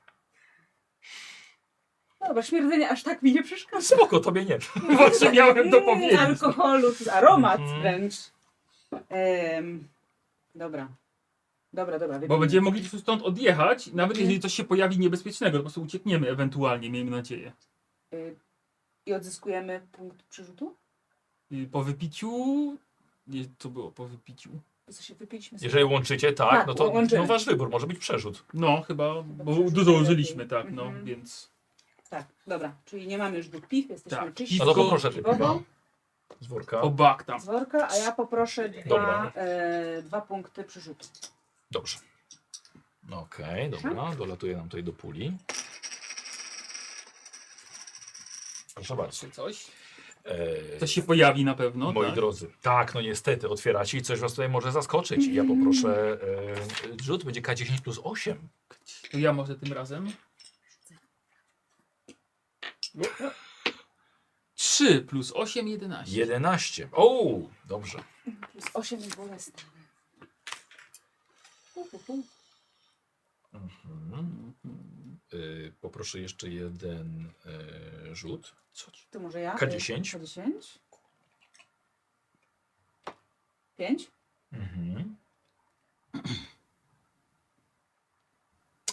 No Dobra, śmierdzenie aż tak mi nie przeszkadza. Spoko, tobie nie. Właśnie miałem to Mm, powiedzieć. Alkoholu, to jest aromat wręcz. Em, dobra. Dobra, dobra. Bo wypijmy. będziemy mogli po prostu stąd odjechać, nawet jeżeli coś się pojawi niebezpiecznego, to po prostu uciekniemy ewentualnie, miejmy nadzieję. Y, I odzyskujemy punkt przerzutu? Y, Po wypiciu... Nie, co było po wypiciu? Co się wypiliśmy sobie. Jeżeli łączycie, tak, Tak, no to łączymy. no, wasz wybór, może być przerzut. No, chyba, bo dużo użyliśmy, tak, no, Mhm. więc... Tak, dobra. Czyli nie mamy już dwóch piw, jesteśmy Tak, czyści. No to poproszę ty piwową, piwa. Z worka. Obak tam. Z worka, a ja poproszę dwa, Dobra. e, dwa punkty przerzutu. Dobrze. No Okej, Tak. dobra, dolatuje nam tutaj do puli. Proszę bardzo. Coś? Eee, Coś się pojawi na pewno, moi tak? drodzy, tak, no niestety, otwieracie i coś was tutaj może zaskoczyć. Ja poproszę eee, rzut, będzie K10 plus 8. To ja może tym razem. Trzy plus osiem, 11. 11. O, dobrze. Plus osiem jest bolesne. Hu, hu, hu. Y, poproszę jeszcze jeden y, rzut. Co? To może ja? K10. K10. 5? Mhm.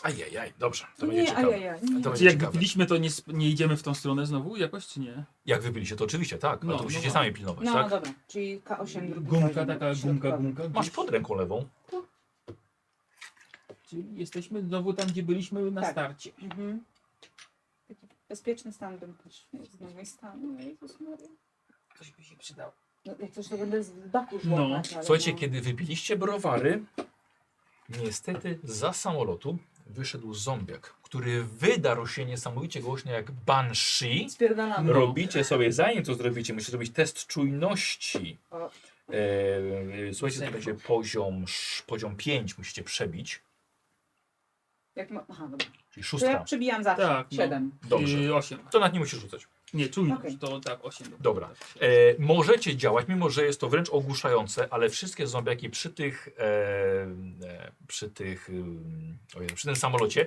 Ajajaj, dobrze. To Nie, będzie ciekawe. ajajaj, nie. To Czy będzie jak ciekawe. wypiliśmy, to nie, sp- nie idziemy w tą stronę znowu jakoś, czy nie? Jak wypiliście, to oczywiście tak, ale No, to musicie no. sami pilnować, No tak? dobra, czyli K8 drugi. Gumka poziom, taka, środkowy. gumka, gumka. Masz pod ręką lewą. Czyli jesteśmy znowu tam, gdzie byliśmy na Tak. starcie. Mhm. Taki bezpieczny stan demokratyczny z nowej stanu. Jezus Maria. Ktoś by się przydał. No, jak coś to będę z dachu żłapać, ale Słuchajcie, no. kiedy wypiliście browary, niestety za samolotu wyszedł zombiak, który wydarł się niesamowicie głośno jak banshee. No. Spierdalamy. Robicie sobie, zanim to zrobicie, musicie zrobić test czujności. O. Eee, słuchajcie, to będzie poziom, sz- poziom 5 musicie przebić, Jak ma... Aha, dobra. czyli To ja szóstka. przebijam zawsze. Tak, no. 7. Dobrze. Yy, osiem. To nad nie musisz rzucać. Nie, czujność, Okej. to tak, 8. Dobra. E, możecie działać, mimo że jest to wręcz ogłuszające, ale wszystkie zombiaki przy tych, e, e, przy tych, ym, ojej, przy tym samolocie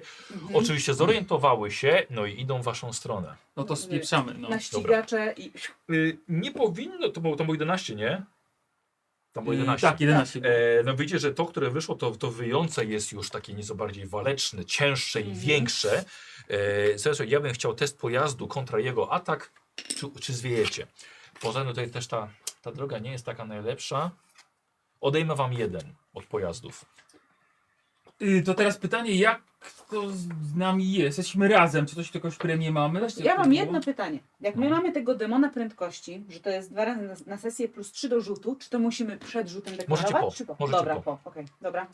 oczywiście zorientowały się, no i idą w waszą stronę. No to spieprzamy, no. Na ścigacze i... Y, nie powinno, to było, to było 11, nie? Tam było Y, 11. tak, 11 było. E, no widzicie, że to, które wyszło, to, to wyjące jest już takie nieco bardziej waleczne, cięższe Mhm. i większe. E, Słuchajcie, ja bym chciał test pojazdu kontra jego atak, czy, czy zwiejecie. Poza tym tutaj też ta, ta droga nie jest taka najlepsza. Odejmę wam jeden od pojazdów. Yy, to teraz pytanie, jak to z z nami jest? Jesteśmy razem, czy coś jakąś premię mamy? Weźcie, Ja jak to mam było. jedno pytanie. Jak my mamy tego demona prędkości, że to jest dwa razy na, na sesję plus trzy do rzutu, czy to musimy przed rzutem Możecie deklarować? po, Czy po? możecie dobra, po. po. Okej, dobra.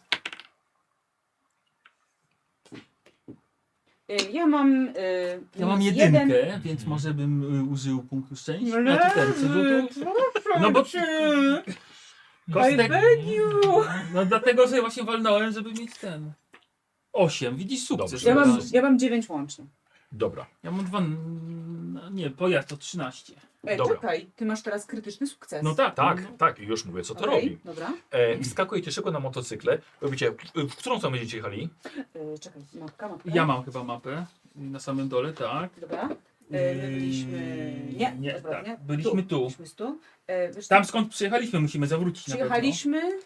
Y, Ja mam. y, Ja mam minus jedynkę, jeden. więc może bym y, użył punktu szczęścia. No Znaczy ten, co lewy, rzutu. No bo I beg you! No dlatego, że właśnie walnąłem, żeby mieć ten. 8, widzisz sukces. Dobrze. Ja mam, Teraz. ja mam dziewięć łącznie. Dobra. ja mam dwa. no Nie, pojazd to 13. Ej, Dobra. E, czekaj, ty masz teraz krytyczny sukces. No tak, Tak, no. tak, już mówię, co to Okej, robi. Dobra. E, wskakujecie szybko na motocykle. Robicie, e, w- w którą stronę będziecie jechali? Y, czekaj, mapka, mapka. Ja mam chyba mapę y, na samym dole, tak. Dobra. E, my byliśmy. Nie, Mm, Nie, dobra, tak. nie. Byliśmy tu. Byliśmy tu. E, wiesz co? Tam skąd przyjechaliśmy, musimy zawrócić na pewno. Przyjechaliśmy.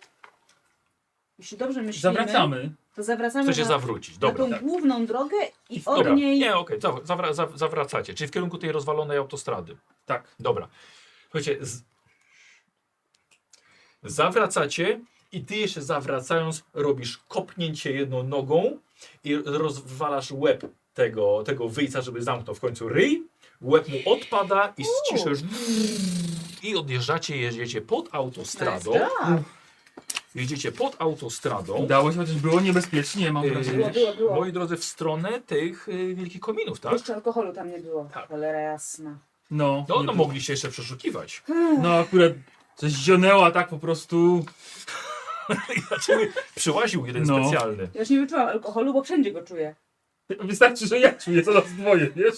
Jeśli dobrze myślimy, Zawracamy. to zawracamy Chcecie na, zawrócić, na dobra. tą główną drogę i, od Dobra, niej nie, okej, zaw- zawra, zaw, zawracacie, czyli w kierunku tej rozwalonej autostrady. Tak. Dobra. Słuchajcie, z... zawracacie i ty jeszcze zawracając robisz kopnięcie jedną nogą i rozwalasz łeb tego, tego wyjca, żeby zamknął w końcu ryj. Łeb mu odpada i ściszę już i odjeżdżacie, jeździecie pod autostradą. Nice job. Jeździcie pod autostradą. Udało się, chociaż było niebezpiecznie, E, mam Yy, wrażenie. było, było. moi drodzy, w stronę tych yy, wielkich kominów, tak? jeszcze alkoholu tam nie było. Tak. Cholera jasna. No, No, nie no było. mogliście jeszcze przeszukiwać. no akurat coś zionęła tak po prostu. Znaczy, przyłaził jeden No. specjalny. Ja już nie wyczułam alkoholu, bo wszędzie go czuję. Wystarczy, że ja czuję to nas dwoje, wiesz?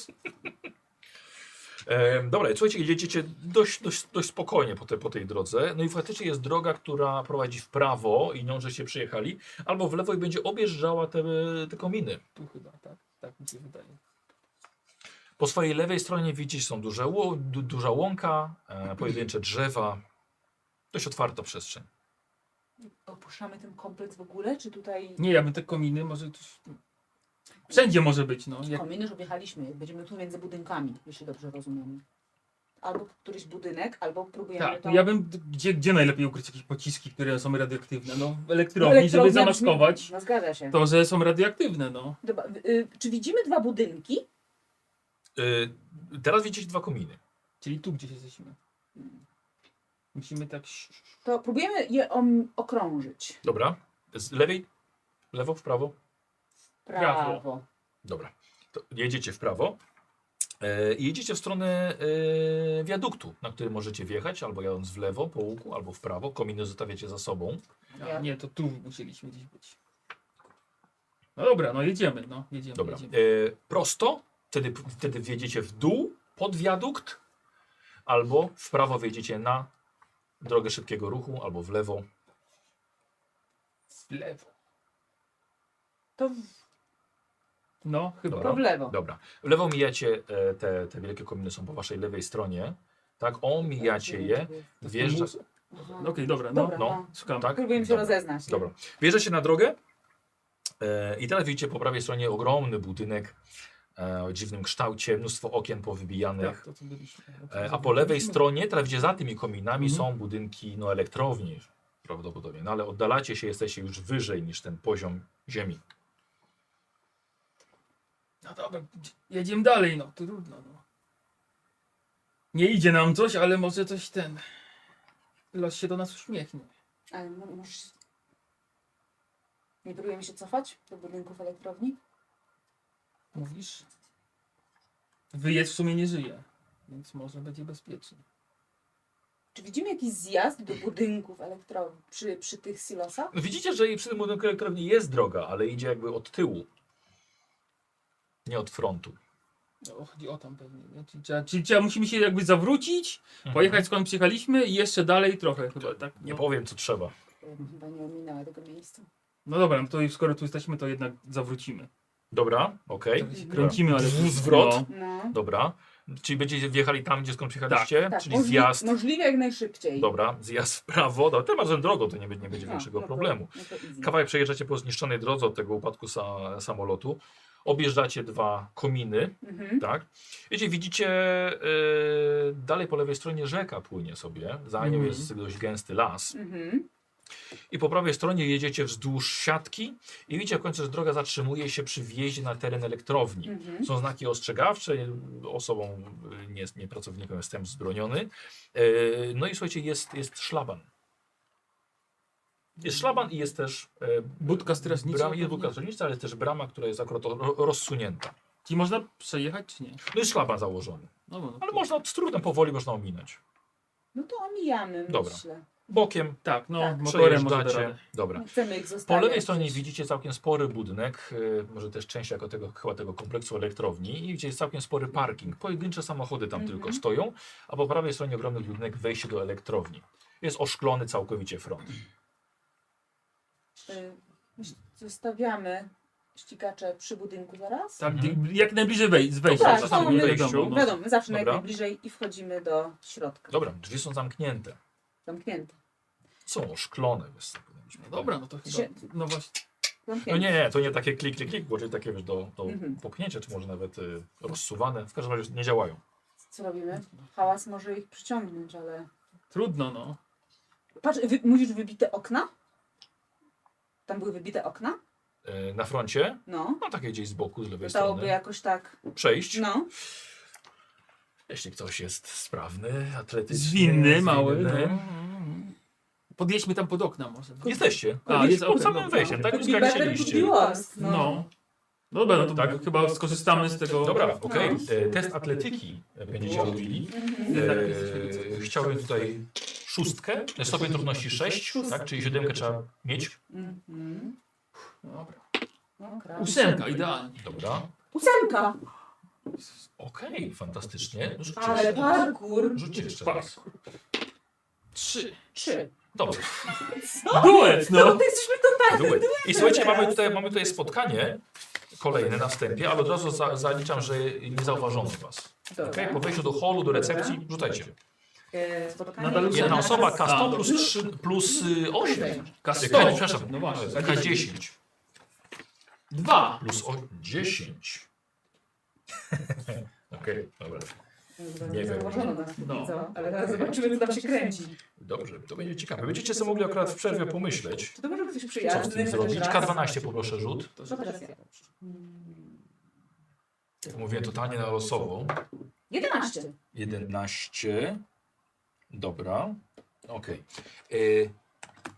E, dobra, słuchajcie, jedziecie dość, dość, dość spokojnie po, te, po tej drodze. No i faktycznie jest droga, która prowadzi w prawo i nią, żeście przyjechali, albo w lewo i będzie objeżdżała te, te kominy. Tu chyba, tak. Tak mi się wydaje. Po swojej lewej stronie widzisz, są duże, ło- du, duża łąka, e, pojedyncze drzewa. Dość otwarta przestrzeń. Opuszczamy ten kompleks w ogóle, czy tutaj Nie, ja bym te kominy może coś... Wszędzie może być, no. Jak... kominy już objechaliśmy? Będziemy tu między budynkami, jeśli dobrze rozumiem. Albo któryś budynek, albo próbujemy Tak, tą- ja bym... Gdzie, gdzie najlepiej ukryć jakieś pociski, które są radioaktywne? No, w No, elektrowni, żeby elektrownia brzmi- zamaskować No zgadza się. to, że są radioaktywne, no. Dobra, y, czy widzimy dwa budynki? E, teraz widzicie dwa kominy. Czyli tu gdzieś jesteśmy. Musimy tak... To próbujemy je om- okrążyć. Dobra, z lewej, lewo, w prawo. Prawo. Prawo. Dobra, to jedziecie w prawo e, i jedziecie w stronę e, wiaduktu, na który możecie wjechać, albo jadąc w lewo po łuku, albo w prawo. Kominy zostawiacie za sobą. A, nie, to tu musieliśmy gdzieś być. No dobra, no jedziemy, no. Jedziemy, Dobra, e, jedziemy. prosto, wtedy, wtedy wjedziecie w dół pod wiadukt, albo w prawo wjedziecie na drogę szybkiego ruchu, albo w lewo. W lewo. To w No, chyba. Dobra. Dobra. W lewo mijacie e, te, te wielkie kominy są po waszej lewej stronie. Tak, omijacie je. Wjeżdża... Aha. Okej, dobra, no, Dobra, no. szukam. Tak? Próbuję się Dobra. rozeznać. Dobra. Wjeżdżacie na drogę e, i teraz widzicie po prawej stronie ogromny budynek e, o dziwnym kształcie, mnóstwo okien powybijanych. Tak, Mhm. to co byliśmy. E, A po lewej stronie, teraz widzicie, za tymi kominami są budynki no, elektrowni prawdopodobnie, no, ale oddalacie się, jesteście już wyżej niż ten poziom ziemi. No dobra, jedziemy dalej, no to trudno. No. Nie idzie nam coś, ale może coś ten. Los się do nas uśmiechnie. Ale no, możesz... Nie próbujemy się cofać do budynków elektrowni? Mówisz? Wyjedz w sumie nie żyje, więc może będzie bezpiecznie. Czy widzimy jakiś zjazd do budynków elektrowni przy, przy tych silosach? No, Widzicie, że i przy tym budynku elektrowni jest droga, ale idzie jakby od tyłu. Nie od frontu. No, chodzi o tam pewnie. Nie? Czyli, trzeba, czyli trzeba, musimy się jakby zawrócić, Mhm. pojechać skąd przyjechaliśmy i jeszcze dalej trochę chyba, tak? Nie No. powiem, co trzeba. Ja bym Chyba nie ominęła tego miejsca. No dobra, no to i skoro tu jesteśmy, to jednak zawrócimy. Dobra, okej. Trochę się kręcimy, ale- Dwu- Zwrot. No. Dobra. Czyli będziecie wjechali tam, gdzie skąd przyjechaliście? Tak, Czyli możli- zjazd. Możliwie jak najszybciej. Dobra, zjazd w prawo. Dobra, tym razem drogą to nie, będzie- nie będzie No, większego no to- problemu. no to easy. Kawałek przejeżdżacie po zniszczonej drodze od tego upadku sa samolotu. Objeżdżacie dwa kominy, Mhm. tak? Wiecie, widzicie y, dalej po lewej stronie rzeka płynie sobie, za nią Mhm. jest dość gęsty las. Mhm. I po prawej stronie jedziecie wzdłuż siatki i widzicie w końcu, że droga zatrzymuje się przy wjeździe na teren elektrowni. Mhm. Są znaki ostrzegawcze, osobą, y, nie, nie pracownikiem jestem zbroniony. E, No i słuchajcie, jest, jest szlaban. Jest szlaban i jest też e, Budka strażnicza Brama, pewnie? jest budka strażnicza, ale jest też brama, która jest akurat ro- rozsunięta. Czyli można przejechać czy nie? No jest szlaban założony. No, no, Ale można z trudem powoli można ominąć. No to omijamy, Dobra. myślę. Bokiem. Tak, no, tak. motorem może da radę. Dobra. Nie chcemy ich Po zostawiać. lewej stronie widzicie całkiem spory budynek, y, może też część jako tego, chyba tego kompleksu elektrowni i widzicie jest całkiem spory parking. Pojedyncze samochody tam Mhm. tylko stoją, a po prawej stronie ogromny budynek wejście do elektrowni. Jest oszklony całkowicie front. Y, myśl- Zostawiamy ścigacze przy budynku zaraz. Tak, gdy- jak najbliżej wej- z wejścia. Tak, Zawsze to są my, w wejściu. no. wiadomo, wiadomo, zawsze Dobra. najbliżej i wchodzimy do środka. Dobra, drzwi są zamknięte. Zamknięte. Są oszklone. Wiesz, co powinniśmy No dobra, no to chyba. Się- No właśnie. No Zamknięte. nie, to nie takie klik, klik, klik, bo czyli takie wiesz, do, do Mhm. popchnięcia, czy może nawet y, rozsuwane. W każdym razie nie działają. Co robimy? Hałas może ich przyciągnąć, ale... Trudno, no. Patrz, wy, mówisz wybite okna? Tam były wybite okna? Y, na froncie, No. no takie gdzieś z boku, z lewej Dałoby strony, jakoś tak... przejść. No. Jeśli ktoś jest sprawny, atletyczny, Zwinny, mały. No. zwinny. Podjedźmy tam pod okna może. Jesteście. A, jest pod okno. samym wejściem, tak? Could be better, could be worse. No. No. Dobra, no to Tak. chyba skorzystamy z tego. Dobra, okej. E, Test atletyki będziecie robili. E, chciałbym tutaj szóstkę, stopień trudności 6, tak? Czyli siódemkę trzeba mieć. Mhm. Dobra. Dobra. Ósemka, idealnie. Dobra. Ósemka! Okej, fantastycznie. No Rzućcie Ale jeszcze raz. parkour. Rzućcie jeszcze raz. Trzy. Trzy. Dobrze. Duet, no. To jesteśmy totalnie Duet. I słuchajcie, mamy tutaj, mamy tutaj spotkanie kolejne na wstępie, ale od razu za, zaliczam, że nie zauważono was. Okej, po wejściu do holu, do recepcji, rzucajcie. E, Nadal Jedna osoba, tak. A, K100 plus dobrze. 3, plus y, 8. K100. K- Przepraszam, No właśnie. K10 Dwa. plus o- 10. Okej, dobra. Tak. Nie wiem. No. No. Ale teraz zobaczymy, co tam się kręci. Dobrze, to będzie ciekawe. Będziecie sobie mogli akurat w przerwie pomyśleć, Czy to może być Tak. co z przyjazny? tym zrobić. chociaż raz? K12 poproszę rzut. To teraz ja. Jak mówiłem, totalnie na losowo. 11. 11. Dobra. Okej. Y,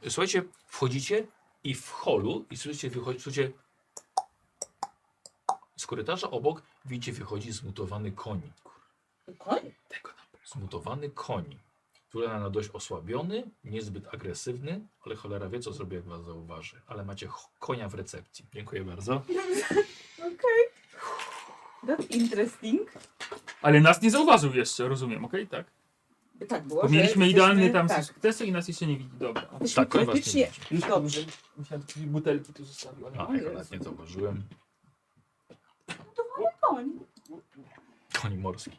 Słuchajcie, wchodzicie i w holu i słyszycie, wychodzi, słyszycie z korytarza obok widzicie wychodzi zmutowany koń. Koń? Zmutowany koń. Wygląda na dość osłabiony, niezbyt agresywny, ale cholera wie co zrobi jak was zauważy. Ale macie ch- konia w recepcji. Dziękuję bardzo. Okej. That interesting. Ale nas nie zauważył jeszcze, rozumiem, okej, tak? Tak było. Bo że mieliśmy jesteśmy- idealny tam Tak. sukcesy i nas jeszcze nie widzi. Dobra. Jesteśmy Tak, koń was nie teoretycznie widzi. Już dobrze. Myślałem, że butelki tu zostawiła. A, Ojej. akurat nie zauważyłem. koń. Koń morski.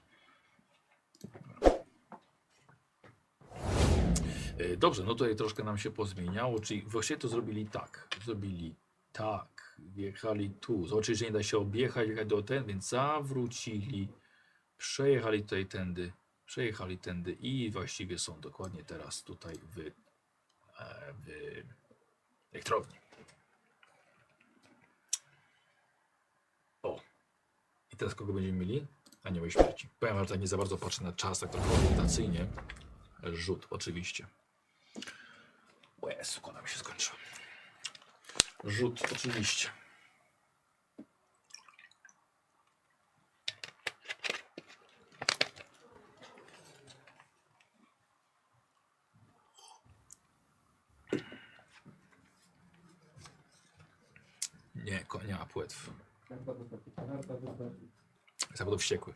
E, Dobrze, no tutaj troszkę nam się pozmieniało, czyli właściwie to zrobili tak. Zrobili tak, wjechali tu, zobaczyli, że nie da się objechać, jechać do ten, więc zawrócili, przejechali tutaj tędy, przejechali tędy i właściwie są dokładnie teraz tutaj w, e, w elektrowni. O. I teraz kogo będziemy mieli? Anioły śmierci. Powiem, wam, że tak nie za bardzo patrzę na czas, tak trochę orientacyjnie. Rzut, oczywiście. O Jezu, ona mi się skończyła. Rzut, oczywiście. Nie, konia, płetw. Zawodów wściekły.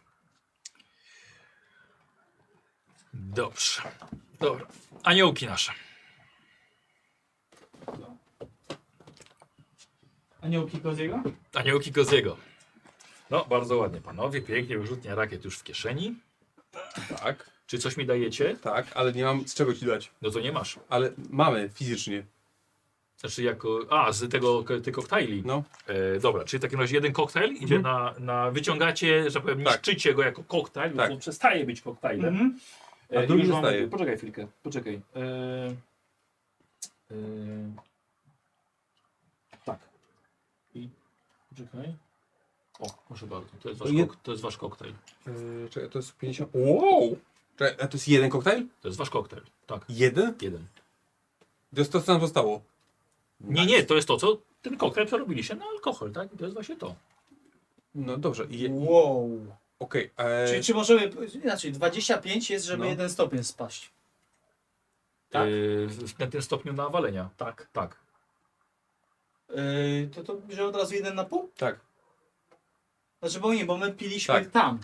Dobrze. Dobra. Aniołki nasze. Aniołki Koziego? Aniołki Koziego. No, bardzo ładnie, panowie. Pięknie wyrzutnia rakiet już w kieszeni. Tak. Czy coś mi dajecie? Tak, ale nie mam z czego ci dać. No to nie masz. Ale mamy fizycznie. Znaczy jako... A, z tego, tych koktajli. No. Mhm. E, dobra, czyli w takim razie jeden koktajl idzie na, na... Wyciągacie, że tak powiem, niszczycie go jako koktajl, Tak. bo on przestaje być koktajlem. Mhm. A E, drugi już mamy- zostaje. Poczekaj chwilkę, poczekaj. E, e, tak. I... Poczekaj. O, proszę bardzo, to jest wasz, Je- kok, to jest wasz koktajl. Yy, czekaj, to jest 50. Wow! Czekaj, a to jest jeden koktajl? To jest wasz koktajl, tak. Jeden? Jeden. To jest to, co nam zostało. Nie, nie, to jest to, co ten koktajl przerobiliście na alkohol, tak? I to jest właśnie to. No dobrze. Je... Wow. Okej, e, okay, Czyli czy możemy, inaczej, 25 jest, żeby No. jeden stopień spaść. Tak? na tym stopniu nawalenia. Tak. Tak. Yy, to to bierze od razu jeden na pół? Tak. Znaczy, bo nie, bo my piliśmy Tak. tam.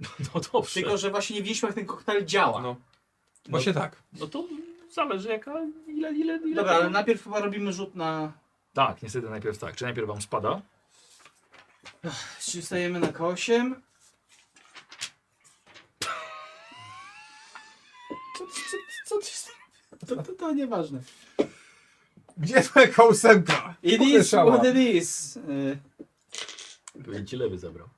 No dobrze. Tylko, że właśnie nie wiedzieliśmy, jak ten koktajl działa. No. Właśnie tak. No to zależy jaka, ile, ile, ile... Dobra, ale tego- najpierw chyba robimy rzut na... Tak, niestety najpierw tak. Czy najpierw wam spada? Czy stajemy na K8? Co, co, co, co, to, to, to nieważne. Gdzie taka ósemka? It is what it is. Y, Pewnie ci lewy zabrał.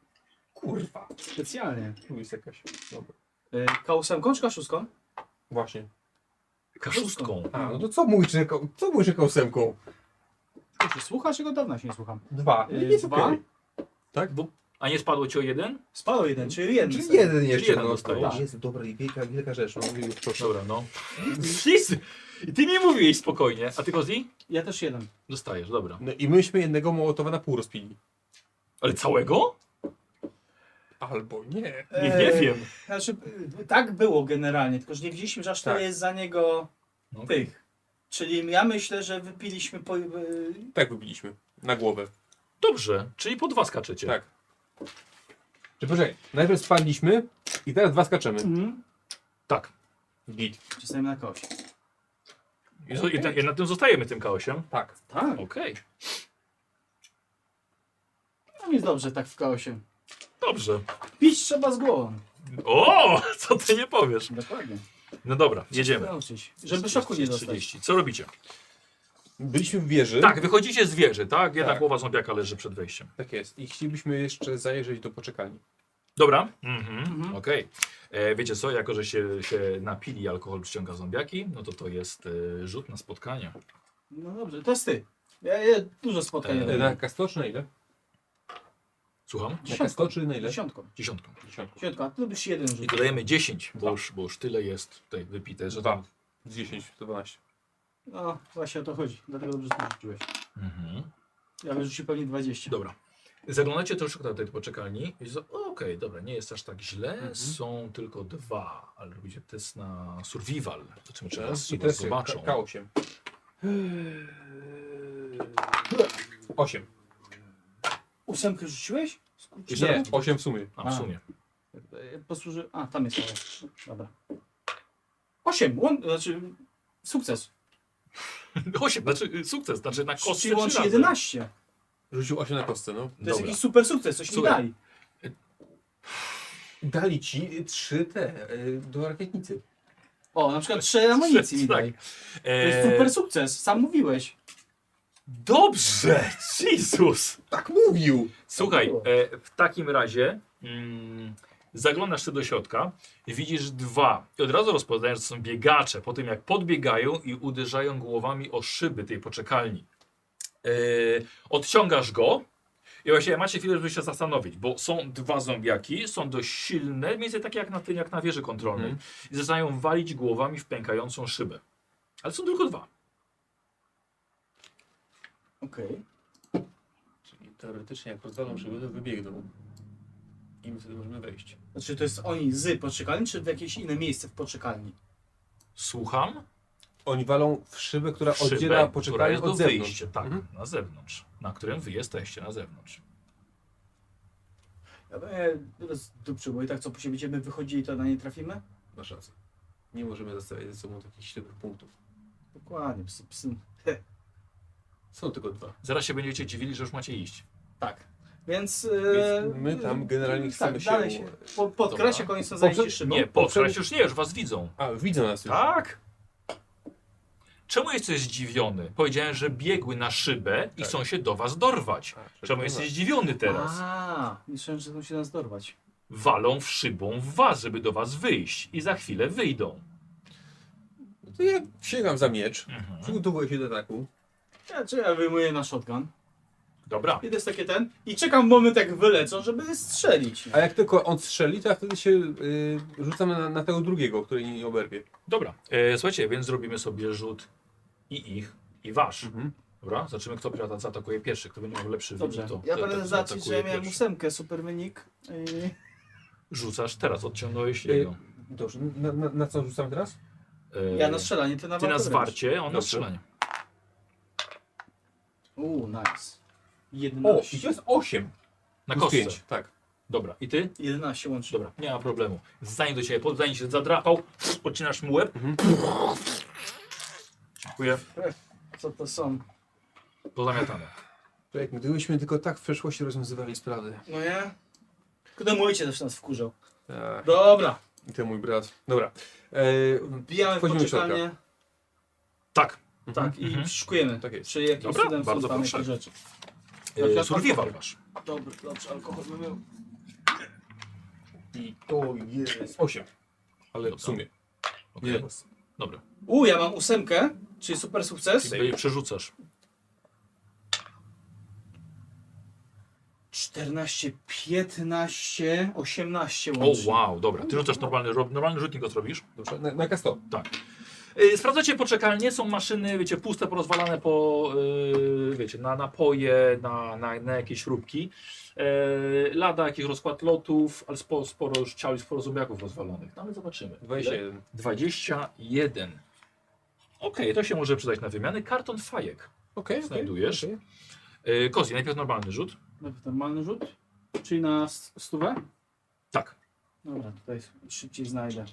Kurwa. Specjalnie. Tu jest jakaś. Dobra. Y, K8 czy K6? Właśnie. Kaszustką. A, no to co mój czy, co mój czy ósemką? Czy słuchasz? Jego dawno się nie słucham. Dwa. Y, Jest dwa. okej. Tak? Bo, a nie spadło ci o jeden? Spadł E, jeden, czyli jeden. Czyli staje. jeden jeszcze. jeden no, dostajesz. tak. Jezu, dobra, i wielka, wielka rzecz. No, już proszę. Dobra, no. Wszyscy! I ty mi mówiłeś spokojnie. A ty Kozi? Ja też jeden. Dostajesz, dobra. No i myśmy jednego Mołotowa na pół rozpili. Ale całego? Albo nie. Nie, nie Eee, wiem. Znaczy, y, tak było generalnie, tylko że nie widzieliśmy, że aż tyle Tak. jest za niego No. tych. Czyli ja myślę, że wypiliśmy po... y, Tak wybiliśmy. Na głowę. Dobrze, czyli po dwa skaczecie. Tak. Czy poczekaj, najpierw spadliśmy i teraz dwa skaczemy. Tak. Git. Czasem Mhm. na kogoś. I, zo- i, te- i na tym zostajemy, tym K8. Tak. Tak, Okej, tam jest dobrze tak w K8. dobrze. Pić trzeba z głową. O, co ty nie powiesz? Dokładnie. No dobra, jedziemy. Nauczyć, żeby szoku nie dostać. 30. Co robicie? Byliśmy w wieży. Tak, wychodzicie z wieży, tak? Jedna Tak. głowa zombiaka leży przed wejściem. Tak jest. I chcielibyśmy jeszcze zajrzeć do poczekalni. Dobra. Mhm. Okej. E, Wiecie co, jako że się, się napili, alkohol przyciąga zombiaki, no to to jest e, rzut na spotkanie. No dobrze, to jest ty. Ja, ja dużo spotkań. Eee, E, robię. Na kasto czy na ile? Słucham? Na kasto czy na ile? Dziesiątką. Dziesiątką. Dziesiątku. Dziesiątka, a ty lubisz jeden I rzut. dodajemy 10, bo już, bo już tyle jest tutaj wypite, że tam... Dwa. Z 10 to 12. No, właśnie o to chodzi. Dlatego dobrze że ty rzuciłeś. Mhm. Ja bym rzucił pewnie 20. Dobra. Zaglądacie troszkę na tej poczekalni i zo- okej, dobra, nie jest aż tak źle, są tylko dwa, ale robicie test na survival. Zobaczymy, czy raz czy I was teraz K- zobaczą. K8. 8. Ósemkę rzuciłeś? Jeszcze Nie, raz? 8 w sumie. A, w sumie. E, Posłuży... A, tam jest. ale- Dobra. Osiem. Łą... Znaczy, sukces. 8, znaczy y, sukces, znaczy na kostce Czyli trzy łącznie razy. 11. To Rzucił 8 na kostce, no. jest Dobra. jakiś super sukces, coś mi Słuchaj. dali. Dali ci trzy te y, do rakietnicy. Tak. O, na przykład trzy amunicji mi daj. To Eee. jest super sukces, sam mówiłeś. Dobrze! Jezus! Tak mówił! Słuchaj, e, w takim razie mm, zaglądasz ty do środka, widzisz dwa i od razu rozpoznajesz, że to są biegacze, po tym jak podbiegają i uderzają głowami o szyby tej poczekalni. E, odciągasz go i właśnie macie chwilę, żeby się zastanowić, bo są dwa zombiaki, są dość silne, mniej więcej takie jak na, tym, jak na wieży kontrolnej Mhm. i zaczynają walić głowami w pękającą szybę. Ale są tylko dwa. Okej. Czyli teoretycznie jak rozwalą szybę, to wybiegną. I my wtedy możemy wejść. Znaczy to jest oni z poczekalni, czy w jakieś inne miejsce w poczekalni? Słucham? Oni walą w szybę, która W szybę, oddziela która poczekalnię jest do od zewnątrz. Mhm. wyjścia, tak, na zewnątrz, na którym wy jesteście, na zewnątrz. Ja bym je rozdupczył, bo i tak co po siebie będziemy wychodzili, to na nie trafimy? Masz rację. Nie możemy zostawiać ze sobą takich ślepych punktów. Dokładnie, psy, psy. Są tylko dwa. Zaraz się będziecie dziwili, że już macie iść. Tak. Więc, e, Więc my tam generalnie chcemy tak, się- dalej się. Po, pod Dobra. krasie oni są zajęci szybą. Nie, po kresie już nie, już was widzą. No, A, widzą nas już. Tak! Czemu jesteś zdziwiony? Powiedziałem, że biegły na szybę Tak. i chcą się do was dorwać. Czemu no. jesteś zdziwiony teraz? A, myślałem, że chcą się nas dorwać. Walą w szybą w was, żeby do was wyjść i za chwilę wyjdą. No To ja sięgam za miecz, przygotowuję się do ataku. Ja, czy ja wyjmuję na shotgun. Dobra. I to jest takie ten. I czekam moment jak wylecą, żeby strzelić. A jak tylko on strzeli, to ja wtedy się y, rzucam na, na tego drugiego, który nie oberwie. Dobra, e, słuchajcie, więc zrobimy sobie rzut i ich, i wasz. Mhm. Dobra, zobaczymy, kto pirata zaatakuje pierwszy, kto będzie miał lepszy Dobrze. wynik, to Ja ten, będę ten zacząć, że zaatakuje ja miałem pierwszy. ósemkę, super wynik. I... Rzucasz teraz, odciągnąłeś Y, jego. dobrze, na, na, na co rzucam teraz? E, Ja na strzelanie, ty na Ty na walkę zwarcie, on na Dobrze. strzelanie. Uuu, nice. O, 11. i to jest 8. Na Plus kostce. pięć, Tak. Dobra, i ty? 11 łącznie. Dobra, nie ma problemu. Zanim do ciebie, pod- zanim się zadrapał, odcinasz mu łeb. Dziękuję. Co to są? Pozamiatane. To jak gdybyśmy tylko tak w przeszłości rozwiązywali sprawy. No nie? Kiedy mój ojciec zawsze nas wkurzał. Tak. Dobra, I to mój brat. Dobra. E, bijamy w Wchodzimy w środka. poczekalnię. Tak. Tak, i szukujemy. Tak jest. Czy jakieś Dobra, cudem są bardzo tam proszę. jakieś rzeczy. E, Survival masz. Dobry, dobrze, alkohol bym miał. I to jest 8. Ale Dobra. w sumie. Okej. Nie. Dobra, U, ja mam ósemkę, czyli super sukces. czyli przerzucasz. 14, 15, 18 O łącznie. wow, dobra, ty rzucasz normalny, ro- normalny rzutnik, go zrobisz. Dobrze. Na, na kasto. Tak. Y, Sprawdzacie poczekalnie, są maszyny, wiecie, puste, porozwalane po, y, wiecie, na napoje, na, na, na jakieś śrubki. Y, lada, jakiś rozkład lotów, ale sporo, sporo już ciał i sporo zombiaków rozwalonych. No ale zobaczymy. 21. 21. Okej, to się może przydać na wymiany. Karton fajek. Okej, okej, Znajdujesz. okej. Yy, Kozi, najpierw normalny rzut. Nawet Normalny rzut? Czyli na s- stówę? Tak. Dobra, tutaj szybciej znajdę.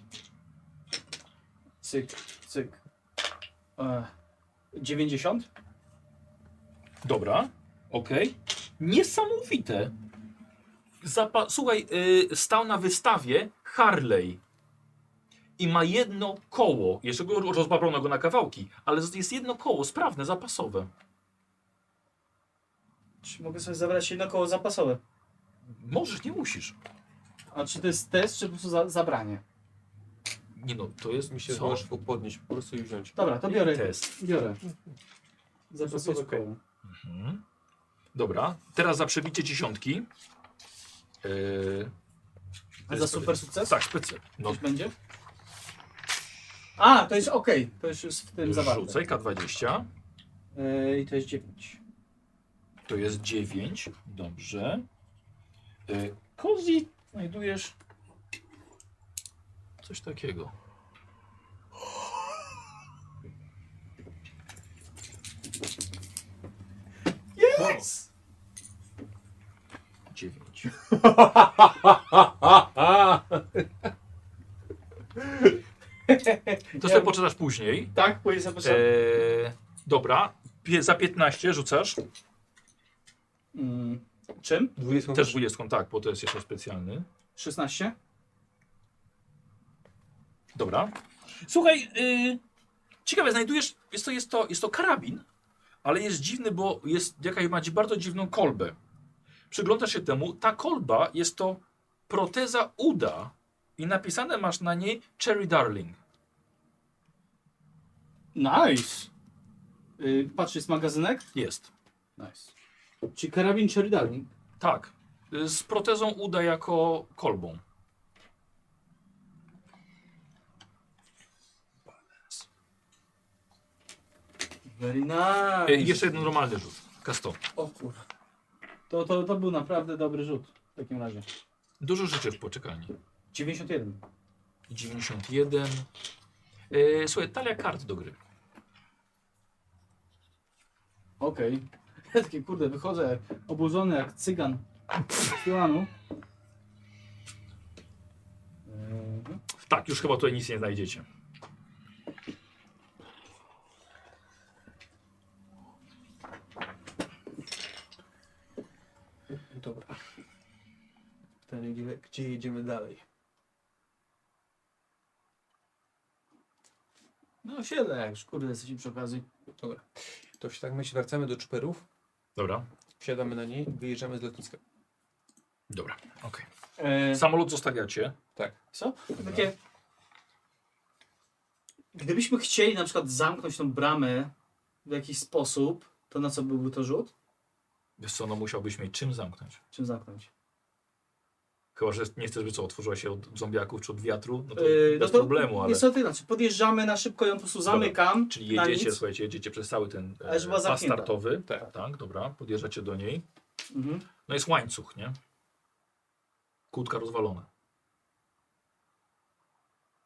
Cyk, cyk. E, 90? Dobra. Okej. Niesamowite. Zapa Słuchaj, y, stał na wystawie Harley i ma jedno koło. Jeszcze go rozbawiono go na kawałki, ale jest jedno koło sprawne, zapasowe. Czy mogę sobie zabrać jedno koło zapasowe? Możesz, nie musisz. A czy to jest test, czy po prostu za, zabranie? Nie no, to jest Mi się co? możesz podnieść po prostu i wziąć. Dobra, to biorę. Test. Biorę. Zapasowe koło. Mhm. Dobra, teraz za przebicie dziesiątki. Yy, A za super sukces? tak, szpycy. No, Coś będzie? A, to jest ok, to już jest w tym zawarte. rzucaj K20. E, I to jest 9. To jest 9. Dobrze. Y, Kozi, znajdujesz coś takiego. Yes! 9. To sobie poczytasz później. Tak, pójdę zapasowe. Eee, dobra. Pie, za 15 rzucasz. Mm, czym? 20. Mm, Też 20, tak, bo to jest jeszcze specjalny. 16? Dobra. Słuchaj, y, ciekawe, znajdujesz, jest to, jest, to, jest to karabin, ale jest dziwny, bo jest jakaś ma dzi- bardzo dziwną kolbę. Przyglądasz się temu, ta kolba jest to proteza uda i napisane masz na niej Cherry Darling. Nice! Y, patrz, jest magazynek? Jest. Nice. Czy karabin Cherry Darling? Tak. Y, Z protezą uda jako kolbą. Very nice! Y, Jeszcze jeden normalny rzut. Kasto. O kurwa. To, to, to był naprawdę dobry rzut w takim razie. Dużo życzę w poczekalni. 91. 91. Y, Słuchaj, talia kart do gry. Okej. Ja takie kurde, wychodzę jak obudzony jak cygan z Milanu. Mhm. Tak, już chyba tutaj nic nie znajdziecie. Dobra. Pytanie, gdzie, gdzie jedziemy dalej? No siedzę, jak już kurde jesteśmy przy okazji. Dobra. To się tak myślę, wracamy do czperów, Dobra. wsiadamy na niej, wyjeżdżamy z lotniska. Dobra, okej. E, Samolot zostawiacie. Tak. Co? Takie... Gdybyśmy chcieli na przykład zamknąć tą bramę w jakiś sposób, to na co byłby to rzut? Wiesz co, no musiałbyś mieć czym zamknąć. Czym zamknąć? Chyba, że nie chcesz, by co, otworzyła się od zombiaków czy od wiatru, no to Yy, bez problemu, ale... Jest to inaczej. Podjeżdżamy na szybko, ją po prostu zamykam. Czyli na jedziecie, nic. słuchajcie, jedziecie przez cały ten e, Ale żeby była pas zamknięta. startowy. Tak. tak, dobra, podjeżdżacie do niej. Mhm. No jest łańcuch, nie? Kłódka rozwalona.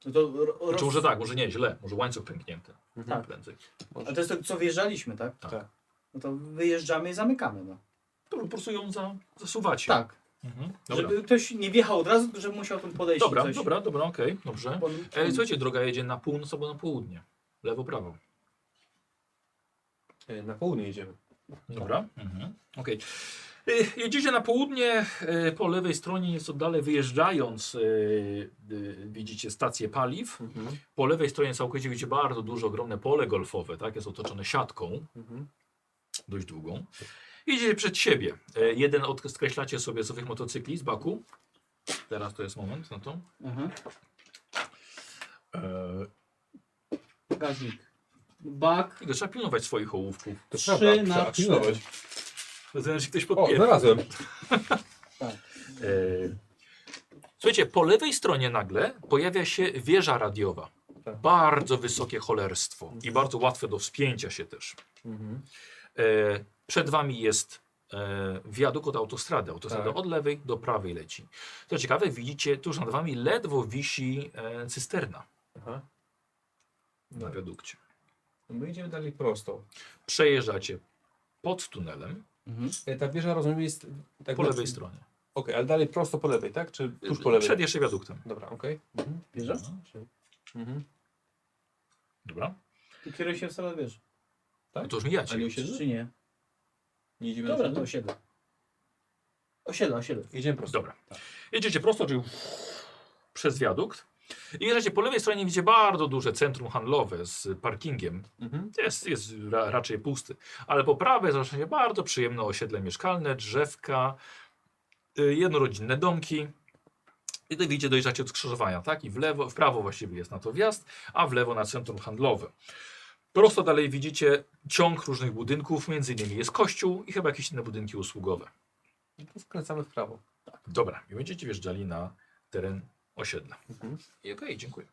No to ro- roz... Znaczy może tak, może nie, źle, może łańcuch pęknięty. Tak. Prędzej. A to jest to, co wjeżdżaliśmy, tak? Tak. No to wyjeżdżamy i zamykamy. No. To po prostu ją za, zasuwacie. Tak. Mhm. Dobra. Żeby ktoś nie wjechał od razu, tylko żeby musiał tam podejść. Dobra, coś. dobra, dobra, okej, dobrze. Pod- E, słuchajcie, droga jedzie na północ albo na południe. Lewo, prawo. E, Na południe jedziemy. Dobra. Mhm. Okej. Y, Jedziecie na południe, y, po lewej stronie nieco dalej wyjeżdżając y, y, widzicie stację paliw. Mhm. Po lewej stronie całkowicie widzicie bardzo duże, ogromne pole golfowe, tak? Jest otoczone siatką, Mhm. dość długą. Jedziecie przed siebie. Y, Jeden odskreślacie sobie z owych motocykli z baku. Teraz to jest moment na to. Mhm. E, Bagażnik. Bak. tylko trzeba pilnować swoich ołówków. To Trzy trzeba, na trzeba cztery. pilnować. Zatem się ktoś O, no. podpiera. znalazłem. E, Słuchajcie, po lewej stronie nagle pojawia się wieża radiowa. Tak. Mhm. Bardzo wysokie cholerstwo i bardzo łatwe do wspięcia się też. E, Przed wami jest e, wiadukt od autostrady. Autostrada Tak. od lewej do prawej leci. Co ciekawe, widzicie, tuż nad wami ledwo wisi e, cysterna Aha. na wiadukcie. No My idziemy dalej prosto. Przejeżdżacie pod tunelem Mhm. E, Ta wieża, rozumiem, jest... Tak po na- lewej stronie. Okej, ale dalej prosto po lewej, tak? Czy tuż po lewej? Przed jeszcze wiaduktem. Dobra, okej. Mhm. Wieża? Mhm. Dobra. Ty kieruj się w stronę wieży. No to już mijacie. A nie Czy, osiedle? czy nie? Nie idziemy Dobra, na to osiedle? osiedle. Osiedle, osiedle. Jedziemy prosto. Dobra. Jedziecie prosto, czyli przez wiadukt. I jeżdżacie po lewej stronie, widzicie bardzo duże centrum handlowe z parkingiem. Mhm. Jest, jest ra, raczej pusty. Ale po prawej zaczyna się bardzo przyjemne osiedle mieszkalne, drzewka, y, jednorodzinne domki. I tutaj widzicie, dojeżdżacie od skrzyżowania, tak? I w lewo, w prawo właściwie jest na to wjazd, a w lewo na centrum handlowe. Prosto dalej widzicie ciąg różnych budynków, między innymi jest kościół i chyba jakieś inne budynki usługowe. No to skręcamy w prawo. Dobra, i będziecie wjeżdżali na teren osiedla. I okej, dziękuję.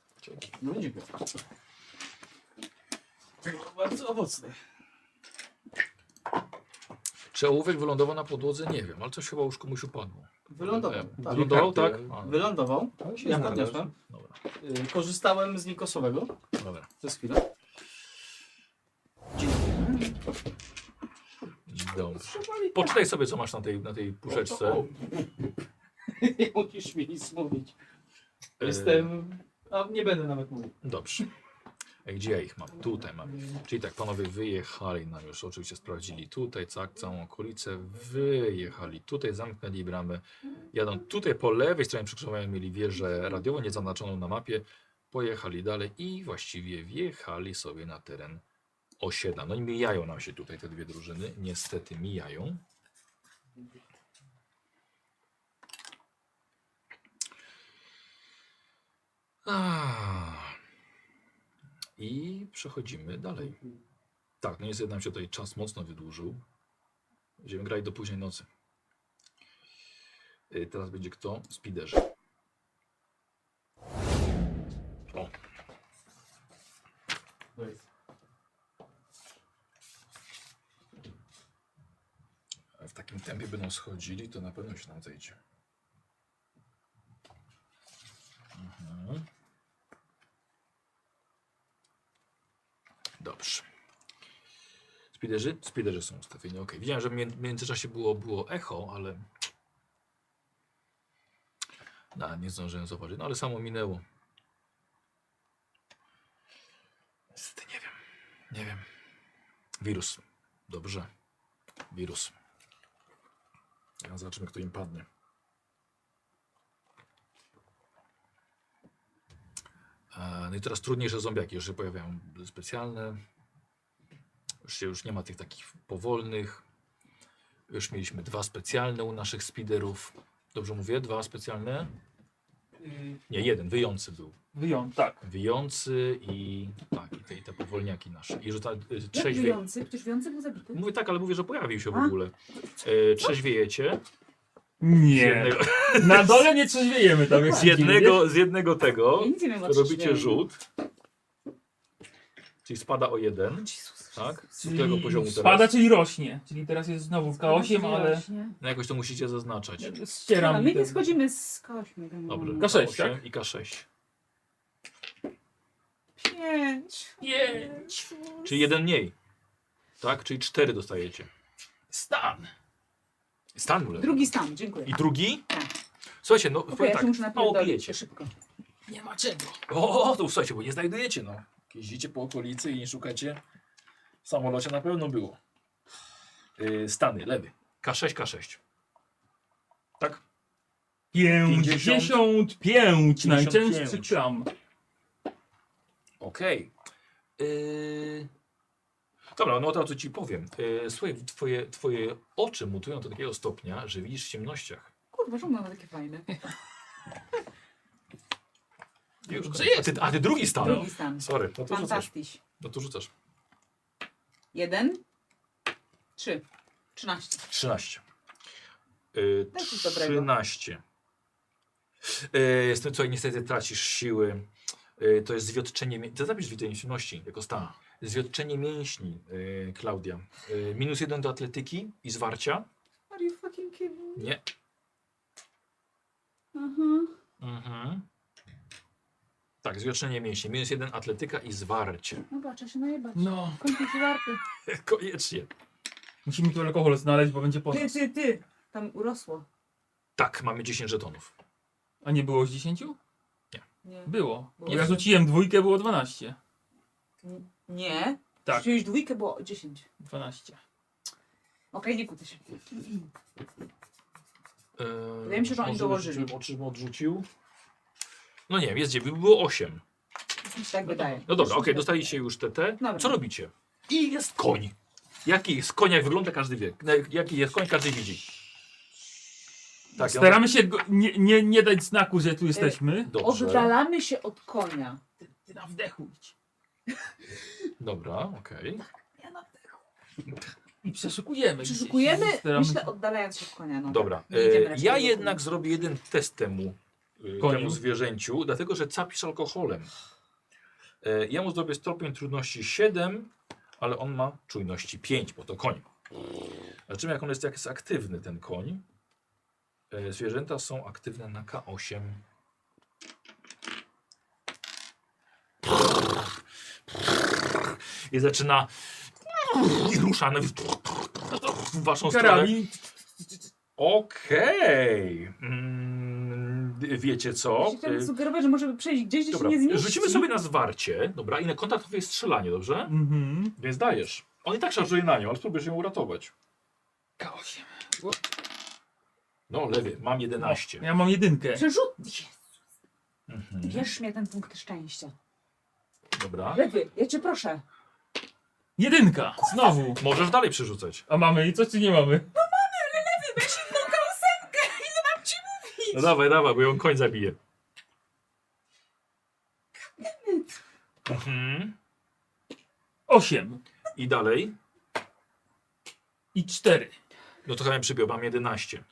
No będzie go. Bardzo owocny. Czy ołówek wylądował na podłodze? Nie wiem, ale coś chyba już komuś upadło. Wylądował. E, Tak. Wylądował, tak? Karty. A, Wylądował. Ale się Ja znalazł. podniosłem. Dobra, Y, Korzystałem z Nikosowego dobra. przez chwilę. Dobrze. Poczytaj sobie, co masz na tej, na tej puszeczce. Nie musisz mi nic mówić. E, Eee. Jestem... A nie będę nawet mówił. Dobrze. Ej, Gdzie ja ich mam? Tutaj mam. Czyli tak, panowie wyjechali nam już, oczywiście sprawdzili tutaj, tak, całą okolicę, wyjechali tutaj, zamknęli bramę, jadą tutaj po lewej stronie przekrzyżowania mieli wieżę radiową, niezaznaczoną na mapie, pojechali dalej i właściwie wjechali sobie na teren osiedla. No i mijają nam się tutaj te dwie drużyny, niestety mijają. Ah. I przechodzimy dalej. Tak, no niestety nam się tutaj czas mocno wydłużył. Będziemy grać do późnej nocy. Y, Teraz będzie kto? Spiderze. O. A e, W takim tempie będą schodzili, to na pewno się nam zejdzie. Mhm. Dobrze. Spiderzy? Spiderzy są ustawieni. Ok. Widziałem, że w mię- międzyczasie było, było echo, ale. No, nie zdążyłem zauważyć. No ale samo minęło. Niestety nie wiem. Nie wiem. Wirus. Dobrze. Wirus. Teraz Zobaczymy, kto im padnie. E, No i teraz trudniejsze zombiaki już się pojawiają specjalne. Już, się, już nie ma tych takich powolnych. Już mieliśmy dwa specjalne u naszych spiderów. Dobrze mówię? Dwa specjalne? Nie, jeden, wyjący był. Wyjął, tak. Wyjący i, tak, i, te, i te powolniaki nasze. I że ta y, Jak trzeźwie... wyjący? Przecież wyjący był zabity. Mówię tak, ale mówię, że pojawił się w A? ogóle. E, trzeźwiejecie. Nie. Z jednego, Na dole nie trzeźwiejemy tam. jak z widzimy, jednego, z jednego tego Ja nic nie wiem, o co No, robicie trzeźwiejemy. rzut. Czyli spada o jeden. Tak? Z Czyli tego poziomu teraz. Spada, czyli rośnie. Czyli teraz jest znowu w K8, Spada, czyli ale rośnie. No jakoś to musicie zaznaczać. A ścieram. my nie ten- schodzimy z kośmi. Dobrze. K6, K8 tak? I K6. Pięć. Pięć. Czyli jeden mniej. Tak? Czyli cztery dostajecie. Stan. Stan uległ. Drugi stan, dziękuję. I drugi? Słuchajcie, no Okej, powiem ja się muszę tak, mało napierdolić pijecie. to szybko. Nie ma czego. O, to słuchajcie, bo nie znajdujecie, no. Jeździcie po okolicy i nie szukacie. W samolocie na pewno było. Yy, Stany, lewy. K6, K6. Tak? 55 najczęstszy 55. klam. Okej. Yy... Dobra, no to co ci powiem. Yy, słuchaj, twoje, twoje oczy mutują do takiego stopnia, że widzisz w ciemnościach. Kurwa, czemu mamy takie fajne? Już, a, ty, a ty drugi stan. Drugi stan. Sorry, no to rzucasz. Fantastyś. No to rzucasz. Jeden. Trzy. Trzynaście. 13. Yy, Też nic dobrego. 13. Yy, z tym, co niestety tracisz siły. Yy, to jest zwiotczenie. mię- To zapisz widzenie silności jako stan. Zwiotczenie mięśni, yy, Klaudia. Yy, minus jeden do atletyki i zwarcia. Are you fucking kidding? Nie. Aha. Mhm. Tak, zwiotczenie mięśni. Minus jeden atletyka i zwarcie. No patrzę się najebać. No. Kończy się warty. Koniecznie. Musimy tu alkohol znaleźć, bo będzie po Ty, nas. ty, ty. Tam urosło. Tak, mamy 10 żetonów. A nie było z 10? Nie. Było. Było Ja z- rzuciłem dwójkę, było 12. Nie. Tak. Czyli dwójkę było dziesięć. 12. Okej, nie kłócę się. Yy, Wydaje mi się, że oni może dołożyli. rzuciłem, Oczy odrzucił. No nie, jest 9, było 8. Mi się Tak wydaje. No dobra, okej, dostaliście już te te. Dobra. Co robicie? I jest koń. Jaki jest koń, jak wygląda każdy wie. Na- Jaki jest koń, każdy widzi. Tak, ja- Staramy się go, nie, nie, nie dać znaku, że tu jesteśmy. Dobrze. Oddalamy się od konia. Ty na wdechu idź. Dobra, okej. I przeszukujemy. gdzieś. Przeszukujemy, Staramy myślę, się- oddalając się od konia. No. Dobra. Nie idziemy E, raczej ja do jednak konia. zrobię jeden test temu, e, Koniu. temu zwierzęciu, dlatego że capisz alkoholem. E, ja mu zrobię stopień trudności 7, ale on ma czujności 5, bo to koń. Zobaczymy, jak on jest, jak jest aktywny ten koń. E, zwierzęta są aktywne na K8. I zaczyna i rusza na- w waszą stronę. Karami. Okej. Mm, wiecie co? E, Chciałem sugerować, że możemy przejść gdzieś, gdzie Dobra, się nie zmieści. rzucimy sobie na zwarcie, dobra, i na kontaktowe jest strzelanie, dobrze? Mhm. Więc dajesz. On i tak szarżuje na nią, ale spróbujesz ją uratować. K8. No, lewy, mam 11. Ja mam jedynkę. Przerzut! Jezus. Mhm. Bierz mnie ten punkt szczęścia. Dobra. Lewy, ja cię proszę. Jedynka! Znowu! Możesz dalej przerzucać. A mamy i coś czy nie mamy? Weź inną kałusenkę! Ile mam ci mówić? No dawaj, dawaj, bo ją koń zabije. Mhm. 8 I dalej? i 4. No to chyba mnie przybił, mam 11.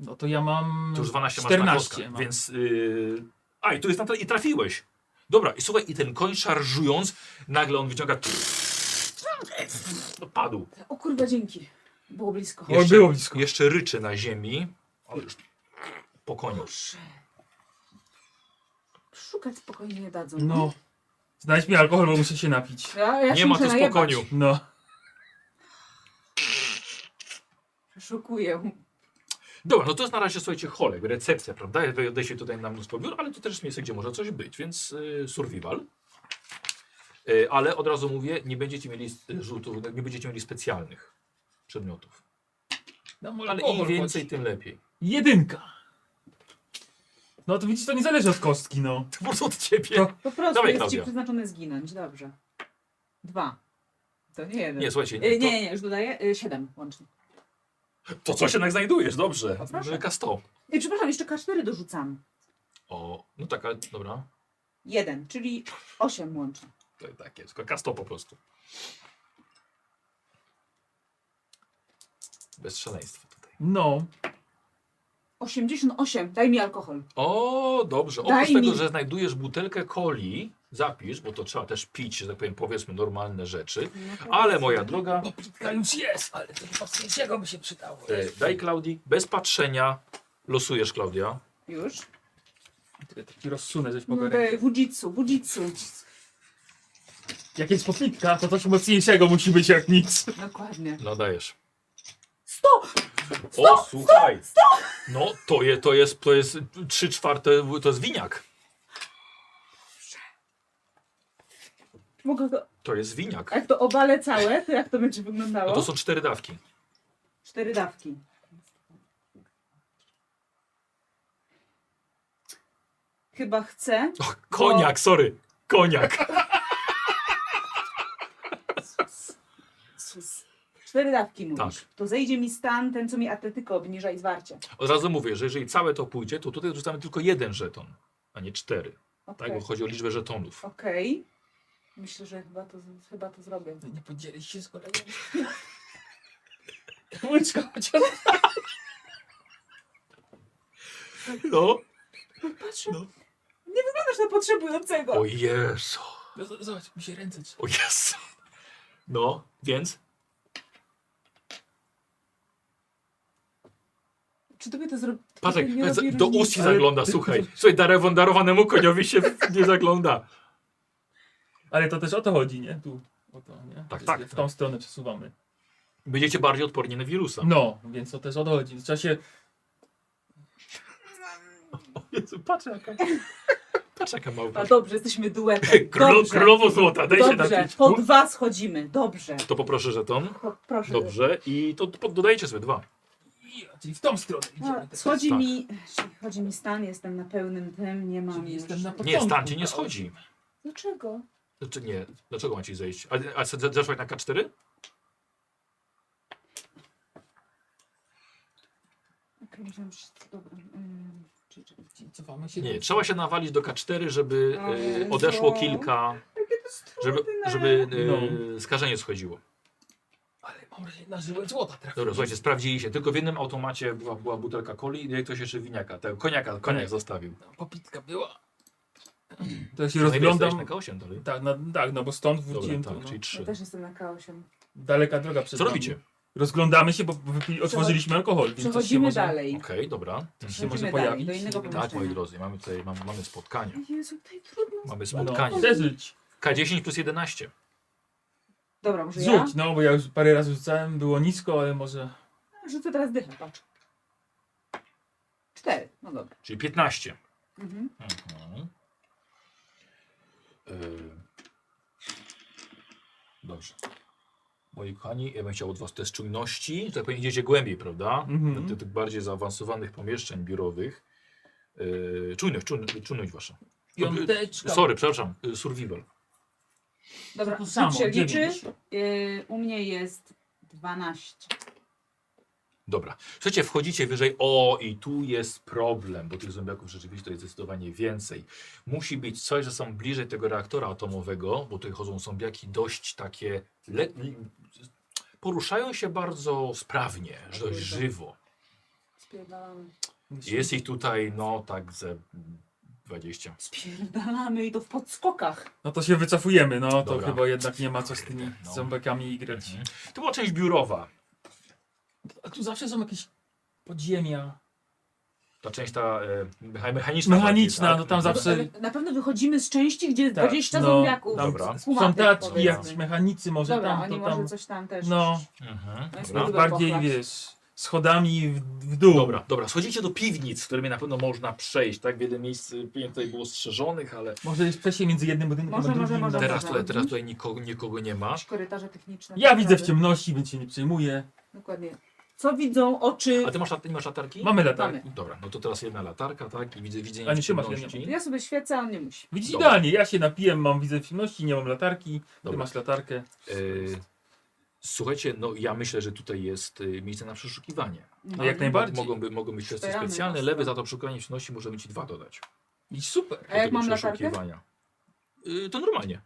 No to ja mam. To już 12 masz na 14 kostkach, mam. więc... Yy... A, i tu jest na tra- i trafiłeś. Dobra, i słuchaj, i ten koń szarżując, nagle on wyciąga... No, padł. O kurwa, dzięki. Było blisko. Jeszcze, jeszcze ryczy na ziemi. Ale już po koniu. Szukać spokojnie nie dadzą. No. Znajdź mi alkohol, bo muszę się napić. Ja, ja się Nie ma muszę tu najebać. spokojniu. No. Szukuję. Dobra, no to jest na razie, słuchajcie, cholek, recepcja, prawda? Ja tutaj Odejście tutaj na mnóstwo biur, ale to też jest miejsce, gdzie może coś być, więc y, survival. Y, ale od razu mówię, nie będziecie mieli y, rzutów, nie będziecie mieli specjalnych przedmiotów. No, może Ale im alkohol więcej, chodzi. tym lepiej. Jedynka. No to widzisz, to nie zależy od kostki, no. To może od ciebie. To- Po prostu Dawaj, jest Klaudia. ci przeznaczone zginąć, dobrze. Dwa. To nie jeden. Y, Nie, słuchajcie, Nie, to- E, nie, nie, już dodaję. y, Siedem łącznie. To coś jednak znajdujesz, dobrze. E, O, No, proszę. Wielka 100. I Y, przepraszam, jeszcze K4 dorzucam. O, no taka, dobra. Jeden, czyli osiem łącznie. To i tak jest, tylko K100 po prostu. Bez szaleństwa. No. 88, daj mi alkohol. O, dobrze. Daj Oprócz tego, mi. że znajdujesz butelkę coli, zapisz, bo to trzeba też pić, że tak powiem, powiedzmy normalne rzeczy. No, Ale moja droga, Pitka już jest, ale to mocniejszego by się przydało. e, daj Klaudii, bez patrzenia losujesz, Klaudia. Już? Taki rozsunę coś No mogę. daj, wujitsu, wujitsu. Jak jest popitka, to coś mocniejszego musi być jak nic. Dokładnie. No dajesz. Sto! O, słuchaj! No, to, je, to jest, to jest trzy czwarte, to jest winiak. Mogę go... To jest winiak. a Jak to obalę całe, to jak to będzie wyglądało? No to są cztery dawki. Cztery dawki. Chyba chcę. No. Koniak, sorry. Koniak. Jezus. Cztery dawki mówisz. Tak. To zejdzie mi stan, ten co mi atletyko obniża i zwarcie. Od razu mówię, że jeżeli całe to pójdzie, to tutaj rzucamy tylko jeden żeton, a nie cztery. Tak, Okej. bo chodzi o liczbę żetonów. Okej. Myślę, że chyba to, chyba to zrobię. No Nie podzielić się z kolegą. Łyczka chociaż. Tak. No. Patrzę. Nie wyglądasz na potrzebującego. O Jezu. No, z- zobacz, mi się ręce trzą. O Jezu. No, więc? Czy tobie to zrobi? Patrzek, to nie robi do różnicy. ust ci zagląda, słuchaj. Słuchaj, darewon, darowanemu koniowi się nie zagląda. Ale to też o to chodzi, nie? Tu. O to, nie? Tak, Że tak, W tak. tą stronę przesuwamy. Będziecie bardziej odporni na wirusa. No, więc to też o to chodzi. Trzeba się. Jezu, patrz jaka. Patrz jaka małpa. A dobrze, jesteśmy duetem. Królo- Dobrze. królowo złota, daj się Dobrze, napić. po dwa schodzimy. Dobrze. To poproszę żeton. Po, proszę. Dobrze. I to to dodajecie sobie dwa. Ja, Czyli w tą stronę idziemy. No, teraz. schodzi Tak. mi, chodzi mi stan, jestem na pełnym tym, nie mam Czyli no, już. jestem na Nie, początku. stan ci nie schodzi. Dlaczego? Znaczy nie, dlaczego macie zejść? A, a z- zeszłaś na K4? Okej, myślałam, że dobra. ym, czy- czy- czy- Cofamy się. Nie, trzeba się nawalić do K4, żeby O y, Jezu. odeszło kilka, Jakie to jest żeby, trudne. żeby No. y, skażenie schodziło. Ale mam wrażenie, na żyłę złota trafi. Dobra, słuchajcie, sprawdzili się. Tylko w jednym automacie była, była butelka coli i ktoś jeszcze winiaka. Tego koniaka, Tak. koniak zostawił. Popitka była. No To ja się Co najmniej rozglądam. jesteś na K8 dalej. Tak, na, tak, no bo stąd Dobra, wróciłem tak, tu. czyli No. Ja 3. też jestem na K8. Daleka droga przed Co nami. robicie? Rozglądamy się, bo wypi- otworzyliśmy alkohol, więc coś się Przechodzimy może, dalej. Okej, dobra. Mhm. coś się Przechodzimy może dalej, pojawić. do innego Nie wiem. Tak, moi Pomieszczenia. drodzy, mamy tutaj mamy, mamy spotkanie. Jezu, tutaj trudno. Mamy No, spotkanie. przeżyć. K10 plus 11. Dobra, może ja? Rzuć, no bo ja już parę razy rzucałem, było nisko, ale może... Rzucę teraz dychę, patrz. Cztery, no dobra. Czyli 15. Mhm. Mhm. Y, Dobrze. Moi kochani, ja bym chciał od Was też czujności. że Tak powiem, idziecie głębiej, prawda? Mhm. Do tych- tych bardziej zaawansowanych pomieszczeń biurowych. Y, Czujność, czujność, czujność Wasza. Piąteczka. Tak. Sorry, przepraszam, y, survival. Dobra, To to samo, samo, się liczy. dziewięć. Yy, u mnie jest 12. Dobra. Słuchajcie, wchodzicie wyżej. O, i tu jest problem, bo tych zombiaków rzeczywiście to jest zdecydowanie więcej. Musi być coś, że są bliżej tego reaktora atomowego, bo tutaj chodzą zombiaki dość takie. Le... Poruszają się bardzo sprawnie, Tak, dość żywo. Spierdalamy. Jest ich tutaj, no tak, ze 20. Spierdalamy i to w podskokach. No to się wycofujemy, no to Dobra. No. Mhm. chyba jednak nie ma co z tymi ząbekami grać. To była część biurowa. A tu zawsze są jakieś podziemia. Ta część ta e, mecha- mechaniczna. Mechaniczna, no tam Mhm. zawsze- Na pewno wychodzimy z części, gdzie jest Tak, 20 no, zombiaków. dobra. Są Kumatych, teatki, powiedzmy. jakieś mechanicy, może Dobra, tam, oni to tam. może coś tam też. No, Mhm. No jest Dobra. niezły bardziej pochlać. wiesz, schodami w, w dół. Dobra, dobra, schodzicie do piwnic, którymi na pewno można przejść, tak? Wiele miejsc y, pewnie tutaj było strzeżonych, ale Może jest przejście między jednym budynkiem Może, a drugim. może, może, no. teraz może. tutaj, teraz tutaj nikogo, nikogo nie ma. Jakieś Korytarze techniczne. Ja widzę w naprawdę. ciemności, więc się nie przejmuję. Dokładnie. Co widzą oczy? A ty masz, lat- nie masz latarki? Mamy latarki. Dobra, no to teraz jedna latarka, tak? I widzę widzenie A w nie, ty masz, ja nie ciemności. Ja sobie świecę, a on nie musi. Widzisz Dobra. idealnie, ja się napiłem, mam widzę w ciemności, nie mam latarki, ty Dobra. masz latarkę. Y, Słuchajcie, no ja myślę, że tutaj jest y, miejsce na przeszukiwanie. No, jak najbardziej. Mogą, by, mogą być testy Szperamy specjalne. mocno. Lewy za to przeszukanie ciemności możemy ci dwa dodać. I super. do A jak tego mam latarkę? przeszukiwania. Y, To normalnie.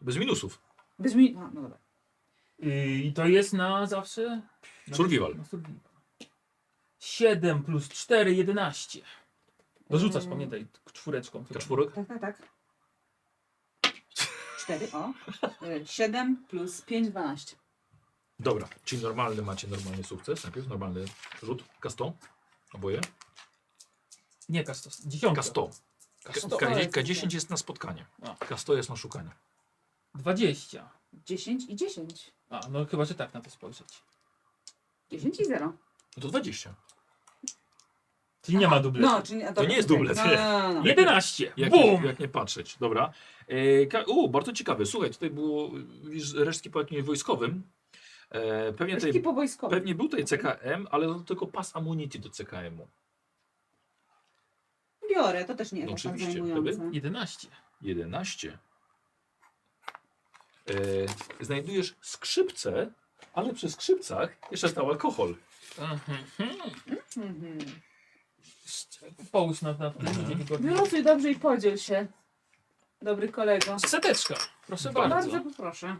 Bez minusów. Bez mi... No, no dobra. Yy, I to jest na zawsze? Na- Survival. na survival. 7 plus 4, 11. Dorzucasz, Mm. pamiętaj, k- czwóreczką. Te czwórek? Tak, tak, tak. Cztery, o. Y, Siedem plus pięć, dwanaście. Dobra, czyli normalny macie normalny sukces. Najpierw normalny rzut K100. Oboje. Nie, K100, dziesiątka. K100. K100. K10 jest na spotkanie. A. K100 jest na szukanie. 20. Dziesięć i dziesięć. A, no chyba, że tak na to spojrzeć. Dziesięć i zero. No to 20. Czyli nie ma dubletu. No, czy nie, To dobra, nie jest okej. dublet. No, no, no, no. 11. Jak, Bum! jak nie patrzeć. Dobra. E, ka- u, bardzo ciekawe. Słuchaj, tutaj było widzisz, resztki po jakimś wojskowym. E, pewnie, Taki tutaj, po wojskowy. pewnie był tutaj CKM, ale to tylko pas amunicji do CKM-u. Biorę, to też nie No jest tak oczywiście, zajmujące. gdyby- 11. 11. E, znajdujesz skrzypce, ale przy skrzypcach jeszcze stał alkohol. Mhm. Mhm. Połóż na, na Mhm. tym, gdzie wygodnie. Wylosuj dobrze i podziel się. Dobry kolego. Seteczka. Proszę Bardzo. bardzo. Bardzo poproszę.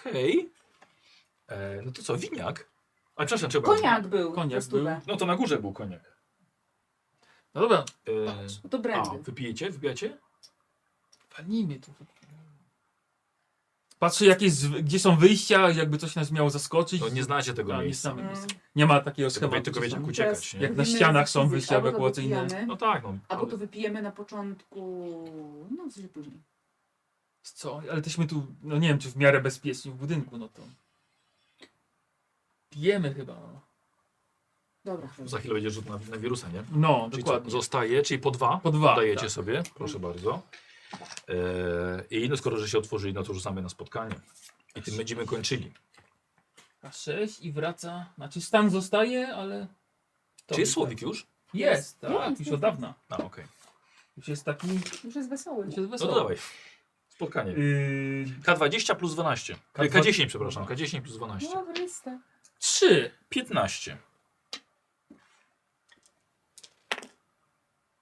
Okej. E, No to co, winiak? A przepraszam, trzeba. Koniak był. Koniak za stówę. No to na górze był koniak. No dobra, E, No To a, brandy. wypijecie? Wybijacie? palnijmy tu. Patrzę, jakie z, gdzie są wyjścia, jakby coś nas miało zaskoczyć. No nie znacie tego A, nie, miejsca. znamy Mm. miejsca. nie ma takiego Tylko, wie- schematu. tylko że wiecie, tam- jak Teraz uciekać, nie? jak na Robimy ścianach są fizyk, wyjścia albo to ewakuacyjne. wypijamy, No tak, no. Albo ale- to wypijemy na początku. No, coś później. Co? Ale teśmy tu, no nie wiem, czy w miarę bezpiecznie w budynku, no to... Pijemy chyba. no. Dobra. Za chwilę będzie rzut na, na wirusa, nie? No, Czyli co, dokładnie. zostaje, czyli po dwa. Po dwa, Dajecie tak. sobie, proszę bardzo. E, I no skoro, że się otworzyli, no to rzucamy na spotkanie. I tym będziemy kończyli. A sześć i wraca... Znaczy stan zostaje, ale... to Czy jest wraca. Słowik już? Jest, tak. No, Jest, Już jest. od dawna. A, okej. Już jest taki... Już jest wesoły. Już jest No to wesoły. dawaj. Spotkanie. Yy, K20 plus 12. K K10, dwa- przepraszam. K10 plus 12. No, Dobrysta. trzy. 15.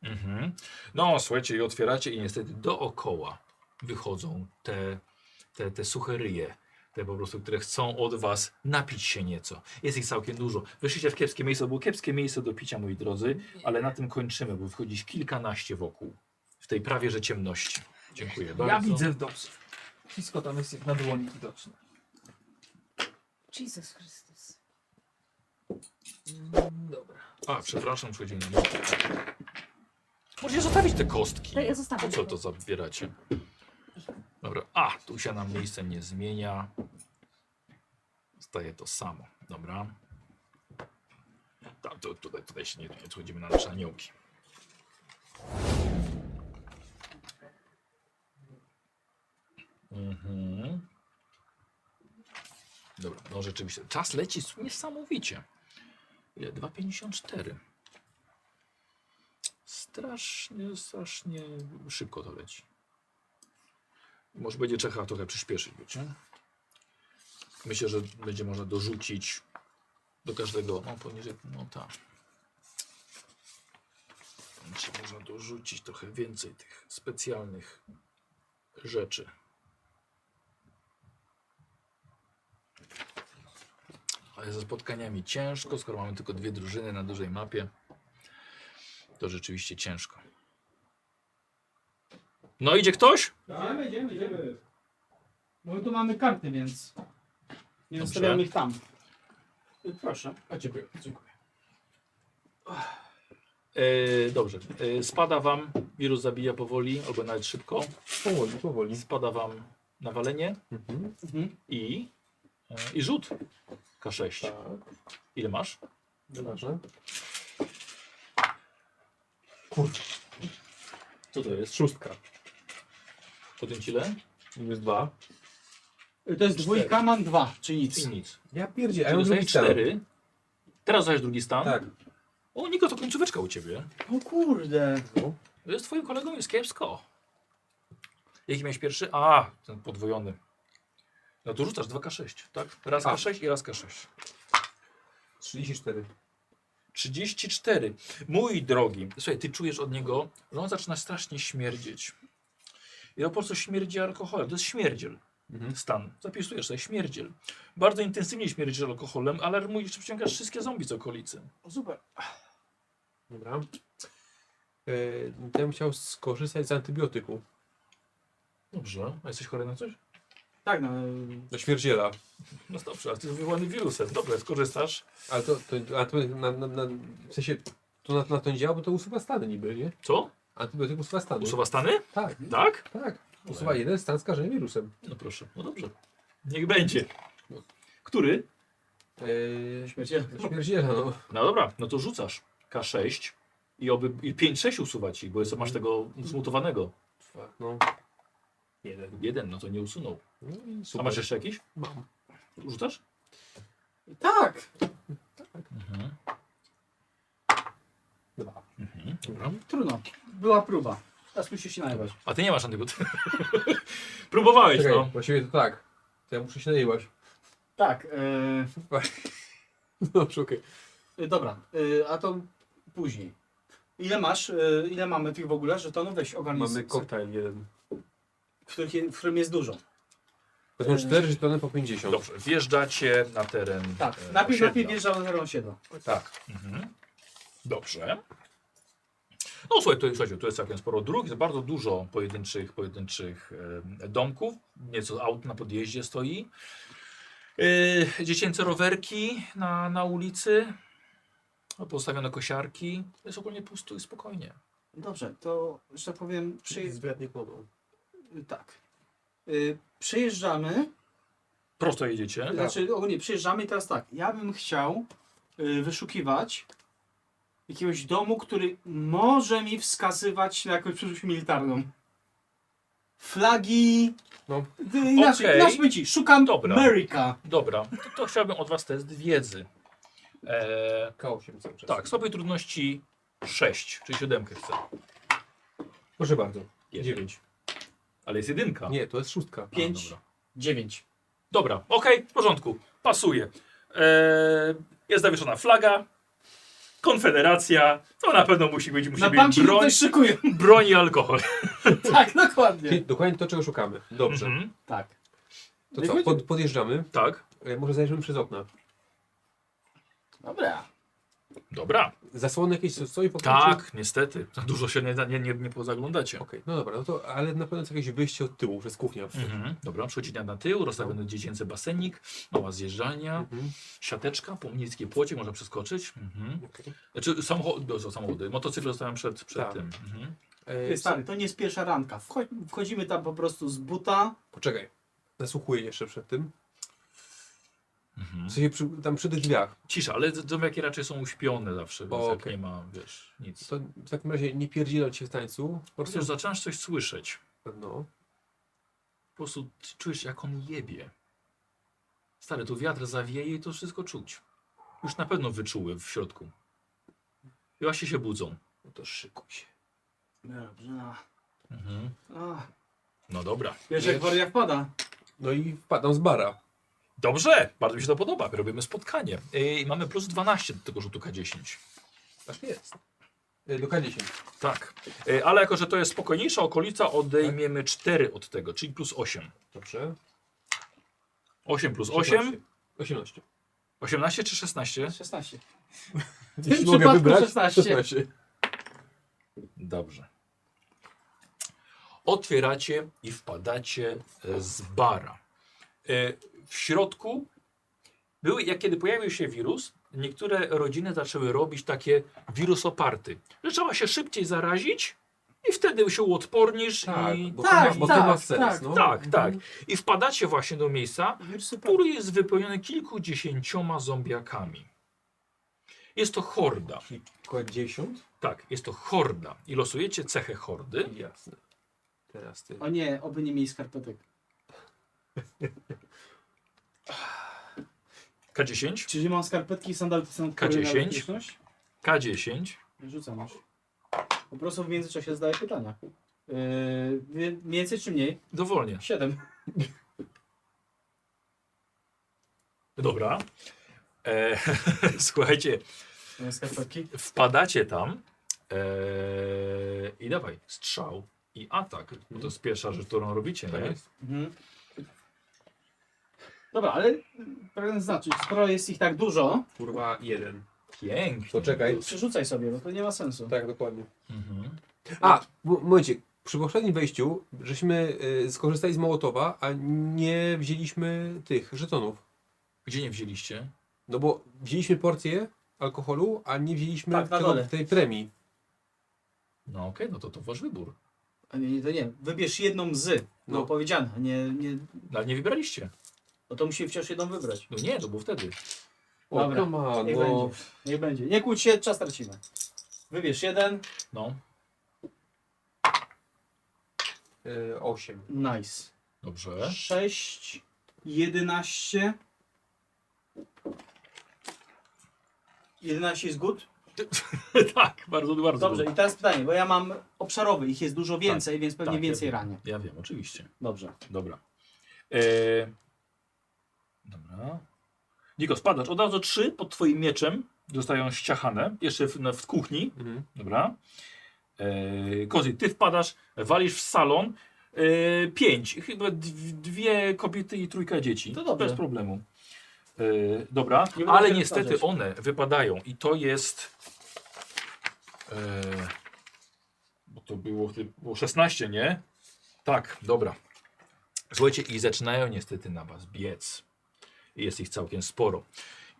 Mhm. No, słuchajcie, i otwieracie i niestety dookoła wychodzą te, te, te suche ryje. Te po prostu, które chcą od was napić się nieco. Jest ich całkiem dużo. Wyszliście w kiepskie miejsce, to było kiepskie miejsce do picia, moi drodzy, ale na tym kończymy, bo wychodzi ich kilkanaście wokół. W tej prawie że ciemności. Dziękuję bardzo. Ja widzę dobrze. Wszystko tam jest jak na dłoni widoczne. Jesus Chrystus. Mm, Dobra. A, przepraszam, przychodzi na myśl. Możecie zostawić te kostki. Ja je zostawię. Po co to zabieracie? Dobra, a, tu się nam miejsce nie zmienia. Zostaje to samo, dobra. Tam, tu, tutaj, tutaj się nie, nie schodzimy na nasze aniołki. Mhm. Dobra, no rzeczywiście. Czas leci s- niesamowicie. Ile? 2,54. Strasznie, strasznie szybko to leci. Może będzie trzeba trochę przyspieszyć, wiecie? Myślę, że będzie można dorzucić do każdego, no poniżej, no tak. Będzie można dorzucić trochę więcej tych specjalnych rzeczy. Ale ze spotkaniami ciężko, skoro mamy tylko dwie drużyny na dużej mapie, to rzeczywiście ciężko. No idzie ktoś? Idziemy, idziemy, idziemy. Bo my tu mamy karty, więc nie Dobrze. zostawiamy ich tam. Proszę. A dziękuję. dziękuję. E, dobrze. E, spada wam, wirus zabija powoli, albo nawet szybko. Powoli, powoli. Spada wam nawalenie Mhm. i, e, i rzut K6. Ile masz? Dobrze. Kurczę. Co to jest? Szóstka. Podjąć ile? Minus dwa. To jest dwójka, mam dwa, czy nic. I nic. Ja pierdzie, a ja Czyli mam dostajesz drugi stan. cztery. Teraz zajesz drugi stan. Tak. O, Niko, to końcóweczka u ciebie. O kurde. Z twoim kolegą jest kiepsko. Jaki miałeś pierwszy? A, ten podwojony. No to rzucasz 2K6, tak? Raz A. K6 i raz K6. 34. 34. Mój drogi, słuchaj, ty czujesz od niego, że on zaczyna strasznie śmierdzieć. I on po prostu śmierdzi alkoholem. To jest śmierdziel. Stan. Zapisujesz sobie śmierdziel. Bardzo intensywnie śmierdzisz alkoholem, alarmujesz, że przyciągasz wszystkie zombie z okolicy. Super. Dobra. Yy, ja bym chciał skorzystać z antybiotyku. Dobrze. A jesteś chory na coś? Tak, no. Do śmierdziela. No dobrze, ale ty jesteś wywołany wirusem. Dobra, skorzystasz. Ale to, to, a to na, na, na, w sensie to na, na to nie działa, bo to usuwa stany niby, nie? Co? Antybiotyk usuwa stany. Usuwa stany? Tak. Tak? Tak. Usuwa jeden stan skażenia wirusem. No proszę, no dobrze. Niech będzie. Który? Yy, Śmierdziela. śmierdziela, no. No dobra, no to rzucasz K6 i, oby, i 5-6 usuwa ci, bo jest, masz tego zmutowanego. Fuck, no. Jeden. Jeden, no to nie usunął. No i A super. masz jeszcze jakiś? Mam. Rzucasz? Tak. Dwa. Mhm. Dobra. Trudno. Była próba. Teraz musisz się najebać. A ty nie masz antybiotyk. Próbowałeś, Czekaj, no. właściwie to tak. To ja muszę się najebać. Tak. Yy... Dobrze, No, okej. Y, Dobra, y, a to później. Ile masz, y, ile mamy tych w ogóle żetonów? Weź ogarnij, Mamy z- koktajl jeden. w, których, je- w którym jest dużo. To są cztery żetony po 50. Eee. Dobrze, wjeżdżacie na teren. Tak, e, najpierw, osiedla. najpierw wjeżdża na osiedla. Tak. Mhm. Dobrze. No słuchaj, to, słuchajcie, tu jest całkiem sporo dróg, jest bardzo dużo pojedynczych, pojedynczych em, domków, nieco aut na podjeździe stoi. Yy, dziecięce rowerki na, na ulicy, No, postawione kosiarki, jest ogólnie pusto i spokojnie. Dobrze, to, że tak powiem, przyje... Zbratnie kłodą. y, tak. Y, Przejeżdżamy, Prosto jedziecie. znaczy ogólnie przejeżdżamy i teraz tak, ja bym chciał y, wyszukiwać jakiegoś domu, który może mi wskazywać na jakąś przyszłość militarną. Flagi... No. Y, Inaczej, Okej. inaczej ci, szukam Dobra. America. Dobra, to, to chciałbym od was test wiedzy. E, K8 cały czas. tak, sobie trudności 6, czyli 7 chcę. Proszę bardzo. Jeden. Dziewięć. Ale jest jedynka. Nie, to jest szóstka. A, Pięć. dobra. Dziewięć. Dobra, okej, w porządku. Pasuje. Eee, jest zawieszona flaga. Konfederacja. To na pewno musi być, musi Na być banki broń, ktoś szykuje. broń i alkohol. tak, dokładnie. Czyli Dokładnie to, czego szukamy. Dobrze. Mhm. Tak. To Niech co, będzie. pod, podjeżdżamy. Tak, E, Może zajrzymy przez okna. Dobra. dobra. Zasłony jakieś stoi po Tak, niestety. Za dużo się nie, nie, nie, nie pozaglądacie. Okej, no dobra, no to, ale na pewno jest jakieś wyjście od tyłu, przez kuchnię. Mhm. No. Dobra, przechodzimy na tył, rozstawiony dziecięcy basenik, mała zjeżdżalnia, Mhm. siateczka, po niskiej płocie można przeskoczyć. Mhm. Okej. Znaczy samochody, samochody, motocykl zostałem przed, przed Tak. tym. Mhm. E, Ty, Y, stary, to nie jest pierwsza ranka. Wchodź, wchodzimy tam po prostu z buta. Poczekaj, zasłuchuję jeszcze przed tym. Mhm. W sensie przy, tam przy tych drzwiach. Cisza, ale d- domiaki raczej są uśpione zawsze, więc jak Okej. nie ma, wiesz, nic. To w takim razie nie pierdzielać się w tańcu. Po prostu Wiesz, zaczynasz coś słyszeć. No. Po prostu ty czujesz, jak on jebie. Stary, tu wiatr zawieje i to wszystko czuć. Już na pewno wyczuły w środku. I właśnie się budzą. No to szykuj się. Dobrze, no. Mhm. O, No dobra. wiesz, jak waria wpada. No i wpadam z bara. Dobrze, bardzo mi się to podoba. Robimy spotkanie. I mamy plus 12 do tego rzutu K10. Tak jest. Y, Do K10. Tak. Y, Ale jako, że to jest spokojniejsza okolica, odejmiemy 4 od tego, czyli plus 8. Tak. Dobrze. 8 plus 8. 18. 18 czy 16? 16. W tym przypadku 16. Dobrze. Otwieracie i wpadacie e, z bara. E, W środku były, jak kiedy pojawił się wirus, niektóre rodziny zaczęły robić takie wirusoparty. Że trzeba się szybciej zarazić i wtedy się uodpornisz. Tak, i... bo to Tak, ma- bo to tak, ma sens, tak. no. tak, tak. Mhm. I wpadacie właśnie do miejsca, który jest wypełniony kilkudziesięcioma zombiakami. Jest to horda. Kilkadziesiąt? Tak, jest to horda. I losujecie cechę hordy. Jasne. Teraz ty. O nie, oby nie mieli skarpetek. K10, Czyli mam skarpetki i sandałki są odporne na K10, elastyczność? K10. Rzucam już. Po prostu w międzyczasie zadaję pytania. Yy, wie- więcej czy mniej? Dowolnie. Siedem. Dobra. E, słuchajcie, Skarpetki. wpadacie tam e, i dawaj, strzał i atak. Bo to jest pierwsza rzecz, którą robicie, Tak nie? jest. Mhm. Dobra, ale y, pragnę znaczyć, skoro jest ich tak dużo, Kurwa, jeden. Pięknie. Poczekaj. przerzucaj sobie, bo to nie ma sensu. Tak, dokładnie. Mhm. A, m- momencie. Przy poprzednim wejściu żeśmy y, skorzystali z Mołotowa, a nie wzięliśmy tych żetonów. Gdzie nie wzięliście? No bo wzięliśmy porcję alkoholu, a nie wzięliśmy Tak, na tego, dole. tej premii. No okej, no to to wasz wybór. A nie, nie, to nie. Wybierz jedną z, no. No. bo powiedziane, a nie, nie, No ale nie wybraliście. no to musimy wciąż jedną wybrać. No nie, to było wtedy. O, Dobra, come on, niech no. będzie, niech będzie. Nie kłóć się, czas tracimy. Wybierz jeden, No, Y, osiem. nice. dobrze. 6, 11. 11 jest good? tak, bardzo, bardzo. Dobrze, i teraz pytanie, bo ja mam obszarowy, ich jest dużo więcej, więc pewnie tak, więcej ja wiem. ranię. Ja wiem, oczywiście. Dobrze. Dobra. E... Dobra. Niko, spadasz. Od razu trzy pod twoim mieczem zostają ściachane. Jeszcze w, na- w kuchni. Mhm. Dobra. E... Kozy, ty wpadasz, walisz w salon. E... Pięć. Chyba dw- dwie kobiety i trójka dzieci. To dobrze. Bez problemu. E... Dobra. Nie będę Ale się niestety wytarzać. one wypadają i to jest... E... Bo to było, wtedy- było 16, nie? Tak, dobra. Słuchajcie, i zaczynają niestety na was biec. I Jest ich całkiem sporo.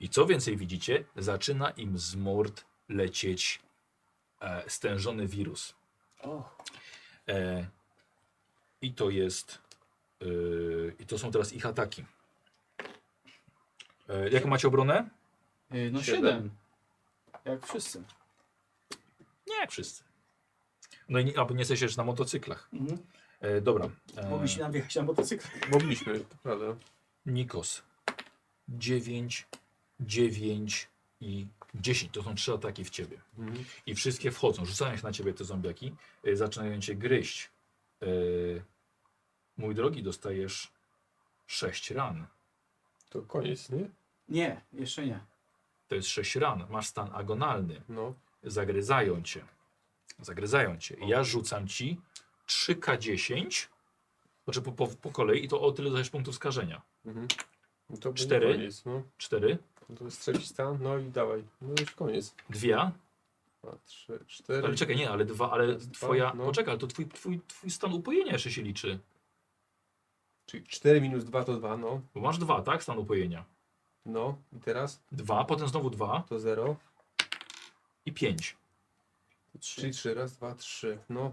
I co więcej widzicie, zaczyna im z mord lecieć e, stężony wirus. E, I to jest. e, I to są teraz ich ataki. E, jaką macie obronę? Yy, No Siedem. 7. Jak wszyscy. Nie, jak wszyscy. No i nie, a, bo nie jesteście jeszcze na motocyklach. Mhm. E, dobra. E, Mogliście nam wjechać na motocykl. Mogliśmy, to prawda. Nikos. 9, 9 i 10. To są trzy ataki w ciebie. Mhm. I wszystkie wchodzą, rzucają się na ciebie te zombiaki, y, zaczynają cię gryźć. Y, mój drogi, dostajesz 6 ran. To koniec, nie? Nie, jeszcze nie. To jest 6 ran. Masz stan agonalny. No. Zagryzają cię. Zagryzają cię. I ja rzucam ci 3K10. Znaczy po, po, po kolei i to o tyle dostajesz punktów skażenia. Mhm. No to będzie Cztery. koniec, no. 4, No To jest trzeci stan, no i dawaj. No już koniec. 2, Dwa, trzy, cztery. Ale czekaj, nie, ale dwa, ale twoja. no. Poczekaj, ale to twój, twój, twój stan upojenia jeszcze się liczy. Czyli 4 minus 2 to 2, no. Bo masz dwa, tak? Stan upojenia. No i teraz Dwa, potem znowu dwa to 0. i pięć. Czyli 3, raz, 2, 3. No.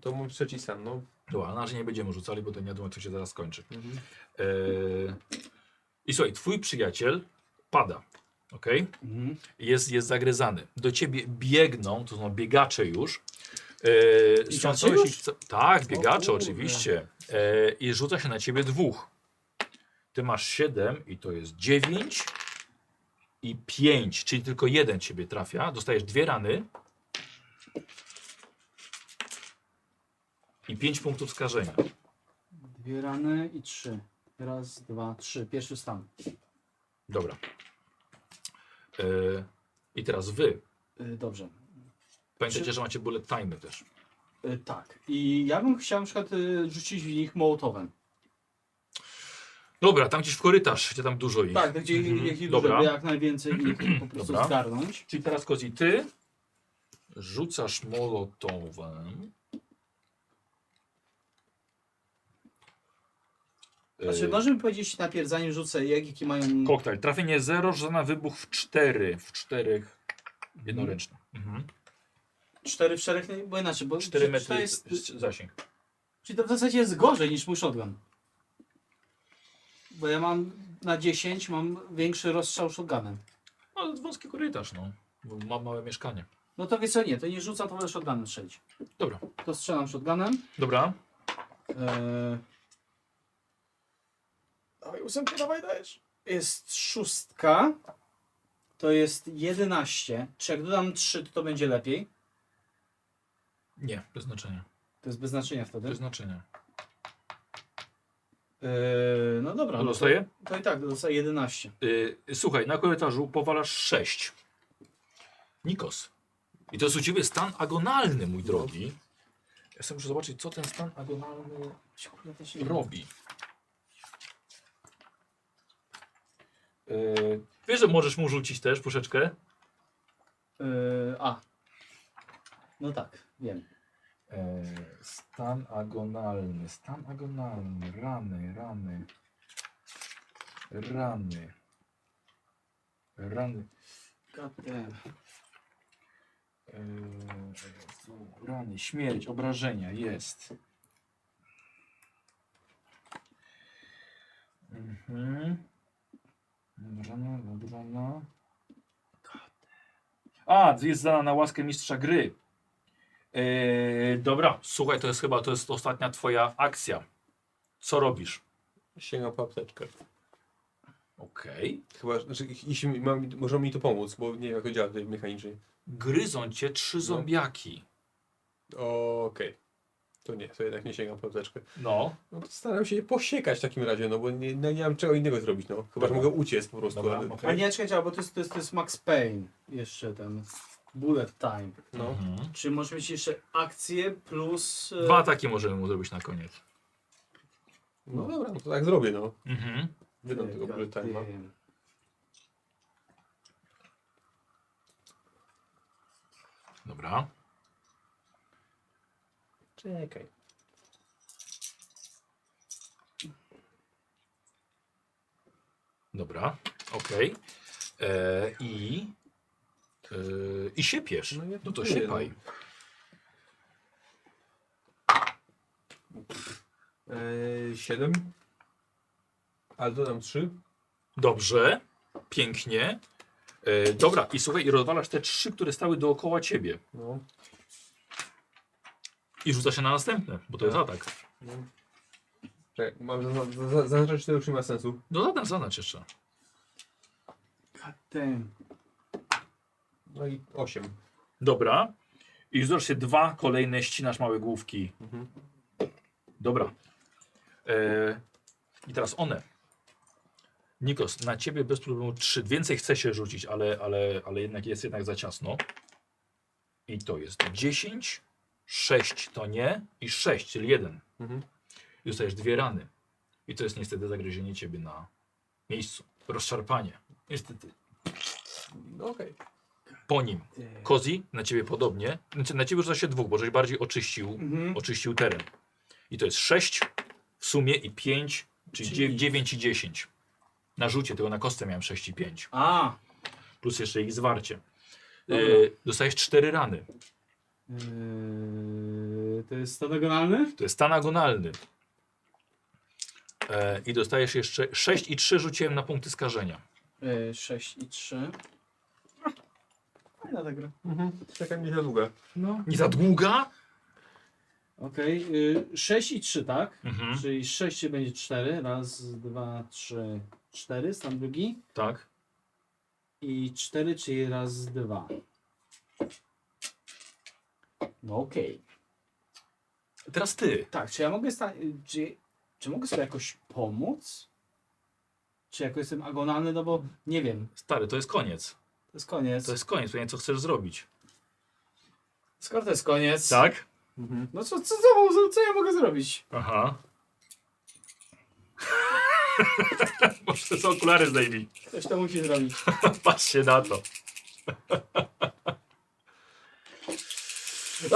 To mój trzeci stan, no. Dobra, na razie nie będziemy rzucali, bo to nie wiadomo, jak to się zaraz skończy. Mhm. Eee, I I słuchaj, twój przyjaciel pada, ok? Jest, jest zagryzany. Do ciebie biegną, to są biegacze już. E, strząsają już? się- tak, biegacze oczywiście. E, I rzuca się na ciebie dwóch. Ty masz 7 i to jest 9 i 5, czyli tylko jeden ciebie trafia. Dostajesz dwie rany i 5 punktów skażenia. Dwie rany i trzy. Raz, dwa, trzy. Pierwszy stan. Dobra. E, I teraz wy. Y, Dobrze. Pamiętajcie, Czy- że macie bullet time też. Y, Tak. I ja bym chciał na przykład y, rzucić w nich mołotowem. Dobra, tam gdzieś w korytarz, gdzie tam dużo ich. Tak, to gdzie Mhm. jak, Dobra. jak najwięcej ich po prostu Dobra. zgarnąć. Czyli teraz Kozi, ty rzucasz molotowem. Znaczy, możemy powiedzieć najpierw, zanim rzucę, jak, jakie mają... E, Koktajl. Trafienie 0, na wybuch w 4. W 4 jednoręczne. Mhm. Cztery w szereg, nie- bo inaczej, bo 4 Mm. czy- czy metry to jest... jest, zasięg. Czyli to w zasadzie jest gorzej niż mój shotgun. Bo ja mam na 10, mam większy rozstrzał shotgunem. No, wąski korytarz, no. Bo Ma małe mieszkanie. No to wiesz co, nie, to nie rzucam, to będę shotgunem strzelić. Dobra. To strzelam shotgunem. Dobra. Eee, Dawaj, ósemkę, dawaj, dajesz. jest szóstka. To jest 11. Czy jak dodam 3, to, to będzie lepiej? Nie, bez znaczenia. To jest bez znaczenia wtedy. Bez znaczenia. Eee, no dobra. To no dostaję? To, to i tak, dostaję 11. Y, słuchaj, na korytarzu powalasz 6. Nikos. I to jest u ciebie stan agonalny, mój drogi. Ja sobie muszę zobaczyć, co ten stan agonalny robi. Y, wiesz, że możesz mu rzucić też puszeczkę? Eee, a. No tak, wiem. E, stan agonalny, stan agonalny, rany, rany, rany, rany. Eee, są rany, śmierć, obrażenia jest. Mhm. Rana, obrona. A, jest dana na łaskę mistrza gry. Eee, dobra, słuchaj, to jest chyba to jest ostatnia twoja akcja. Co robisz? Sięgam po apteczkę. Okej. Chyba, znaczy, jeśli mi- mam, może mi to pomóc, bo nie wiem jak to działa tutaj mechanicznie. Gryzą cię trzy No. zombiaki. Okej. To nie, to jednak nie sięgam po apteczkę. No. No to staram się je posiekać w takim razie, no bo nie, nie, nie mam czego innego zrobić, no. Chyba, że mogę uciec po prostu. ale... A nie, czekajcie, a bo to jest, to, jest, to jest Max Payne. Jeszcze ten bullet time. No. Czy możesz mieć jeszcze akcję plus... e, Dwa ataki możemy mu zrobić na koniec. No dobra, no to tak zrobię, no. Mhm. Wydam tego God bullet time'a. damn. Dobra. Czekaj. Dobra, okej. Eee, I. eee, I siepiesz. No, to próbuję, siepaj. Eee, 7. Ale dodam 3. Dobrze, pięknie. Eee, dobra, i słuchaj, i rozwalasz te trzy, które stały dookoła ciebie. No. I rzuca się na następne, bo to jest atak. no. Czekaj, mam zaznaczać, za, za, zaznaczać, czy to już nie ma sensu. No zaznacz, zaznacz jeszcze. Damn. No i 8. Dobra. I zdobysz się dwa kolejne ścinasz małe główki. Dobra. E, I teraz one. Nikos, na ciebie bez problemu trzy. Więcej chce się rzucić, ale, ale, ale jednak jest jednak za ciasno. I to jest 10, 6 to nie i 6, czyli 1. Mhm. I dostajesz dwie rany. I to jest niestety zagryzienie ciebie na miejscu. Rozszarpanie. Niestety. No okej. Po nim. Kozi, na ciebie podobnie. Znaczy, Na ciebie rzuca się dwóch, bo żeś bardziej oczyścił, Mhm. oczyścił teren. I to jest 6 w sumie i 5, czyli Czyli- 9 i 10. Na rzucie tego na kostce miałem 6 i 5. A, Plus jeszcze ich zwarcie. Dobra. Yy, dostajesz 4 rany. Eee, to jest stan agonalny? To jest stan agonalny. E, I dostajesz jeszcze 6 i 3 rzuciłem na punkty skażenia. Yy, 6 i 3. Fajna ta gra. Mhm. Taka nie za długa. No. Nie za długa? Okej, y, 6 i 3, tak? Mhm. Czyli 6 się będzie 4. Raz, dwa, trzy, cztery. Stan drugi. Tak. I 4, czyli raz, dwa. No okej. Teraz ty. Tak, czy ja mogę sta- y, czy, czy mogę sobie jakoś pomóc? Czy jako jestem agonalny, no bo nie wiem. Stary, to jest koniec. To jest koniec. To jest koniec, pytanie co chcesz zrobić. Skoro to jest koniec. Tak? No co, co, co, co ja mogę zrobić? Aha. Może te są okulary zdejmij. Ktoś to musi zrobić. Patrzcie na to.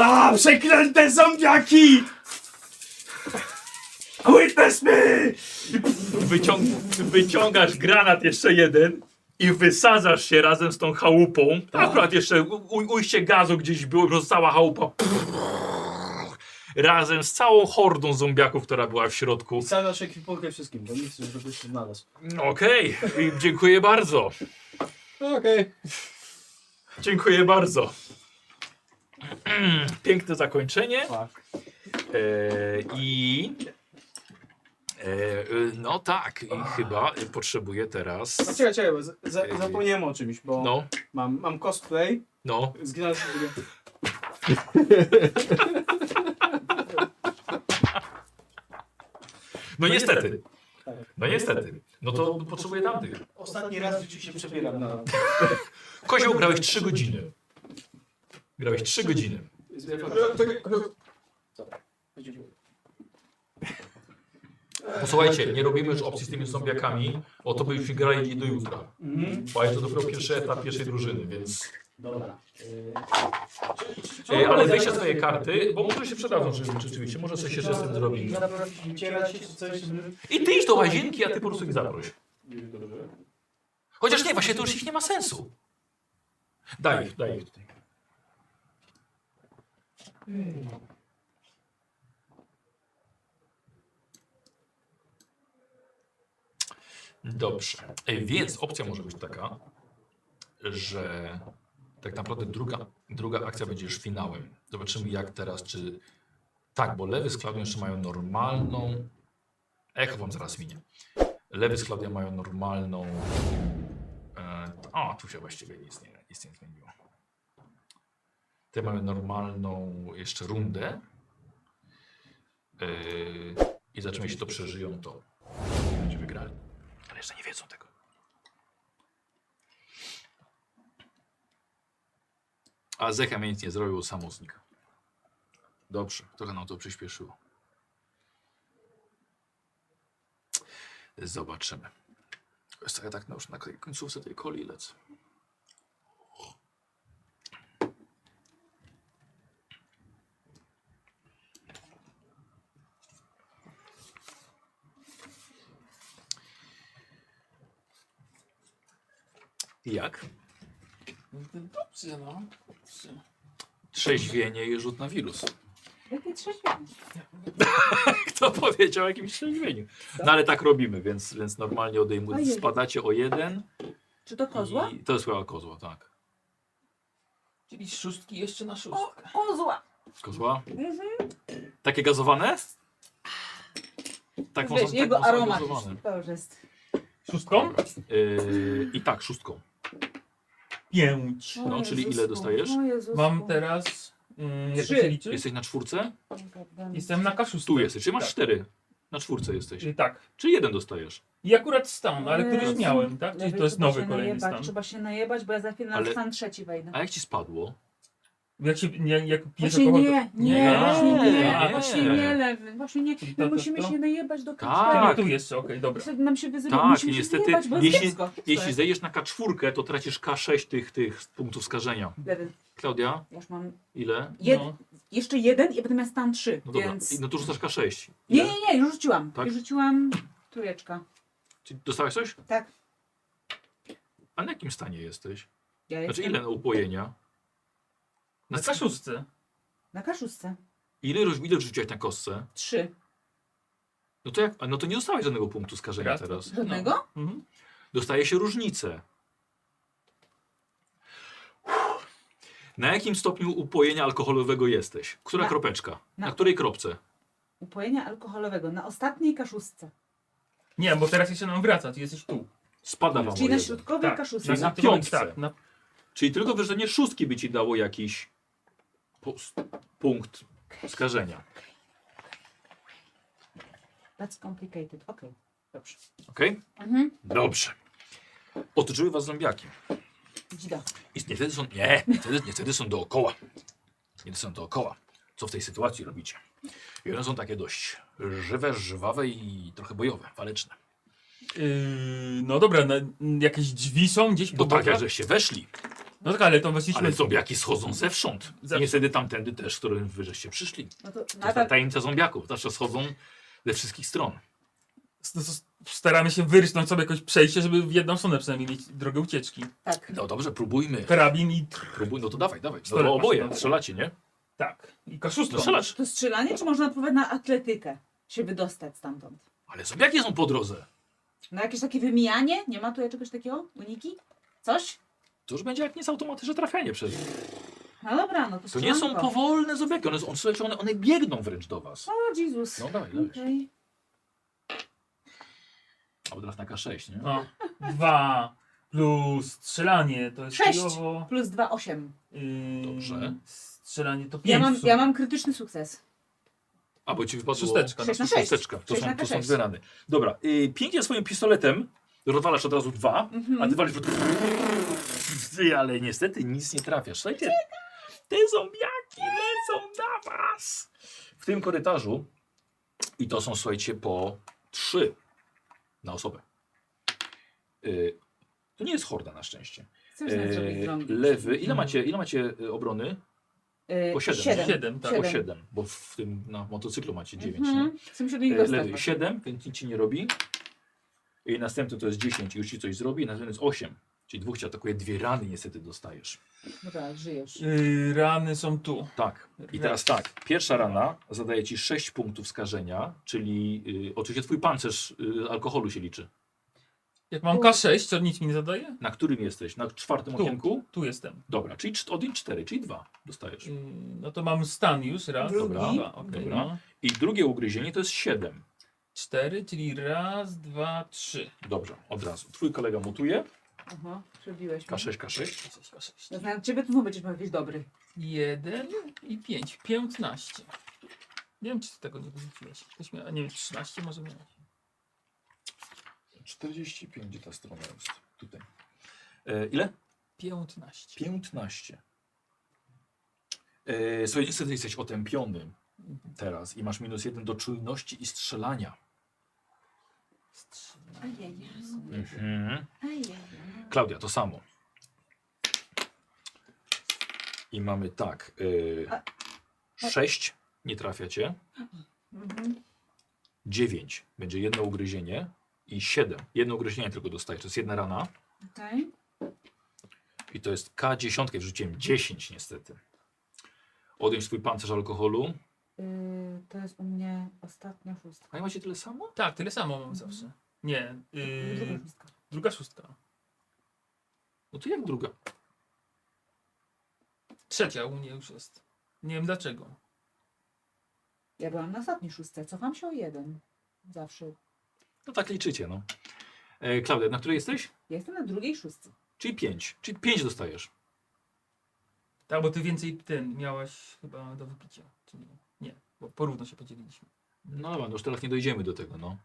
A, przeklęte zombiaki! Witness me! Wyciąg wyciągasz granat jeszcze jeden i wysadzasz się razem z tą chałupą. Akurat jeszcze u- ujście gazu gdzieś było, została chałupa. Razem z całą hordą zombiaków, która była w środku. Cały nasz ekwipunkę wszystkim, bo nic już żebyś nie znalazł. Okej, i dziękuję bardzo. Okej. Dziękuję bardzo. Piękne zakończenie. E, I. E, y, no tak, i chyba y, potrzebuję teraz. No czekaj, czekaj, bo za, za, zapomniałem o czymś, bo No. mam, mam cosplay. No. Zginąłem. No niestety. niestety. No niestety. No to No potrzebuję tamtych. Ostatni raz w życiu się przebieram na... Kozioł grałeś 3 godziny. Grałeś 3 godziny. Posłuchajcie, nie robimy już opcji z tymi zombiakami, o to byśmy grali do jutra. Mhm. Bo jest to dopiero pierwszy etap pierwszej drużyny, więc... Dobra. E, ale weźcie swoje karty, bo może się przydadzą rzeczy- rzeczywiście, może coś jeszcze z tym zrobimy. Wycierać się czy coś, żeby... I ty idź do łazienki, a ty po prostu ich zaproś. Chociaż nie, właśnie to już ich nie ma sensu. Daj ich, daj ich. Dobrze. E, Więc opcja może być taka, że tak naprawdę druga, druga akcja będzie już finałem. Zobaczymy jak teraz, czy... Tak, bo lewy z Klaudią jeszcze mają normalną... Echo wam zaraz minie. Lewy z Klaudią mają normalną... E, a, tu się właściwie nic nie, nic nie zmieniło. Te mają normalną jeszcze rundę. E, I zobaczymy, jeśli to przeżyją, to będzie wygrali. Ale jeszcze nie wiedzą tego. A Zecha mnie nic nie zrobił, samo znika. Dobrze, trochę nam to przyspieszyło. Zobaczymy. Wiesz co, ja tak na już na końcówce tej koli lecę. Jak? Dobrze, no. Dobrze. Trzeźwienie i rzut na wirus. Jakie trzeźwienie? Kto powiedział o jakimś trzeźwieniu? No ale tak robimy, więc, więc normalnie odejmujecie. Ojej. Spadacie o jeden. Czy to kozła? I to jest chyba kozła, tak. Czyli z szóstki jeszcze na szóstkę. Kozła! Kozła? Mhm. Takie gazowane? Tak, Wiesz, tak jego mocno aromat gazowane. już to już jest. Szóstką? Yy, I tak, szóstką. Pięć. No, czyli ile dostajesz? no. Mam teraz... Mm, jak to Trzy. się liczy? Jesteś na czwórce? Jestem na kaszustu. Tu jesteś, czyli masz Tak. cztery. Na czwórce jesteś. Czyli tak. Czyli jeden dostajesz. I akurat stan, ale któryś miałem, tak? Czyli Lewy, to jest trzeba nowy No, się kolejny najebać, stan. Trzeba się najebać, bo ja za chwilę Ale- na stan trzeci wejdę. A jak ci spadło? Jak się, nie, jak pijesz Właśnie alkohol, to- nie, nie, nie. właśnie nie, A, właśnie nie. Tak. nie, lewy, właśnie nie. Czyli to, My to, musimy to? się najebać do Tak. końca. Tu jeszcze, okej, dobra. Nam się wyzywa, Tak, musimy i się niestety, najebać, bo jest jeśli, kiepsko. jeśli zejdziesz na K4, to tracisz K6 tych, tych punktów skażenia. Lewy, Klaudia, ja już mam ile? jed... No. jeszcze jeden i będę miał stan trzy, No dobra, więc... I- no to rzucasz K6. Nie, nie, nie, już rzuciłam. Tak? Już rzuciłam trójeczka. Czy dostałeś coś? Tak. A na jakim stanie jesteś? Ja Znaczy jestem No ile na upojenia? Na K6. Na kaszusce. Ile, roz- ile rzuciłeś na kostce? Trzy. No to, jak, a no to nie dostałeś żadnego punktu skażenia Raz, teraz. Żadnego? Mhm. Dostaje się różnicę. Na jakim stopniu upojenia alkoholowego jesteś? Która Na- kropeczka? Na, na- której kropce? Upojenia alkoholowego na ostatniej kaszustce. Nie, bo teraz jeszcze nam wraca, ty jesteś tu. Spada wam Czyli o na jeden. środkowej Tak, kaszustce. Czyli na Na piątce, piątce. tak, na- Czyli tylko wyrzenie szóstki by ci dało jakiś po, punkt skażenia. That's complicated. Okej, dobrze. Okej? Mhm. Dobrze. Otoczyły was zombiaki. Dzida. I nie wtedy są. Nie, nie wtedy, nie wtedy są dookoła. Nie wtedy są dookoła. Co w tej sytuacji robicie? I one są takie dość żywe, żwawe i trochę bojowe, waleczne. Yy, no dobra, na, jakieś drzwi są gdzieś po Bo tak, bokach? jak żeście weszli, No tak, ale to weszliśmy... ale zombiaki schodzą zewsząd. I niestety tamtędy też, z którym wy żeście przyszli. No to To tak- jest ta nadal tajemnica zombiaków. Zawsze schodzą ze wszystkich stron. s- s- Staramy się wyrysnąć sobie jakoś przejście, żeby w jedną stronę przynajmniej mieć drogę ucieczki. tak. No dobrze, próbujmy. Karabin i... Próbuj, no to dawaj, dawaj. No Pistolet to masz, oboje no. strzelacie, nie? Tak. I No kaszustwo. strzelasz. To strzelanie, czy można próbować na atletykę się wydostać stamtąd? Ale zombiaki są po drodze. Na jakieś takie wymijanie? Nie ma tu czegoś takiego? Uniki? Coś? To już będzie jak nieautomatyczne trafianie przez nie. No dobra, no to To nie są strzelanko. powolne zombiaki, one, są- on- słuchajcie, one, one biegną wręcz do was. O, Jezus. No dawaj, dawaj. Okej. A teraz taka 6, nie? No. Dwa plus strzelanie to jest Sześć. chujowo. Plus dwa osiem. Yy, Dobrze. Strzelanie to pięć. Ja mam, w sumie. ja mam krytyczny sukces. A bo ci wypadło... Szósteczka, no. Sześć na sześć. Szósteczka, to Sześć są, na to są sześć. dwie rany. Dobra, y, pięknie swoim pistoletem rozwalasz od razu dwa, Mhm. a ty walisz... Ty, Ale niestety nic nie trafiasz. Słuchajcie, te zombiaki lecą na was! W tym korytarzu i to są, słuchajcie, po trzy na osobę. Y, to nie jest horda na szczęście. Chcesz znać, żeby ich Eee, drąbić. lewy. Ile macie, ile macie e, obrony? Eee, Po 7. siedem. Siedem, tak. Po Siedem. 7, bo w tym na motocyklu macie 9. Mhm. Chcę się do nich Nie? E, Lewy dostać. 7, więc nic ci nie robi. I następny to jest 10, już ci coś zrobi. Następny jest 8, czyli dwóch ci atakuje, dwie rany niestety dostajesz. Dobra, No tak, żyjesz. Yy, rany są tu. Tak. I teraz tak, pierwsza rana zadaje ci 6 punktów skażenia, czyli y, oczywiście twój pancerz y, alkoholu się liczy. Jak mam K6, to nic mi nie zadaje? Na którym jesteś? Na czwartym Tu. okienku? Tu jestem. Dobra, czyli czt- od 4, czyli 2 dostajesz. Yy, no to mam stan już, raz, Drugi. dwa, Dobra, okej, dobra. no. I drugie ugryzienie to jest 7. Cztery, czyli raz, dwa, trzy. Dobrze, od razu. Twój kolega mutuje. Aha, przebiłeś mnie. K6, K6. Sześć, sześć. To znaczy, ciebie tu będziesz miał jakiś dobry. Jeden i pięć. Piętnaście. Nie wiem, czy ty tego nie wyrzuciłeś. Ktoś miał, a nie wiem, 13 może miałeś. 45, gdzie ta strona jest? Tutaj. E, ile? 15. 15. E, słuchaj, niestety jesteś otępiony teraz i masz minus jeden do czujności i strzelania. Ajej. Mhm. Ajej. Klaudia, to samo. I mamy tak. E, 6 nie trafiacie. Mhm. 9 będzie jedno ugryzienie i 7. Jedno ugryzienie tylko dostajesz. To jest jedna rana. Okej. I to jest K10, wrzuciłem 10 niestety. Odjąć swój pancerz alkoholu. Yy, to jest u mnie ostatnia szóstka. A nie macie tyle samo? Tak, tyle samo mam zawsze. Nie, Druga Mm. yy, szóstka. druga szóstka. No to jak druga? Trzecia u mnie już jest. Nie wiem dlaczego. Ja byłam na ostatniej szóstce. Cofam się o jeden. Zawsze. No tak liczycie, no. E, Klaudia, na której jesteś? Ja jestem na drugiej szóstce. Czyli 5. Czyli 5 dostajesz. Tak, bo ty więcej ten miałaś chyba do wypicia. Czy nie? nie, bo porówno się podzieliliśmy. No dobra, no już teraz nie dojdziemy do tego, no.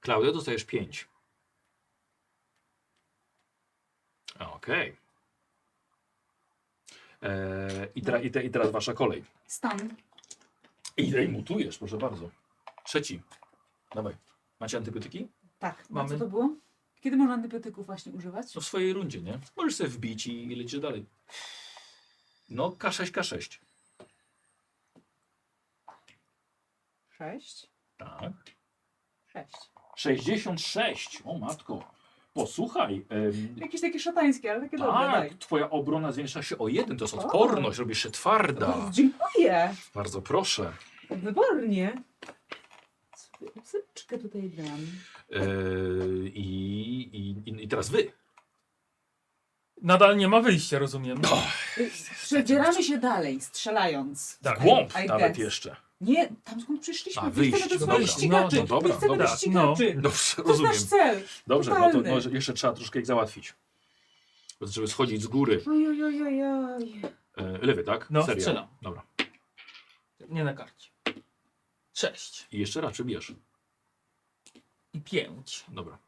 Klaudia, dostajesz 5. Okej. E, i, tera, i, te, I teraz wasza kolej. Stan. I daj mutujesz, proszę bardzo. Trzeci. Dawaj. Macie antybiotyki? Tak. Mamy. Mamy- Co to było? Kiedy można antybiotyków właśnie używać? No w swojej rundzie, nie? Możesz sobie wbić i, i lecisz dalej. No, K6, K6. Sześć. Tak. Sześć. 66. O matko. Posłuchaj. em, Jakieś takie szatańskie, ale takie dobre. tak, daj. twoja obrona zwiększa się o jeden. To jest odporność, robisz się twarda. Dziękuję. Bardzo proszę. Wybornie. Psyczkę tutaj dam. Yy, i, i, I teraz wy. Nadal nie ma wyjścia, rozumiem. Y, Przedzieramy się dalej, strzelając. Tak. Głąb I nawet guess. jeszcze. Nie, tam skąd przyszliśmy. A, Nie wyjść, chcemy no do swoich dobra. ścigaczy. No, no dobra, Nie chcemy dobra. No. do ścigaczy. Dobrze, To jest rozumiem. nasz cel. Dobrze, no to Totalny. no, jeszcze trzeba troszkę ich załatwić. Żeby schodzić z góry. Oj, oj, oj, oj, oj. E, lewy, tak? No, Seria. strzelam. Dobra. Nie na karcie. Sześć I jeszcze raczej bierz. i pięć. Dobra.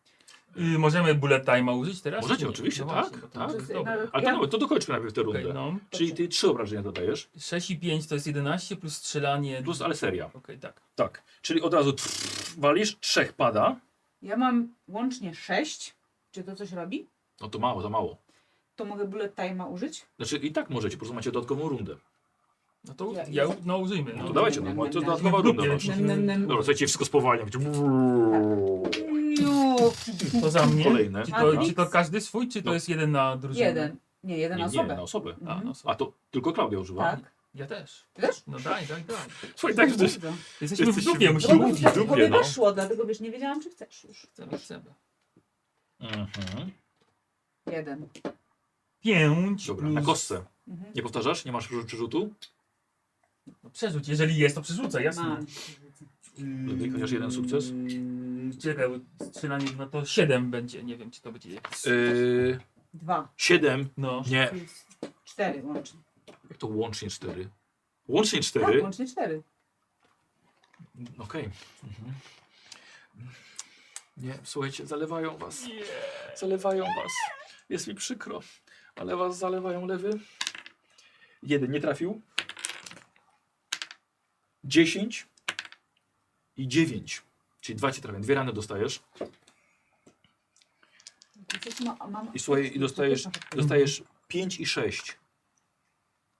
Y, możemy bullet time'a użyć teraz? Możecie, czy nie? oczywiście, No tak. właśnie, bo to tak. może- Dobra. dobra. Ale to, no, to dokończmy najpierw tę rundę. Okej, no. Czyli ty trzy obrażenia dodajesz. 6 i 5 to jest 11 plus strzelanie. Plus, ale seria. Okej, tak. Tak. Czyli od razu trrr, walisz, trzech pada. Ja mam łącznie sześć. Czy to coś robi? No to mało, za mało. To mogę bullet time'a użyć? Znaczy i tak możecie, po prostu macie dodatkową rundę. No to Ja- ja, no użyjmy. No to dawajcie, no, to dodatkowa Lub runda nie, wasza. czy- Dobra, słuchajcie, wszystko spowalnia. No, To za mnie? Kolejne. No. Czy to, A, czy to każdy swój, czy to jest jeden na drużynę? Jeden. Nie, jeden Nie, osobę. Mhm. nie, na osobę. A, no, A to tylko Klaudia używa? Tak. Ja też. Ty też? No daj, daj, daj. Słuchaj, tak, że- Dobra. Jesteśmy w Jesteśmy dupie, w musimy dupie, mówić. w dupie. Bo mi no. weszło, dlatego wiesz, nie wiedziałam, czy chcesz już. Chcemy, chcemy. Mhm. Jeden. Pięć Dobra, plus... na kostce. Mhm. Nie powtarzasz? Nie masz przerzutu? No, Przerzuć, jeżeli jest, to przerzucę, jasne. Mam. Ludwik, chociaż jeden sukces? Yy, Czekaj, bo strzelanie, no to siedem będzie, nie wiem, czy to będzie jakiś Yy, Dwa. siedem. No. Nie. Plus cztery łącznie. Jak to łącznie cztery? Łącznie Tak, cztery? łącznie cztery. Okej. Mhm. Nie, słuchajcie, zalewają was. Zalewają was. Jest mi przykro, ale was zalewają lewy. Jeden nie trafił. Dziesięć i dziewięć. Czyli dwa cię trafią. Dwie rany dostajesz. Coś ma, mam... I słuchaj, i dostajesz, dostajesz pięć i sześć.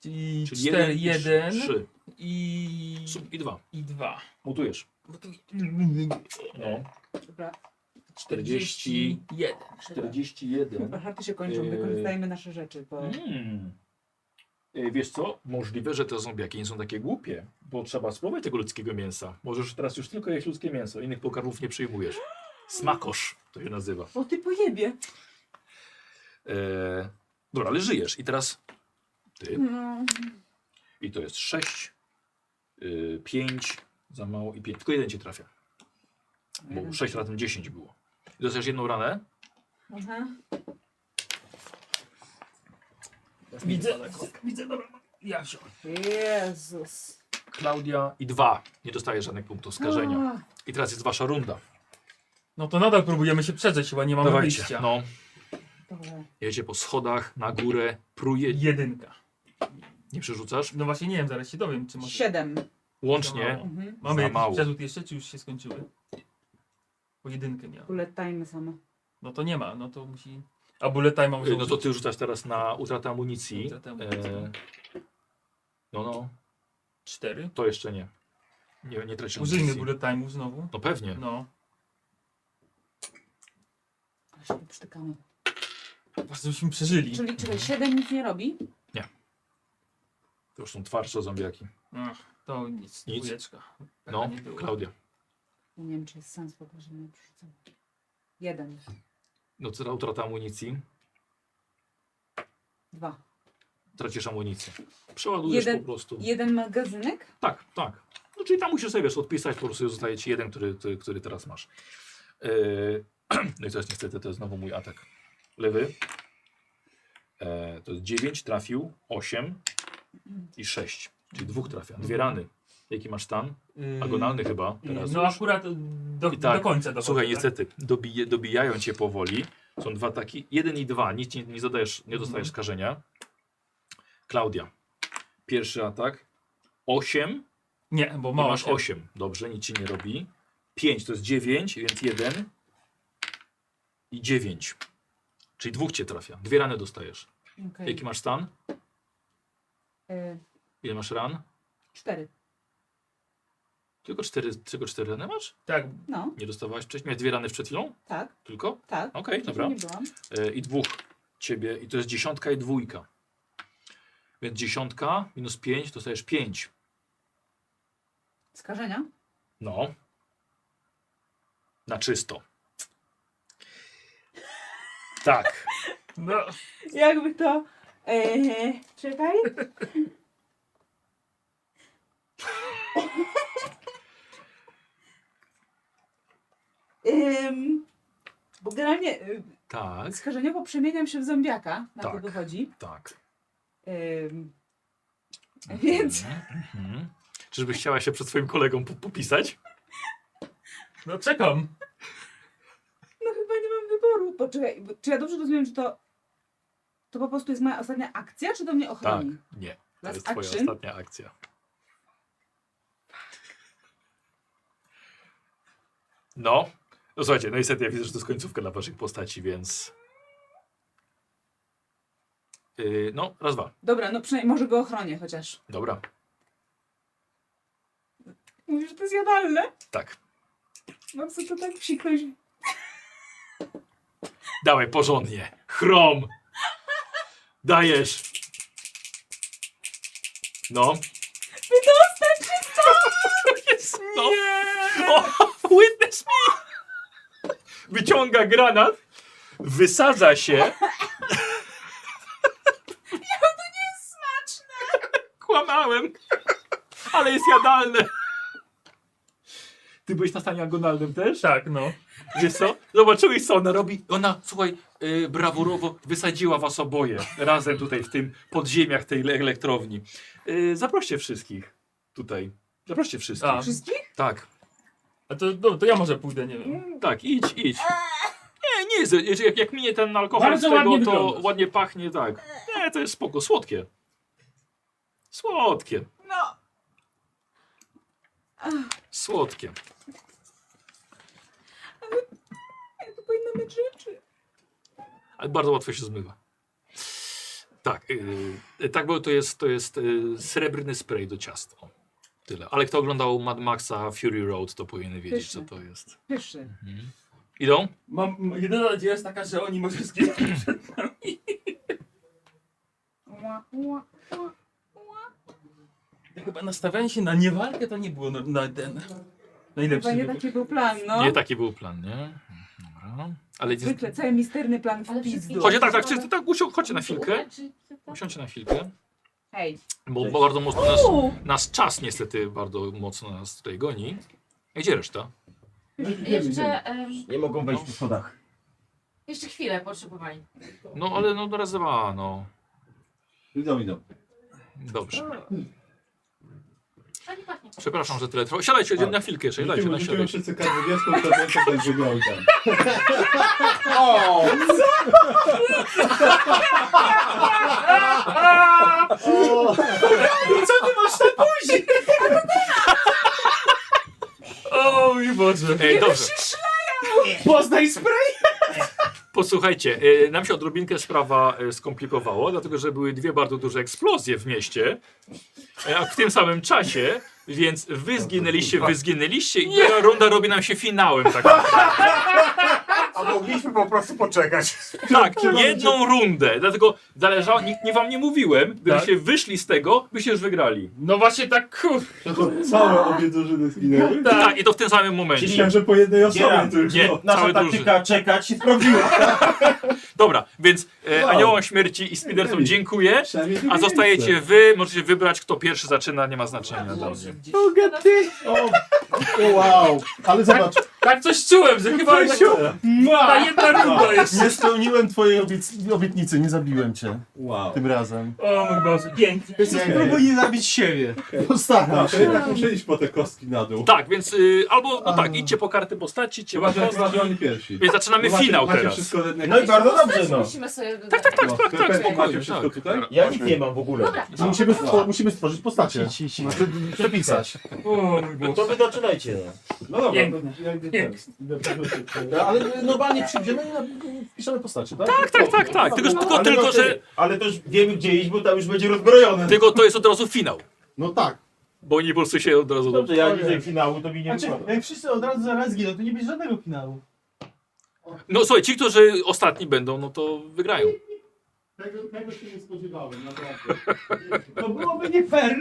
Czyli Czyli cztery, jeden i trzy- jeden trzy. i... Sum- I dwa. i dwa. Mutujesz. Bo tu- No. Dobra. 40. 41. 41. Harty się kończą, Yy. wykorzystajmy nasze rzeczy, bo... Mm. Ej, E, Wiesz co? Możliwe, że te zombiaki nie są takie głupie, bo trzeba spróbować tego ludzkiego mięsa. Możesz teraz już tylko jeść ludzkie mięso, innych pokarmów nie przyjmujesz. Smakosz to się nazywa. O ty pojebie. Eee, dobra, ale żyjesz i teraz ty. No. I to jest 6, 5, za mało i 5. Tylko jeden cię trafia. Bo Jeden. 6 razem 10 było. I dostajesz jedną ranę. Aha. Widzę, widzę, dobra. Ja wziąłem. Jezus. Klaudia i 2. Nie dostajesz żadnych punktów skażenia. A, I teraz jest wasza runda. No to nadal próbujemy się przedrzeć, chyba nie mamy Dawajcie. wyjścia. No, dobra. jedzie po schodach, na górę, pruje. Jedynka. Nie przerzucasz? No właśnie nie wiem, zaraz się dowiem, czy może... Siedem. Za Łącznie mało. Mhm. za Mamy jakiś mało. przerzut jeszcze, czy już się skończyły? Bo jedynkę miał. Bullet time same. No to nie ma, no to musi... A bullet time może Y, No to użyć. ty rzucasz teraz na utratę amunicji. Utratę amunicji. tak. E, No, no, Cztery. to jeszcze nie. Nie, nie tracisz Użyjmy amunicji. bullet time'u znowu. No pewnie. No. Ale się poprztykamy. Bardzo byśmy przeżyli. Czyli czekaj, siedem nic nie robi? To już są twardsze zombiaki. Ach, to nic, Nic. dwójeczka. Taka No, nie było. Klaudia. Ja nie wiem, czy jest sens w ogóle, że mnie przerzucam. Jeden. No co za utrata amunicji? Dwa. Tracisz amunicję. Przeładujesz Jeden- po prostu. Jeden magazynek? Tak, tak. No, czyli tam musisz sobie wiesz, odpisać, po prostu zostaje ci jeden, który, ty, który teraz masz. E, No i to jest niestety, to jest znowu mój atak. Lewy. E, To jest 9, trafił, 8 i 6. Czyli dwóch trafia. Dwie rany. Jaki masz stan? Yy, Agonalny chyba teraz. Mhm. No akurat do, I tak. do końca dochodzi, Słuchaj, tak? niestety, dobije, dobijają cię powoli. Są dwa taki, jeden i dwa, nic nie, nie, zadajesz, nie Mhm. dostajesz skażenia. Klaudia, pierwszy atak, 8, Nie, bo nie mało. masz się- 8, dobrze, nic ci nie robi. 5 to jest 9, więc 1 i 9. Czyli dwóch cię trafia, dwie rany dostajesz. Okej. Jaki masz stan? Y, Ile masz ran? cztery. Tylko cztery, tylko cztery rany masz? Tak, No, Nie dostawałaś wcześniej? Miałeś dwie rany przed chwilą? tak, Tylko? tak. Okej, dobra. Nie byłam. E, i dwóch ciebie, i to jest dziesiątka i dwójka. Więc dziesiątka minus pięć, dostajesz pięć. Skażenia? No. Na czysto. Tak. No. Jakby to... Eee, czekaj. Ym, bo generalnie y, Tak. Skażeniowo przemieniam się w zombiaka, na to Tak. wychodzi. Tak. Ym, więc Mhm. Czyżbyś chciała się przed swoim kolegą po- popisać? No czekam. no chyba nie mam wyboru. Poczekaj, bo czy ja dobrze rozumiem, że to to po prostu jest moja ostatnia akcja, czy do mnie ochroni? Nie. To Last jest twoja action? ostatnia akcja. No. no. Słuchajcie, no niestety ja widzę, że to jest końcówka dla waszych postaci, więc... Yy, no, raz, dwa. Dobra, no przynajmniej może go ochronię chociaż. Dobra. Mówisz, że to jest jadalne? Tak. Mam sobie to tak psiknąć. Dawaj, porządnie. Chrom. Dajesz. No. Wydostać się stąd! No. O, witness me! Wyciąga granat, wysadza się, Ja to nie jest smaczne! kłamałem, ale jest jadalne. Ty byłeś na stanie agonalnym też? Tak, no. Wiesz co? Zobaczyłeś co ona robi? Ona, słuchaj, yy, brawurowo wysadziła was oboje razem tutaj w tym podziemiach tej le- elektrowni. Yy, zaproście wszystkich tutaj. Zaproście wszystkich. A. Wszystkich? Tak. A to, no, to ja może pójdę, nie wiem. Tak, idź, idź. Nie, nie jest. Jak, jak minie ten alkohol Bardzo z tego, ładnie to wyglądasz. ładnie pachnie, tak. Nie, to jest spoko. Słodkie. Słodkie. No. Słodkie. Ja tu powinno mieć rzeczy. Ale bardzo łatwo się zmywa. Tak, yy, tak, bo to jest, to jest yy, srebrny spray do ciast. O, tyle. Ale kto oglądał Mad Maxa Fury Road, to powinien wiedzieć, co Pyszne. to jest. Mhm. Pyszy. Idą? Mam, m- jedyna nadzieja jest taka, że oni może zginąć przed nami. Ła, ła, ła. Chyba nastawianie się na niewalkę to nie było na, na ten... Chyba Najlepszy nie wybór. taki był plan, no. Nie taki był plan, nie? Dobra. Ale nie... Zwykle cały misterny plan w pizdu. Chodźcie, tak, tak, czy, tak, usią- chodźcie na chwilkę. Usiądźcie na chwilkę. Hej. Bo, bo bardzo mocno nas, Uuu. nas czas niestety bardzo mocno nas tutaj goni. A Gdzie reszta? Jeszcze, em, Nie mogą wejść po schodach. jeszcze chwilę potrzebowali. No ale no teraz dwa, no. Idą, idą. Dobrze. Tak. A nie pachnie. Przepraszam, że tyle trwa. Siadajcie na chwilkę jeszcze, siadajcie, no, siadajcie. Rzuciłem wszyscy kadrowieską, to wiem, co tak wygląda. O! Co ty masz na buzi? O mój Boże. Ej, E, dobrze. Poznaj spray! Posłuchajcie, e, nam się odrobinkę sprawa e, skomplikowała, dlatego że były dwie bardzo duże eksplozje w mieście e, a w tym samym czasie, więc wy zginęliście, wy zginęliście i ta runda robi nam się finałem. Tak, naprawdę. A mogliśmy po prostu poczekać. tak jedną rundę, dlatego zależało, nie, nie wam nie mówiłem, gdybyście Tak. wyszli z tego, byście już wygrali. No właśnie tak kur... Całe obie drużyny zginęły. Tak. i to w tym samym momencie. Myślałem, że po jednej osobie Dzielam. tylko. Nie, Nasza całe taktyka czekać się sprawdziła. Dobra, więc e, Wow. aniołom śmierci i spidersom dziękuję, a zostajecie wy, możecie wybrać kto pierwszy zaczyna, nie ma znaczenia dla mnie. Boga ty! Wow, ale zobacz. Tak coś czułem, że chyba... Weź ją. Ta jedna runda jeszcze. Nie spełniłem twojej obiec- obietnicy, nie zabiłem cię. Wow. Tak, Tym razem. O mój Boże, pięknie. Spróbuj nie zabić siebie. Postaram się. się. Jednak muszę iść tak, po te kostki na dół. Tak, więc y, albo no tak, idźcie po karty postaci, idźcie po Chyba, że chyba, że oni kostki. pierwsi. Więc zaczynamy Macie- finał macie teraz. wszystko w jednej- No i bardzo dobrze, no. Musimy sobie dodać. tak, No, tak, to tak, jest- spokojnie, Macie wszystko tak. tutaj? Ja nic nie mam w ogóle. Dobra. No Musimy, Dobra. stwo- musimy stworzyć postacie. No, ty- Przepisać. No to wy zaczynajcie. No dobra, dobra, ja idę teraz. Ale no normalnie przyjdziemy i piszemy postacie, tak? Tak, tak, tak, tak. Tylko, tylko, Ale tylko to że. ty- Ale to już wiemy gdzie iść, bo tam już będzie rozbrojone. Tylko to jest od razu finał. No tak. Bo oni po prostu się od razu. Dobrze, ja nie finału, to mi nie Znaczy, wypada. jak wszyscy od razu zaraz giną, to nie będzie żadnego finału. No słuchaj, ci, którzy ostatni będą, no to wygrają. Tego, tego się nie spodziewałem, naprawdę. To byłoby nie fair.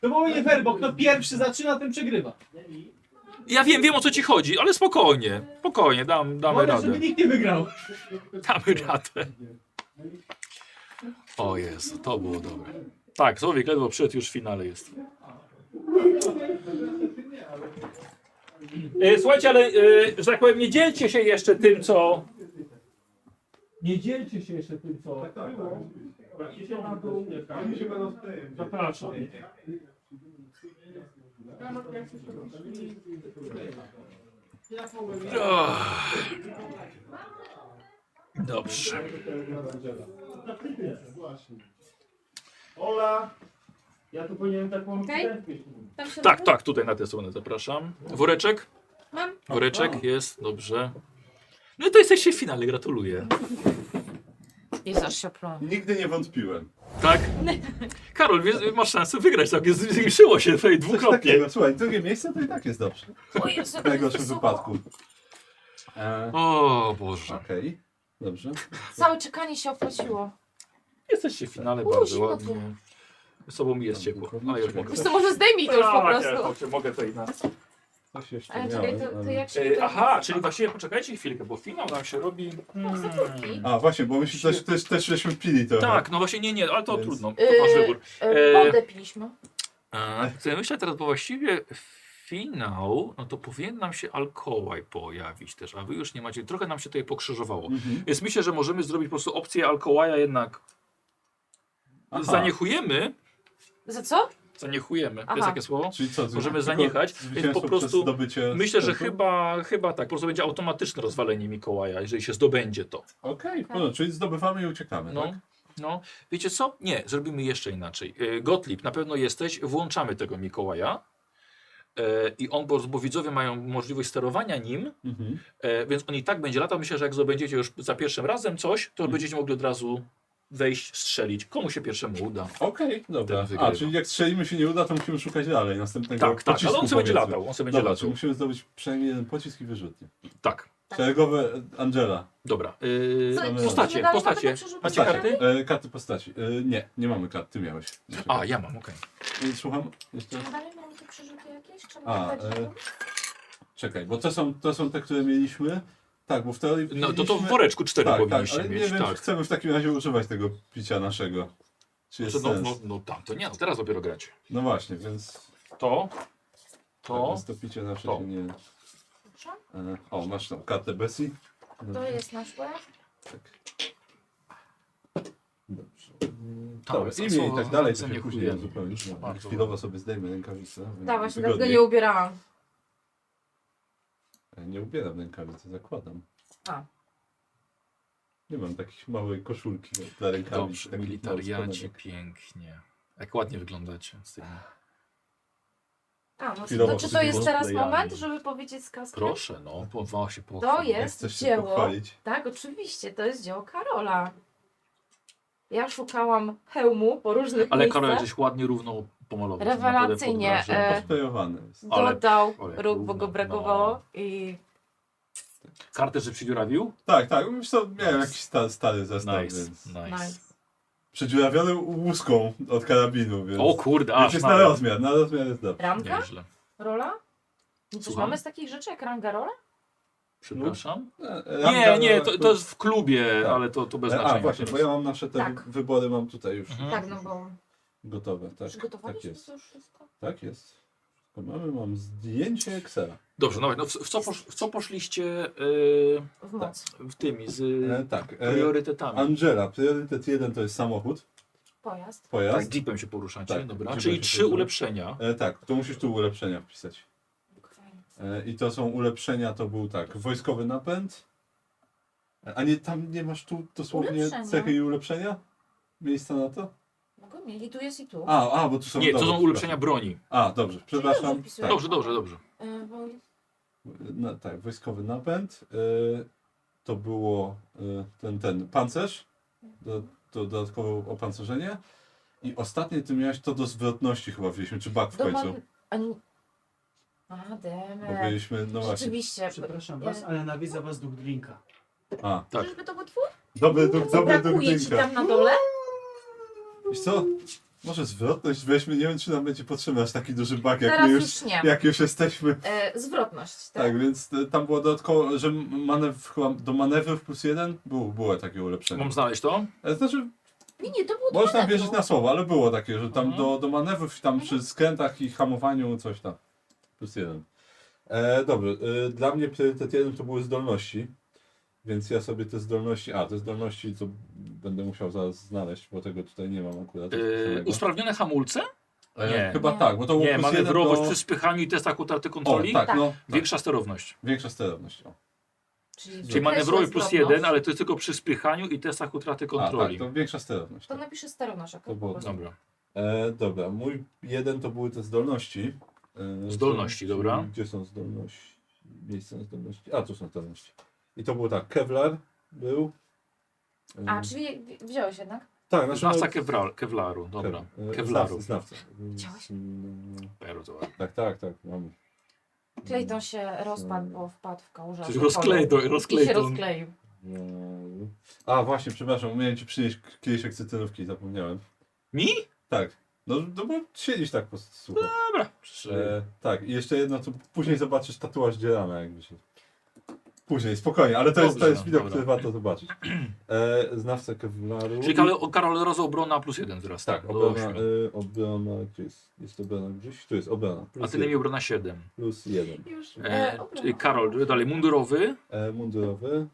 To byłoby nie fair, bo kto pierwszy zaczyna, ten przegrywa. Ja wiem, wiem o co ci chodzi, ale spokojnie. Spokojnie, dam, damy Wolę, radę. żeby nikt nie wygrał. Damy radę. O Jezu, to było dobre. Tak, Słowik ledwo przed już w finale jest. E, Słuchajcie, ale e, że tak powiem, nie dzielcie się jeszcze tym, co. Nie dzielcie się jeszcze tym, co. Tak, tak, Zapraszam. Och. Dobrze. Ola, ja tu powinienem taką Okej. wstępkę kupić. Tam się Tak, robi? tak, tutaj na tę stronę zapraszam. Woreczek? Mam. Woreczek jest, dobrze. No i to jesteście w finale, gratuluję. I zaś się plą. Nigdy nie wątpiłem. Tak? Karol, wiesz, masz szansę wygrać, tak? Jest- Zwiększyło się tutaj dwukrotnie. Takiego, słuchaj, drugie miejsce to i tak jest dobrze. W najgorszym wypadku. E, O Boże. Okej, dobrze. Całe czekanie się opłaciło. Jesteście w finale U, bardzo zimno tu. ładnie. Z sobą mi jest ciepło, ale już mogę. Wiesz co, może zdejmij to już po Tak, prostu. ja mogę tutaj na... Coś jeszcze Ale czekaj, to- to jak się E, to- Aha, czyli właściwie poczekajcie chwilkę, bo finał nam się robi... No, Hmm. Hmm. A właśnie, bo myśmy też, też, też żeśmy pili to. Tak, no właśnie, nie, nie, ale to trudno, to Yy, wasz wybór. yy, E, Wodę piliśmy. A, Chcę myśleć teraz, bo właściwie finał, no to powinien nam się Alkołaj pojawić też, a wy już nie macie, trochę nam się tutaj pokrzyżowało. Więc myślę, że możemy zrobić po prostu opcję Alkołaja jednak. Aha. Zaniechujemy, Za co? zaniechujemy, to Aha. jest takie słowo, Czyli co, możemy tylko zaniechać, więc zwycięstwo po przez prostu zdobycie myślę, że sprzętu? chyba, chyba tak, po prostu będzie automatyczne rozwalenie Mikołaja, jeżeli się zdobędzie to. Okej, Tak. no, czyli zdobywamy i uciekamy, No, tak? no, wiecie co? Nie, zrobimy jeszcze inaczej. E, Gottlieb, na pewno jesteś, włączamy tego Mikołaja. E, I on, bo, bo widzowie mają możliwość sterowania nim, Mhm. e, więc on i tak będzie latał. Myślę, że jak zdobędziecie już za pierwszym razem coś, Mhm. to będziecie mogli od razu wejść, strzelić. Komu się pierwszemu uda. Okej, dobra. Ten wygrywa. A, czyli jak strzelimy się nie uda, to musimy szukać dalej następnego Tak, tak, pocisku, ale on sobie będzie powiedzmy. latał, on sobie będzie Dobra, latał. czyli musimy zdobyć przynajmniej jeden pocisk i wyrzutnie. Tak. Szeregowe e, Angela. Dobra. Yy, Co, czy postacie, dalej mamy postacie. do Macie karty? E, karty postaci. E, nie, nie mamy kart, ty miałeś. A, ja mam, okej. E, Słucham? Jeszcze raz? Dalej mamy tu przerzuty jakieś? Czy mamy A, dać e, żadną? czekaj, bo to są, to są te, które mieliśmy. Tak, bo w teorii. No, to to w mieliśmy- woreczku cztery tak, powinniście tak, ale mieć, Nie wiem, tak. czy chcemy w takim razie używać tego picia naszego. Czy jest Znaczy, no, sens? no, no tam, to nie, no, teraz dopiero gracie. No właśnie, więc. To. Tak, To. więc to picie nasze się nie. E, o, masz tam kartę Bessie. No, To jest nasz łeb. Dobra, jest imię i słowo, tak dalej, to się zaniechujemy. później zupełnie. Bardzo Chwilowo sobie zdejmę rękawice. będzie Da, Tak, właśnie wygodniej. E, dlatego nie ubierałam. Nie ubieram rękawicy, zakładam. A. Nie mam takich małej koszulki dla rękawic. tak, Dobrze, takich małych militariaci, spodenek. pięknie. Jak ładnie wyglądacie z tymi. A, no, Chwilowo no czy to jest wszystko teraz sklejamy. moment, żeby powiedzieć z kaskiem? Proszę, no, powoła się po. To jest dzieło. Tak, oczywiście, to jest dzieło Karola. Ja szukałam hełmu po różnych Ale miejscach. Karol żeś ładnie równo pomalował. Rewelacyjnie, e, Odklejowany jest. Ale- Dodał ale no. róg, bo równo, go brakowało i Kartę, że przydziurawił? Tak, tak, już to miałem jakiś sta- stary zestaw, Nice, więc... No, nice. Przedziurawiony łuską od karabinu, więc... O kurde, Więc aż jest na nawet. rozmiar, na rozmiar jest dobrze. Ramka? Nieźle. rola? No coś Słucham? mamy z takich rzeczy jak ranga rola? Przepraszam? Ramka, Nie, nie, no, to, to jest w klubie, ale to, to bez E, znaczenia. A, właśnie, bo ja mam nasze te Tak. wybory, mam tutaj już Tak, no bo gotowe. Tak, tak przygotowaliśmy jest, to już wszystko. tak jest. Tylko Mamy, mam zdjęcie Excela. Dobrze, no, no w, w, co posz, w co poszliście yy, Tak. w, moc. w tymi, z E, tak, e, priorytetami? Angela, priorytet jeden to jest samochód, Pojazd. pojazd. Tak, jeepem się poruszacie, Tak, dobra. jeepem Czyli się trzy poruszamy. ulepszenia. E, tak, to musisz tu ulepszenia wpisać. E, I to są ulepszenia, to był tak, wojskowy napęd. E, A nie, tam nie masz tu dosłownie Ulepszenia. cechy i ulepszenia? Miejsca na to? Mogę mieć i tu jest i tu. A, a, bo tu są... Nie, to dobra, są ulepszenia przepraszam. broni. A, dobrze, przepraszam. wpisuję. Tak, Dobrze, dobrze, dobrze. E, bo... na, tak wojskowy napęd. E, to było e, ten, ten pancerz, do, do, dodatkowe opancerzenie. I ostatnie ty miałeś to do zwrotności chyba wzięliśmy, czy bak w Do końcu. man... A, nie... A Bo demet. byliśmy, no właśnie. Rzeczywiście. Przepraszam was, ale nawidza was duch drinka. A, tak. Czyżby to był twój? Dobry, duk, dobry Brakuje ci dukdynka. tam na dole? Wiesz co? Może zwrotność weźmy, nie wiem czy nam będzie potrzebny aż taki duży bug, jak, Teraz my już, już nie. jak już jesteśmy. E, zwrotność, tak? Tak, więc y, tam było dodatkowo, że manewr, chyba do manewrów plus jeden było, było takie ulepszenie. Mam znaleźć to? Znaczy, Nie, nie, to było Mhm. można wierzyć na słowo, ale było takie, że tam do, do manewrów, tam przy skrętach i hamowaniu coś tam. Plus jeden. E, dobrze, e, dla mnie priorytet jeden to były zdolności, więc ja sobie te zdolności, a te zdolności to będę musiał zaraz znaleźć, bo tego tutaj nie mam akurat. Yy, wpisanego. usprawnione hamulce? E, chyba tak, bo to było Nie, tak, plus jeden manewrowość do- przy spychaniu i testach utraty kontroli. O, tak, no, Tak. Większa sterowność. Większa sterowność. O. tak, Czyli manewrowy plus jeden, ale to jest tylko przy spychaniu i testach utraty kontroli. A, tak, to większa sterowność. To napiszę sterowność, okej? To było, Dobra. E, dobra, mój jeden to były te zdolności. E, Zdolności, czyli- dobra. czyli Gdzie są zdolności? Miejsce na zdolności. A, tu są zdolności. I to było tak, Kevlar był. E, A, czyli wzi- wziąłeś jednak? Tak, znaczy, Znawca no- kewlar, Kevlaru, dobra. Kev- e, Kevlaru. Znawca. znawca. Mm, Tak, tak, tak. Mam. Clayton Mm. się rozpadł, bo wpadł w kałużę. Coś alkoholu. rozklejton, I Tak, się rozklejton. rozkleił. Mm. A właśnie, przepraszam, miałem ci przynieść k- kieliszek cytrynówki, zapomniałem. Mi? Tak. No, no bo siedzisz tak po sucho. Dobra. E, tak, i jeszcze jedno, to później zobaczysz tatuaż Dzielana, jakby się... Później, spokojnie, ale to jest, to Dobrze, jest no, widok, dobra. który warto zobaczyć. E, znawca Kevlaru. Czyli Karol, Karol Rozo obrona plus jeden wzrasta. Tak, do obrona, ośmiu. e, obrona, gdzie jest, jest obrona gdzieś? Tu jest obrona. A ty mi jeden. obrona 7. Plus jeden. E, czyli Karol, dalej mundurowy. E, mundurowy.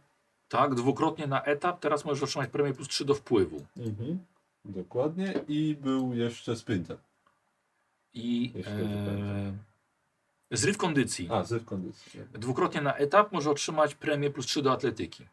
Tak, dwukrotnie na etap. Teraz możesz otrzymać premię plus 3 do wpływu. Mhm. Dokładnie. I był jeszcze sprinter. I e, zryw kondycji. tak. A, zryw kondycji. Dwukrotnie na etap może otrzymać premię plus 3 do atletyki.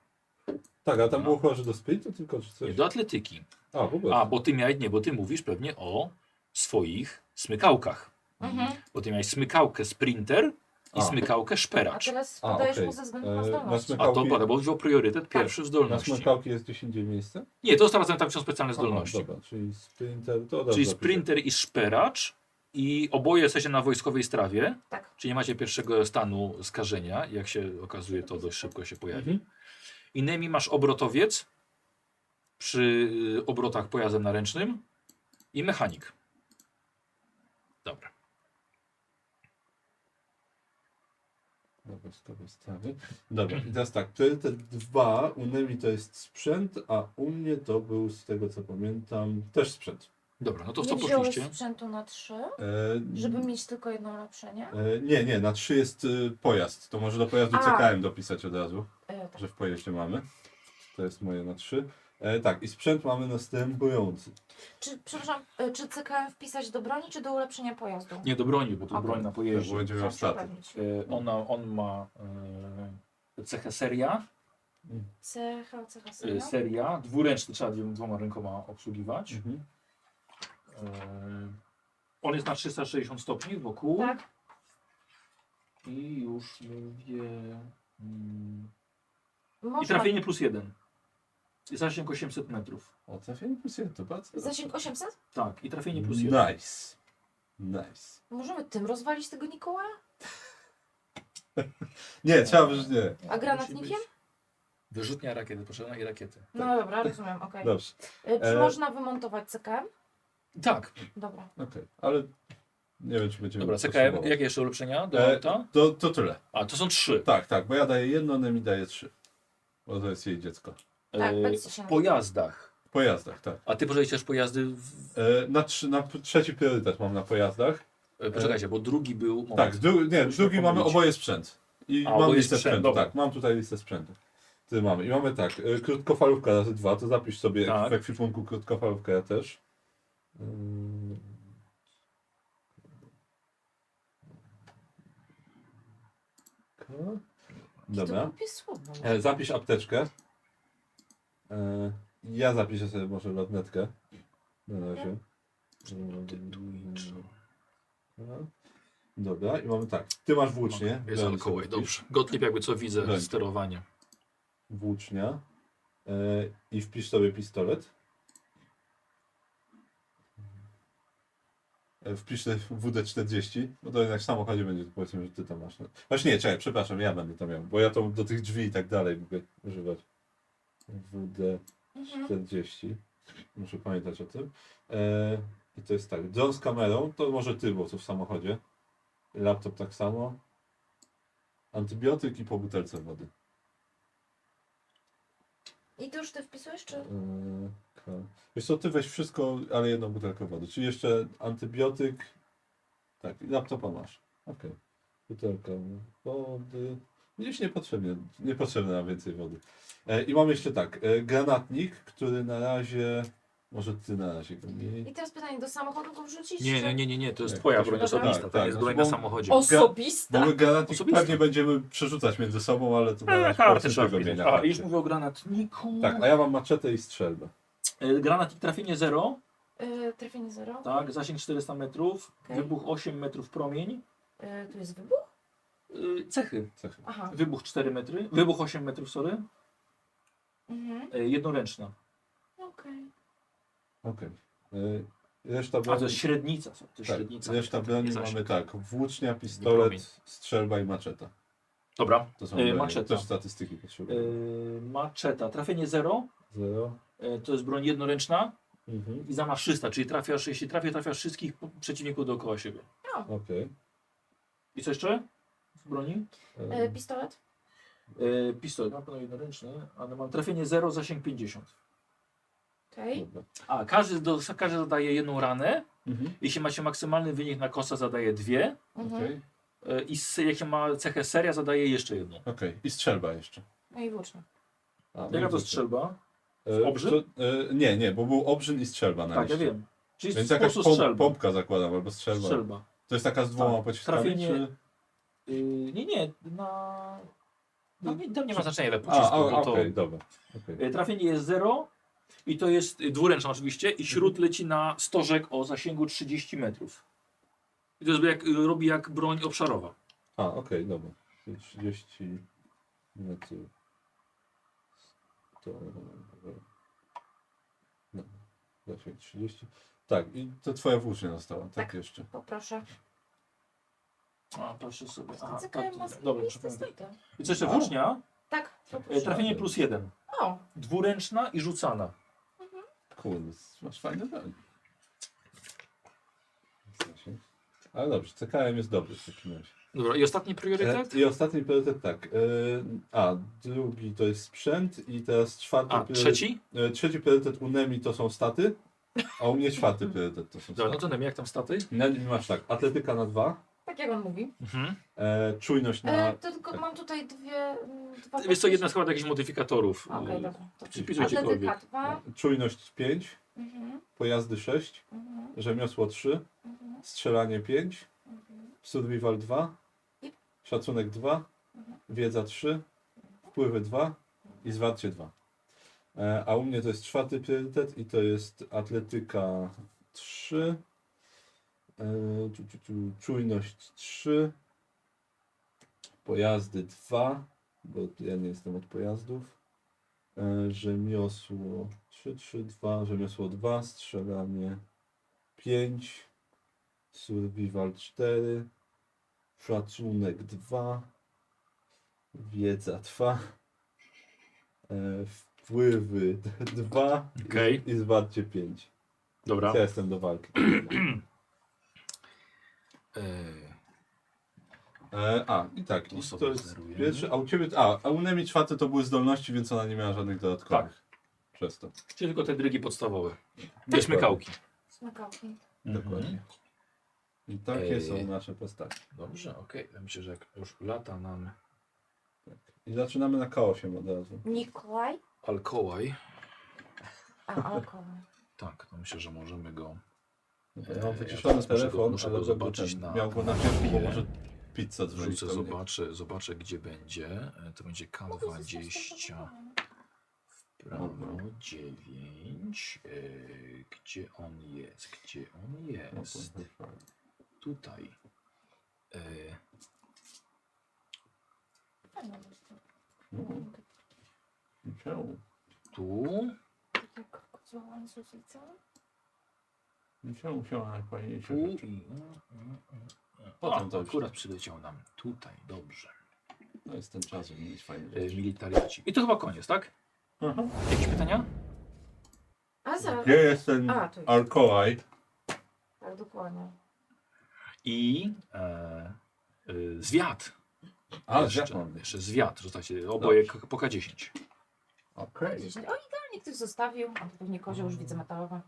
Tak, a tam było chyba, że do sprintu tylko czy coś? No. Nie, do atletyki. A, w ogóle. A, bo ty miałeś, nie, bo ty mówisz pewnie o swoich smykałkach. Mhm. Bo ty miałeś smykałkę sprinter i A. smykałkę A szperacz. teraz A, podajesz okej. mu ze względu na E, zdolność. na A to smykałki- pada, bo wziął priorytet Tak. pierwszy w zdolności. Na smykałki jest gdzieś indziej miejsce? Nie, to teraz tam są specjalne Aha, zdolności. Dobra, czyli sprinter, Czyli to dobrze. sprinter i szperacz i oboje jesteście na wojskowej strawie. Tak. Czyli nie macie pierwszego stanu skażenia. Jak się okazuje, to dość szybko się pojawi. Mhm. Innymi masz obrotowiec przy y, obrotach pojazdem naręcznym i mechanik. Dobra. Dobra, z tego stawy. Dobra, i teraz tak, priorytet 2, u Nemi to jest sprzęt, a u mnie to był, z tego co pamiętam, też sprzęt. Dobra, no nie wziąłeś sprzętu na trzy, E, żeby mieć tylko jedno ulepszenie? e, nie, nie, na 3 jest y, pojazd, to może do pojazdu A. CKM dopisać od razu, E, tak. że w pojeździe mamy. To jest moje na 3. E, tak, i sprzęt mamy następujący. Czy, przepraszam, e, czy CKM wpisać do broni, czy do ulepszenia pojazdu? Nie do broni, bo to A, broń na pojeździe. Tak, będzie miał staty. Y, Ona, on ma y, cechę seria. CH, CH, y, serio? seria. Dwuręczny trzeba ją dwoma rękoma obsługiwać. Mhm. Y, On jest na 360 stopni wokół. Tak. I już mówię. mm, I Może trafienie plus jeden. I zasięg 800 metrów. O, trafienie plus jeden, to bardzo Zasięg 800? Tak, i trafienie plus jeden. Nice. Nice. Możemy tym rozwalić tego Nikołaja? Nie, trzeba wyrzucić, nie. A granatnikiem? Wyrzutnia rakiety, potrzebna i rakiety. No dobra, rozumiem, okej. Dobrze. E, Czy E, można wymontować CKM? Tak. Dobra. Okej, ale nie wiem, czy będziemy. Dobra, potrzebować. CKM, jakie jeszcze ulepszenia do E, auta? to, to tyle. A, to są trzy. Tak, tak, bo ja daję jedno, ona mi daje trzy. Bo to jest jej dziecko. Tak, E, w pojazdach. W pojazdach, tak. A ty pożyczasz pojazdy w... E, na, trzy, na p- trzeci priorytet mam na pojazdach. E, Poczekajcie, bo drugi był... moment. Tak, dru, nie, Musimy drugi mamy pomylić. oboje sprzęt. I A, mam oboje listę sprzęt, sprzętu. dobra. Tak, mam tutaj listę sprzętu. Ty mamy. I mamy tak, e, krótkofalówka razy dwa, to zapisz sobie Tak. w ekwipunku krótkofalówkę ja też. Mm. Dobra. głupie słowo. E, Zapisz apteczkę. E, Ja zapiszę sobie może lotnetkę. Na razie. Dobra. Dobra, i mamy tak. Ty masz włócznie. Jest broń alkohol, sobie dobrze. Gotlib jakby co widzę, Broń. sterowanie. włócznia e, i wpisz sobie pistolet. E, Wpisz te WD-40, bo no to jednak w samochodzie będzie, to powiedzmy, że ty to masz. No. Właśnie nie, czekaj, przepraszam, ja będę to miał, bo ja to do tych drzwi i tak dalej mogę używać. WD-40. Muszę pamiętać o tym. E, I to jest tak, John z kamerą, to może ty, bo co w samochodzie. Laptop tak samo. Antybiotyk i po butelce wody. I to już ty wpisujesz, czy? Yy, ka- Wiesz co, ty weź wszystko, ale jedną butelkę wody. Czyli jeszcze antybiotyk. Tak, i laptopa masz. Okej. Butelka wody. Gdzieś niepotrzebnie, niepotrzebne nam więcej wody. E, I mam jeszcze tak, e, granatnik, który na razie, może ty na razie go nie... I teraz pytanie, do samochodu go wrzucić? Nie, czy- nie, nie, nie, nie, to jest Tak, twoja tak, broń tak, osobista, tak, to jest tak, broń bo- na samochodzie. ga- Osobista? Tak, Bo my granatnik Osobista. pewnie będziemy przerzucać między sobą, ale to na razie po E, karty tak. prostu trzeba tak, tego wpisać. nie A, karty. już mówię o granatniku. Tak, a ja mam maczetę i strzelbę. E, Granatnik trafienie 0, Yy, trafienie zero. tak, zasięg 400 metrów, Okej. wybuch 8 metrów promień, Yy, tu jest wybuch? e, cechy. Tak. Aha. Wybuch 4 metry, wybuch 8 metrów, sorry, Mhm. e, jednoręczna. Okej. Okej. Y, Reszta to jest średnica, to jest tak, średnica. Reszta broni Nie mamy zasięg. tak, włócznia, promień. pistolet, strzelba i maczeta. Dobra, To są e, bronie, maczeta. też statystyki potrzebują. E, Maczeta, trafienie 0, Zero. e, to jest broń jednoręczna Mhm. i zamach 300, czyli trafiasz, jeśli trafię, trafiasz wszystkich przeciwników dookoła siebie. Okej. I co jeszcze w broni? E, Yy, pistolet? E, pistolet, mam pewno jednoręczny, ale mam trafienie 0, zasięg 50. Okej. A, każdy, do, każdy zadaje jedną ranę. Mhm. Jeśli macie maksymalny wynik na kosa, zadaje dwie. Mhm. Okej. E, I se- jak ma cechę seria, zadaje jeszcze jedną. Okej, i strzelba jeszcze. No i włócznia. Jaka to strzelba? no E, Obrzyn? to, e, nie, nie, bo był obrzyn i strzelba na Tak, ja liście. wiem. Czyli Więc po jakaś prostu pom- strzelba. pompka zakładam, albo strzelba. Strzelba. Tak. To jest taka z dwoma pociskami, Trafienie. czy... Y, nie, nie, na. No, nie, tam nie ma znaczenia ile A, pocisku, a, bo to. okej, dobra. Okej. Y, Trafienie jest 0 i to jest y, dwuręczna oczywiście i śród leci na stożek o zasięgu 30 metrów. I to jest jak, y, robi jak broń obszarowa. A, okej, dobra. Czyli 30 metrów. To... No, zasięg 30. Tak, i to twoja włócznia została, tak, jeszcze. Poproszę. A, proszę sobie. Aha, Aha, tak, Czekaj, ma dobra, listę przepraszam. stoi tam. I co jeszcze włócznia? Tak, E, poproszę. Trafienie plus jeden. O, Dwuręczna i rzucana. Kurde, masz fajne broń. Zasięg. Ale dobrze, CKM jest dobry w takim razie. Dobra, i ostatni priorytet? E, I ostatni priorytet tak. E, a, drugi to jest sprzęt i teraz czwarty A, trzeci? E, trzeci priorytet u Nemi to są staty, a u mnie czwarty priorytet to są staty. Dobra, no to Nemi, jak tam staty? Nemi masz tak, atletyka na dwa, tak jak on mówi. e, czujność na... E, to tylko mam tutaj dwie... mm, Dwa Jest to No. jedna składa jakichś modyfikatorów. E, A, Okej, dobra. To Przypisujcie kolwiek. Atletyka dwa. No, Czujność 5, Mhm. pojazdy 6, Mhm. rzemiosło 3, strzelanie 5, Mhm. survival 2, szacunek 2, Mhm. wiedza 3, wpływy 2 i zwarcie 2. E, A u mnie to jest czwarty priorytet i to jest atletyka e, 3, ciu, ciu, ciu, czujność 3, pojazdy 2, bo ja nie jestem od pojazdów, e, rzemiosło 3, 3, 2, rzemiosło 2, strzelanie 5, survival 4, szacunek 2, wiedza 2, e, wpływy 2 Okej. i, i zwarcie 5. Dobra. Ja jestem do walki. E, a, i tak, i to jest pierwszy, a u ciebie, a, a u Nemi czwarty to były zdolności, więc ona nie miała żadnych dodatkowych. Przez to. Czyli tylko te drygi podstawowe. Dokładnie. Te smykałki. Smykałki. Dokładnie. Mhm. I takie Ej. są nasze postacie. Dobrze, okej. Myślę, że jak już lata nam I zaczynamy na K8 od razu. Nikolaj? Alkołaj, A, alkohol. tak, to myślę, że możemy go... Ja e, mam wyciszony muszę go- telefon, muszę ale go zobaczyć ten, na... Miał go na pierwszy, bo chwilę. może pizza dzwoni. Wrzucę, do mnie. zobaczę, zobaczę gdzie będzie. E, To będzie K20 w prawo 9. E, Gdzie on jest? Gdzie on No jest? Tutaj. E, Mm, Czemu? Tu. tak, Koziołan z ulicy? Czemu się ona fajnie Tu. i- Potem O, to akurat przyleciał nam tutaj, dobrze. No jest ten czas, żeby mieć fajny E, Militariaci. I to chyba koniec, tak? Jakieś pytania? A, za... Gdzie jest ten A, tu jest. Alkołaj? tak, dokładnie. i e, y, zwiat. A, jeszcze, zwiat mam. jeszcze zwiat, rzucacie oboje k- po K10. Okej. Dziesięć. O, idealnie ktoś zostawił, a to pewnie kozioł już widzę metalowe.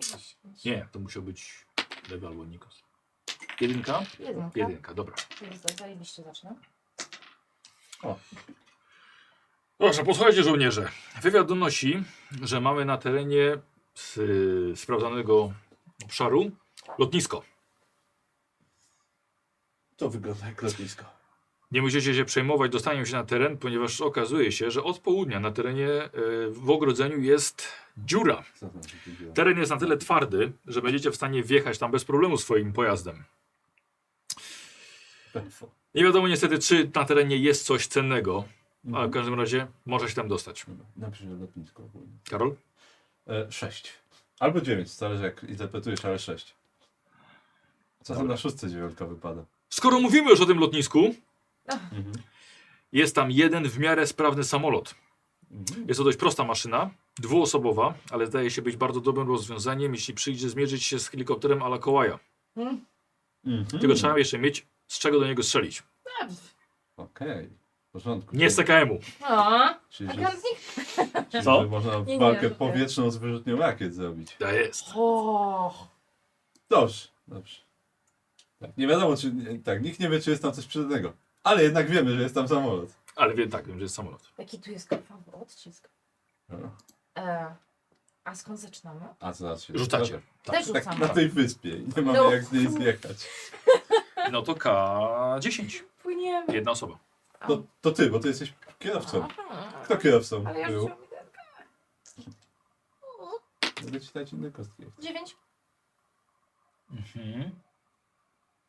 Dziesięć. Nie, to musiał być lewy albo Nikos. Jedynka? Jedynka. Jedynka, dobra. Czyli za- Zajebiście zacznę. Proszę, posłuchajcie żołnierze. Wywiad donosi, że mamy na terenie s- sprawdzanego obszaru lotnisko. To wygląda jak lotnisko. Nie musicie się przejmować dostaniem się na teren, ponieważ okazuje się, że od południa na terenie e, w ogrodzeniu jest dziura. Teren jest na tyle twardy, że będziecie w stanie wjechać tam bez problemu swoim pojazdem. Nie wiadomo niestety, czy na terenie jest coś cennego, ale w każdym razie może się tam dostać. Napisz na lotnisko ogólnie. Karol? E, sześć. Albo dziewięć, zależy jak interpretujesz, ale sześć. Co tam na szóstce dziewiątka wypada? Skoro mówimy już o tym lotnisku, Mhm. jest tam jeden w miarę sprawny samolot. Jest to dość prosta maszyna, dwuosobowa, ale zdaje się być bardzo dobrym rozwiązaniem, jeśli przyjdzie zmierzyć się z helikopterem ala Kołaja. Hmm? Mhm. Tylko trzeba jeszcze mieć z czego do niego strzelić. Okej, w porządku. Nie z TKM-u. No. A, Czyli, że- agantnik. Czyli Co? że można Nie, nie, walkę to- powietrzną z wyrzutnią rakiet zrobić. To Tak jest. O, Dobrze, dobrze. Tak, nie wiadomo, czy. nie- Tak, nikt nie wie, czy jest tam coś przydatnego. Ale jednak wiemy, że jest tam samolot. Ale wiem, tak, wiem, że jest samolot. jaki tu jest krwawy odcisk. No. E, a skąd zaczynamy? A co znaczy? Rzucacie. Tak. Też rzucam. na tej wyspie. i Nie mamy No. jak z niej zjechać. No to K10. Płyniemy. Jedna osoba. No to ty, bo ty jesteś kierowcą. Aha. Kto kierowcą Ale ja był? rzuciłam jedynkę. Mogę ci dać inne kostki. Dziewięć. Mhm.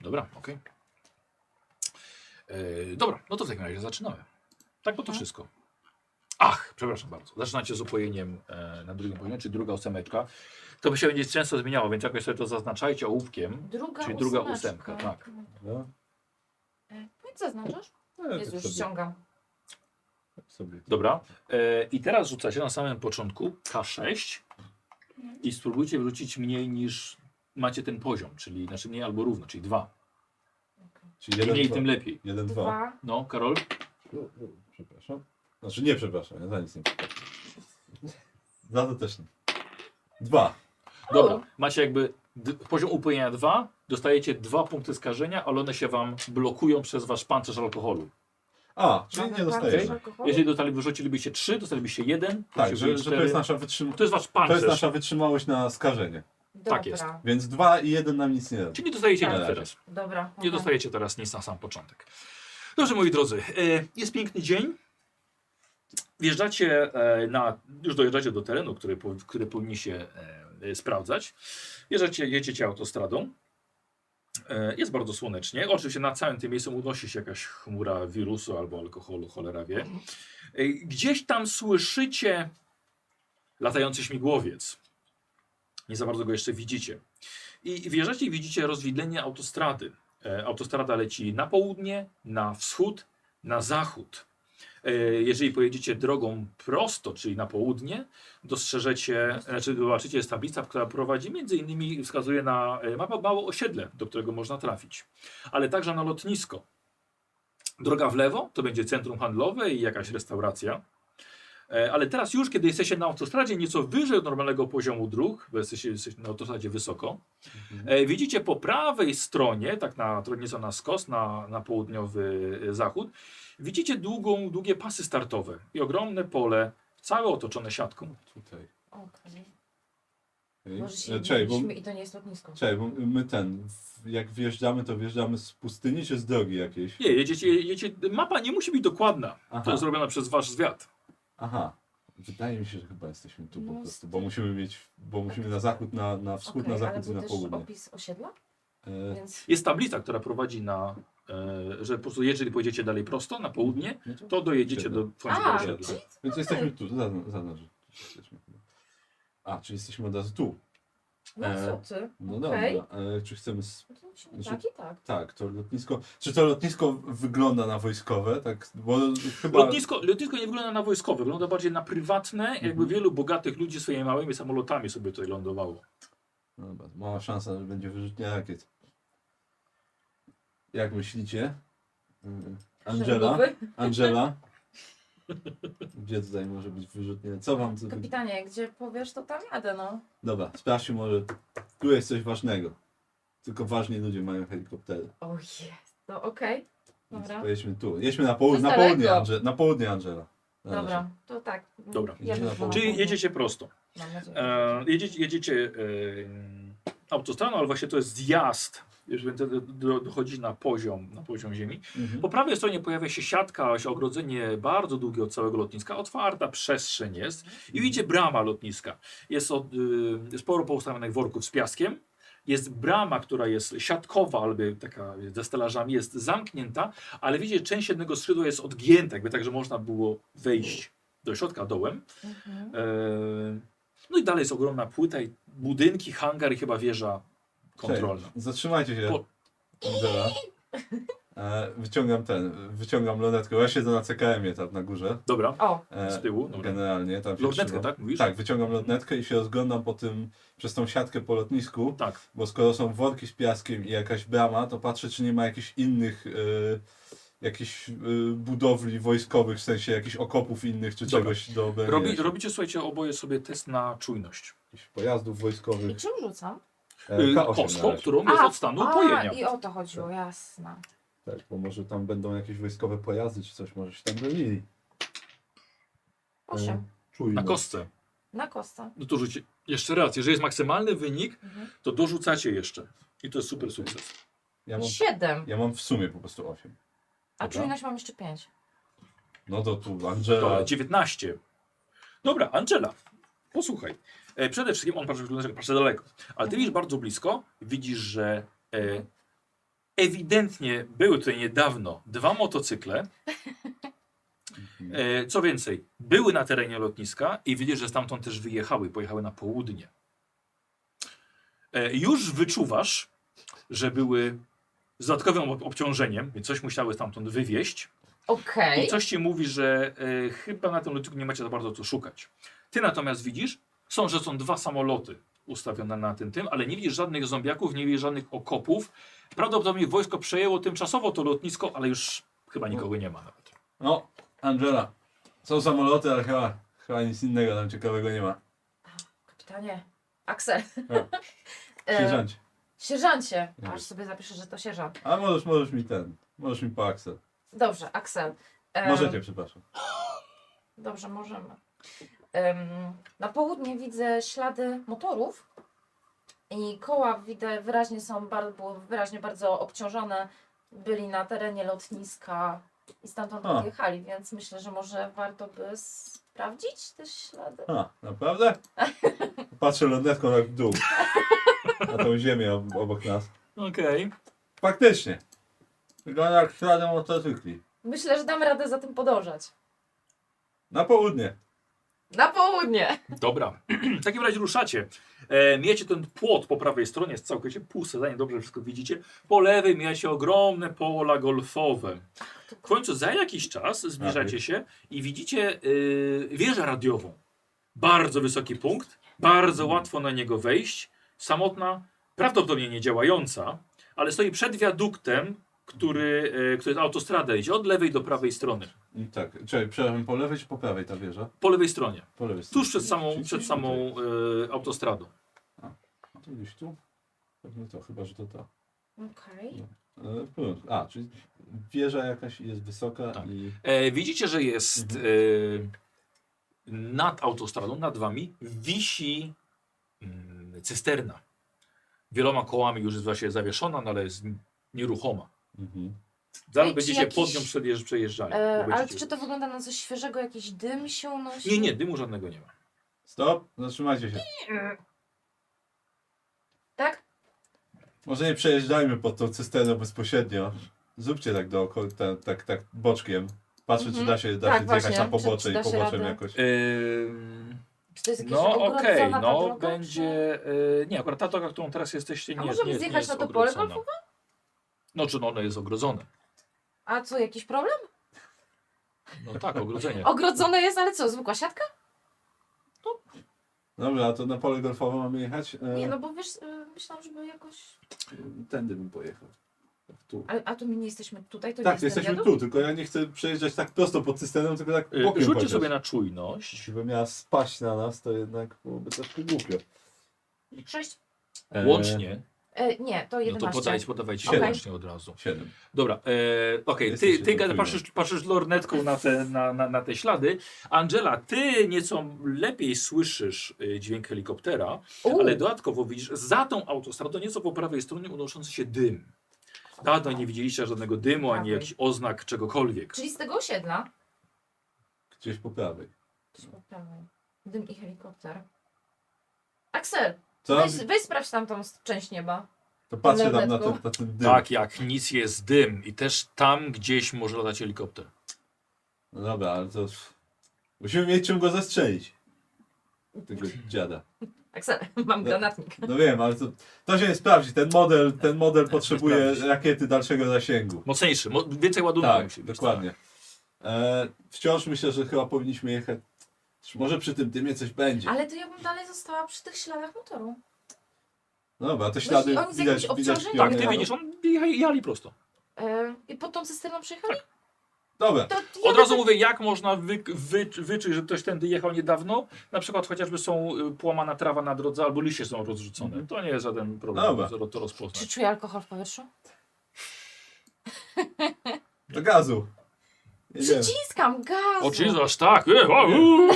Dobra, okej. E, Dobra, no to w takim razie zaczynamy. Tak, bo to wszystko. Ach, przepraszam bardzo. Zaczynacie z upojeniem e, na drugim poziomie, czy druga ósemeczka. To by się będzie często zmieniało, więc jakoś sobie to zaznaczajcie ołówkiem. Druga czyli druga ósemeczka. ósemka, tak. E, Powiedz, zaznaczasz? No, ja Jezu, tak już sobie. ściągam. Dobra. E, I teraz rzucacie na samym początku K6 i spróbujcie wrócić mniej niż macie ten poziom, czyli znaczy mniej albo równo, czyli dwa. Czyli Im jeden, mniej, dwa. tym lepiej. Jeden, dwa. Dwa. No, Karol? Przepraszam. Znaczy nie przepraszam, ja za nic nie przepraszam. Za to też nie. Dwa. Dobra, macie jakby d- poziom upojenia 2, dostajecie dwa punkty skażenia, ale one się wam blokują przez wasz pancerz alkoholu. A, czyli nie dostajemy. Jeżeli dostali, wyrzucilibyście 3, dostalibyście 1, Tak, że, że to jest nasza wytrzymałość. To jest wasz To pancerz. jest nasza wytrzymałość na skażenie. Dobra. Tak jest. Więc dwa i jeden nam nic nie da. Czyli nie dostajecie nic Na razie. teraz. Dobra. Nie dostajecie teraz nic na sam początek. Dobrze, moi drodzy, e, jest piękny dzień. Wjeżdżacie e, na, już dojeżdżacie do terenu, który, po- który powinni się e, e, sprawdzać. Wjeżdżacie, jedziecie autostradą. E, Jest bardzo słonecznie. Oczywiście na całym tym miejscu unosi się jakaś chmura wirusu albo alkoholu, cholera wie. E, Gdzieś tam słyszycie latający śmigłowiec. Nie za bardzo go jeszcze widzicie. I wjeżdżacie i widzicie rozwidlenie autostrady. E, Autostrada leci na południe, na wschód, na zachód. E, Jeżeli pojedziecie drogą prosto, czyli na południe, dostrzeżecie, znaczy zobaczycie, jest tablica, która prowadzi między innymi, wskazuje na e, ma mało osiedle, do którego można trafić, ale także na lotnisko. Droga w lewo to będzie centrum handlowe i jakaś restauracja. E, Ale teraz już, kiedy jesteście na autostradzie nieco wyżej od normalnego poziomu dróg, bo jesteście, jesteście na autostradzie wysoko, e, widzicie po prawej stronie, tak na trochę nieco na skos, na, na południowy e, zachód, widzicie długą, długie pasy startowe i ogromne pole, całe otoczone siatką. Tutaj. Okej. Okej. Może się E, Czekaj, bo, widzieliśmy i to nie jest lotnisko. czekaj, bo my ten, w- jak wjeżdżamy, to wjeżdżamy z pustyni czy z drogi jakiejś? Nie, jedziecie, jedziecie, mapa nie musi być dokładna. To Aha. jest zrobiona przez wasz zwiat. Aha. Wydaje mi się, że chyba jesteśmy tu po No, prostu, bo musimy mieć, bo musimy na zachód, na, na wschód, Okej, na ale zachód i był na też południe. opis osiedla? E, Więc Jest tablica, która prowadzi na, e, że po prostu jeżeli pojedziecie dalej prosto, na południe, to dojedziecie do końca A, osiedla. czyli- Więc jesteśmy tu, za, za nas. Jesteśmy chyba. A, czy jesteśmy od razu tu? No co ty? No Okej. dobra, e, czy chcemy... s- No to musimy tak i tak. Tak, to lotnisko... Czy to lotnisko wygląda na wojskowe? Tak, bo chyba... Lotnisko, lotnisko nie wygląda na wojskowe, wygląda bardziej na prywatne, jakby wielu bogatych ludzi swoimi małymi samolotami sobie tutaj lądowało. No Dobra, mała szansa, że będzie wyrzutnia rakiet. Jak myślicie? Mm, Angela? Szeregowy? Angela? Gdzie tutaj może być wyrzutnia? Co wam? Co... Kapitanie, gdzie powiesz, to tam jadę, no. Dobra, sprawdźmy może. Tu jest coś ważnego. Tylko ważni ludzie mają helikoptery. O jest, no okej. Dobra. Pojedźmy tu. Jedźmy na, południe, Coś na południe, daleko. Ange- na południe Angela. Na razie. Dobra, to tak. Dobra. Ja bym szła na Czyli południe. jedziecie prosto. Mam nadzieję. E, jedziecie jedziecie e, autostradą, ale właśnie to jest zjazd, jeżeli do- do- dochodzi na poziom, na poziom ziemi. Mhm. Po prawej stronie pojawia się siatka, właśnie ogrodzenie bardzo długie od całego lotniska, otwarta przestrzeń jest i widzicie brama lotniska. Jest od, y, sporo poustawionych worków z piaskiem. Jest brama, która jest siatkowa, albo taka ze stelażami, jest zamknięta, ale widzicie, część jednego skrzydła jest odgięta, jakby tak, że można było wejść do środka dołem. Mhm. Eee, No i dalej jest ogromna płyta i budynki, hangar i chyba wieża kontrolna. Cześć, Zatrzymajcie się. Po- Angela. E, wyciągam ten, wyciągam lornetkę. Ja siedzę na CKM-ie tam na górze. E, Dobra, O. z tyłu, dobra. Generalnie. Tam się Lornetkę, trzymam. tak, mówisz? Tak, wyciągam lornetkę i się rozglądam po tym, przez tą siatkę po lotnisku. Tak. Bo skoro są worki z piaskiem i jakaś brama, to patrzę, czy nie ma jakichś innych... Y, Jakichś y, budowli wojskowych, w sensie jakichś okopów innych czy Dobra. czegoś do obronienia Robi, się. robicie, słuchajcie, oboje sobie test na czujność. pojazdów I wojskowych. czym rzucam? E, K8 na Kostką, razie. którą jest od stanu upojenia. a, i o to chodziło, jasna. Tak, bo może tam będą jakieś wojskowe pojazdy czy coś, może się tam bronili. Osiem. Czujność. Na kostce. Na kosta. No to rzuci. Jeszcze raz, jeżeli jest maksymalny wynik, to dorzucacie jeszcze. I to jest super sukces. Ja mam, Siedem. ja mam w sumie po prostu 8. A Dobra. czujność mam jeszcze pięć. No to tu Dobra, Angela. 19. Dobra, Angela, posłuchaj. E, przede wszystkim on patrzy, patrzy daleko, ale ty widzisz bardzo blisko, widzisz, że e, ewidentnie były tutaj niedawno dwa motocykle. E, co więcej, były na terenie lotniska i widzisz, że stamtąd też wyjechały, pojechały na południe. E, już wyczuwasz, że były z dodatkowym ob- obciążeniem, więc coś musiały stamtąd wywieźć. Okej. I coś ci mówi, że e, chyba na tym lotnisku nie macie za bardzo co szukać. Ty natomiast widzisz, są, że są dwa samoloty ustawione na tym tym, ale nie widzisz żadnych zombiaków, nie widzisz żadnych okopów. Prawdopodobnie wojsko przejęło tymczasowo to lotnisko, ale już chyba nikogo nie ma nawet. No, Angela. Są samoloty, ale chyba, chyba nic innego tam ciekawego nie ma. Kapitanie. Aksel. A. E, Sierżancie. Sierżancie. Mhm. Aż sobie zapiszę, że to sierżant. A możesz, możesz mi ten. Możesz mi po Axel. Dobrze, E, Aksel. Em, Możecie, przepraszam. Dobrze, możemy. Em, na południe widzę ślady motorów i koła widzę wyraźnie są bardzo, wyraźnie bardzo obciążone. Byli na terenie lotniska i stamtąd A. odjechali, więc myślę, że może warto by sprawdzić te ślady. A, naprawdę? Patrzę lornetką tak w dół. Na tą ziemię ob- obok nas. Okej. Faktycznie. Wygląda jak ślady motocykli. Myślę, że damy radę za tym podążać. Na południe. Na południe! Dobra, w takim razie ruszacie. E, mijacie ten płot po prawej stronie, jest całkowicie pusty, zanim dobrze wszystko widzicie. Po lewej mijacie ogromne pola golfowe. W końcu za jakiś czas zbliżacie się i widzicie y, wieżę radiową. Bardzo wysoki punkt, bardzo łatwo na niego wejść. Samotna, prawdopodobnie nie działająca, ale stoi przed wiaduktem, który, y, który jest autostrada, idzie od lewej do prawej strony. I tak, czekaj, przepraszam, po lewej czy po prawej ta wieża? Po lewej stronie. Po lewej stronie. Tuż przed samą, przed samą y, autostradą. To gdzieś tu? Pewnie to, chyba, że to ta. Okej. E, plus. A, czyli wieża jakaś jest wysoka i... E, widzicie, że jest Mhm. e, nad autostradą, nad wami wisi mm, cysterna. Wieloma kołami już jest właśnie zawieszona, no ale jest nieruchoma. Mhm. Zaraz Ej, czy będziecie jakiś- pod nią przejeżdż- przejeżdżali. bo E, ale będziecie- czy to wygląda na coś świeżego? Jakiś dym się unosi? Nie, nie, dymu żadnego nie ma. Stop, zatrzymajcie się. Tak? Może nie przejeżdżajmy pod tą cysterną bezpośrednio. Zróbcie tak dookoła, tak, tak, tak boczkiem. Patrzę, Mhm. czy da się, da Tak, się zjechać na właśnie. Czy- czy pobocze da i się poboczem radę? jakoś. Czy to jest jakaś No okej, ogrodzona ta no droga? będzie. e, nie, akurat ta droga, którą teraz jesteście, nie A jest. możemy nie jest- nie zjechać jest na to pole ogrodzona. golfowe? No czy no, ono jest ogrodzone? A co, jakiś problem? No tak, ogrodzenie. Ogrodzone jest, ale co, zwykła siatka? Dobra, a to na pole golfowe mamy jechać? E, Nie, no bo wiesz, y, myślałam, żeby jakoś... Tędy bym pojechał. Tu. A, a to my nie jesteśmy tutaj, to nie Tak, jest to jesteśmy ten wiadukt? tu, tylko ja nie chcę przejeżdżać tak prosto pod cysterną, tylko tak Y, bokiem Rzućcie chociaż. sobie na czujność. Gdyby miała spaść na nas, to jednak byłoby troszkę głupio. Sześć? E, Łącznie. E, nie, to No to 11. podaj, podawajcie Okej. łącznie od razu. Siedem. Dobra, e, okej, Jesteś ty, ty jednym gada- patrzysz, patrzysz lornetką na te, na, na, na te ślady. Angela, ty nieco lepiej słyszysz e, dźwięk helikoptera, U. ale dodatkowo widzisz za tą autostradą, nieco po prawej stronie unoszący się dym. Dawno nie widzieliście żadnego dymu, ani Prawej. jakichś oznak czegokolwiek. Czyli z tego osiedla? Gdzieś po prawej. Dawaj. Dym i helikopter. Aksel, Co? No, weź, weź sprawdź tamtą s- część nieba. To patrzę tam na ten- na ten dym. Tak, jak nic jest dym i też tam gdzieś może latać helikopter. No dobra, ale to... Musimy mieć czym go zastrzelić. Tego dziada. Aksel, mam No. granatnik. No wiem, ale to, to się nie sprawdzi. Ten model, ten model potrzebuje rakiety dalszego zasięgu. Mocniejszy, mo więcej ładunku Tak, musi być. dokładnie. E, wciąż myślę, że chyba powinniśmy jechać. Czy Może przy tym dymie coś będzie. Ale to ja bym dalej została przy tych śladach motoru. No dobra, te Myśli- ślady oni z widać, jakimś widać obciążeniem pionie. jadą. Tak, ty widzisz, on- Jechali, jechali prosto. E, I pod tą cysterną przyjechali? Dobra. ja Tak. Od razu mówię, jak można wy, wy, wyczuć, że ktoś tędy jechał niedawno. Na przykład chociażby są y, płamana trawa na drodze albo liście są rozrzucone. To nie jest żaden problem, Dobra. żeby to rozpoznać. Czy czuję alkohol w powietrzu? Do gazu. Jedziemy. Przyciskam gaz! O Jezu, aż tak. E, o, uuu,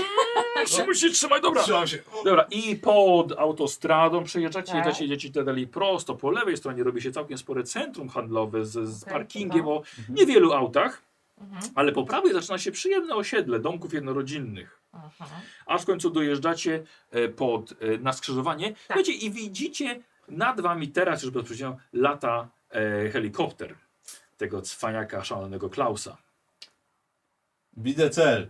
musimy się trzymać, dobra. Trzymam się. Dobra, i pod autostradą przejeżdżacie, Tak. jedziecie, jedziecie tak dalej prosto. Po lewej stronie robi się całkiem spore centrum handlowe z, z Okej, parkingiem no. o niewielu autach. Mhm. Ale po prawej zaczyna się przyjemne osiedle domków jednorodzinnych. Aha. Aż w końcu dojeżdżacie e, pod, e, na skrzyżowanie. Tak. Wiecie, I widzicie nad wami teraz już bezpośrednio lata e, helikopter tego cwaniaka szalonego Klausa. Widzę cel.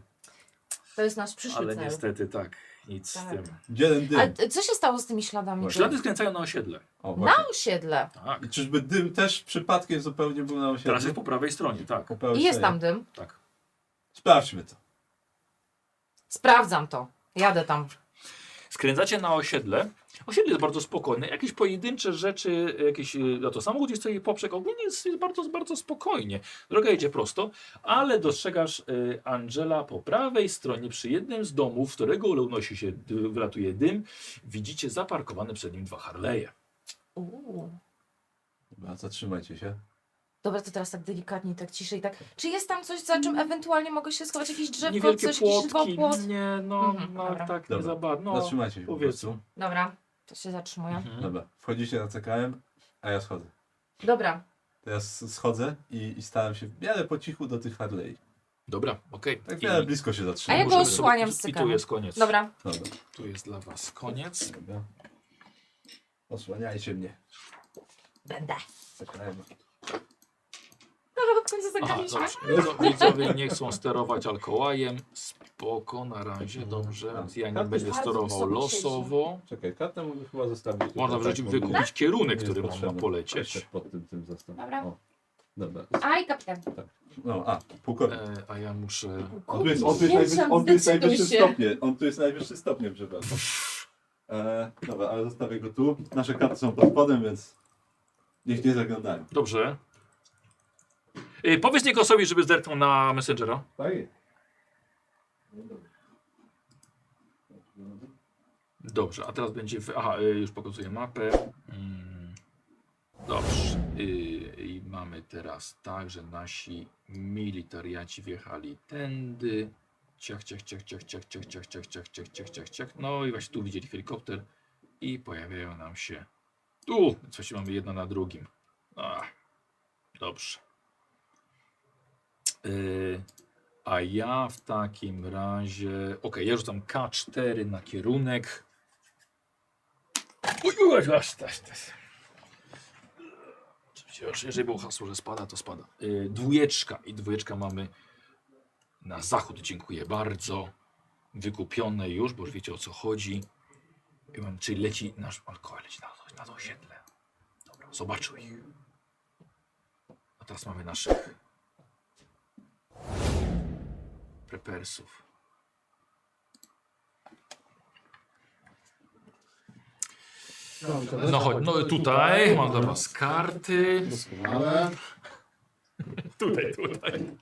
To jest nasz przyszły Ale cel. niestety tak, nic z Tak. tym. Jeden A t- co się stało z tymi śladami? No, ślady skręcają na osiedle. O, Na osiedle. Tak. I czyżby dym też przypadkiem zupełnie był na osiedlu? Teraz jest po prawej stronie, tak. I jest tam dym. Tak. Sprawdźmy to. Sprawdzam to. Jadę tam. Skręcacie na osiedle. Osiedle jest bardzo spokojne. Jakieś pojedyncze rzeczy, jakieś, y, no to samochód jest jej poprzek. Ogólnie jest, jest bardzo, bardzo spokojnie. Droga jedzie prosto, ale dostrzegasz y, Angela po prawej stronie przy jednym z domów, z którego unosi się, dy- wylatuje dym. Widzicie zaparkowane przed nim dwa Harleje. Uuu. Dobra, zatrzymajcie się. Dobra, to teraz tak delikatnie, tak ciszej, tak. Czy jest tam coś, za czym ewentualnie mogę się schować? Jakieś drzewko, Niewielkie coś, Mhm. jakiś płotki. żywopłot? Nie, no, no tak nie Dobra. Znaczy- za bardzo. No, Mhm. Zatrzymajcie się po powiedz. prostu. Dobra, to się zatrzymuję. Dobra, wchodzicie na CKM, a ja schodzę. Dobra, Teraz schodzę i, i staram się w miarę po cichu do tych Harley. Dobra, okej. Tak w miarę I- blisko się a zatrzymam. ja go możemy- osłaniam z I cykanem. tu jest koniec. Dobra. Dobra. Tu jest dla was koniec. Dobra. Osłaniajcie mnie. Będę. CKM. No, w końcu Aha, zagraliśmy. dobrze. Widzo- Widzowie nie chcą sterować alkołajem. Spoko, na razie, Mhm. dobrze. Więc Ja nie Karty będę Tak, bardzo sterował wysoko siedzi. losowo. Czekaj, kartę mogę chyba zostawić. tutaj, Można w tak, życiu bo wykupić nie- kierunek, nie jest który potrzebny. Tak, można polecieć. Też Pod tym, tym zostawię. Dobra. O, Dobra. Aj, kapitan. No, a, pułkownik. E, a ja muszę. On tu jest, on tu jest, najwyższy, on tu jest najwyższy stopnie. On tu jest najwyższy stopnie, przepraszam. E, dobra, ale zostawię go tu. Nasze karty są pod spodem, więc niech nie zaglądają. Dobrze. E, powiedz Nikosowi, żeby zerknął na Messengera. Tak? Dobrze, a teraz będzie. W... Aha, e, już pokazuję mapę. Mm. Dobrze. E, I mamy teraz tak, że nasi militariaci wjechali tędy. Ciach, ciach, ciach, ciach, ciach, ciach, ciach, ciach, ciach, ciach, ciach, ciach, ciach. No i właśnie tu widzieli helikopter i pojawiają nam się tu. Więc właściwie mamy jedno na drugim. A, dobrze. Yy, a ja w takim razie. Okej, ja rzucam K4 na kierunek. Uj, uj, uj, aż tak. tak. Oczywiście, już Jeżeli było hasło, że spada, to spada. Yy, dwójeczka i dwójeczka mamy na zachód. Dziękuję bardzo. Wykupione już, bo już wiecie o co chodzi. I mam, czyli leci nasz alkohol, leci na, to- na to osiedle. Dobra, zobaczył ich. A teraz mamy naszych prepersów. No chodź, tak, no tutaj mam dla was karty. Doskonale. Tutaj, tutaj.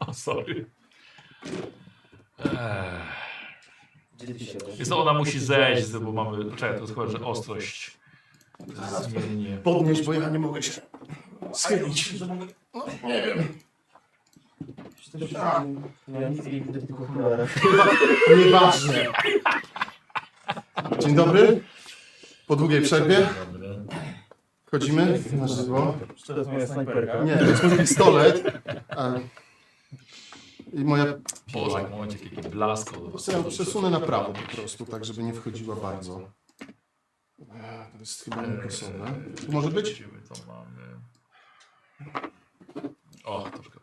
O, sorry. Ech. Jest to, ona musi zejść, bo mamy, czekaj, to chyba, że ostrość. Nie, nie. Podnieś, bo ja nie mogę się schylić. No, nie wiem. A. Ja nic nie widzę w tych okularach. Nieważne. Dzień dobry. Po długiej przerwie. Chodzimy na żywo. To moja snajperka. Nie, to jest mój pistolet. A... I moja... Boże, jak momencie, jaki blask. Co ja przesunę na prawo po prostu, tak żeby nie wchodziła bardzo. E, To jest chyba niepotrzebne. Tu tak? może być? To mamy. O, troszkę.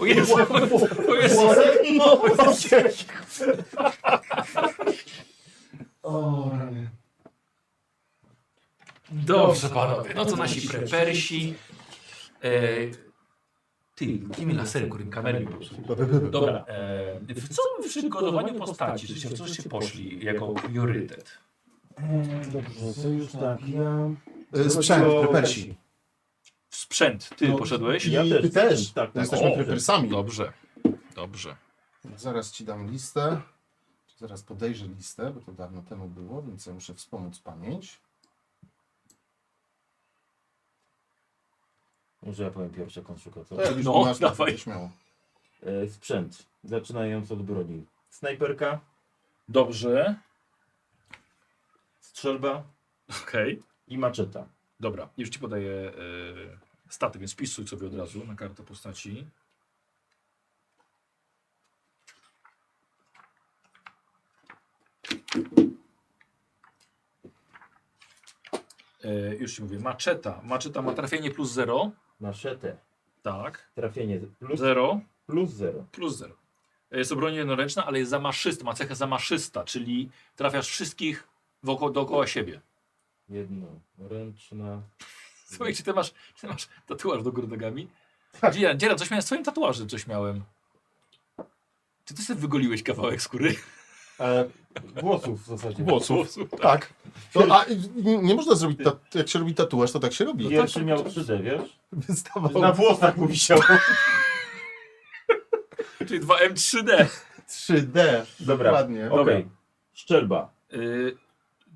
O Jezu, o Jezu. Włosek? Włosek. O, rany. Dobrze, panowie. No to nasi prepersi. E, ty, gdzie mi laserek, którym kamerę Dobra. E, w co w przygotowaniu postaci, żeście w co się poszli jako priorytet? Dobrze, to już tak, ja... E, Sprzęt, prepersi. Sprzęt, ty poszedłeś? Ja I też. ty też, tak, tak. Jesteśmy O, prepersami. Dobrze, dobrze. Zaraz ci dam listę. Zaraz podejrzę listę, bo to dawno temu było, więc ja muszę wspomóc pamięć. Może ja powiem pierwsze konszukator. Tak, już No, masz, to dawaj. śmiało. E, sprzęt, zaczynając od broni. Snajperka. Dobrze. Strzelba. Okej. I maczeta. Dobra, już ci podaję e, staty, więc pisuj sobie od razu na kartę postaci. E, już ci mówię, maczeta. Maczeta ma trafienie plus 0. Maszetę. Tak. Trafienie plus 0. Plus 0. Plus 0. Jest to broń jednoręczna, ale jest zamaszysta, ma cechę zamaszysta, czyli trafiasz wszystkich woko, dookoła siebie. Jedno. Ręczna. Słuchaj, czy ty masz, czy ty masz tatuaż do góry nogami? Tak. Dzieran, Dzieran, coś miałem z twoim tatuażem, coś miałem. Czy ty sobie wygoliłeś kawałek skóry? E, włosów w zasadzie. Włosów. Tak. To, a i- nie, nie można zrobić, ta, jak się robi tatuaż, to tak się robi. Pierwszy miał 3D, wiesz? Wystawał. Na włosach mu wisiał. Czyli 2M3D. 3D. Dobra, Dokładnie. okej. Szczelba. Y,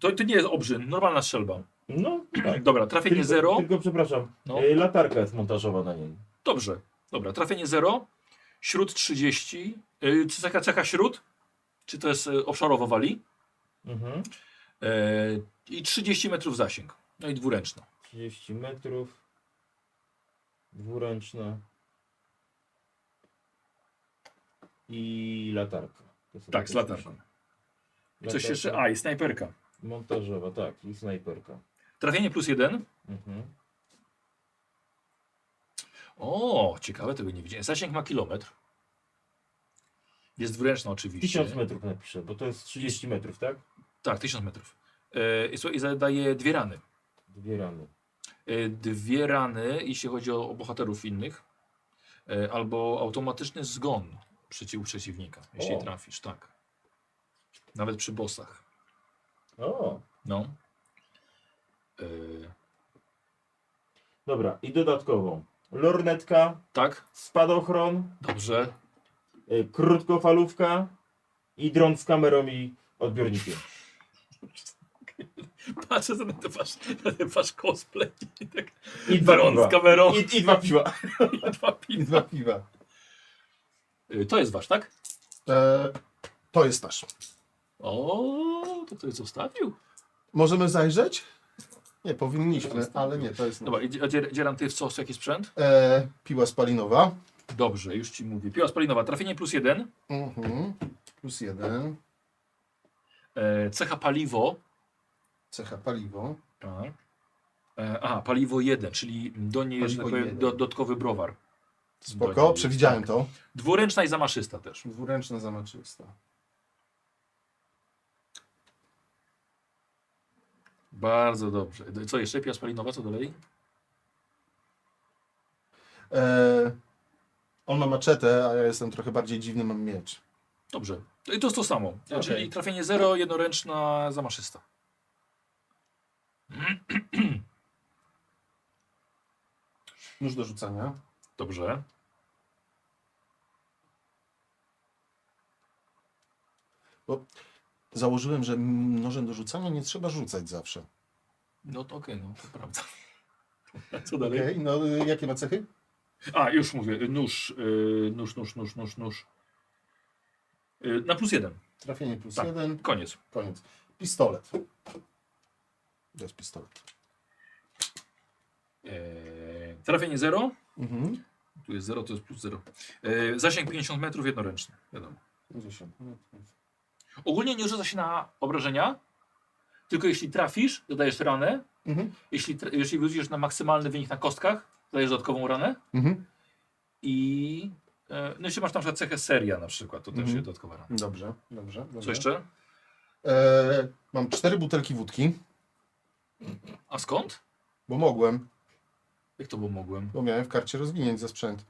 to, to nie jest obrzyn, normalna strzelba. No, tak. Dobra, trafienie Tylko- 0. Tylko przepraszam, No. e, latarka jest montażowa na niej. Dobrze, dobra, trafienie 0. Śród 30. Y, czy taka cecha śród? Czy to jest y, obszarowo wali? Mhm. E, I 30 metrów zasięg. No i dwuręczna. 30 metrów. Dwuręczna. I latarka. To są Tak, z te latarką. I coś Latarka. jeszcze? A, i snajperka. Montażowa, tak, i snajperka. Trafienie plus 1. Mhm. O, ciekawe, tego nie widziałem. Zasięg ma kilometr. Jest dwuręczna oczywiście. 1000 metrów napiszę, bo to jest 30 metrów, tak? Tak, 1000 metrów. E, i słuchaj, I zadaje dwie rany. Dwie rany. E, Dwie rany, jeśli chodzi o, o bohaterów innych. E, Albo automatyczny zgon przeciw przeciwnika, jeśli O. trafisz, tak. Nawet przy bossach. O, No. E, dobra, i dodatkową. Lornetka. Tak. Spadochron. Dobrze. e, Krótkofalówka. I dron z kamerą i odbiornikiem. Patrzę na ten wasz, na ten wasz cosplay. I, tak, I dwa dron piwa. z kamerą. I, i dwa piwa. I dwa piwa. Dwa piwa. E, To jest wasz, tak? E, to jest nasz. O, to ktoś zostawił. Możemy zajrzeć? Nie, powinniśmy, ale nie, to jest nasz. Dobra, i dzie- dzie- dzieram ty w co, jaki sprzęt? E, piła spalinowa. Dobrze, już ci mówię. Piła spalinowa, trafienie plus jeden. Mhm. Plus jeden. E, cecha paliwo. Cecha paliwo. Tak. E, aha, paliwo 1, czyli do niej jest Paliwo tak powiem, jeden. do, dodatkowy browar. Do Spoko, niej. przewidziałem to. Dwuręczna i zamaszysta też. Dwuręczna zamaczysta. Bardzo dobrze. D- Co jeszcze? Piła spalinowa, co dalej? E, on ma maczetę, a ja jestem trochę bardziej dziwny, mam miecz. Dobrze. I to jest to samo. Okej. Czyli trafienie 0, jednoręczna zamaszysta. Nóż do rzucania. Dobrze. Bo założyłem, że nożem do rzucania nie trzeba rzucać zawsze. No to okej, no to prawda. Co dalej? Okej, no y, jakie ma cechy? A, już mówię. Nóż, yy, nóż, nóż, nóż, nóż, nóż. Yy, na plus jeden. Trafienie plus Tak, jeden. koniec. Koniec. Pistolet. To jest pistolet. Eee, trafienie 0. Mhm. Tu jest 0, to jest plus 0. Eee, zasięg 50 metrów jednoręczny. Wiadomo. 50 metrów. Ogólnie nie rzuca się na obrażenia, tylko jeśli trafisz, dodajesz ranę. Mhm. Jeśli, tra- jeśli wrócisz na maksymalny wynik na kostkach, dodajesz dodatkową ranę. Mhm. I e, no jeśli masz na przykład cechę seria na przykład, to też Mhm. jest dodatkowa rana. Dobrze, dobrze. dobrze. Co jeszcze? E, mam cztery butelki wódki, A skąd? bo mogłem, Jak to bo mogłem? bo miałem w karcie rozwinięć ze sprzęt.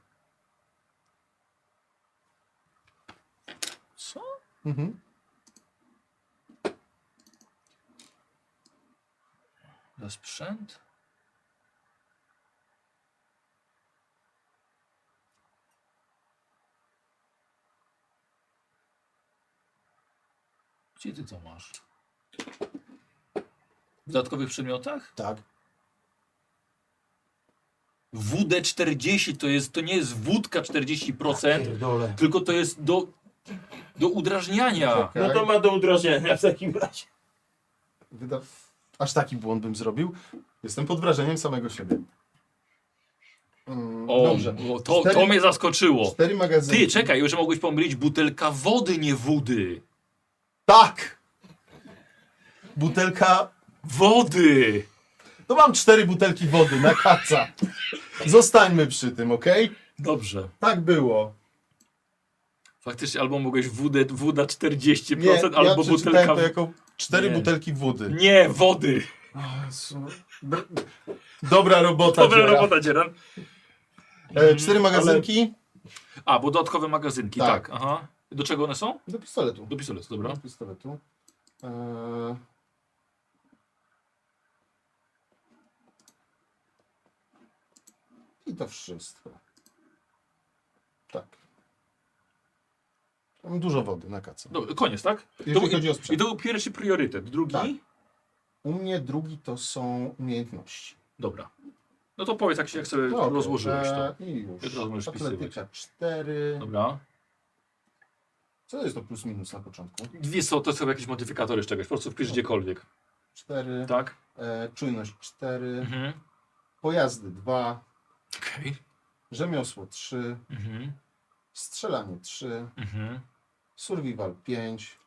Co? Mhm. Za sprzęt? Gdzie ty to masz? W dodatkowych przedmiotach? Tak. WD40 to jest, to nie jest wódka 40%, tylko to jest do, do udrażniania. No to ma do udrażniania w takim razie. Wyda... Aż taki błąd bym zrobił. Jestem pod wrażeniem samego siebie. Mm, O, dobrze. bo to, to Cztery- mnie zaskoczyło. Cztery magazyny. Ty, czekaj, już mogłeś pomylić butelka wody, nie wody. Tak! Butelka wody! To mam cztery butelki wody na kaca. Zostańmy przy tym, ok? Dobrze. Tak było. Faktycznie albo mogłeś wódę, woda 40%, Nie, ja albo przeczytałem butelka... to jako cztery Nie. butelki wody. Nie, wody! Dobra robota, Dobra Dzieran. robota, Dzieran. E, cztery magazynki. A, bo dodatkowe magazynki, Tak. tak. Aha. Do czego one są? Do pistoletu. Do pistoletu, dobra. Do pistoletu. Eee... I to wszystko. Tak. Mam dużo wody na kacu. Dobra, koniec, tak? Jeżeli był- chodzi o I sprzęt. Tak. to był pierwszy priorytet. Drugi? U mnie drugi to są umiejętności. Dobra. No to powiedz, jak, się- jak sobie No, okej, rozłożyłeś to. eee, I już. Jak rozłożysz Atletyka 4. Dobra. Co jest to plus minus na początku? Dwie są, to są jakieś modyfikatory z czegoś, po prostu wpisz gdziekolwiek. 4. Tak. E, czujność 4. Mhm. Pojazdy 2. Okay. Rzemiosło 3. Mhm. Strzelanie 3. Mhm. Survival 5.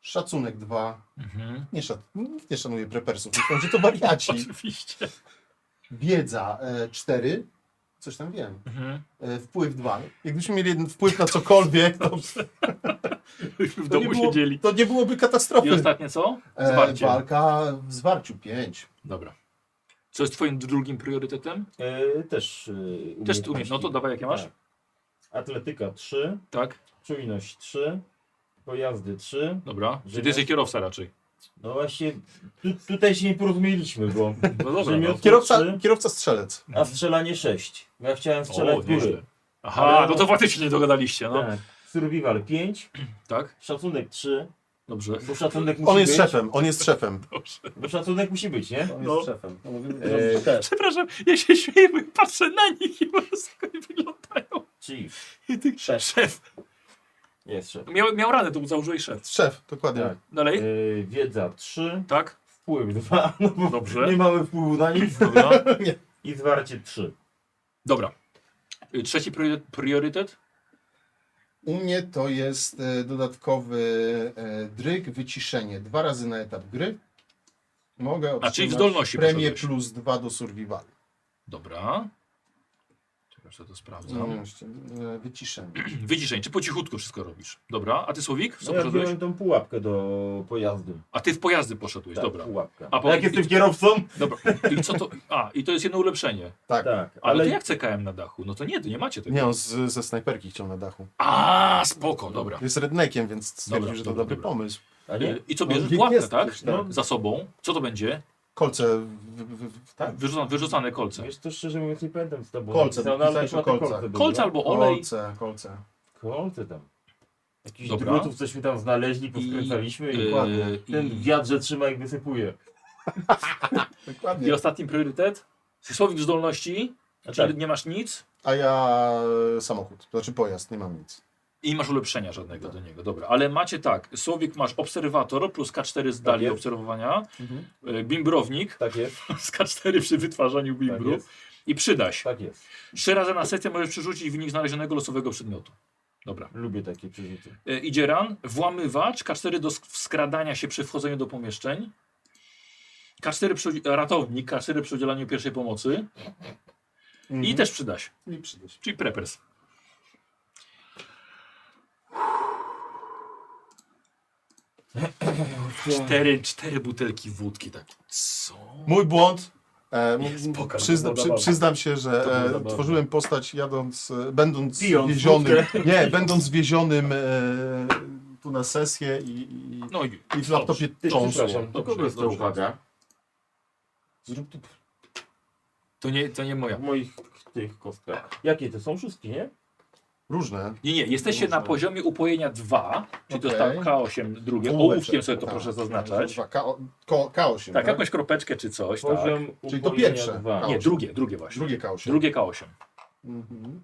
Szacunek 2. Mhm. Nie, szat... Nikt nie szanuje prepersów, myślą, że to wariaci. Oczywiście. Wiedza 4. Coś tam wiem. Mhm. E, wpływ 2. Jakbyśmy mieli jeden wpływ na cokolwiek, to, W to, nie, domu było, siedzieli. to nie byłoby katastrofy. I ostatnie co? E, Zwarcie. walka w zwarciu 5. Dobra. Co jest twoim drugim priorytetem? też Też tu umiesz. No to dawaj, jakie masz? Tak. Atletyka 3. Tak. Czujność 3. Pojazdy 3. Dobra. Czyli ty jesteś kierowca raczej. No właśnie, tu, tutaj się nie porozumieliśmy, bo... No dobra, Rzemiosło no. Kierowca, trzy, kierowca strzelec. A strzelanie 6. Ja chciałem strzelać O, w nieźle. góry. Aha, no to faktycznie nie dogadaliście, no. Tak. Survival 5. Tak. Szacunek 3. Dobrze. Bo szacunek musi On jest być. szefem, on jest szefem. Bo szacunek musi być, nie? On jest No. szefem. Eee, Przepraszam, ja się śmieję, bo patrzę na nich i po prostu tak jak oni Tak. wyglądają. Chief. I ty, szef. szef. Jest szef. Miał, miał radę, to założyłeś szef. Szef, dokładnie. Tak. Dalej? Eee, wiedza 3. Tak. Wpływ 2. No bo Dobrze. Nie mamy wpływu na nic. Dobra. I zwarcie 3. Dobra. Y, Trzeci priory- priorytet? U mnie to jest e, dodatkowy e, dryg, wyciszenie. Dwa razy na etap gry. Mogę czyli w otrzymać zdolności premię poszedłeś. plus dwa do survivalu. Dobra. Czekaj, że to sprawdzam. Mhm. Mm. Zdolności. E, No, Wyciszenie. Wyciszenie, czy po cichutku wszystko robisz. Dobra, a ty Słowik? Co No ja poszedłeś? wziąłem tą pułapkę do pojazdu. A ty w pojazdy poszedłeś, Tak, dobra. pułapka. A A jak jestem kierowcą? Dobra, i co to... A, i to jest jedno ulepszenie. Tak. Tak, Ale, ale- to jak CKM na dachu? No to nie, to nie macie tego. Nie, on z, ze snajperki chciał na dachu. A, spoko, dobra. Jest rednekiem, więc stwierdził, Dobra, że to dobra, dobry dobra. pomysł. Y, I co No, bierzesz? Pułapkę, tak? Za sobą. Co to będzie? Kolce. W, w, w, tak. Wyrzucane, wyrzucane kolce. Tak. Wiesz, to szczerze mówiąc nie pamiętam z tobą. Kolce, napisane, ale pisałeś chyba to o kolcach. były, Kolce tak? albo olej. Kolce, kolce. Kolce tam. Jakiś Dobra. drutów cośmy tam znaleźli, poskręcaliśmy i, yy, i ten i- wiatr, że trzyma jak wysypuje. I ostatni priorytet? Słowik zdolności, Tak. czyli nie masz nic A ja e, samochód, to znaczy pojazd, nie mam nic. i nie masz ulepszenia żadnego Tak. do niego. Dobra, ale macie tak, Słowik masz obserwator plus K4 z dali Tak jest. Mhm. obserwowania, y, bimbrownik Tak jest. Tak z K4 przy wytwarzaniu bimbrów jest. i przydaś. Tak jest. Trzy razy na sesję możesz przerzucić wynik znalezionego losowego przedmiotu. Dobra. Lubię takie przerzuty. E, Idzie ran, włamywacz, K4 do sk- skradania się przy wchodzeniu do pomieszczeń, K4 przy, udzi- ratownik, K4 przy udzielaniu pierwszej pomocy Mhm. i też przydaś, I przyda się. czyli preppers. Cztery, cztery butelki wódki, tak. Co? Mój błąd. E, Jest, pokaż, przyzna, to było przy, zabawne. przyznam się, że To było e, zabawne. tworzyłem postać jadąc, e, będąc Pijąc wiezionym. wódkę. Nie, będąc wiezionym e, tu na sesję i, i, No i No, i w laptopie Ty, cząsło. przepraszam, do kogo Dobrze, jest ta dobrze. uwaga? Zrób tu To nie, to nie moja. w moich tych kostkach. Jakie to są? Szóstki, nie? Różne. Nie, nie, jesteście na poziomie upojenia 2, czyli to Okej. jest tam K8 drugie. Ołóweczek, Ołówkiem sobie to tak. proszę zaznaczać. K, ko, K8, Tak, jakąś kropeczkę czy coś. Poziom tak. Czyli to pierwsze. dwa. K8. Nie, drugie, drugie właśnie. Drugie K8. Drugie K8. Mhm.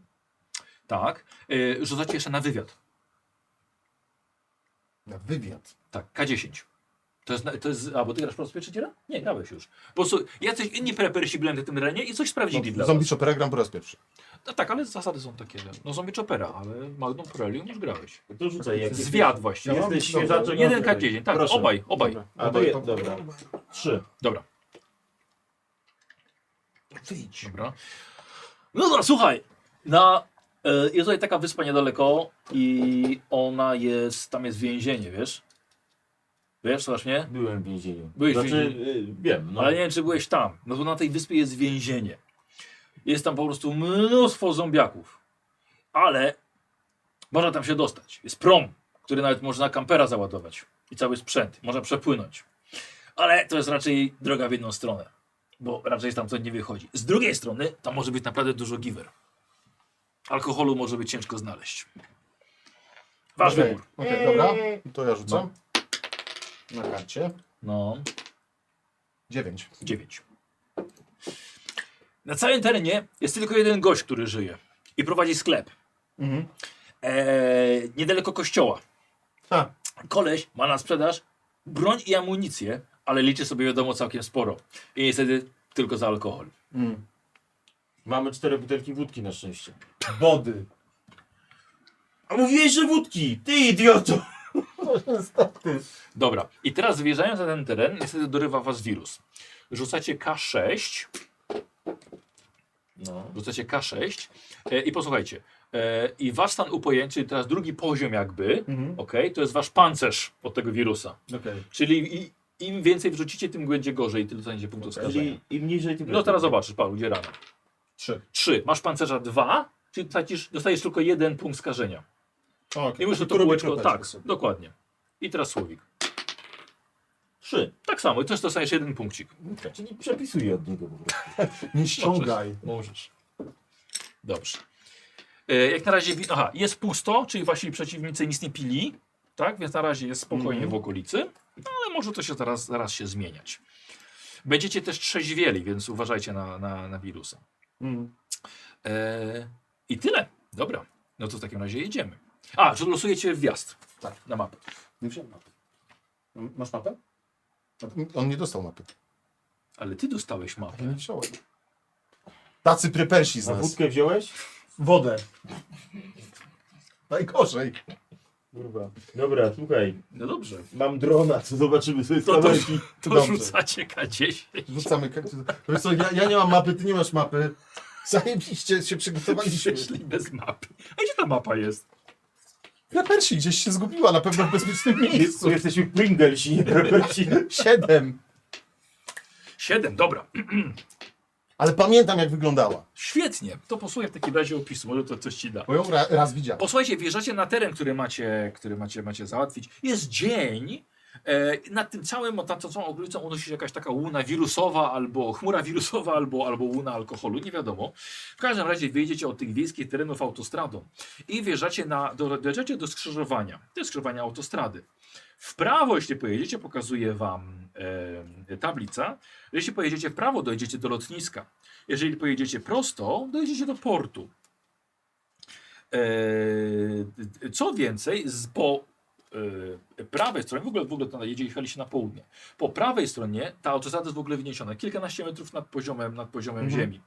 Tak. Yy, rzucacie jeszcze na wywiad. Na wywiad. Tak, K10. To jest, na- to jest, a bo ty grasz po raz pierwszy dziela? Nie, grałeś już. Po prostu jacyś inni prepersi byli na tym terenie i coś sprawdzili No, dla Zombie was. Chopera gram po raz pierwszy. No tak, ale zasady są takie. że- No zombie chopera, ale Magnum Prelium już grałeś. To rzucaj. Tak, jak jesteś- Zwiad właśnie. jak Jesteś Dobra. świeżaczem. Jeden rzucaj. K10, tak, Proszę. obaj, obaj. Dobra. No A to jest, dobra. Trzy. Dobra. Wyjdź. Dobra. No dobra, słuchaj. Na, e, jest tutaj taka wyspa niedaleko i ona jest, tam jest więzienie, wiesz? Wiesz, słuchasz mnie? Byłem w więzieniu. Byłeś w znaczy, y, wiem, no. Ale nie wiem, czy byłeś tam. No bo na tej wyspie jest więzienie. Jest tam po prostu mnóstwo zombiaków. Ale można tam się dostać. Jest prom, który nawet można kampera załadować. I cały sprzęt. Można przepłynąć. Ale to jest raczej droga w jedną stronę. Bo raczej stamtąd nie wychodzi. Z drugiej strony tam może być naprawdę dużo giwer. Alkoholu może być ciężko znaleźć. Wasz Okej, wybór. okej, dobra. To ja rzucam. Na karcie. No. 9. 9. Na całym terenie jest tylko jeden gość, który żyje i prowadzi sklep. Mhm. Eee, niedaleko kościoła. Ha. Koleś ma na sprzedaż broń i amunicję, ale liczy sobie wiadomo całkiem sporo. I niestety tylko za alkohol. Mm. Mamy cztery butelki wódki na szczęście. Wody. A mówiłeś, że wódki! Ty idioto! Dobra, i teraz wjeżdżając na ten teren, niestety dorywa was wirus. Rzucacie K6. No. Rzucacie K6 e, i posłuchajcie. E, I wasz stan upojęcia, czyli teraz drugi poziom jakby, Mhm. okej, to jest wasz pancerz od tego wirusa. Okej. Czyli i, im więcej wrzucicie, tym będzie gorzej, tyle dostaniecie punktów skażenia. Czyli im niżej tym No teraz zobaczysz, Paweł, gdzie rano. Trzy. Trzy. Masz pancerza dwa, czyli tracisz, dostajesz tylko jeden punkt skażenia. Okay. I muszę to kółeczko, tak, dokładnie. I teraz Słowik. Trzy. Tak samo, i też dostajesz jeden punkcik. Czyli przepisuję od niego po prostu. Nie ściągaj. Możesz. Dobrze. E, Jak na razie, wi- aha, jest pusto, czyli wasi przeciwnicy nic nie pili, tak? Więc na razie jest spokojnie w okolicy, no ale może to się zaraz, zaraz się zmieniać. Będziecie też trzeźwieli, więc uważajcie na, na, na wirusa. Mm. E, I tyle. Dobra, no to w takim razie jedziemy. A, że losujecie wjazd Tak. na mapę. Nie wziąłem mapy. Masz mapę? No, On nie dostał mapy. Ale ty dostałeś mapę. Ja nie wziąłem. Tacy prepersi z A nas. wódkę wziąłeś? Wodę. Najgorzej. Kurwa. Dobra, słuchaj. No dobrze. Mam drona, co zobaczymy sobie z To, to, kamerki. to Dobrze. rzucacie K10. Rzucamy. kak- Wiesz co, ja, ja nie mam mapy, ty nie masz mapy. Zajebiście się przygotowaliśmy. Przyszli bez mapy. A gdzie ta mapa jest? Na Persji gdzieś się zgubiła, na pewno w bezpiecznym miejscu. Jesteśmy Pringlesi, nie Persi. Siedem. Siedem, dobra. Ale pamiętam jak wyglądała. Świetnie, to posłuchaj w takim razie opisu, może to coś ci da. Bo ją ra, raz widziałem. Posłuchajcie, wjeżdżacie na teren, który macie, który macie, macie załatwić. Jest dzień. E, nad tym całym, nad tą całą okolicą unosi się jakaś taka łuna wirusowa, albo chmura wirusowa, albo, albo łuna alkoholu, nie wiadomo. W każdym razie wyjdziecie od tych wiejskich terenów autostradą i wjeżdżacie na, do, dojeżdżacie do skrzyżowania. To jest skrzyżowanie autostrady. W prawo, jeśli pojedziecie, pokazuje wam e, tablica. Jeśli pojedziecie w prawo, dojedziecie do lotniska. Jeżeli pojedziecie prosto, dojedziecie do portu. E, Co więcej, z, po e, prawej stronie, w ogóle, w ogóle to jedzie- jechaliście na południe, po prawej stronie ta autostrada jest w ogóle wyniesiona kilkanaście metrów nad poziomem, nad poziomem Mhm. ziemi.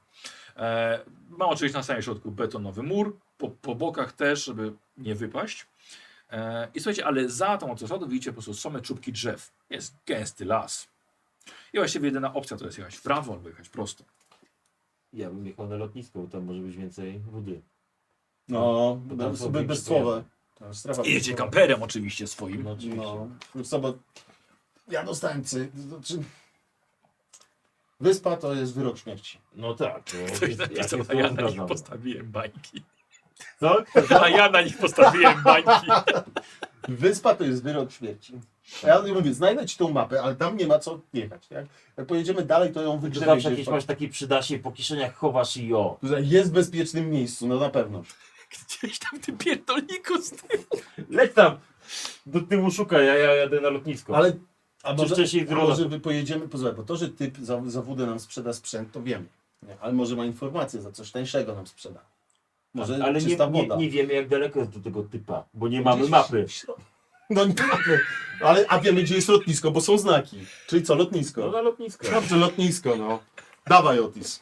E, ma oczywiście na samym środku betonowy mur, po, po bokach też, żeby nie wypaść. E, I słuchajcie, ale za tą autostradą widzicie po prostu same czubki drzew. Jest gęsty las. I właściwie jedyna opcja to jest jechać w prawo albo jechać prosto. Ja bym jechał na lotnisko, bo tam może być więcej wody. No, Bo tam bez- są bez- większe bezsłowe. pojazdy. Tam strefa I jedzie bezsłowa. kamperem oczywiście swoim. No, oczywiście. Sobot. Ja dostałem cy. to Znaczy... Wyspa to jest wyrok śmierci. No tak. no, Ktoś jest- napisał, jak a ja jest to na nich obrażone. postawiłem bańki. Co? A ja na nich postawiłem bańki. Wyspa to jest wyrok śmierci. A ja mówię, znajdę ci tą mapę, ale tam nie ma co jechać. Jak, jak pojedziemy dalej, to ją To wygrzebie. zawsze gdzieś jakieś masz takie przydasie, po kieszeniach chowasz i o. Tutaj Jest w bezpiecznym miejscu, no na pewno. Gdzieś tam ty pierdolniku z tym. Leć tam! Do tyłu szukaj, ja, ja jadę na lotnisko. Ale a Czy może, wcześniej a droga? może wy pojedziemy, pozwolę, bo to, że typ za, za wódę nam sprzeda sprzęt, to wiemy. Nie? Ale może ma informację, za coś tańszego nam sprzeda. Może Ale nie, czysta nie, woda. nie wiemy jak daleko jest do tego typa, bo nie mamy mapy. No nie mamy. Ale, a wiemy, gdzie jest lotnisko, bo są znaki. Czyli co, lotnisko? No na lotnisko. Dobrze, lotnisko, no. Dawaj, Otis.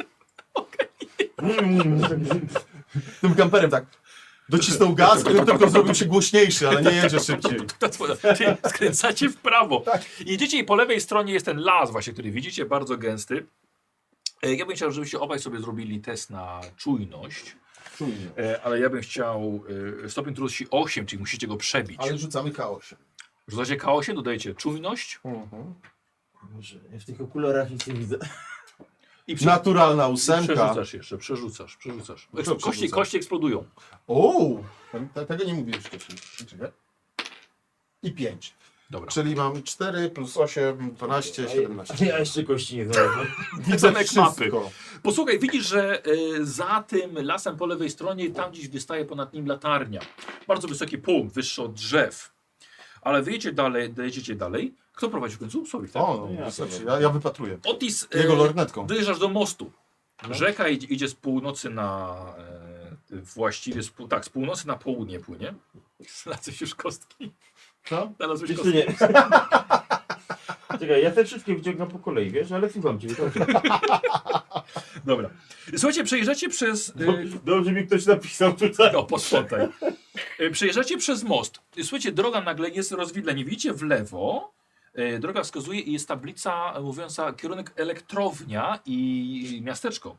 Mm. Tym kamperem tak. Docisnął gaz, który tylko zrobił się głośniejszy, ale nie jedzie szybciej. Ta twoja- Ty skręcacie w prawo. Tak. Jedziecie i po lewej stronie jest ten las właśnie, który widzicie, bardzo gęsty. E, Ja bym chciał, żebyście obaj sobie zrobili test na czujność. Czujność. E, Ale ja bym chciał e, stopień trudności 8, czyli musicie go przebić. Ale rzucamy K8. Rzucacie K8, dodajecie czujność. Mhm. Może ja w tych okularach nic nie widzę. I Naturalna I ósemka. Przerzucasz jeszcze, przerzucasz, przerzucasz. No co Eks- Kości, przerzucam? kości eksplodują. O! Te- Tego nie mówiłem wcześniej. Czekaj. I 5. Dobra. Czyli mam 4 plus 8, 12, 17. Ja jeszcze kości nie znalazłem. Widzę Zamek mapy. wszystko. Posłuchaj, widzisz, że y, za tym lasem po lewej stronie, tam gdzieś wystaje ponad nim latarnia. Bardzo wysoki pół, wyższy od drzew. Ale wyjdziecie dalej, dojedziecie dalej. Kto prowadzi w końcu? Słowik, tak? O, no, wystarczy. ja, ja wypatruję. Otis, Jego e, lornetką. No. Dojeżdżasz do mostu. Rzeka idzie, idzie z północy na... E, właściwie, z, pół- tak, z północy na południe płynie. Znalazłeś już kostki. Co? Znalazłeś Jeszcze kostki. nie. Czekaj, ja te wszystkie wyciągam po kolei, wiesz, ale słucham cię. Dobra. Słuchajcie, przejeżdżacie przez... e, Dobrze mi ktoś napisał tutaj. No, posprzątaj. E, Przejeżdżacie przez most. I Słuchajcie, droga nagle jest rozwidlenie. Widzicie w lewo, e, droga wskazuje i jest tablica mówiąca kierunek elektrownia i miasteczko.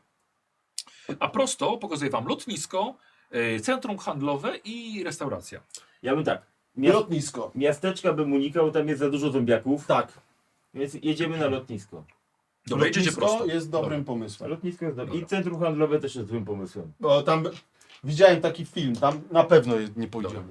A prosto pokazuje wam lotnisko, e, centrum handlowe i restauracja. Ja bym tak. I lotnisko. Miasteczka bym unikał, tam jest za dużo zombiaków. Tak. Więc jedziemy na lotnisko. Dobra, jedziecie prosto. jest dobrym pomysłem. Lotnisko jest dobre. I centrum handlowe też jest złym pomysłem. Bo tam widziałem taki film, tam na pewno je- nie pójdziemy.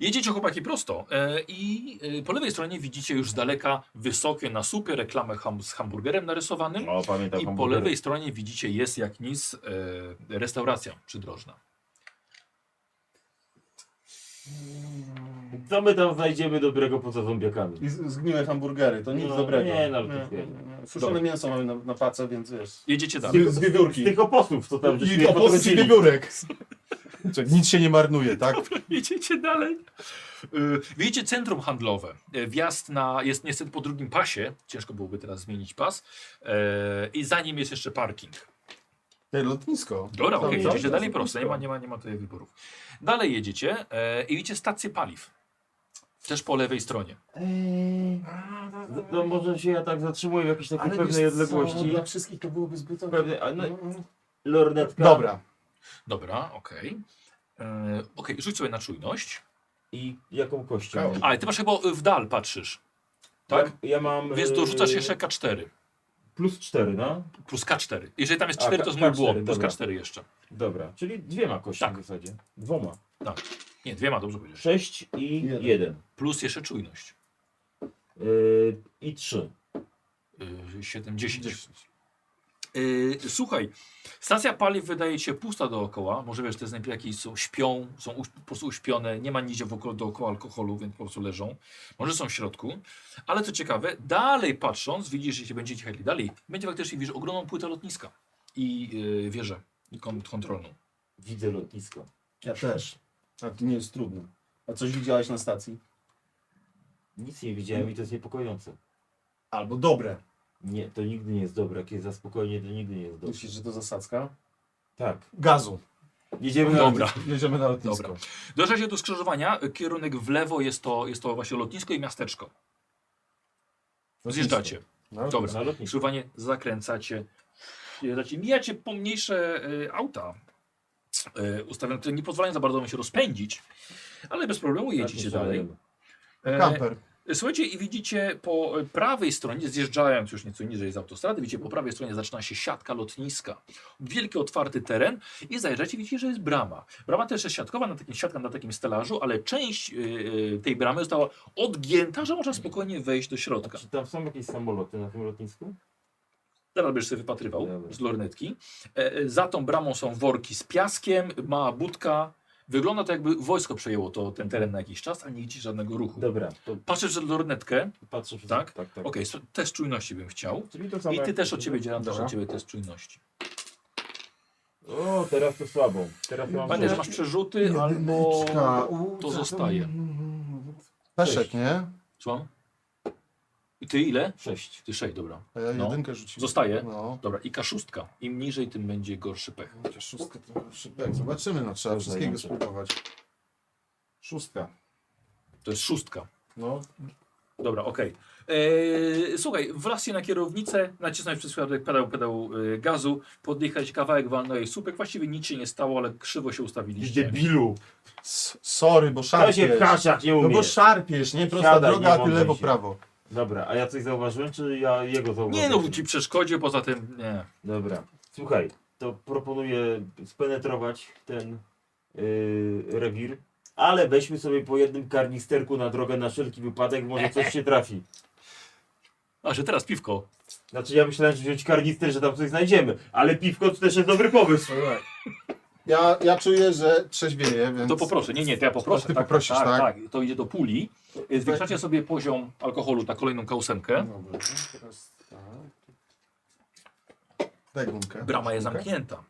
Jedziecie chłopaki prosto e, i e, po lewej stronie widzicie już z daleka wysokie na supie reklamę ham z hamburgerem narysowanym. O, pamiętam I po hamburgery. lewej stronie widzicie jest jak nic e, restauracja przydrożna. Co my tam znajdziemy dobrego poza zombiakami? I z- zgniłe hamburgery, to nic No, dobrego. nie, no, to nie, wiemy. nie. Suszone Dobra. mięso mamy na, na pacę, więc wiesz. Jedziecie Z, dalej. z wiewiórki. Z tych oposłów, co tam I żeśmy oposy potrafili. wiewiórek. Czekaj, Nic się nie marnuje, tak? Jedziecie dalej. Y, Widzicie centrum handlowe. Y, Wjazd na, jest niestety po drugim pasie. Ciężko byłoby teraz zmienić pas. Y, I za nim jest jeszcze parking. Nie, lotnisko. Dobra, Tam okej, cały jedziecie czas dalej prosto. Nie ma, lotnisko. nie, ma, nie ma tutaj wyborów. Dalej jedziecie y, i widzicie stację paliw. Też po lewej stronie. No, no może się ja tak zatrzymuję w jakiejś takiej Ale pewnej wiesz co, odległości. Dla wszystkich to byłoby zbyt... Pewnie, a no, Lornetka. Dobra. Dobra, okej. Okay. Okej, rzuć sobie na czujność. I jaką kością? A, i ty masz chyba y, w dal patrzysz. Tak? Ja, ja mam. Więc dorzucasz y, jeszcze K4. Plus 4, no? Plus K4. Jeżeli tam jest A, 4, K- to znów było. K4, Plus dobra. K4 jeszcze. Dobra, czyli dwiema kością Tak. w zasadzie. Dwoma. Tak. Nie, dwiema, dobrze powiedziesz. 6 i 1. Plus jeszcze czujność. I 3. Yy, 70. Yy, słuchaj, stacja paliw wydaje ci się pusta dookoła. Może wiesz, te znajdziaki są śpią, są uś- po prostu uśpione, nie ma nigdzie wokół, dookoła alkoholu, więc po prostu leżą. Może są w środku, ale co ciekawe, dalej patrząc, widzisz, jeśli będziecie jechali dalej, będzie faktycznie widzisz ogromną płytę lotniska i yy, wieżę kon- kontrolną. Widzę lotnisko. Ja też. A to nie jest trudno. A coś widziałeś na stacji? Nic nie widziałem i to jest niepokojące. Albo dobre. Nie, to nigdy nie jest dobre. Kiedy za spokojnie, to nigdy nie jest dobre. Myślisz, że to zasadzka? Tak. Gazu. Jedziemy Dobra. na lotnisko. Jedziemy na lotnisko. Dobra. Dojeżdża się do skrzyżowania, kierunek w lewo jest to, jest to właśnie lotnisko i miasteczko. Zjeżdżacie. No, Na lotnisko. Dobra, Na lotnisko. skrzyżowanie zakręcacie. Jeżdżacie. Mijacie pomniejsze y, auta y, ustawione, które nie pozwalają za bardzo wam się rozpędzić, ale bez problemu jedziecie nie dalej. szalejemy. E, Kamper. Słuchajcie i widzicie po e, prawej stronie, zjeżdżając już nieco niżej z autostrady, widzicie po prawej stronie zaczyna się siatka lotniska. Wielki otwarty teren i zajeżdżacie, widzicie, że jest brama. Brama też jest siatkowa, na takim, siatka na takim stelażu, ale część y, y, tej bramy została odgięta, że można spokojnie wejść do środka. Czy tam są jakieś samoloty na tym lotnisku? Zaraz będziesz sobie wypatrywał z lornetki. E, e, za tą bramą są worki z piaskiem, mała budka. Wygląda to jakby wojsko przejęło to, ten teren na jakiś czas, a nie widzisz żadnego ruchu. Dobra. Patrzysz przez lornetkę. Patrzę tak? tak, tak. Okej, okay, test czujności bym chciał. Czyli to samo I ty jak- też od ciebie dzielam, też Dobra. od ciebie test czujności. O, teraz to słabo. Teraz mam Pamiętaj, że masz przerzuty albo Jedyneczka. to zostaje. Peszek, nie? Słucham? I ty ile? Sześć. Ty sześć, dobra. A ja jedynkę rzuciłem. Zostaje. No. Dobra, i K6. Im niżej, tym będzie gorszy pech. K6 to gorszy pech. Zobaczymy, no trzeba wszystkiego zajęcie. spróbować. Szóstka. To jest szóstka. No. Dobra, okej. Eee, słuchaj, wlazł na kierownicę, nacisnąłeś przez środek pedał, pedał e, gazu, podjechać kawałek walnąłeś słupek, właściwie nic się nie stało, ale krzywo się ustawiliście. Debilu. S sorry, bo szarpiesz. się pchasz, jak nie tak No bo umiesz. szarpiesz, nie? Prosta Siadaj, droga, nie a ty mądrzej lewo, się. prawo. Dobra, a ja coś zauważyłem, czy ja jego zauważyłem? Nie no, ci przeszkodzie, poza tym nie. Dobra. Słuchaj, to proponuję spenetrować ten yy, rewir, ale weźmy sobie po jednym karnisterku na drogę na wszelki wypadek, może coś się trafi. A, że teraz piwko. Znaczy ja myślałem, że wziąć karnister, że tam coś znajdziemy, ale piwko to też jest dobry pomysł. Ja, ja czuję, że trzeźwieję, więc... To poproszę, nie, nie, to ja poproszę. Ty poprosisz, tak, tak? tak, to idzie do puli. E, Zwiększacie sobie poziom alkoholu na kolejną kausemkę. Teraz tak. Daj gumkę. Brama jest zamknięta.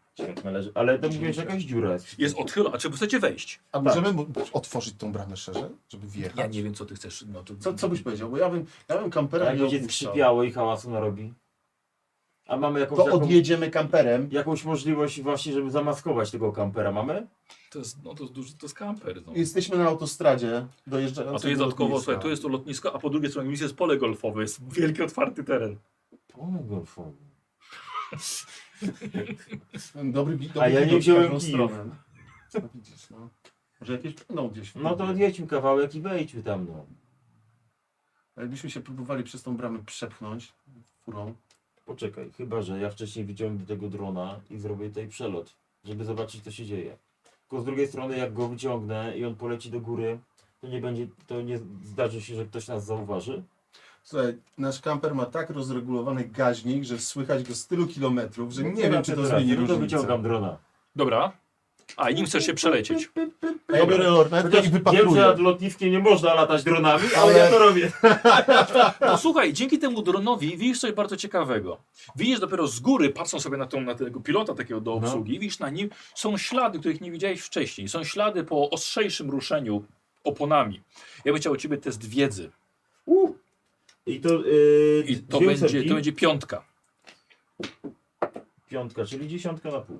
Należy, ale to mówię, że jakaś dziura jest. Jest odchyla, a czy chcecie wejść? Tak. A możemy mu- otworzyć tą bramę szerzej, żeby wjechać? Ja nie wiem, co ty chcesz. No, to... Co, co byś powiedział? Bo ja bym, ja bym kamperem Tak, Jak nie będzie opuszczał. skrzypiało i hałasu narobi. A mamy jakąś To taką- odjedziemy kamperem. Jakąś możliwość właśnie, żeby zamaskować tego kampera mamy? To jest, no to jest duży, to jest kamper. No. Jesteśmy na autostradzie dojeżdżając A tu jest do dodatkowo, lotniska. słuchaj, tu jest to lotnisko, a po drugiej stronie jest pole golfowe, jest wielki otwarty teren. Pole golfowe. Dobry, bi- dobry A ja widok nie w wziąłem każdą kijów. stronę. No widzisz, no. Może jakieś będą gdzieś. No to odjedźmy kawałek i wejdźmy tam, no. A Jakbyśmy się próbowali przez tą bramę przepchnąć furą. Poczekaj, chyba że ja wcześniej wyciągnę tego drona i zrobię tutaj przelot, żeby zobaczyć co się dzieje. Tylko z drugiej strony jak go wyciągnę i on poleci do góry, to nie będzie, to nie zdarzy się, że ktoś nas zauważy. Słuchaj, nasz kamper ma tak rozregulowany gaźnik, że słychać go z tylu kilometrów, że No nie wiem, czy to racja, zmieni no to różnicę. wyciągam drona. Dobra. A i nim chcesz się przelecieć. A ja biorę lornetkę i wypatruję. Wiem, że nad lotniskiem nie można latać dronami, ale ja to robię. No słuchaj, dzięki temu dronowi widzisz coś bardzo ciekawego. Widzisz dopiero z góry, patrzą sobie na, tą, na tego pilota takiego No. do obsługi, widzisz na nim, są ślady, których nie widziałeś wcześniej. Są ślady po ostrzejszym ruszeniu oponami. Ja bym chciał u ciebie test wiedzy. I to, y, yy, I to dwie będzie, ósemki. to będzie piątka. Piątka, czyli dziesiątka na pół.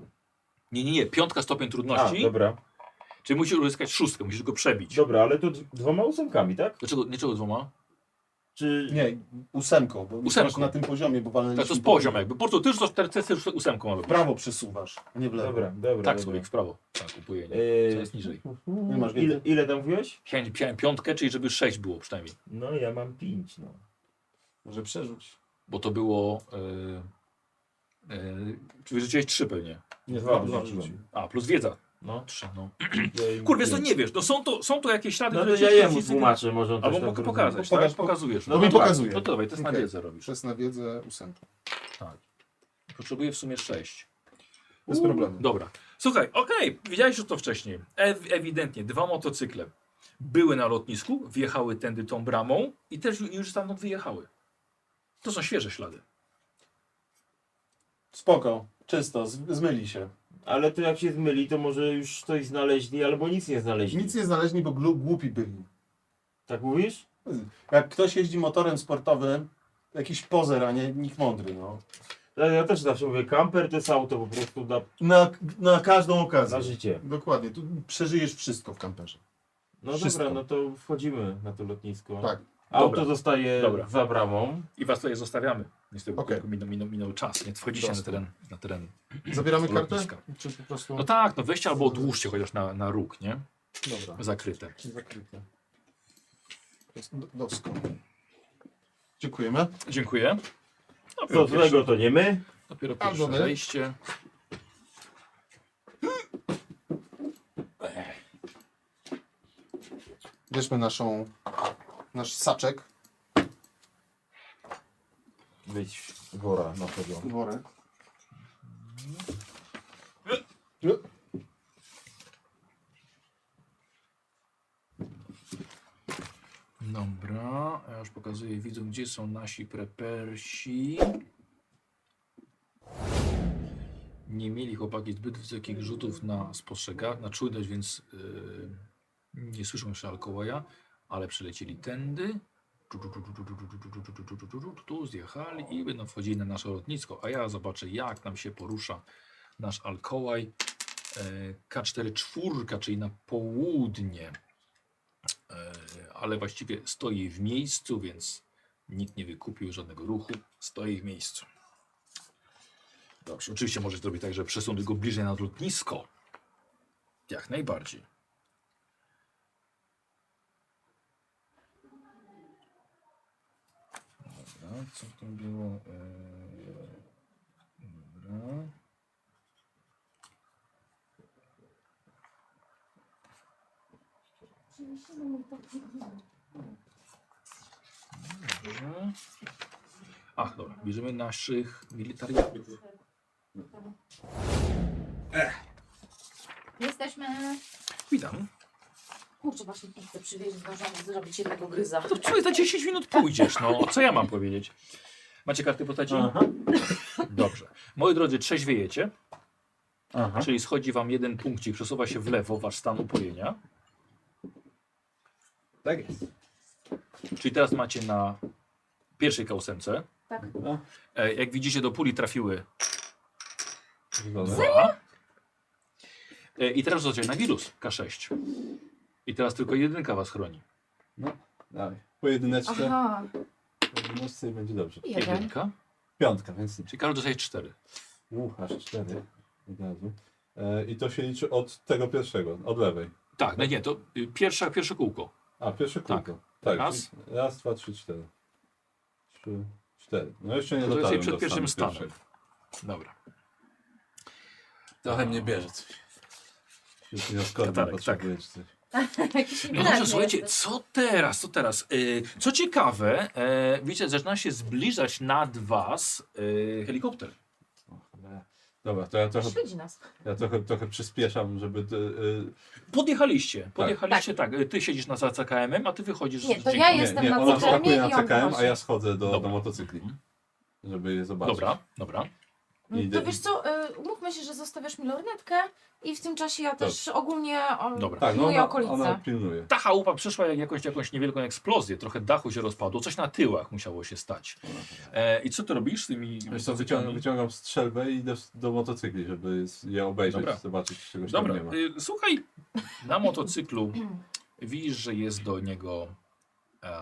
Nie, nie, nie, piątka stopień trudności. A, dobra. Czyli musisz uzyskać szóstkę, musisz go przebić. Dobra, ale to d- dwoma ósemkami, tak? Dlaczego, dlaczego dwoma? Czy... Nie, ósemką, bo Ósemką. masz na tym poziomie, bo walnęliśmy... Tak, to jest po- poziom jakby. Po prostu ty już to tercety już ósemką robisz. W prawo przesuwasz, nie w lewo. Dobra, dobra, Tak, dobra. sobie w prawo. Tak, kupuję. Nie? Eee, Coraz niżej. Nie masz więcej. ile- ile tam mówiłeś? Pięć, pię- piątkę, czyli żeby sześć było przynajmniej. No ja mam 5, no. Może przerzuć. Bo to było... e, Yy, yy, wyrzuciłeś trzy pewnie. Nie, dwa wyrzuciłem. A, plus wiedza. No. Trzy, no. Ja im Kurwa, to wiem. nie wiesz, no są to, są to jakieś ślady, No które to ja ciężko jemu odcisnąć. tłumaczę, może on Albo też mogę tak pokazać, zrobi. tak? Pokazujesz. No, mi dobra. pokazuje. No to dawaj, to jest na Okej. wiedzę robisz. Przez na wiedzę ósemkę. Tak. Potrzebuję w sumie sześć. Bez Uuu, problemu. Dobra. Słuchaj, okej, widziałeś już to wcześniej. Ew, ewidentnie, dwa motocykle były na lotnisku, wjechały tędy tą bramą i też ju- już stamtąd wyjechały. To są świeże ślady. Spoko, czysto, z- zmyli się. Ale to jak się zmyli, to może już coś znaleźli, albo nic nie znaleźli. Nic nie znaleźli, bo glu- głupi byli. Tak mówisz? Jak ktoś jeździ motorem sportowym, jakiś pozer, a nie nikt mądry, no. Ja, ja też zawsze mówię, kamper to jest auto po prostu dla... Na, na każdą okazję. Na życie. Dokładnie, tu przeżyjesz wszystko w kamperze. No dobra, no to wchodzimy na to lotnisko. Tak. Auto Dobra. zostaje Dobra. za bramą. I was tutaj zostawiamy. Niestety, Okej. okay. minął, minął, minął czas, nie? Wchodzicie na Dostał. teren, na teren Zabieramy kartę? lotniska. Czy po prostu... No tak, no weźcie albo odłóżcie chociaż na, na róg, nie? Dobra. Zakryte. Zakryte. Doskonale. Dziękujemy. Dziękuję. Co złego to nie my. Dopiero Albo pierwsze my. wejście. Bierzmy naszą, nasz saczek, Być wora na pewno. worek. Dobra, ja już pokazuję widzom, gdzie są nasi prepersi. Nie mieli chłopaki zbyt wysokich rzutów na spostrzega, na czujność, więc yy, nie słyszą jeszcze Alkołaja, ale przelecieli tędy. Tu, tu, tu, tu, tu, tu, tu, tu, tu, tu, tu, tu, tu, tu, tu, tu, Zjechali i będą wchodzili na nasze lotnisko, a ja zobaczę jak nam się porusza nasz Alkołaj. E, K4 czwórka, czyli na południe. E, ale właściwie stoi w miejscu, więc nikt nie wykupił żadnego ruchu. Stoi w miejscu. Dobrze, oczywiście może zrobić tak, że przesunąć go bliżej na lotnisko. Jak najbardziej. Dobra, co to było? Eee, Dobra. Dobrze. Ach, dobra, bierzemy naszych militariatów. Jesteśmy... Witam. Kurczę, właśnie pizzę przywieźć, zdążyłam zrobić jednego gryza. To człowiek za 10 minut pójdziesz, no co ja mam powiedzieć? Macie karty postaci? Dobrze. Moi drodzy, trzeźwiejecie, Aha. czyli schodzi wam jeden punkcik, przesuwa się w lewo wasz stan upojenia. Tak jest. Czyli teraz macie na pierwszej kausemce. Tak. E, jak widzicie, do puli trafiły Wygląda. dwa. E, I teraz rzucacie na wirus K6. I teraz tylko jedynka was chroni. Dawaj. Po jedyneczce. Aha. Po jedyneczce i będzie dobrze. Jeden. Jedynka. Piątka, więc nic. Czyli każdy dostaje cztery. Uch, aż cztery. Od razu. E, I to się liczy od tego pierwszego, od lewej. Tak, no nie, to y, pierwsza, pierwsze kółko. A, pierwsze Tak. kółko. Tak. Raz. czyli Raz, dwa, trzy, cztery. Trzy, cztery. No jeszcze nie To jest dotarłem przed do pierwszym stanu stanem. Dobra. Trochę mnie bierze coś. Już nie odkładam, Katarek, potrzebuję czy coś. Jakiś No inny dobrze, słuchajcie, jesteś. co teraz, co teraz? Y, co ciekawe, yy, widzicie, zaczyna się zbliżać nad was y, helikopter. E, Dobra, to ja trochę, Śledzi nas. ja trochę, trochę przyspieszam, żeby... te, y, Podjechaliście, podjechaliście tak. y, Ty siedzisz na za CKM-em, a ty wychodzisz Nie, z to ja dźwiękiem. jestem nie, na ona CKM-ie wskakuje na i on CKM, a wychodzi. ja schodzę do, do Dobra. Mhm. motocykli, żeby je zobaczyć. Dobra, dobra. I No To wiesz co, y, umówmy się, że zostawiasz mi lornetkę i w tym czasie ja też ogólnie o, Dobra. Tak, no pilnuję ona, okolice. ona pilnuje. Ta chałupa przeszła jak jakąś, jakąś niewielką eksplozję, trochę dachu się rozpadło, coś na tyłach musiało się stać. E, I co ty robisz z tymi Wiesz co, wyciągam, wyciągam strzelbę i idę do motocykli, żeby je obejrzeć, Dobra. zobaczyć, czy czegoś Dobra, tam nie ma. y, słuchaj, na motocyklu widzisz, że jest do niego e,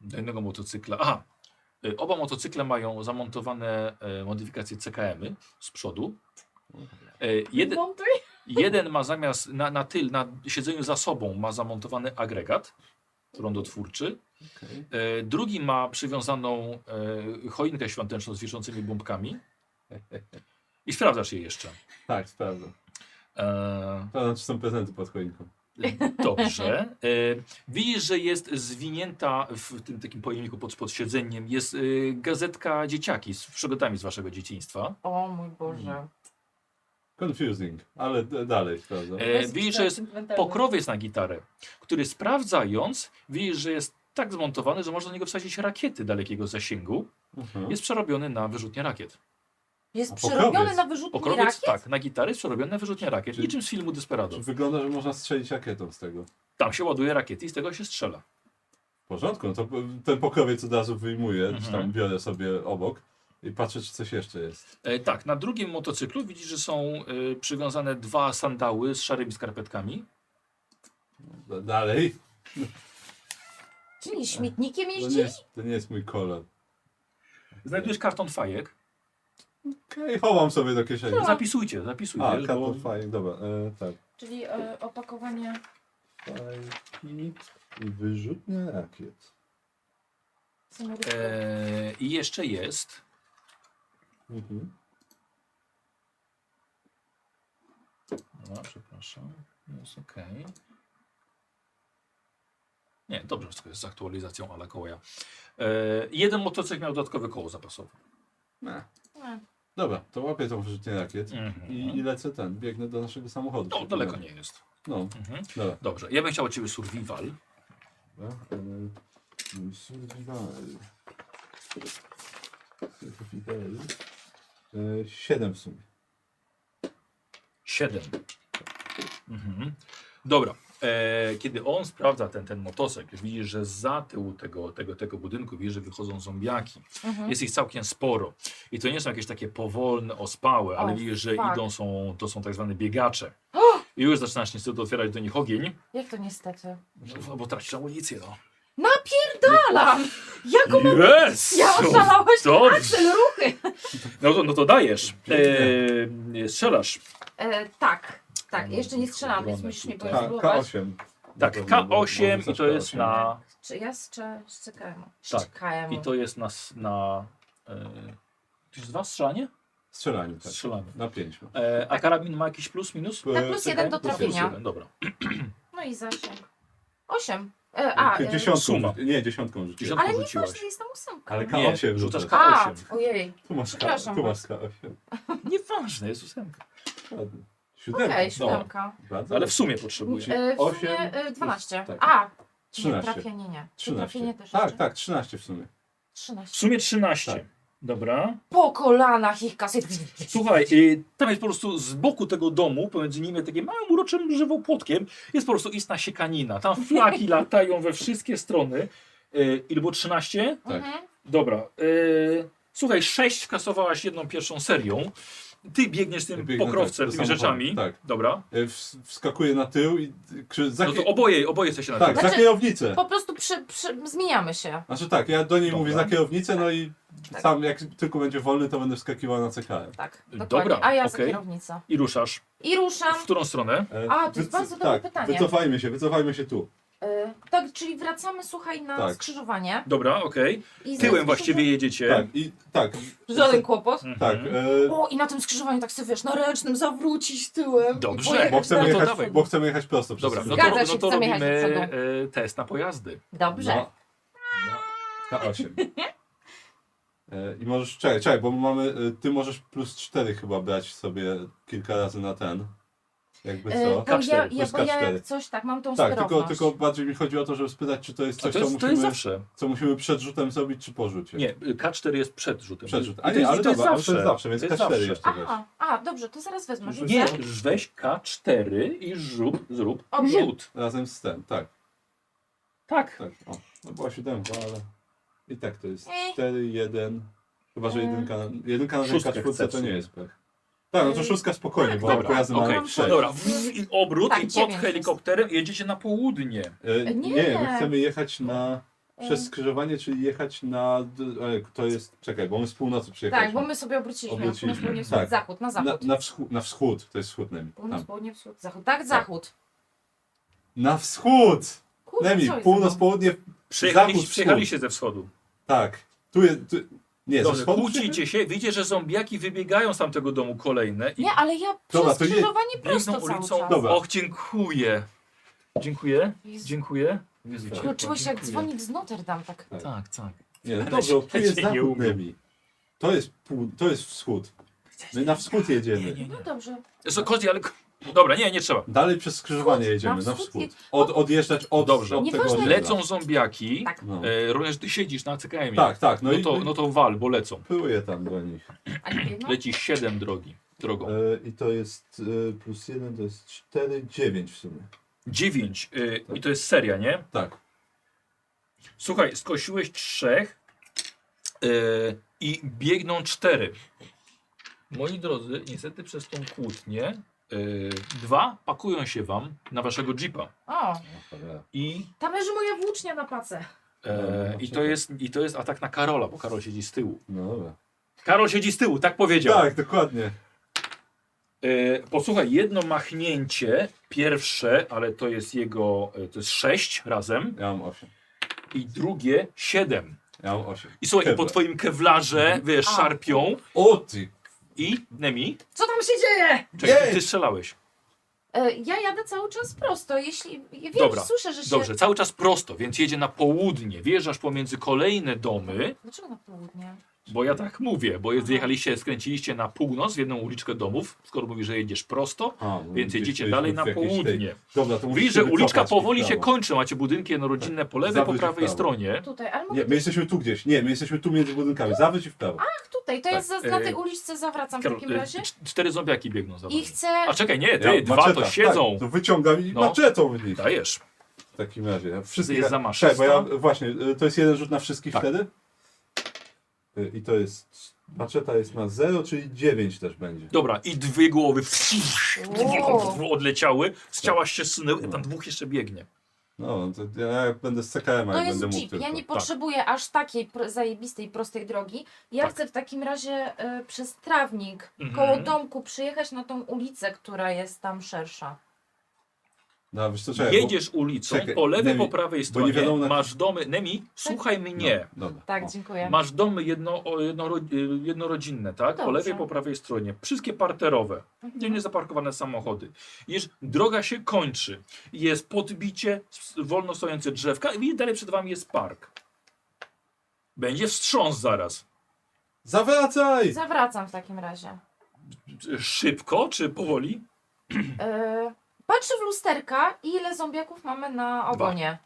do innego motocykla. Aha, e, oba motocykle mają zamontowane e, modyfikacje CKM-y z przodu. E, jeden, Montuj. jeden ma zamiast na, na tyl, na siedzeniu za sobą ma zamontowany agregat rondotwórczy. E, drugi ma przywiązaną e, choinkę świąteczną z wiszącymi bombkami. I sprawdzasz je jeszcze. Tak, sprawdzam. E, Sprawdzam, czy są prezenty pod choinką. Dobrze. E, widzisz, że jest zwinięta w tym takim pojemniku pod, pod siedzeniem jest e, gazetka dzieciaki z przygodami z waszego dzieciństwa. O mój Mm. Boże. Confusing, ale d- dalej sprawdzam. E, widzisz, że jest pokrowiec na gitarę, który sprawdzając, widzisz, że jest tak zmontowany, że można do niego wsadzić rakiety dalekiego zasięgu. Mhm. Jest przerobiony na wyrzutnię rakiet. Jest przerobiony na wyrzutni Pokrowiec, rakiet? tak, na gitary jest przerobiony na wyrzutnię rakiet. Niczym z filmu Desperado. Czy wygląda, że można strzelić rakietą z tego? Tam się ładuje rakiety i z tego się strzela. W porządku, no to p- ten pokrowiec od razu wyjmuję, Mhm. czy tam biorę sobie obok i patrzę, czy coś jeszcze jest. E, tak, na drugim motocyklu widzisz, że są e, przywiązane dwa sandały z szarymi skarpetkami. D- dalej. Czyli śmietnikiem To jeździli? nie, jest, to nie jest mój kolor. Znajdujesz karton fajek. Okej, chowam sobie do kieszeni. No, zapisujcie, zapisujcie, A, bo- karton fajek, dobra, e, tak. Czyli e, opakowanie. Fajki i wyrzutnia rakiet. samorodów. E, I jeszcze jest Mhm. Dobra, przepraszam. Jest ok. Nie, dobrze, wszystko jest z aktualizacją ale koja. E, jeden motocykl miał dodatkowe koło zapasowe. E, Dobra, to łapię tą wyrzutnię rakiet i, i lecę ten, biegnę do naszego samochodu. Mhm. No, daleko nie jest. No, Mhm. dobra. Dobrze, ja bym chciał od ciebie survival. Dobra, e, Mój survival. Survival. E, Siedem w sumie. 7. Mhm. Dobra. E, kiedy on sprawdza ten, ten motocykl, widzisz, że za tyłu tego, tego, tego budynku widzisz, że wychodzą zombiaki. Mhm. Jest ich całkiem sporo. I to nie są jakieś takie powolne, ospałe, ale O, widzisz, że fuck. idą są, to są tak zwane biegacze. I już zaczynasz niestety otwierać do nich ogień, Jak to niestety? no, bo tracisz amunicję. No. Napierdalam! Jaką mam... Yes! Ja oszalałaś Dobrze. Axel, ruchy! No, to, no to dajesz. E, strzelasz. E, tak, tak, No, jeszcze nie strzelam, więc musisz mi K- poinstruować. K8. Tak, Na pewno, bo- bo K8 i rzucasz to jest K8. na... Czy ja z, czy, z CKM? Z Tak. CKM. I to jest na... s- na e, to jest dwa strzelanie? Strzelaniu, tak. Strzelanie. Na pięć. E, a karabin ma jakiś plus, minus? Na plus Czekaj, Tak. jeden do plus trafienia. jeden, Dobra. No i zasięg. Osiem. No, E, a, e, Dziesiątką, suma. rzuci- nie, dziesiątką rzuciłem. ale nie rzuciłaś. ważne, jest tam ósemka. Ale Nie, K8 rzucasz rzucę. A, K8. ojej. Tu masz, K, Przepraszam tu masz was. K8. Nieważne, jest ósemka. Ładnie. Okej, Siódemka. siódemka. Bardzo Ale dobrze. w sumie potrzebujesz. E, w No, Osiem sumie e, plus- 12. tak. A, nie, 13. trafienie nie. Czy 13. Trafienie też Tak, jeszcze? tak, 13 w sumie. 13. W sumie 13. Dobra. Po kolanach ich kaset. Tak. Słuchaj, y, tam jest po prostu z boku tego domu, pomiędzy nimi takim małym uroczym żywopłotkiem, jest po prostu istna siekanina. Tam flaki latają we wszystkie strony. Y, Ile było 13? Mhm. Dobra. y, Słuchaj, 6 kasowałaś jedną pierwszą serią. Ty biegniesz tym Biegnę, pokrowcem, tak, do tymi samochodu, rzeczami. Tak. Dobra. E, ws- Wskakuję na tył i y, krzy... za... No to oboje, oboje jesteście na Tak, tym. za Znaczy- kierownicę. Po prostu przy, przy, zmieniamy się. Znaczy tak, ja do niej Dobra. mówię za kierownicę, no i Tak. sam jak tylko będzie wolny, to będę wskakiwał na CKM. Tak, Dobra, dokładnie. A ja za okej. kierownicę. I ruszasz. I ruszam. W którą stronę? E, A, to jest wyc- bardzo dobre tak, pytanie. Wycofajmy się, wycofajmy się tu. Y, tak, czyli wracamy, słuchaj, na Tak. skrzyżowanie. Dobra, okej. I Tyłem zaraz- właściwie jedziecie. Mhm. Tak, i tak, Żaden kłopot. tak. E, O, i na tym skrzyżowaniu tak sobie wiesz, na ręcznym zawrócić tyłem. i Dobrze. pojechać bo, dalej. chcemy No to jechać, dawaj. bo chcemy jechać prosto. przez Dobra, to- no Zgadza to, się, no to chcemy jechać robimy do przodu. e, test na pojazdy. Dobrze. E, No. No. K8. E, I możesz, czekaj, czekaj, bo mamy, e, ty możesz plus 4 chyba brać sobie kilka razy na ten. Jakby Y, co? bo, ja, K4, ja, plus bo ja K4. jak coś tak, mam tą Tak, tylko, sterowność. tylko bardziej mi chodzi o to, żeby spytać, czy to jest A coś, to jest, co, to jest musimy, zawsze. co musimy przed rzutem zrobić, czy po rzucie. Nie, y, K4 jest przed rzutem. Przed rzutem. I A to nie, jest- ale i to jest dobra, ale to jest zawsze, zawsze, więc to jest K4 zawsze. jeszcze weź. Aha, a, dobrze, to zaraz wezmę. Nie, Rzucę. weź K4 i rzut, zrób Obie. rzut. Razem z ten, tak. Tak. tak. O, no była siódemka, ale i tak to jest Ej. 4, 1, chyba Eh. że jedynka, na- jedynka na Szóstkę ręka czwórce chcę to nie sobie. jest pech. Tak, no Eh. to szóstka spokojnie, bo Dobra, pojazdy okej. mamy okay. sześć. Dobra, w- i obrót Tak, i pod dziewięć jest. helikopterem jedziecie na południe. E, Nie. Eh. nie, my chcemy jechać na Przez skrzyżowanie, czyli jechać na. d- e, To jest. Czekaj, bo my z północy przyjechaliśmy. Tak, bo my sobie obróciliśmy. Obróciliśmy. Na północ, tak. zachód, na zachód. Na, na, wschód, na wschód, to jest wschód Nemi. Północ, Tam. południe, wschód, zachód. Tak, zachód. Na wschód! Kurde, Nemi, co jest północ, za- południe. Przyjechali, zachód, przyjechaliście wschód. ze wschodu. Tak. Tu jest. Tu... Nie, ze Dobrze, wschodu. kłócicie się, widzicie, że zombiaki wybiegają z tamtego domu kolejne i Nie, ale ja Dobra, przez to je- skrzyżowanie prosto biegną cały czas. ulicą. No, Och, dziękuję. Dziękuję, Jezu. dziękuję. Jezu, ciepło, Uczyłeś jak dziękuję. dzwonić z Notre Dame, tak. Tak, tak. Nie, no Ale dobrze, tu się jest nie zachód umiem. Nemi. To jest, pół... to jest wschód. My na wschód jedziemy. No dobrze. Jest Kozi, ale... Dobra, nie, nie trzeba. Dalej przez skrzyżowanie jedziemy, na wschód wschód. jedź- Od, odjeżdżać od, Dobrze, od tego osiedla. lecą zombiaki. Tak. No. E, również ty siedzisz na CKM. Tak, tak, no No, i- to, no to wal, bo lecą. Pyłuje tam do nich. no. Leci 7 drogi. Drogą. E, I to jest e, plus jeden, to jest cztery, dziewięć w sumie. 9. y, I to jest seria, nie? Tak. Słuchaj, skosiłeś trzech e, i biegną cztery. Moi drodzy, niestety przez tą kłótnię e, dwa pakują się wam na waszego jeepa. O, I, tam leży moja włócznia na pace. e, i, to jest, I to jest atak na Karola, bo Karol siedzi z tyłu. No dobra. Karol siedzi z tyłu, tak powiedział. Tak, dokładnie. E, posłuchaj, jedno machnięcie, pierwsze, ale to jest jego, e, to jest sześć razem. Ja mam osiem. I drugie siedem. Ja mam osiem. I słuchaj, i po Kewla. twoim kewlarze, wiesz, A. szarpią. O ty! I Nemi, Co tam się dzieje? czekaj, ty strzelałeś. E, Ja jadę cały czas prosto, jeśli... Wiem, Dobra, słyszę, że się... dobrze, cały czas prosto, więc jedzie na południe, wjeżdżasz pomiędzy kolejne domy, Dlaczego na południe? bo ja tak mówię, bo zjechaliście, skręciliście na północ w jedną uliczkę domów, skoro mówisz, że jedziesz prosto, A, no, więc gdzieś jedziecie byliśmy dalej w na jakiejś południe. tej- Dobra, to Widzisz, musisz że się uliczka wycofać powoli w się prawo. kończy, macie budynki jednorodzinne po lewej, po Zawróć w prawej prawo. stronie. Tutaj, ale mogę... Nie, my jesteśmy tu gdzieś. Nie, my jesteśmy tu między budynkami. Zawróć i w prawo. Ach, tutaj, to Tak, jest za, na tej e, uliczce zawracam w Karol, takim e, razie. c- Cztery zombiaki biegną za wami. I chcę... A czekaj, nie, ty, Ja- dwa maczeta, to siedzą. Tak, to wyciągam i No. maczetą w nich. Dajesz. W takim razie. Ja wszystkie... Jest za Tak. maszysta. Czekaj, bo ja właśnie, y, to jest jeden rzut na wszystkich wtedy? Y, I to jest... Maczeta jest na 0, czyli 9 też będzie. Dobra, i dwie głowy Wow. odleciały, z ciała się sunęły, tam dwóch jeszcze biegnie. No, to ja jak będę z CKM, To jak No jest będę mógł jeep. tylko. Ja nie Tak. potrzebuję aż takiej pro- zajebistej, prostej drogi. Tak. Ja chcę w takim razie e, przez trawnik Mhm. koło domku przyjechać na tą ulicę, która jest tam szersza. No, wiesz co, czekaj, Jedziesz ulicą, po lewej, Nemi, po prawej Bo nie stronie wiadomo na... masz domy. Nemi, słuchaj mnie. No, dobra. Tak, dziękuję. Masz domy jedno, o, jednoro, y, jednorodzinne, tak? Po Dobrze. Mhm. lewej, po prawej stronie. Wszystkie parterowe. Gdzie nie zaparkowane samochody. Jest, droga się kończy. Jest podbicie, s- wolno stojące drzewka i dalej przed wami jest park. Będzie wstrząs zaraz. Zawracaj! Zawracam w takim razie. Szybko czy powoli? E, patrzę w lusterka i ile zombiaków mamy na ogonie.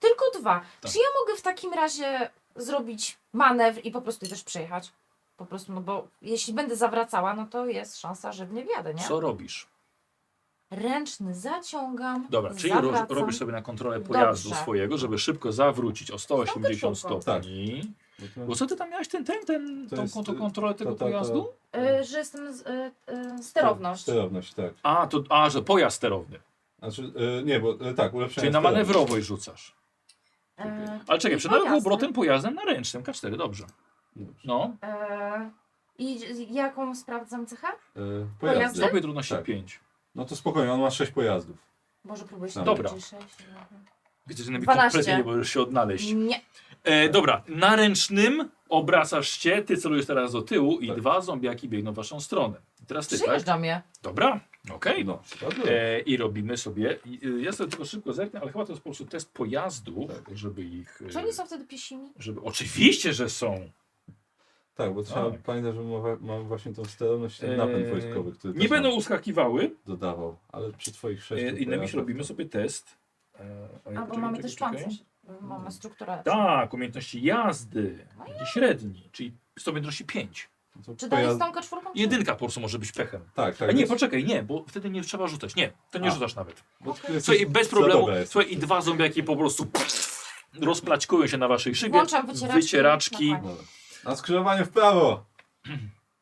Tylko dwa. Tak. Czy ja mogę w takim razie zrobić manewr i po prostu też przejechać? Po prostu, no bo jeśli będę zawracała, no to jest szansa, że w nie wjadę, nie? Co robisz? Ręczny zaciągam. Dobra, czyli ro, zawracam. robisz sobie na kontrolę pojazdu Dobrze. swojego, żeby szybko zawrócić o 180 szybko. stopni. Tak. Bo co ty tam miałeś ten, ten, ten, To tą jest, kontro- y, kontrolę to- tego to- to- pojazdu? Mm. Y, że jestem z, y, y, sterowność. Sterowność, tak. A, to, a, że pojazd sterowny. Znaczy, y, nie, bo y, tak, ulepszenie Czyli na sterowność. manewrowość rzucasz. E, Ale czekaj, i przynajmniej pojazd. obrotem pojazdem na ręcznym K4, dobrze. No, E, I i jaką sprawdzam cechę? Y, Pojazdy? pojazdy. stopień trudności Tak. 5. No to spokojnie, on ma 6 pojazdów. Może próbuję się Dobra. nauczyć sześć, no. Widzę, że nawet 12. kompletnie nie możesz się odnaleźć. Nie. E, dobra, na ręcznym obracasz się, ty celujesz teraz do tyłu Tak. i dwa zombiaki biegną w waszą stronę. I teraz ty, tak? Przyjeżdżam je. Dobra, okej. No, E, I robimy sobie. i, y, Ja sobie tylko szybko zerknę, ale chyba to jest po prostu test pojazdów, Tak. żeby ich. y, Czy oni są wtedy piesimi? Żeby, oczywiście, że są. Tak, bo trzeba Tak. pamiętać, że ma- mam właśnie tą sterowność, ten napęd E, wojskowy, który Nie też będą nam uskakiwały. dodawał, ale przy twoich E, sześciu Innymi się pojazdach- robimy sobie test. E, a ja Albo poczekaj, mamy czekaj, też czekaj. Yy. pancerz. Yy, Mamy strukturę. Tak, umiejętności jazdy. No Będzie średni, czyli stopień droższy 5. Czy dalej z tą kaczwórką? czy- Jedynka po prostu może być pechem. Tak, tak. A nie, więc- poczekaj, nie, bo wtedy nie trzeba rzucać. Nie, to nie A. rzucasz nawet. Bo ty jesteś Słuchaj, bez za problemu. dobra jest. Słuchaj, i dwa zombiaki po prostu rozplaćkują się na waszej szybie. Włączam wycieraczki. wycieraczki. No Na skrzyżowanie w prawo!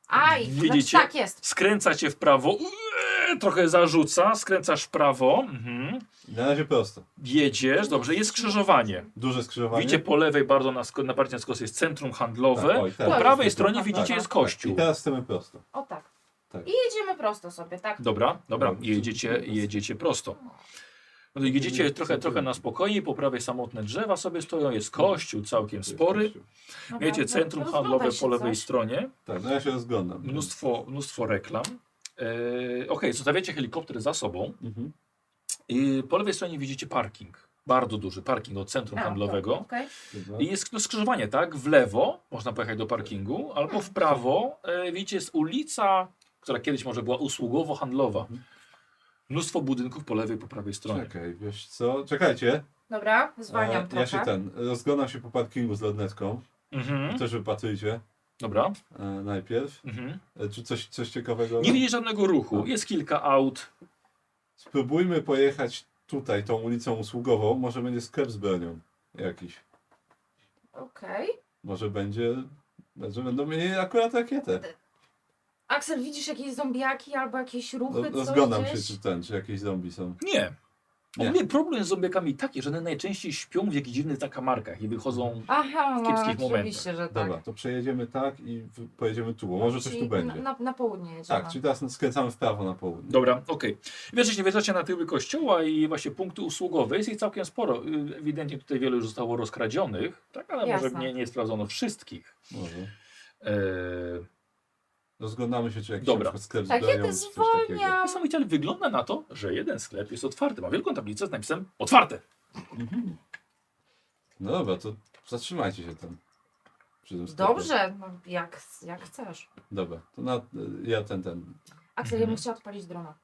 Aj, znaczy, Widzicie? tak jest. Eee, Skręca cię w prawo, Uee, trochę zarzuca, skręcasz w prawo. Mhm. Na razie prosto. Jedziesz, dobrze, jest skrzyżowanie. Duże skrzyżowanie. Widzicie po lewej bardzo na, sko- na bardziej na skos jest centrum handlowe, Tak, oj, tak. po Tak, prawej tak, stronie tak, widzicie tak, jest tak. kościół. I teraz chcemy prosto. O tak. Tak. I jedziemy prosto sobie, tak? Dobra, dobra, jedziecie, jedziecie prosto. No i jedziecie trochę, trochę na spokojnie, po prawej samotne drzewa sobie stoją, jest kościół całkiem spory. Dobra, Wiecie, no, centrum rozglądaj handlowe się po lewej coś. stronie. Tak, no ja się rozglądam. Mnóstwo, mnóstwo reklam. Yy, Okej, zostawiacie helikopter za sobą. Mhm. I po lewej stronie widzicie parking. Bardzo duży parking od centrum A, tak. handlowego. okej. I jest no, skrzyżowanie, tak? W lewo można pojechać do parkingu, albo w prawo, e, widzicie, jest ulica, która kiedyś może była usługowo-handlowa. Mnóstwo budynków po lewej, po prawej stronie. Czekaj, wiesz co? Czekajcie. Dobra, zwalniam E, trochę. Ja się tak- ten, rozglądam się po parkingu z lodnetką. Mhm. Też wypatrujcie. Dobra. E, najpierw. Mhm. E, czy coś, coś ciekawego? Nie widzisz żadnego ruchu, jest kilka aut. Spróbujmy pojechać tutaj, tą ulicą usługową. Może będzie sklep z bronią jakiś. Okej. Może będzie... Może będą mieli akurat rakietę. Aksel, widzisz jakieś zombiaki albo jakieś Ro- No, ruchy, No, Rozglądam coś się, gdzieś? czy ten, czy jakieś zombie są. Nie. Nie. Ogólnie problem z zombiekami taki, że one najczęściej śpią w jakichś dziwnych zakamarkach i wychodzą Aha, w no kiepskich momentach. oczywiście, że tak. Dobra, to przejedziemy tak i w- pojedziemy tu, bo może coś Czyli tu będzie. Na, na, na południe jedziemy. Tak, czyli teraz skręcamy w prawo na południe. Dobra, okej. Wierzcie, wjeżdżacie na tyły kościoła i właśnie punkty usługowe. Jest ich całkiem sporo. Y, Ewidentnie tutaj wielu już zostało rozkradzionych, tak? ale Jasne. może nie, nie sprawdzono wszystkich. Może. E, Rozglądamy się, czy jakiś Dobra. na przykład sklep z Tak, bronią, ja też czy coś takiego. zwolniam. Niesamowicie, ale wygląda na to, że jeden sklep jest otwarty. Ma wielką tablicę z napisem otwarte. No dobra, to zatrzymajcie się tam. Przy tym sklepie. Dobrze, no, jak, jak chcesz. Dobra, to na, ja ten, ten. Aksel, ja bym chciała odpalić drona. Mhm.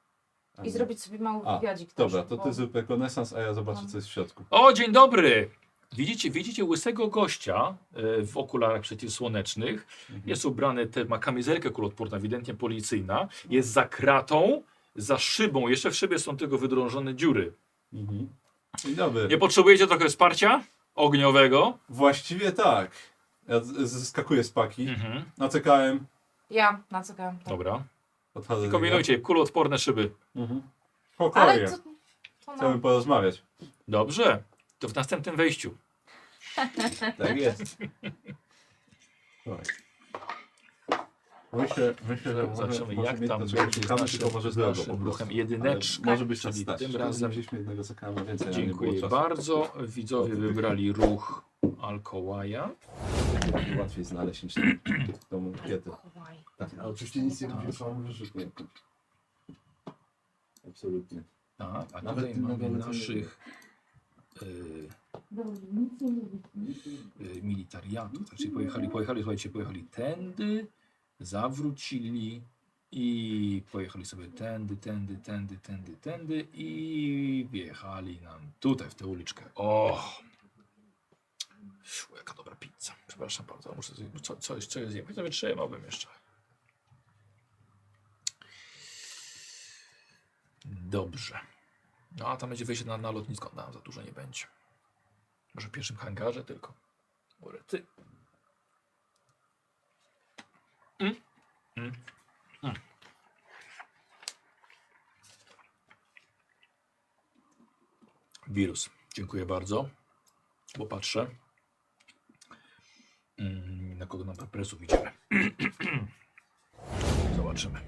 A I nie. zrobić sobie mały A, wywiadzik. też, dobra, to bo- ty zrób rekonesans, a ja zobaczę, co jest w środku. O, dzień dobry! Widzicie, widzicie łysego gościa e, w okularach przeciwsłonecznych. Jest ubrany, te, ma kamizelkę kuloodporną, ewidentnie policyjna. Jest za kratą, za szybą. Jeszcze w szybie są tylko wydrążone dziury. Mhm. Dzień dobry. Nie potrzebujecie trochę wsparcia ogniowego? Właściwie tak. Ja z- zeskakuję z paki. Mhm. Nacekałem. Ja, na co grałem, tak. Dobra. Odchodzę. Tak. z niego. Kombinujcie, kuloodporne szyby. Mhm. Ale Spokojnie. to, to Chcemy no. porozmawiać. Dobrze. To w następnym wejściu. Tak jest. Myślę, myślę, że może, Zobaczymy, może jak mieć tam to, czego będzie z szukamy, naszym- tylko może z drogą naszym po prostu. ruchem jedyneczka, Ale Może być nas czyli stać. tym Szkoda, razem- że wzięliśmy jednego zakama więcej, ale nie było Dziękuję czasu. bardzo. Widzowie wybrali ruch Alkołaja. Będzie Łatwiej znaleźć niż tam w domu kiedy. Tak, a oczywiście nic nie robię, samo wyrzutuję. Absolutnie. Tak, a Nawet tutaj tym mamy nowym naszych y, y, militariatów. Znaczy pojechali, pojechali, słuchajcie, pojechali tędy, zawrócili i pojechali sobie tędy, tędy, tędy, tędy, tędy i wjechali nam tutaj w tę uliczkę. O! Fu, Jaka dobra pizza. Przepraszam bardzo, muszę coś, co, coś, coś zjeść. Chociaż wytrzymałbym jeszcze. Dobrze. No a tam będzie wejście na, na lotnisko. Tam za dużo nie będzie. Może w pierwszym hangarze tylko. Może ty. Mm. Mm. Mm. Wirus. Dziękuję bardzo. Bo patrzę. Mm, na kogo nam presu idziemy. Zobaczymy.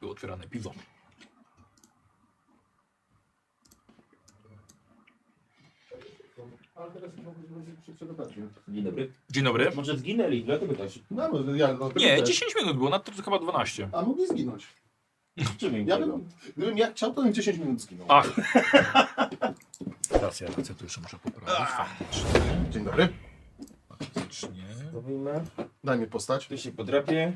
Było otwierane piwo. Dzień dobry. Dzień dobry. Może zginęli, dlatego tak szybko. No, bo ja, no, Nie, też. 10 minut było, na to chyba 12. A mogli zginąć. Czym im Ja tego? bym, gdybym ja chciał, to bym 10 minut zginął. Ach. Teraz ja rację, to jeszcze muszę poprawić. faktycznie. Dzień dobry. Faktycznie. Robimy. Daj mi postać. Tu się podrapię.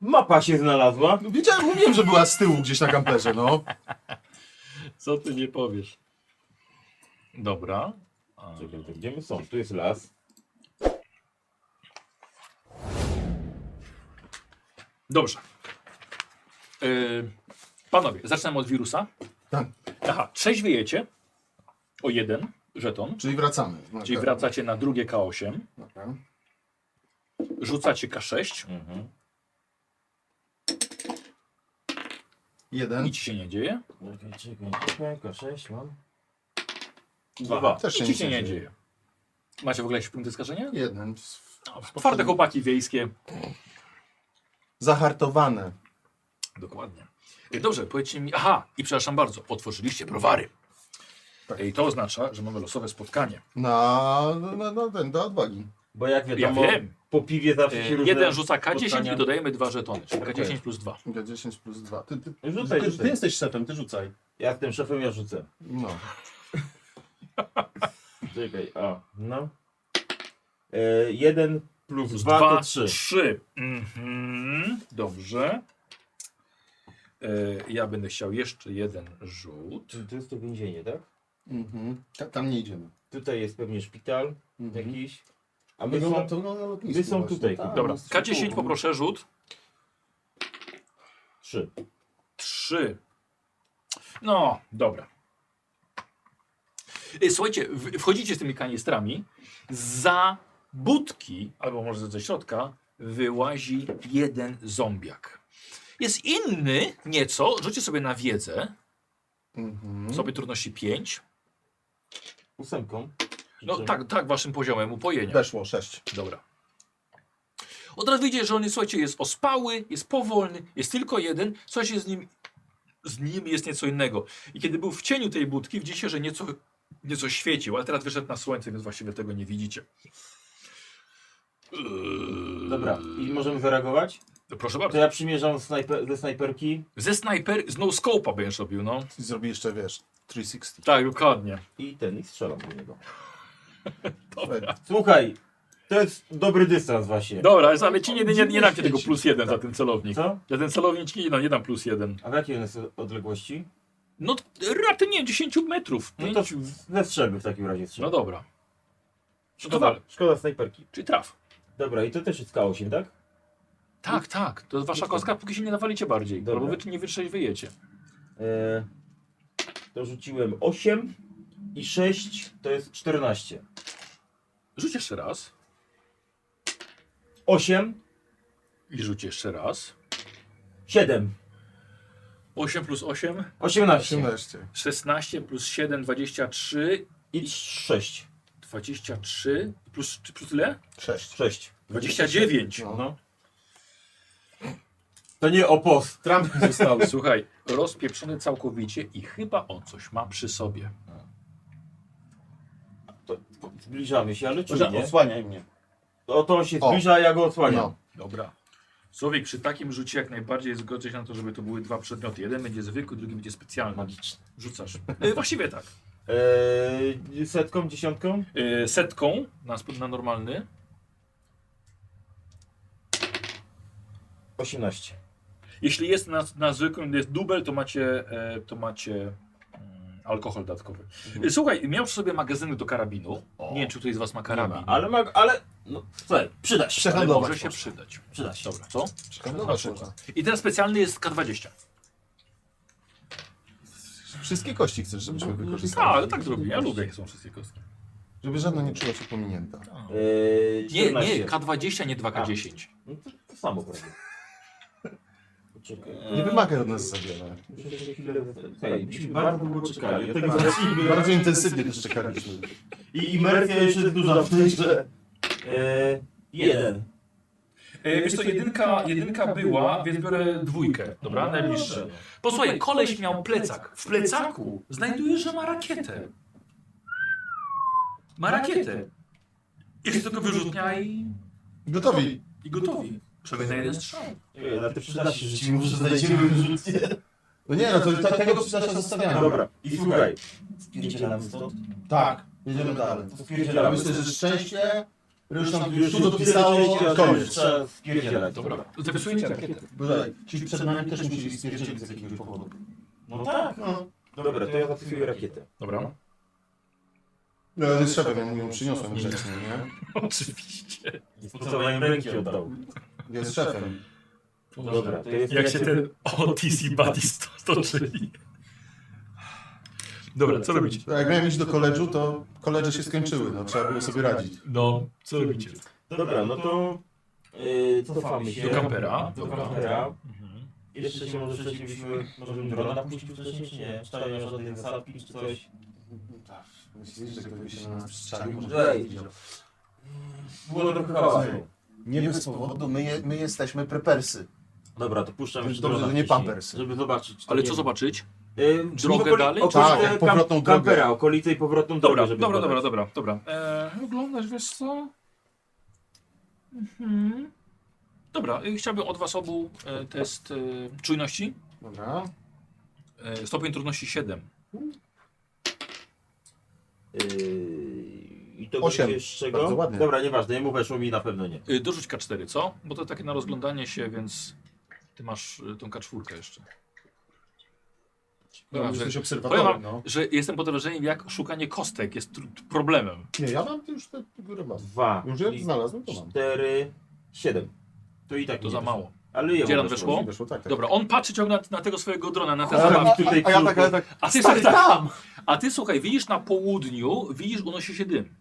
Mapa się znalazła. No, wiedziałem, mówiłem, że była z tyłu gdzieś na kamperze, no. Co ty nie powiesz? Dobra. A, Czekaj, to gdzie my są? Tu jest las. Dobrze. Yy, panowie, zaczynamy od wirusa. Tak. Aha, trzeźwiejecie o jeden żeton, Tak. Czyli wracamy. czyli wracacie na drugie K8. Dobra. Rzucacie K6. Jeden. Nic się nie dzieje. Czekaj, czekaj, czekaj, sześć mam. Dwa. Też się Nic nic się nie nie dzieje. dzieje. Macie w ogóle jakieś punkty skażenia? Jeden. Dobra, Twarde chłopaki wiejskie. Zahartowane. Dokładnie. E, Dobrze, powiedzcie mi. Aha, i przepraszam bardzo, otworzyliście browary. Tak. E, I to oznacza, że mamy losowe spotkanie. Na, na, na ten, do odwagi. Bo jak ja wiem. E, Jeden rzuca K10 spotkania. i dodajemy dwa żetony. Czyli K10 Okej. plus 2. K10 plus 2. Ty, ty, Rzucaj, ty, rzucaj. ty jesteś szefem, ty rzucaj. Ja jestem szefem, ja rzucę. No. Czekaj, a, no. E, jeden plus dwa, to trzy. trzy. Mhm, dobrze. E, ja będę chciał jeszcze jeden rzut. To jest to więzienie, tak? Mhm. Ta, tam nie idziemy. Tutaj jest pewnie szpital jakiś. A my No, są, no to, no, na lotnisku my są właśnie, tutaj. tak. Dobra, Jest tylko- K10 poproszę rzut. Trzy. Trzy. No, dobra. Y, Słuchajcie, w- wchodzicie z tymi kanistrami. Za budki, albo może ze środka, wyłazi jeden zombiak. Jest inny nieco. Rzućcie sobie na wiedzę. Sobie trudności 5. Ósemką. No tak, tak, waszym poziomem upojenia. Weszło, 6. Dobra. Od razu widzicie, że on jest, słuchajcie, jest ospały, jest powolny, jest tylko jeden. Słuchajcie, z nim, z nim jest nieco innego. I kiedy był w cieniu tej budki, widzicie, że nieco, nieco świecił, ale teraz wyszedł na słońce, więc właściwie tego nie widzicie. Dobra, i możemy zareagować? No Proszę bardzo. To ja przymierzam snajper, ze snajperki. Ze snajper, z no scope'a będziesz robił, no. I zrobi jeszcze, wiesz, 360. Tak, dokładnie. I ten, i strzelam do niego. Słuchaj, to jest dobry dystans właśnie. Dobra, ale ci nie, nie, nie dam ci tego plus jeden za ten celownik. Co? Ja ten celownik ci nie dam, nie dam plus jeden. A w jakiej on jest odległości? No, raty nie, 10 metrów. No to ze strzelby w takim razie strzelby. No dobra. No, Szkoda, szkoda snajperki. Czyli traf. Dobra, i to też jest K8, tak? Tak, tak. To jest wasza kostka, póki się nie nawalicie bardziej. Dobra. Albo wy nie wytrzeźwiejecie. E, to rzuciłem 8 i 6 to jest 14. Rzuć jeszcze raz. 8. I rzuć jeszcze raz. 7. 8 plus 8? 18. 16 plus 7, 23. I 6. 23 plus, czy plus ile? 6. 6. 29. No. To nie opos. Trump został. Słuchaj, rozpieprzony całkowicie i chyba on coś ma przy sobie. No. Zbliżamy się, ale Dobrze, czy nie? odsłaniaj mnie. O to on się O. zbliża, ja go odsłaniam. No. Dobra. Człowiek przy takim rzucie jak najbardziej zgodzę się na to, żeby to były dwa przedmioty. Jeden będzie zwykły, drugi będzie specjalny. Magiczny. Rzucasz. E, właściwie tak. Eee, setką, dziesiątką? E, setką na, sp- na normalny. 18. Jeśli jest na, na zwykłym, jest dubel, to macie, e, to macie mm, alkohol dodatkowy. E, słuchaj, miał przy sobie magazyny do karabinu. Nie wiem, czy ktoś z was ma karabin. Mhm. ma, ale ma- ale- no, słuchaj, przyda się. Ale Przehandlować może się można. przydać. Przyda się. Dobra, co? Przehandlować Znaczy, można. I ten specjalny jest K20. Wszystkie kości chcesz, żebyśmy wykorzystali. A, ale tak zrobię. Ja lubię, jak są wszystkie kostki. no, Żeby żadna nie czuła się pominięta. Nie, nie, K20, nie 2K10. e, No to, to samo prawie. Nie wymaga od nas za wiele. Okej, myśmy bardzo długo czekali. Od tego Bardzo- zaczęliśmy. Bardzo intensywnie też czekaliśmy. I imersja jeszcze jest duża w tej grze. Eee, jeden. E, wiesz co, jedynka, jedynka była, No, więc biorę dwójkę, dobra, najbliższe. Posłuchaj, koleś miał plecak. W plecaku znajdujesz, że ma rakietę. Ma rakietę. Jeszcze tylko wyrzutnia i... Gotowi. I gotowi. Przynajmniej na jeden strzał. Nie, na te przydasze rzuci, może znajdziemy wyrzutnie. No nie, no to tak, tego przydasza zostawiamy. Dobra, i słuchaj. Spierdzielam stąd. Tak, jedziemy dalej. To Spierdzielam. Myślę, że szczęście. Już tam Już już tu tu dopisało, dopisałeś, koniec. trzeba Trzeba spierdzielać. spierdzielać. Dobra, zapisujecie rakietę. Bo tak, Ci przed nami też musieli spierdzielić z jakiegoś powodu. No tak. no. Dobra, to ja zapisuję rakietę. Dobra. No, ale szefem, ja mu ją przyniosłem grzecznie, nie? Oczywiście. Pocałowałem ręki oddał. Jest szefem. Dobra, to jest... Jak się ten Otis i Batista stoczyli. Dobra, co robicie? Tak, Jak miałem iść do koledżu, to koledże się skończyły, no trzeba było sobie radzić. No, co robicie? Dobra, no to Yy, cofamy się. Do kampera. Do Dobra. kampera. Mhm. Jeszcze się może przeciwśmy, może bym drona napuścił wcześniej, czy nie? Szczaja żadnej zasadki czy coś. Tak, myślisz, że ktoś by się na nas przyczaił? Może Może no. Było trochę hałasu. Nie bez powodu, my, je, my jesteśmy prepersy. Dobra, to puszczam Dobrze, już dobrze, drona że nie wcześniej, pampersy. Żeby zobaczyć. czy Ale tam co nie- zobaczyć? Yy, Drogę okoli- dalej? okolice Tak, kam- powrotną drogę. Kampera, okolice i powrotną drogę, Dobra, żeby dobra, dobra, zbadać. dobra, dobra. Eee, oglądasz, wiesz co? Mhm. Dobra, y, chciałbym od was obu e, test e, czujności. Dobra. E, stopień trudności 7. Yy, I to Osiem. będzie z czego? Bardzo ładnie. Dobra, nieważne, jemu weszło mi na pewno nie. Yy, dorzuć K4, co? Bo to takie na rozglądanie się, więc ty masz y, tą K4 jeszcze. No, Dobra, jesteś że- obserwatorem, powiem wam, no. że jestem pod wrażeniem, jak szukanie kostek jest tr- problemem. Nie, ja mam już te góry mam. Dwa. Już jak i znalazłem, to mam. Cztery, siedem. To i tak To nie za weszło. mało. Ale jemu Gdzie nam weszło. weszło? tak, Dobra, on patrzy ciągle na, na tego swojego drona, na te A ja zabawki. tam tutaj A- a ja tak, a ja tak, A ty, stary, słuchaj, tak. tam! A ty słuchaj, widzisz na południu, widzisz, unosi się dym.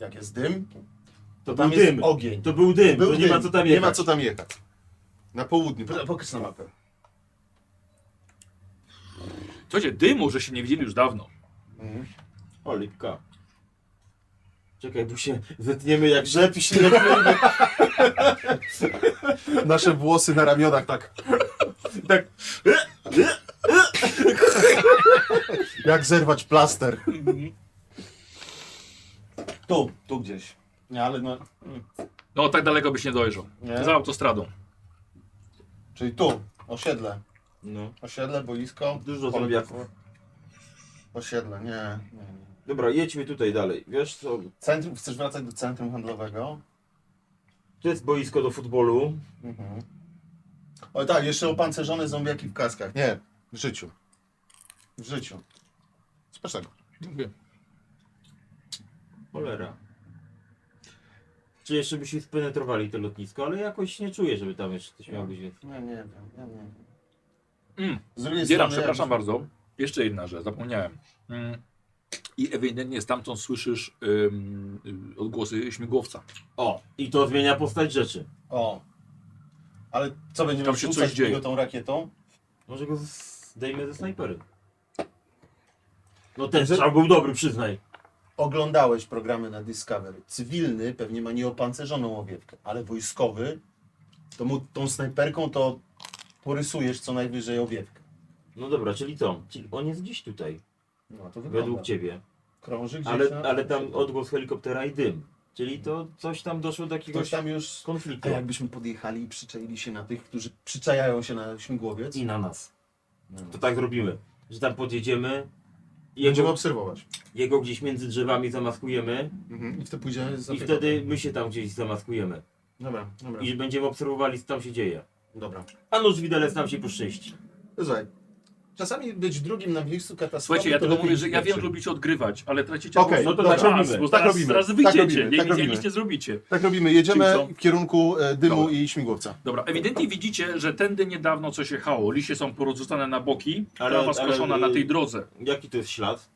Jak jest dym, to tam był jest dym. ogień. To był dym, Był to nie dym. ma co tam Nie jechać. ma co tam jechać. Na południu, Pro- pokaż na mapę. Słuchajcie, dymu, że się nie widzieli już dawno. O, lipka. Czekaj, bo się zetniemy jak rzep i się nie Nasze włosy na ramionach tak. tak. Jak zerwać plaster. Tu, tu gdzieś. Nie, ale no... No tak daleko byś nie dojrzał. Nie? Za autostradą. Czyli tu, osiedle. No. Osiedle, boisko. Dużo pole zombiaków. bitwy. Osiedle, nie. nie, nie. Dobra, jedźmy tutaj dalej. Wiesz co? Centrum, chcesz wracać do centrum handlowego? To jest boisko do futbolu. Mhm. O tak, jeszcze opancerzone zombiaki w kaskach. Nie, w życiu. W życiu. Spaczego. Cholera. Czy jeszcze byśmy spenetrowali to lotnisko, ale jakoś nie czuję, żeby tam jeszcze coś miało być więcej. No nie wiem, ja nie wiem. Mm. Z drugiej Dzieram, strony, przepraszam jakby- bardzo. Jeszcze jedna rzecz, zapomniałem. Mm. I ewidentnie stamtąd słyszysz ym, ym, y, odgłosy śmigłowca. O, i to zmienia postać rzeczy. O. Ale co będziemy Tam się rzucać coś dzieje. go tą rakietą? Może go zdejmę ze snajpery. No ten strzał był dobry, przyznaj. Oglądałeś programy na Discovery. Cywilny pewnie ma nieopancerzoną owiewkę, ale wojskowy, to mu tą snajperką to porysujesz co najwyżej owiewkę. No dobra, czyli co? Czyli on jest gdzieś tutaj. No to wygląda. Według ciebie. Krąży gdzieś Ale, na- ale tam odgłos helikoptera i dym. Czyli to coś tam doszło do jakiegoś Ktoś tam już... konfliktu. A jakbyśmy podjechali i przyczaili się na tych, którzy przyczajają się na śmigłowiec? I na nas. No. To tak zrobimy, że tam podjedziemy. i Będziemy obserwować. Jego gdzieś między drzewami zamaskujemy. Mhm, i wtedy pójdziemy I zapytać. wtedy tak. my się tam gdzieś zamaskujemy. Dobra, dobra. I będziemy obserwowali, co tam się dzieje. Dobra. A nóż widelec nam się poszczęści. Słuchaj, czasami być drugim na miejscu katastrofy Słuchajcie, ja to tylko lepiej mówię, że niż ja wiem, pierwszy. że lubicie odgrywać, ale tracicie Okej, po prostu dobra. Tak czas, robimy, bo tak zaraz, robimy, zaraz tak wyjdziecie, robimy, jak, tak tak jak robimy. nic nie zrobicie. Tak robimy, jedziemy Czyli co? w kierunku e, dymu i śmigłowca. Dobra, ewidentnie widzicie, że tędy niedawno coś jechało. Liście są porozrzucane na boki, Ale- trawa ale- skoszona na tej drodze. Jaki to jest ślad?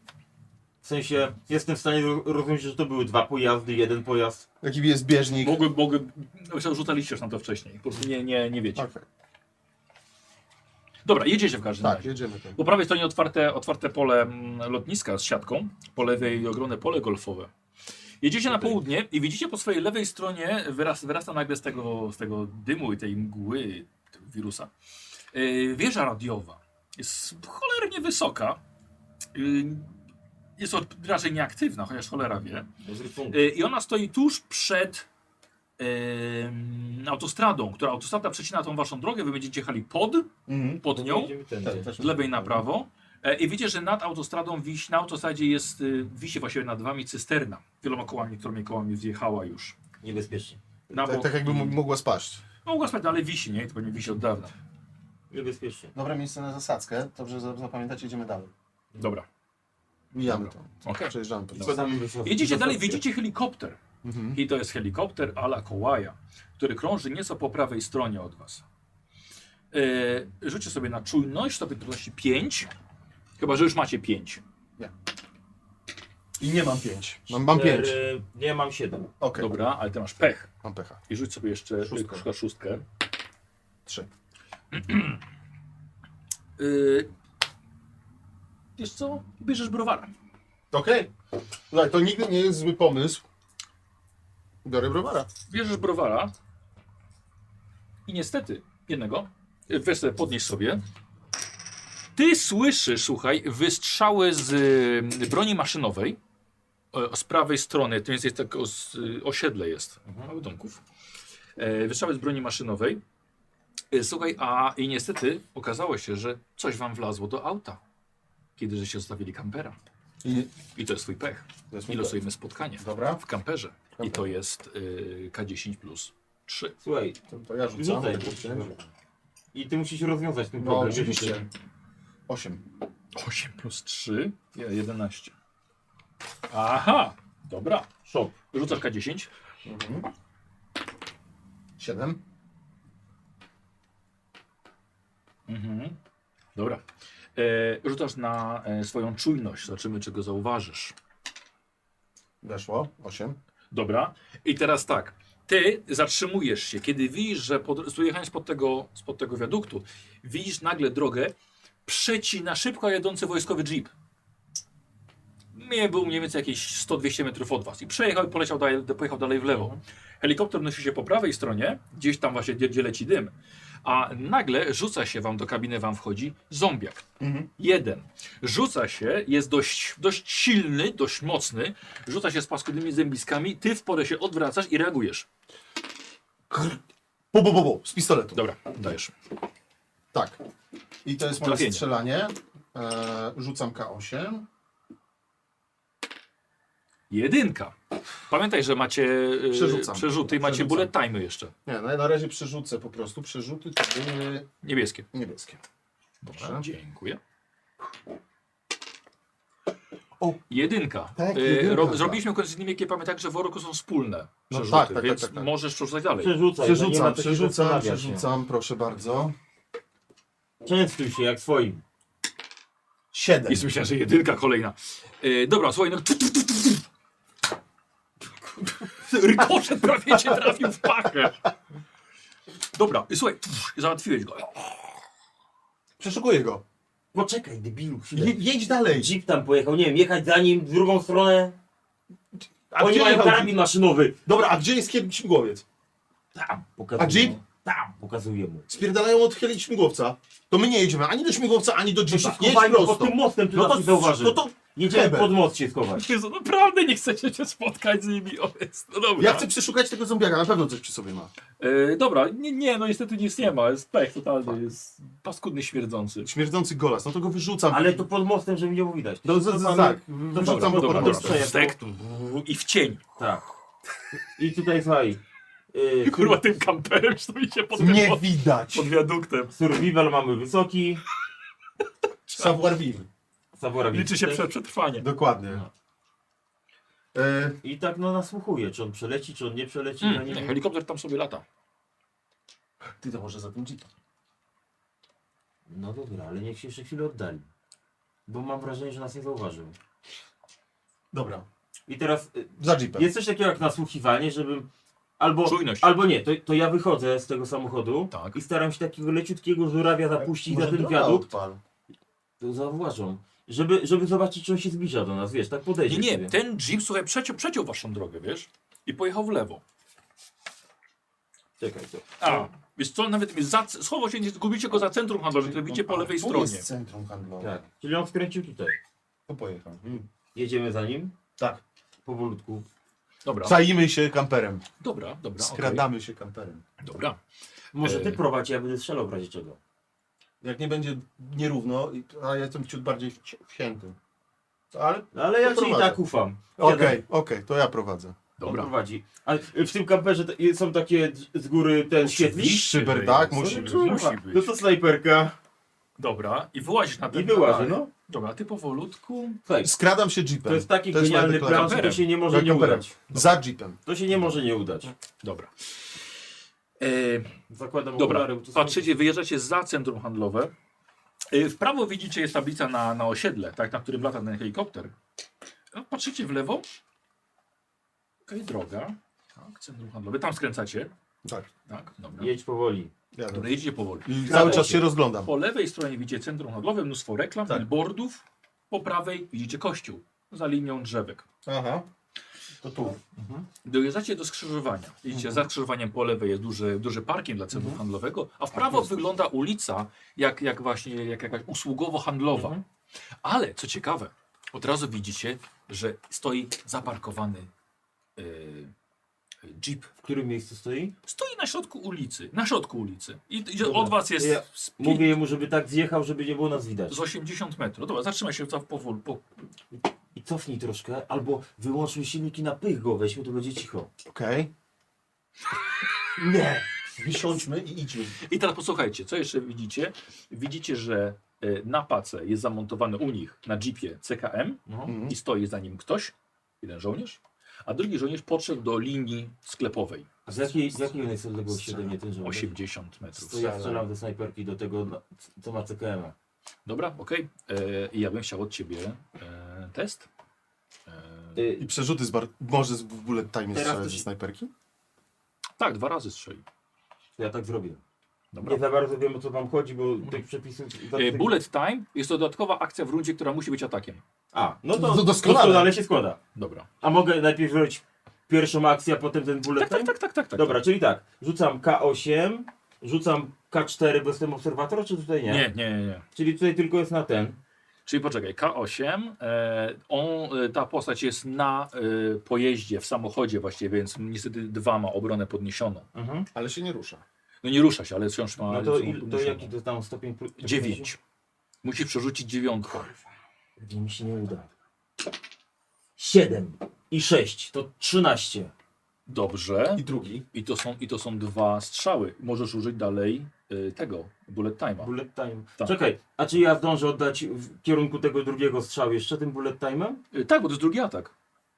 W sensie, jestem w stanie ro- rozumieć, że to były dwa pojazdy, jeden pojazd. Jaki jest bieżnik? Mogły, mogły, no, rzucaliście już na to wcześniej, po prostu nie, nie, nie Tak. wiecie. Dobra, jedziecie w Tak. każdym razie. Jedziemy tam. Po prawej stronie otwarte, otwarte pole mm, lotniska z siatką, po lewej ogromne pole golfowe. Jedziecie na południe i widzicie po swojej lewej stronie, wyras, wyrasta nagle z tego, z tego dymu i tej mgły tego wirusa, yy, wieża radiowa. Jest cholernie wysoka. Yy, jest od, raczej nieaktywna, chociaż cholera wie. Y, I ona stoi tuż przed em, autostradą, która autostrada przecina tą waszą drogę. Wy będziecie jechali pod, Mhm. pod nią, Tak. z lewej na prawo. E, I widzicie, że nad autostradą wiś, na autostradzie jest, y, wisi właściwie nad wami cysterna. Wieloma kołami, którymi kołami zjechała już. Niebezpiecznie. Na Tak, bok. tak jakby m- mogła spaść. No, mogła spać, no, ale wisi, nie? To pewnie wisi od dawna. Niebezpiecznie. No Dobre miejsce na zasadzkę, dobrze za- zapamiętać, jedziemy dalej. Dobra. Mijamy to. Okej. Przejeżdżamy po Dobra. Jedziecie dalej, widzicie helikopter. I to jest helikopter ala Kołaja, który krąży nieco po prawej stronie od was. Yy, rzućcie sobie na czujność, stopień trudności 5. Chyba, że już macie 5. Nie. I nie mam pięć. Mam- mam pięć. Cztery- E, Nie, mam siedem. Dobra, ale ty masz pech. Mam pecha. I rzuć sobie jeszcze szóstkę. szóstkę. Trzy. Yy, wiesz co? Bierzesz browara. Okej. Słuchaj, to nigdy nie jest zły pomysł. Biorę browara. Bierzesz browara i niestety jednego, y, weź sobie, podnieś sobie. Ty słyszysz, słuchaj, wystrzały z y, broni maszynowej e, z prawej strony, to jest, jest tak os, y, osiedle jest, mały domków. E, Wystrzały z broni maszynowej. E, Słuchaj, a i niestety okazało się, że coś wam wlazło do auta, kiedy żeście zostawili kampera. I, to jest twój pech. To jest mój I pech. losujemy spotkanie Dobra. w kamperze. I to jest y, K10 plus 3. Słuchaj, to, to ja rzucam. No, rzucaj, kurczę. I ty musisz rozwiązać ten problem. oczywiście. 8. 8 plus 3, 11. Aha, dobra. Shop. Rzucasz K10. Mhm. 7. Mhm. Dobra. E, rzucasz na e, swoją czujność. Zobaczymy, czy go zauważysz. Weszło. 8. Dobra. I teraz tak. Ty zatrzymujesz się, kiedy widzisz, że pod, jechając spod tego, spod tego wiaduktu, widzisz nagle drogę, przecina szybko jadący wojskowy jeep. Nie był mniej więcej jakieś 100-200 metrów od was. I przejechał i poleciał dalej, pojechał dalej w lewo. Helikopter nosi się po prawej stronie, gdzieś tam właśnie gdzie, gdzie leci dym. A nagle rzuca się wam do kabiny, wam wchodzi zombiak. Mhm. Jeden. Rzuca się, jest dość, dość silny, dość mocny. Rzuca się z paskudnymi zębiskami. Ty w porę się odwracasz i reagujesz. Bu, bu, bu, bu, z pistoletu. Dobra, dajesz. Tak. I to jest moje Trafienie. strzelanie. E, rzucam K8. Jedynka. Pamiętaj, że macie yy, Przerzucam. przerzuty i macie Przerzucam. bullet time'y jeszcze. Nie, no ja na razie przerzucę po prostu. Przerzuty to były Niebieskie. niebieskie. Dobrze. Dziękuję. O, jedynka. Tak, E, jedynka, ro, tak. zrobiliśmy kogoś z nimi, jakie pamiętaj, że w Oroku są wspólne No przerzuty, tak, tak, tak, więc tak, tak. możesz przerzucać dalej. no nie ma Przerzucam, co się przerzucam, zastanawiać, nie? przerzucam, proszę bardzo. Częstuj się jak swoim. Siedem. I słyszałem, że jedynka kolejna. E, dobra, słuchaj, no... Tu, tu, tu, tu, tu. Rykoszet prawie cię trafił w pachę. Dobra, i słuchaj, tu, załatwiłeś go. Przeszukuję go. Poczekaj, debilu. Je, jedź dalej. Jeep tam pojechał, nie wiem, jechać za nim w drugą stronę. Oni mają jechał? karabin maszynowy. Dobra, a gdzie jest kiedyś śmigłowiec? Tam. A Pokazuję Jeep? mu. Tam. Pokazuję mu. Spierdalają od chyli śmigłowca. To my nie jedziemy ani do śmigłowca, ani do Jeepa. Nie Chowaj go jest prosto. pod tym mostem, tu No nas to- nie zauważy. no to Jedziemy hebel. pod most się schować. Jezu, naprawdę nie chcecie się spotkać z nimi, o jest, no dobra. Ja chcę przeszukać tego zombiaka, na pewno coś przy sobie ma. E, dobra, nie, nie, no niestety nic nie ma, jest pech totalny, jest paskudny, śmierdzący. Śmierdzący golas, no to go wyrzucam. Ale to pod mostem, żeby nie było widać. No, z, z, tak, No wyrzucam go pod dobra, mostem. dobra. Stek tu i w cień. Tak. I tutaj słuchaj. Yy, Kurwa, tym kamperem stoi się pod tym Nie mostem. widać. Pod wiaduktem. Survival mamy wysoki. Savoir vivre. Savoir vivre. Liczy się prze- przetrwanie. Dokładnie. E, I tak no nasłuchuje, czy on przeleci, czy on nie przeleci. Mm, ja nie, nie wiem. helikopter tam sobie lata. Ty to może za tym jeepem. No dobra, ale niech się jeszcze chwilę oddali. Bo mam wrażenie, że nas nie zauważył. Dobra. I teraz y, Za jeepem. jest coś takiego jak nasłuchiwanie, żebym albo, Czujność. Tak. albo nie, to, to ja wychodzę z tego samochodu i staram się takiego leciutkiego żurawia zapuścić Może no. na ten droga wiadukt. odpal. To zauważą. Żeby, żeby zobaczyć, czy on się zbliża do nas, wiesz, tak podejdzie. Nie, nie, sobie. ten jeep, słuchaj, przeciął, przeciął waszą drogę, wiesz? I pojechał w lewo. Czekaj, to. A, wiesz co, nawet mi za, schował się, nie zgubicie go za centrum handlowym, które widzicie No tak. po lewej Tu stronie. jest centrum handlowe. Tak. Czyli on skręcił tutaj. To pojechał. Mm. Jedziemy za nim? Tak. Powolutku. Dobra, Zaimy się kamperem. dobra, dobra, Skradamy się kamperem. okej. dobra. Może ty E. prowadź, ja będę strzelał w razie czego. Jak nie będzie nierówno, i- a ja jestem ciut bardziej wci- wcięty. Ale, No, ale ja ci i prowadzę. tak ufam. Okej, Wiadomo. okej, to ja prowadzę. Dobra. Dobra. prowadzi. A w tym kamperze to- są takie d- z góry ten świetlik? Szyber, tak? Musi Musi być. być. Musi być. No to snajperka. Dobra, i wyłazisz na ten... I wyłażę, no. Dobra, ty powolutku... Słuchaj, Skradam się jeepem. To jest taki moja genialny plan, że deklaracja. to się nie może Za nie kamperem. udać. Za jeepem. To się nie może nie udać. Dobra. E, Zakładam Dobra, okulary, bo No, to są- patrzycie, wyjeżdżacie za centrum handlowe. E, Y, W prawo widzicie jest tablica na, na osiedle, tak, na którym lata ten helikopter. Patrzycie w lewo. Okej, droga. Tak, centrum handlowe. Tam skręcacie. Tak. Tak, dobra. Jedź powoli. Dobra, jedziecie powoli. I cały czas się rozglądam. Po lewej stronie widzicie centrum handlowe, mnóstwo reklam, Tak. billboardów. Po prawej widzicie kościół za linią drzewek. Aha. To tu. Dojeżdżacie do skrzyżowania. Widzicie, Mhm. za skrzyżowaniem po lewej jest duży, duży parking dla centrum handlowego, a w prawo wygląda ulica jak, jak właśnie jak jakaś usługowo-handlowa. Mhm. Ale co ciekawe, od razu widzicie, że stoi zaparkowany yy, jeep. W którym miejscu stoi? Stoi na środku ulicy. Na środku ulicy. I, i od was jest Ja z pi- mówię mu, żeby tak zjechał, żeby nie było nas widać. z 80 metrów. Dobra, zatrzymaj się tam powoli. Po... I cofnij troszkę, albo wyłączmy silniki na pych go, weźmy, to będzie cicho. Okej. Nie! Wysiądźmy i idźmy. I teraz posłuchajcie, co jeszcze widzicie? Widzicie, że e, na pace jest zamontowany u nich na jeepie CKM Mhm. i stoi za nim ktoś, jeden żołnierz, a drugi żołnierz podszedł do linii sklepowej. A z jakiej, z jakiej on jest odległości ode mnie ten żołnierz? 80 metrów. To ja strzelam do snajperki do tego, no, dla- co ma CKM. -a. Dobra, okej. E, I ja bym chciał od ciebie e, test. Y, I przerzuty z bar... Może z w bullet time Teraz strzelać to ze się- snajperki? Tak, dwa razy strzeli. Ja tak zrobię. Dobra. Nie za bardzo wiem o co wam chodzi, bo tych przepisów... E, bullet time jest to dodatkowa akcja w rundzie, która musi być atakiem. A, no to, To doskonale. doskonale się składa. Dobra. A mogę najpierw robić pierwszą akcję, a potem ten bullet time? Tak, tak, tak. tak Dobra, czyli tak, rzucam K8, rzucam K4, bo jestem obserwator, czy tutaj nie? Nie, nie, nie. nie. Czyli tutaj tylko jest na ten. Czyli poczekaj, K8, e, on, e, ta postać jest na e, pojeździe, w samochodzie właściwie, więc niestety dwa ma obronę podniesioną. Ale się nie rusza. No nie rusza się, ale wciąż ma... Mhm. No to, są il, to podniesione. jaki to tam stopień? plu- Dziewięć. Musi przerzucić dziewiątkę. Nie, mi się nie uda. Siedem i sześć, to trzynaście. Dobrze. I drugi. I to są, i to są dwa strzały. Możesz użyć dalej y, tego, bullet time'a. Bullet time. Tak. Czekaj, a czy ja zdążę oddać w kierunku tego drugiego strzału jeszcze tym bullet time'em? tak, bo to jest drugi atak.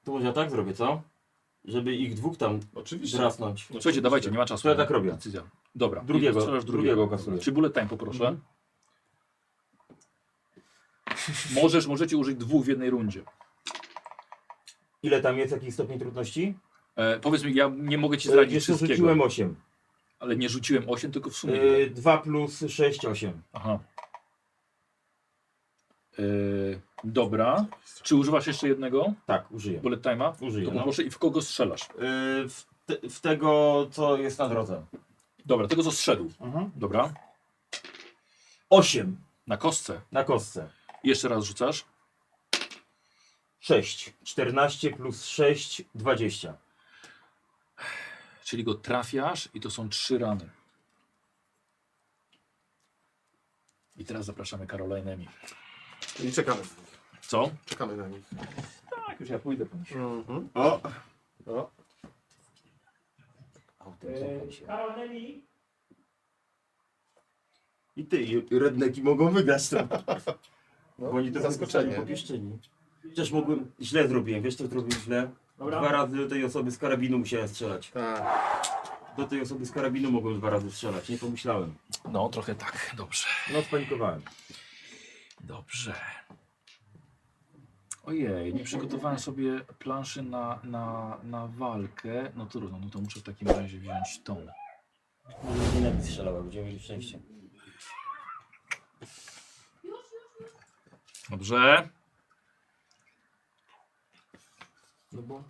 To może ja tak zrobię, co? Żeby ich dwóch tam Oczywiście. drasnąć. No Słuchajcie, dawajcie, nie ma czasu. To ja tak robię. Decyzja. Dobra. Drugiego, I strzelasz drugiego kasuję. Czy bullet time poproszę? Możesz, możecie użyć dwóch w jednej rundzie. Ile tam jest, jaki stopień trudności? E, powiedz mi, ja nie mogę ci E, zdradzić jeszcze wszystkiego. rzuciłem osiem. Ale nie rzuciłem 8, tylko w sumie. Yy, 2 plus 6, 8. Aha. Yy, dobra. Czy używasz jeszcze jednego? Tak, użyję. Bullet time'a? Użyję, To no. proszę, i w kogo strzelasz? Yy, w, te, w tego, co jest na drodze. Dobra, tego co zszedł. Mhm. Dobra. 8 Na kostce. na kostce. Jeszcze raz rzucasz. 6. 14 plus 6, 20. Czyli go trafiasz i to są trzy rany. I teraz zapraszamy Caroline Emi. I czekamy. Co? Czekamy na nich. Tak, już ja pójdę po Mhm. O! O! I ty, i redneki mogą wygrać tam. No, Bo oni to zaskoczenie. zaskoczenie po pieszczyni. Chociaż mogłem, źle zrobiłem, wiesz co zrobiłem źle? Dwa razy do tej osoby z karabinu musiałem strzelać. Tak. Do tej osoby z karabinu mogłem dwa razy strzelać, nie pomyślałem. No, trochę tak, dobrze. No, spanikowałem. Dobrze. Ojej, nie przygotowałem sobie planszy na, na, na walkę. No trudno, no to muszę w takim razie wziąć tą. Może nie napis strzelała, będziemy mieli szczęście. Dobrze. No bo...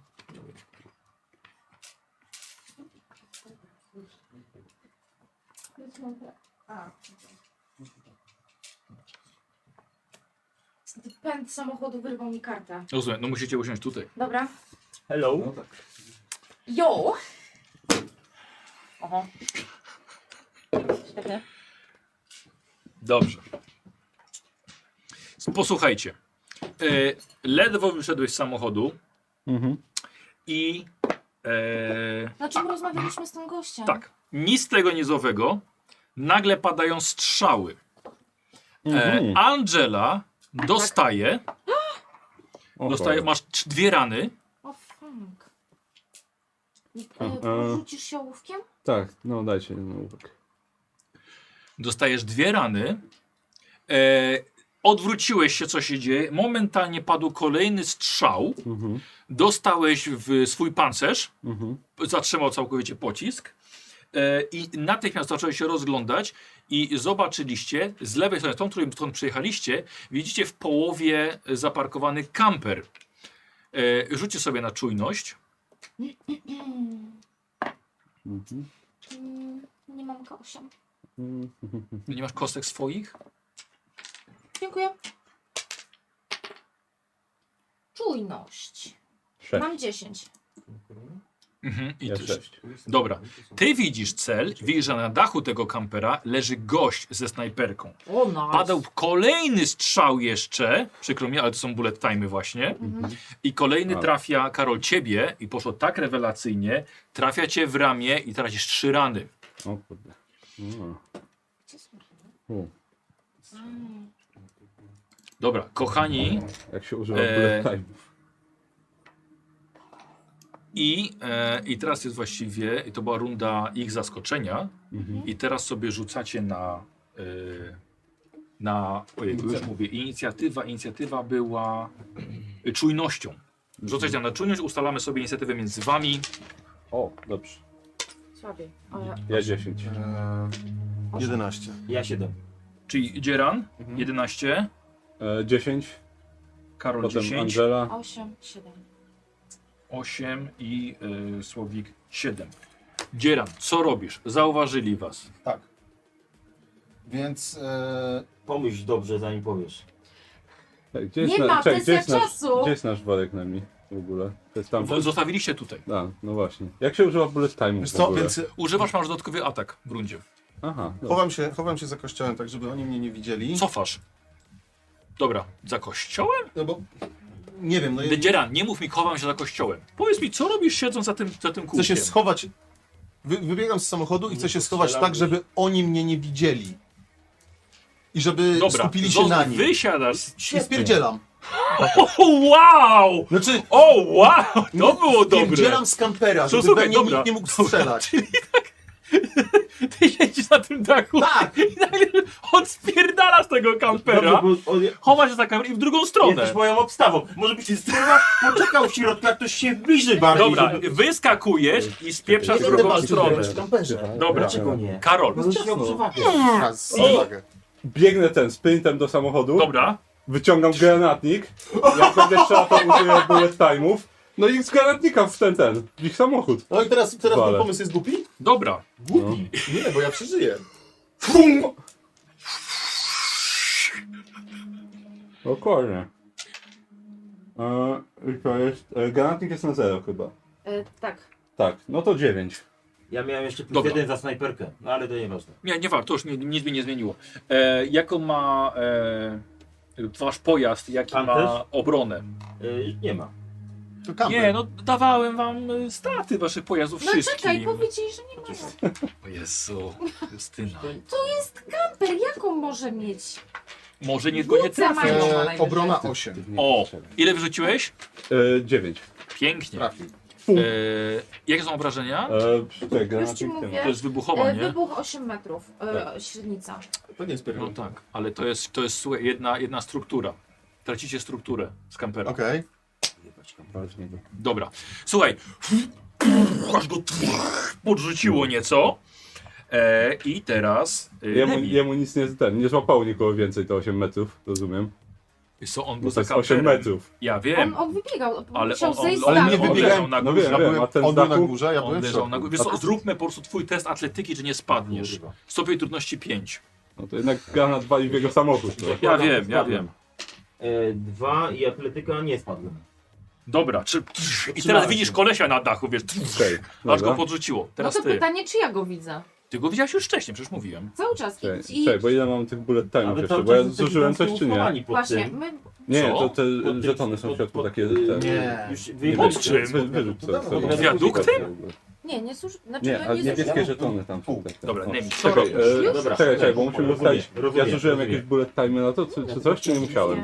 A. Pęd samochodu wyrwał mi kartę. Rozumiem, no musicie usiąść tutaj. Dobra. Hello. Jo! Oho. Świetnie. Dobrze. Posłuchajcie. E, ledwo wyszedłeś z samochodu Mhm. i e, Na czym rozmawialiśmy z tym gościem? tak, nic z tego nizowego. Nagle padają strzały. E, Mhm. Angela dostaje, dostaje masz trz- dwie rany. O funk. Aha. Rzucisz e, się ołówkiem? Tak, no dajcie jeden ołówek. Dostajesz dwie rany. E, Odwróciłeś się, co się dzieje. Momentalnie padł kolejny strzał. Mhm, Dostałeś w swój pancerz. Zatrzymał całkowicie pocisk. E, I natychmiast zacząłeś się rozglądać i zobaczyliście z lewej strony, tą, którą stąd przyjechaliście, widzicie w połowie zaparkowany kamper. E, Rzućcie sobie na czujność. Mhm. Mm, Nie mam kosia. Nie masz kostek swoich? Dziękuję. Czujność. Sześć. Mam 10. Mhm, i Ja ty- sześć. Dobra. Ty widzisz cel, widzisz, że na dachu tego kampera leży gość ze snajperką. O, nice. Padał kolejny strzał jeszcze, przykro mi, ale to są bullet timey właśnie. Mhm. I kolejny Ale. trafia, Karol, ciebie i poszło tak rewelacyjnie, trafia cię w ramię i tracisz trzy rany. O kurde. No. U, Dobra, kochani, Jak się używa Eee, bullet time. I, e, I teraz jest właściwie, i to była runda ich zaskoczenia. Mhm. I teraz sobie rzucacie na. E, na ojej, już mówię, inicjatywa. Inicjatywa była e, czujnością. Rzucacie na czujność, ustalamy sobie inicjatywę między wami. O, dobrze. Słabiej. Ale... Ja 10. 11. Ja 7. Czyli Dzieran 11, E, 10. Karol Potem 10, Angela. 8, 7. 8 i e, Słowik 7. Dzieran, co robisz? Zauważyli was. Tak. Więc e, pomyśl dobrze, zanim powiesz. Ej, E, Gdzie jest Nie na- ma, to czekaj, jest gdzie za jest nasz, czasu. Gdzie jest nasz worek na mi w ogóle? To jest tam. W- Zostawiliście tutaj. A, no właśnie. Jak się używa bullet time? Wiesz co, więc- Używasz, masz dodatkowy atak w rundzie. Aha. dobra. Chowam się, chowam się za kościołem, tak żeby oni mnie nie widzieli. Cofasz. Dobra, za kościołem? No bo nie wiem, no ja- Dzieran, nie mów mi, chowam się za kościołem. Powiedz mi, co robisz siedząc za tym, za tym Chcę kółkiem? się schować. Wy, wybiegam z samochodu i chcę się schować strzelamy. tak, żeby oni mnie nie widzieli. I żeby Dobra, skupili się zo- na nim. Wysiadasz. I spierdzielam. O, wow! Znaczy, o, wow! To było dobre. Spierdzielam z kampera, Co, żeby słuchaj, we mnie dobra, nikt nie mógł strzelać. Siedzisz na tym dachu tak. i nagle odspierdala z tego kampera, chowa się za kamerę i w drugą stronę. Jesteś moją obstawą. Może byś się skurwa poczekał w środku, jak ktoś się bliżej bardziej. Dobra, żeby- wyskakujesz i spieprzasz w Będę drugą walczył stronę. wręcz w kamperze. Dobra, Dlaczego nie? Karol. No, Zwróć uwagę. Raz, O! uwagę. Biegnę ten sprintem do samochodu. Dobra. Wyciągam granatnik. Jak będę trzeba, to użyję bullet time'ów. No i z granatnika w ten, ten, w ich samochód. No i teraz, teraz Wale. mój pomysł jest głupi? Dobra. Głupi. Nie, bo ja przeżyję. Dokładnie. E, i to jest, e, granatnik jest na zero chyba. E, tak. Tak, no to 9. Ja miałem jeszcze plus Dobra. jeden za snajperkę, no ale to nieważne. Nie, nie warto, to już ni- nic mi nie zmieniło. E, jaką ma e, wasz pojazd, jaki ma Panterz? obronę? Yy, nie ma. Nie, no dawałem wam e, straty waszych pojazdów No wszystkim. czekaj, powiedzieli, że nie ma. O Jezu, Justyna. To jest kamper, jaką może mieć? Może nie E, go nie Rzuca trafisz. mają najwyżej. Obrona 8. O, ile wyrzuciłeś? E, 9. Pięknie. Trafił. E, jakie są obrażenia? E, przy tej Już ci granatnik mówię. To jest wybuchowa, E, nie? Tak. Wybuch 8 metrów, e, średnica. To nie jest No tak, ale to jest, to jest słuchaj, jedna, jedna struktura. Tracicie strukturę z kampera. Okej. Dobra. Słuchaj, aż go podrzuciło nieco. E, I teraz. E, Jemu, Nemi. jemu nic nie, ten, nie złapało nikogo więcej, to 8 metrów, rozumiem. Wiesz co, on Bo był to za jest 8 kamperem. metrów. Ja wiem. On, on wybiegał, Ale ale on- chciał on- zejść z ale dachu. nie wybiegał. Biegałem, na no górze, wiem, ja wiem, byłem- a ten on z był na dachu- górze, ja on byłem w leżał na środku. górze. Wiesz co, zróbmy po prostu twój test atletyki, czy nie spadniesz. Stopień trudności 5. No to jednak granat wali w jego samochód. no. To. Ja wiem, ja Spadłem. wiem. E, dwa i atletyka nie spadłem. Dobra, czy... I teraz Trzymałem widzisz się. kolesia na dachu, wiesz, aż dobra. go podrzuciło. No Teraz to ty. pytanie, czy ja go widzę? Ty go widziałeś już wcześniej, przecież mówiłem. Cały czas. I, Czekaj, i czekaj, bo ile mam tych bullet time'ów Ale jeszcze? cały Bo ja czas jesteśmy zużyłem tam coś czy nie? schowani pod właśnie, tym. my... Nie, Co? to te żetony są w środku takie... Te, Nie. Już wiem, wyjebaliście. czy- wy- Wyrzuć sobie. Dobra, sobie. pod wiaduktem? Nie, nie służy... Znaczy, Nie, no, ale nie niebieskie zasługuje. żetony tam są. te- te- Dobra, no. Nemi, co Czekaj, robisz? e, Już? czekaj, czekaj, bo musimy Rozumiem, ustalić. Ja rozumiem, zużyłem rozumiem. jakieś bullet time na to, czy, czy coś, czy nie musiałem?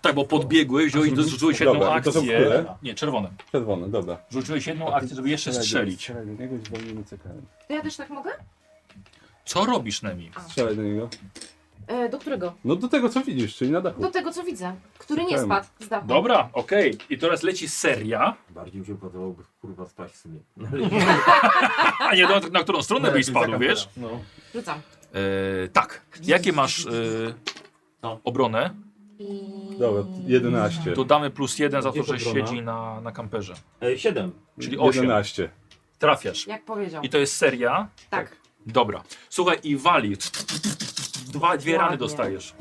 Tak, bo podbiegłeś, wziąłeś, zrzuciłeś jedną Dobra, i to są akcję. które? Nie, czerwone. Czerwone, dobra. Rzuciłeś jedną akcję, żeby jeszcze strzelić. Strzelaj do niego i zwolnimy cykarem. To ja też tak mogę? Co robisz, Nemi? Strzelaj do niego. E, do którego? No do tego co widzisz, czyli na dachu. Do tego, co widzę. Który nie Czekajmy. spadł z dachu. Dobra, okej. I teraz leci seria. Bardziej mi się podobałoby kurwa spaść w sumie. A nie, na, na którą stronę No, byś spadł, wiesz? Rzucam. E, tak. Jakie masz e, No. obronę? Dobra, 11. To damy plus jeden za to, Jest że obrona. E, siedzi na, na kamperze. 7. Czyli 8. 11. Trafiasz. Jak powiedział. I to jest seria? Tak. Dobra. Słuchaj, i wali. Dwa, dwie rany Ładnie. dostajesz.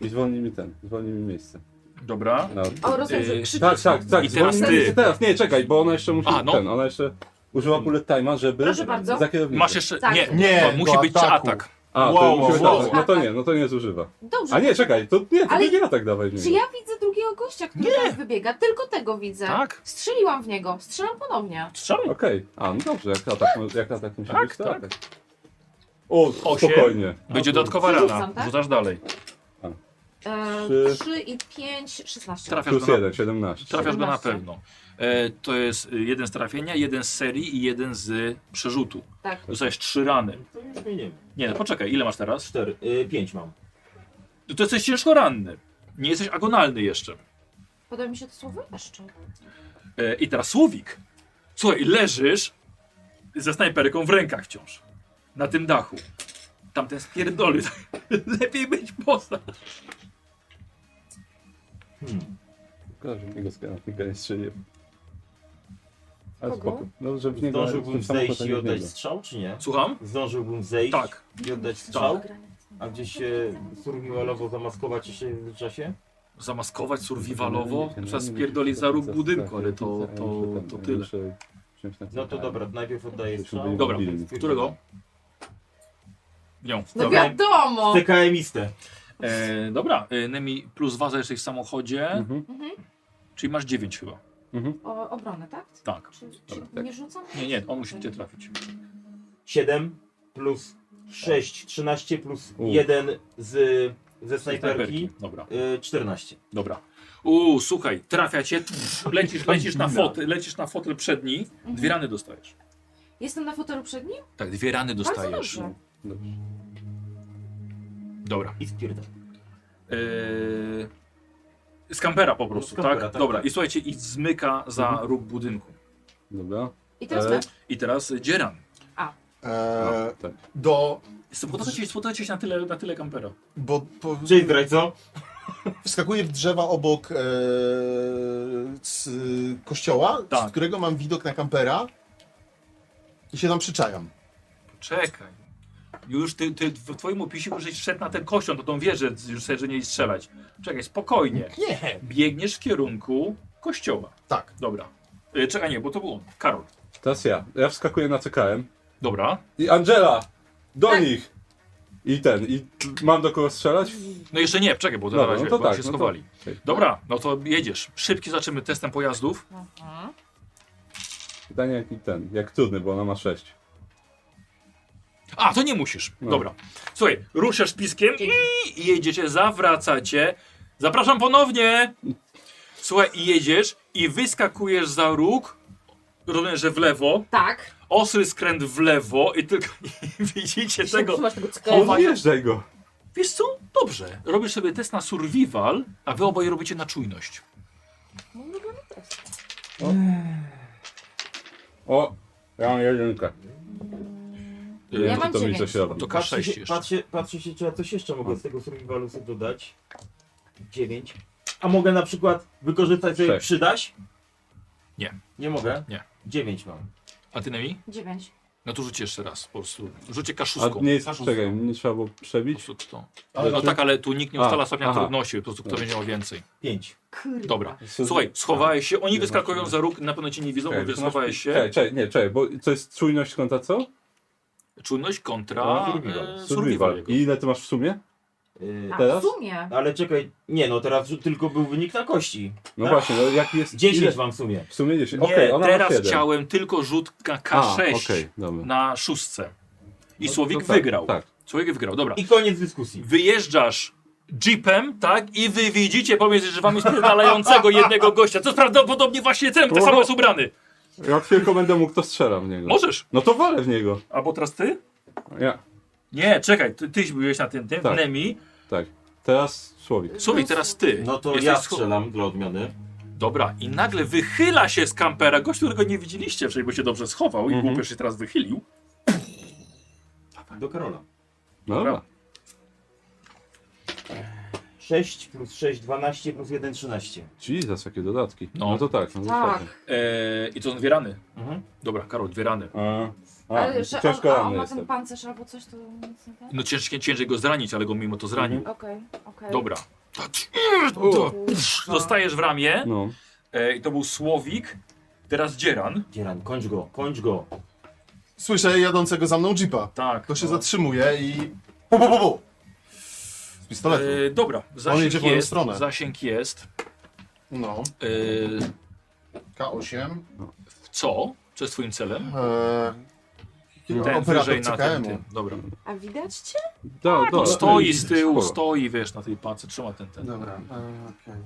I zwolnij mi ten, zwolnij mi miejsce. Dobra. No, O, rozumiem, że krzyczysz. tak, tak, tak. I teraz zwolnij mi ty. się Teraz, nie, czekaj, bo ona jeszcze musi. A, no. ten, ona jeszcze użyła bullet time'a, żeby. Proszę bardzo. Za kierownicę. Masz jeszcze. Tak. Nie, Nie, to musi do być ataku. atak. A, to Wow, musi być wow, atak. wow. No to nie, no to nie zużywa. Dobrze. A nie, czekaj, to nie, to Ale- będzie atak dawać. Czy ja widzę drugiego gościa, który tam wybiega? Tylko tego widzę. Tak. Strzeliłam w niego. Strzelam ponownie. Okej, a no dobrze, jak atak, mo- jak atak musi Tak, być, to tak. atak. O, Osiem. spokojnie. Będzie A, dodatkowa Rzucam, rana. tak? Rzucasz dalej. E, Trzy. 3 i 5, 16. Trafiasz Plus go na- jeden, 17. Trafiasz go na 17. pewno. E, to jest y, jeden z trafienia, jeden z serii i jeden z przerzutu. Tak. Dostajesz trzy rany. Nie, no poczekaj, ile masz teraz? No Cztery, E, pięć mam. To jesteś ciężko ranny. Nie jesteś agonalny jeszcze. Podoba mi się to słowo jeszcze. E, I teraz Słowik. Słuchaj, leżysz ze snajperką w rękach wciąż. Na tym dachu. Tamten spierdoli. Lepiej być poza. Kojarzy mi go z granatnika, nie strzeliłem. Ale Kogo? spoko. No, żeby nie Zdążyłbym zejść i oddać strzał, czy nie? Słucham? Zdążyłbym zejść tak. i oddać strzał, a gdzieś się survivalowo zamaskować jeszcze w czasie? Zamaskować survivalowo? Trzeba spierdolić za róg budynku, ale to, to, to tyle. No Tak. to dobra, najpierw oddaję strzał. Dobra, którego? Nią. No wiadomo! TKM-istę. E, dobra, e, Nemi plus waza jesteś w samochodzie, Mhm. czyli masz 9 chyba. O, obronę, tak? Tak. Czy, czy nie rzucam? Nie, nie, on musi cię trafić. 7 plus Tak. 6, 13 plus 1 z, ze snajperki. Dobra. Y, 14. Dobra. Uuu, słuchaj, trafia cię, tf, lecisz, lecisz, na fotel, lecisz na fotel przedni, Mhm. dwie rany dostajesz. Jestem na fotelu przed nim? Tak, dwie rany Bardzo dostajesz. dobrze. Dobra. E, I spierdol. Z kampera po prostu, Z kampera, tak? Mhm. tak. Dobra, i słuchajcie, i zmyka za róg budynku. Dobra. I E? teraz my? I teraz y, dzieran. A. Eee, tak. Do... Spodobacie, spodobacie się na tyle, na tyle kampera. Bo... Po... Dzień dobry, co? Wskakuję w drzewa obok eee, z, kościoła, Tak. z którego mam widok na kampera i się tam przyczajam. Czekaj. Już ty, ty w twoim opisie już żeś szedł na ten kościół, to tą wieżę już sobie, że nie strzelać. Czekaj, spokojnie. Nie. Biegniesz w kierunku kościoła. Tak. Dobra. E, Czekaj, nie, bo to był on. Karol. Teraz ja. Ja wskakuję na CKM. Dobra. I Angela! Do nich! I ten, i t- mam do kogo strzelać? No jeszcze nie, czekaj, bo to Dobra, na razie no to bo tak, się no to- schowali. okej. Dobra, no to jedziesz. Szybki zaczynamy testem pojazdów. Pytanie jaki ten, jak trudny, bo ona ma 6. A, to nie musisz. No. Dobra. Słuchaj, ruszasz piskiem i jedziecie, zawracacie. Zapraszam ponownie. Słuchaj, i jedziesz i wyskakujesz za róg. Rozumiem, że w lewo. Tak. Ostry skręt w lewo i tylko i widzicie tego. trzymasz tego cyka. chowania- Odjeżdżaj go! Wiesz co? Dobrze. Robisz sobie test na survival, a wy oboje robicie na czujność. No, ulubiony test. O! Ja mam jedynkę. Ja wiem, mam czy to mi dziewięć. coś robi. E, To Patrzę K6 się, jeszcze. patrzę, patrzę się, czy ja coś jeszcze mogę z tego survivalu sobie dodać. 9. A mogę na przykład wykorzystać, że Sześć. przydać? Nie. Nie mogę? Nie. 9 mam. A ty Nemi? 9. No to rzuć jeszcze raz po prostu. Rzucie A K6. nie jest, K6. czekaj, nie trzeba było przebić? Ale no czy- tak, ale tu nikt nie A, ustala stopnia aha. trudności, po prostu kto będzie miał więcej. 5. Dobra. Słuchaj, schowałeś się, oni wyskakują za róg, na pewno cię nie widzą, bo Czekaj, wiesz, to masz- schowałeś się. Czekaj, czekaj, nie, czekaj, bo to jest czujność konta co? Czujność kontra e, survival. Tak, I ile ty masz w sumie? Yy, A, Teraz? w sumie. Ale czekaj, nie no, teraz rzu- tylko był wynik na kości. No Tak? właśnie, no jaki jest... 10 ile- mam w sumie. W sumie 10, Nie, okej, ona ma teraz 7. chciałem tylko rzut na A, K6 okej, dobra. na szóstce. I No Słowik to tak, wygrał. tak. Słowik wygrał, dobra. I koniec dyskusji. Wyjeżdżasz jeepem, tak? I wy widzicie pomiędzy drzewami spierdalającego jednego gościa, co prawdopodobnie właśnie ten, tak samo jest ubrany. Jak tylko będę mógł, to strzelam w niego. Możesz. No to walę w niego. Albo teraz ty? Ja. Nie, czekaj, ty, tyś byłeś na tym, tym Tak. Nemi. Tak. Teraz słowik. Słuchaj, teraz ty. No to Jesteś ja scho- strzelam dla odmiany. Dobra, i nagle wychyla się z kampera gość, którego nie widzieliście wcześniej, bo się dobrze schował Mhm. i głupio się teraz wychylił. Do Karola. No Dobra. 6 plus 6, 12 plus 1, 13. Jesus, jakie dodatki. No, to tak, no Tak. dokładnie. Eee, I to są dwie rany. Mhm. Dobra, Karol, dwie rany. A, Ale że on, a on ma ten pancerz albo coś, to nic nie tak? No ciężkie, ciężej go zranić, ale go mimo to zranił. Okej, okej. Dobra. To- Dostajesz w ramię. No. E, I to był Słowik. Teraz Dzieran. Dzieran, kończ go, kończ go. Słyszę jadącego za mną jeepa. Tak. To się zatrzymuje i... Bu, bu, bu, bu. Z pistoletu. E, dobra, On zasięg jedzie w moją jest. stronę. Zasięg jest. No. E, K8. w co? Co jest twoim celem? Eee, Ten operator wyżej na tym, CKM-u. tym. Dobra. A widać cię? Da, No, stoi z tyłu, stoi, wiesz, na tej pacy, trzyma ten ten. Dobra, e, okej.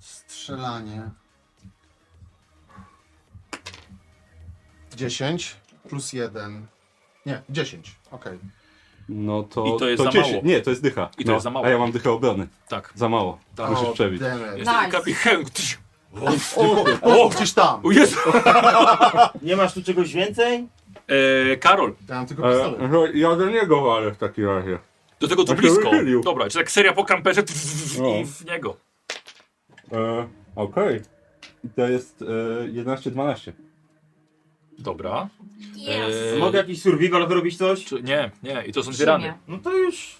Strzelanie. 10 plus 1. Nie, 10. Okej. No to, I to jest za mało. Nie, to jest dycha. I to no, jest za mało. A ja mam dychę obrony. Tak. Za mało. Tak. Musisz O, przebić. damn it. Jest Nice. taki chęk. O, gdzieś tam. O Jezu. Nie masz tu czegoś więcej? E, Karol. Tam tylko E, no, ja do niego walę w takim razie. Do tego to Ja się blisko. wychylił. Dobra, czy tak seria po kamperze i No. w niego. E, Okej. I To jest e, 11-12. Dobra. Eee, Y- E, Yes. Mogę jakiś survival zrobić coś? Czy, nie, nie, i to są dwie rany. No to już...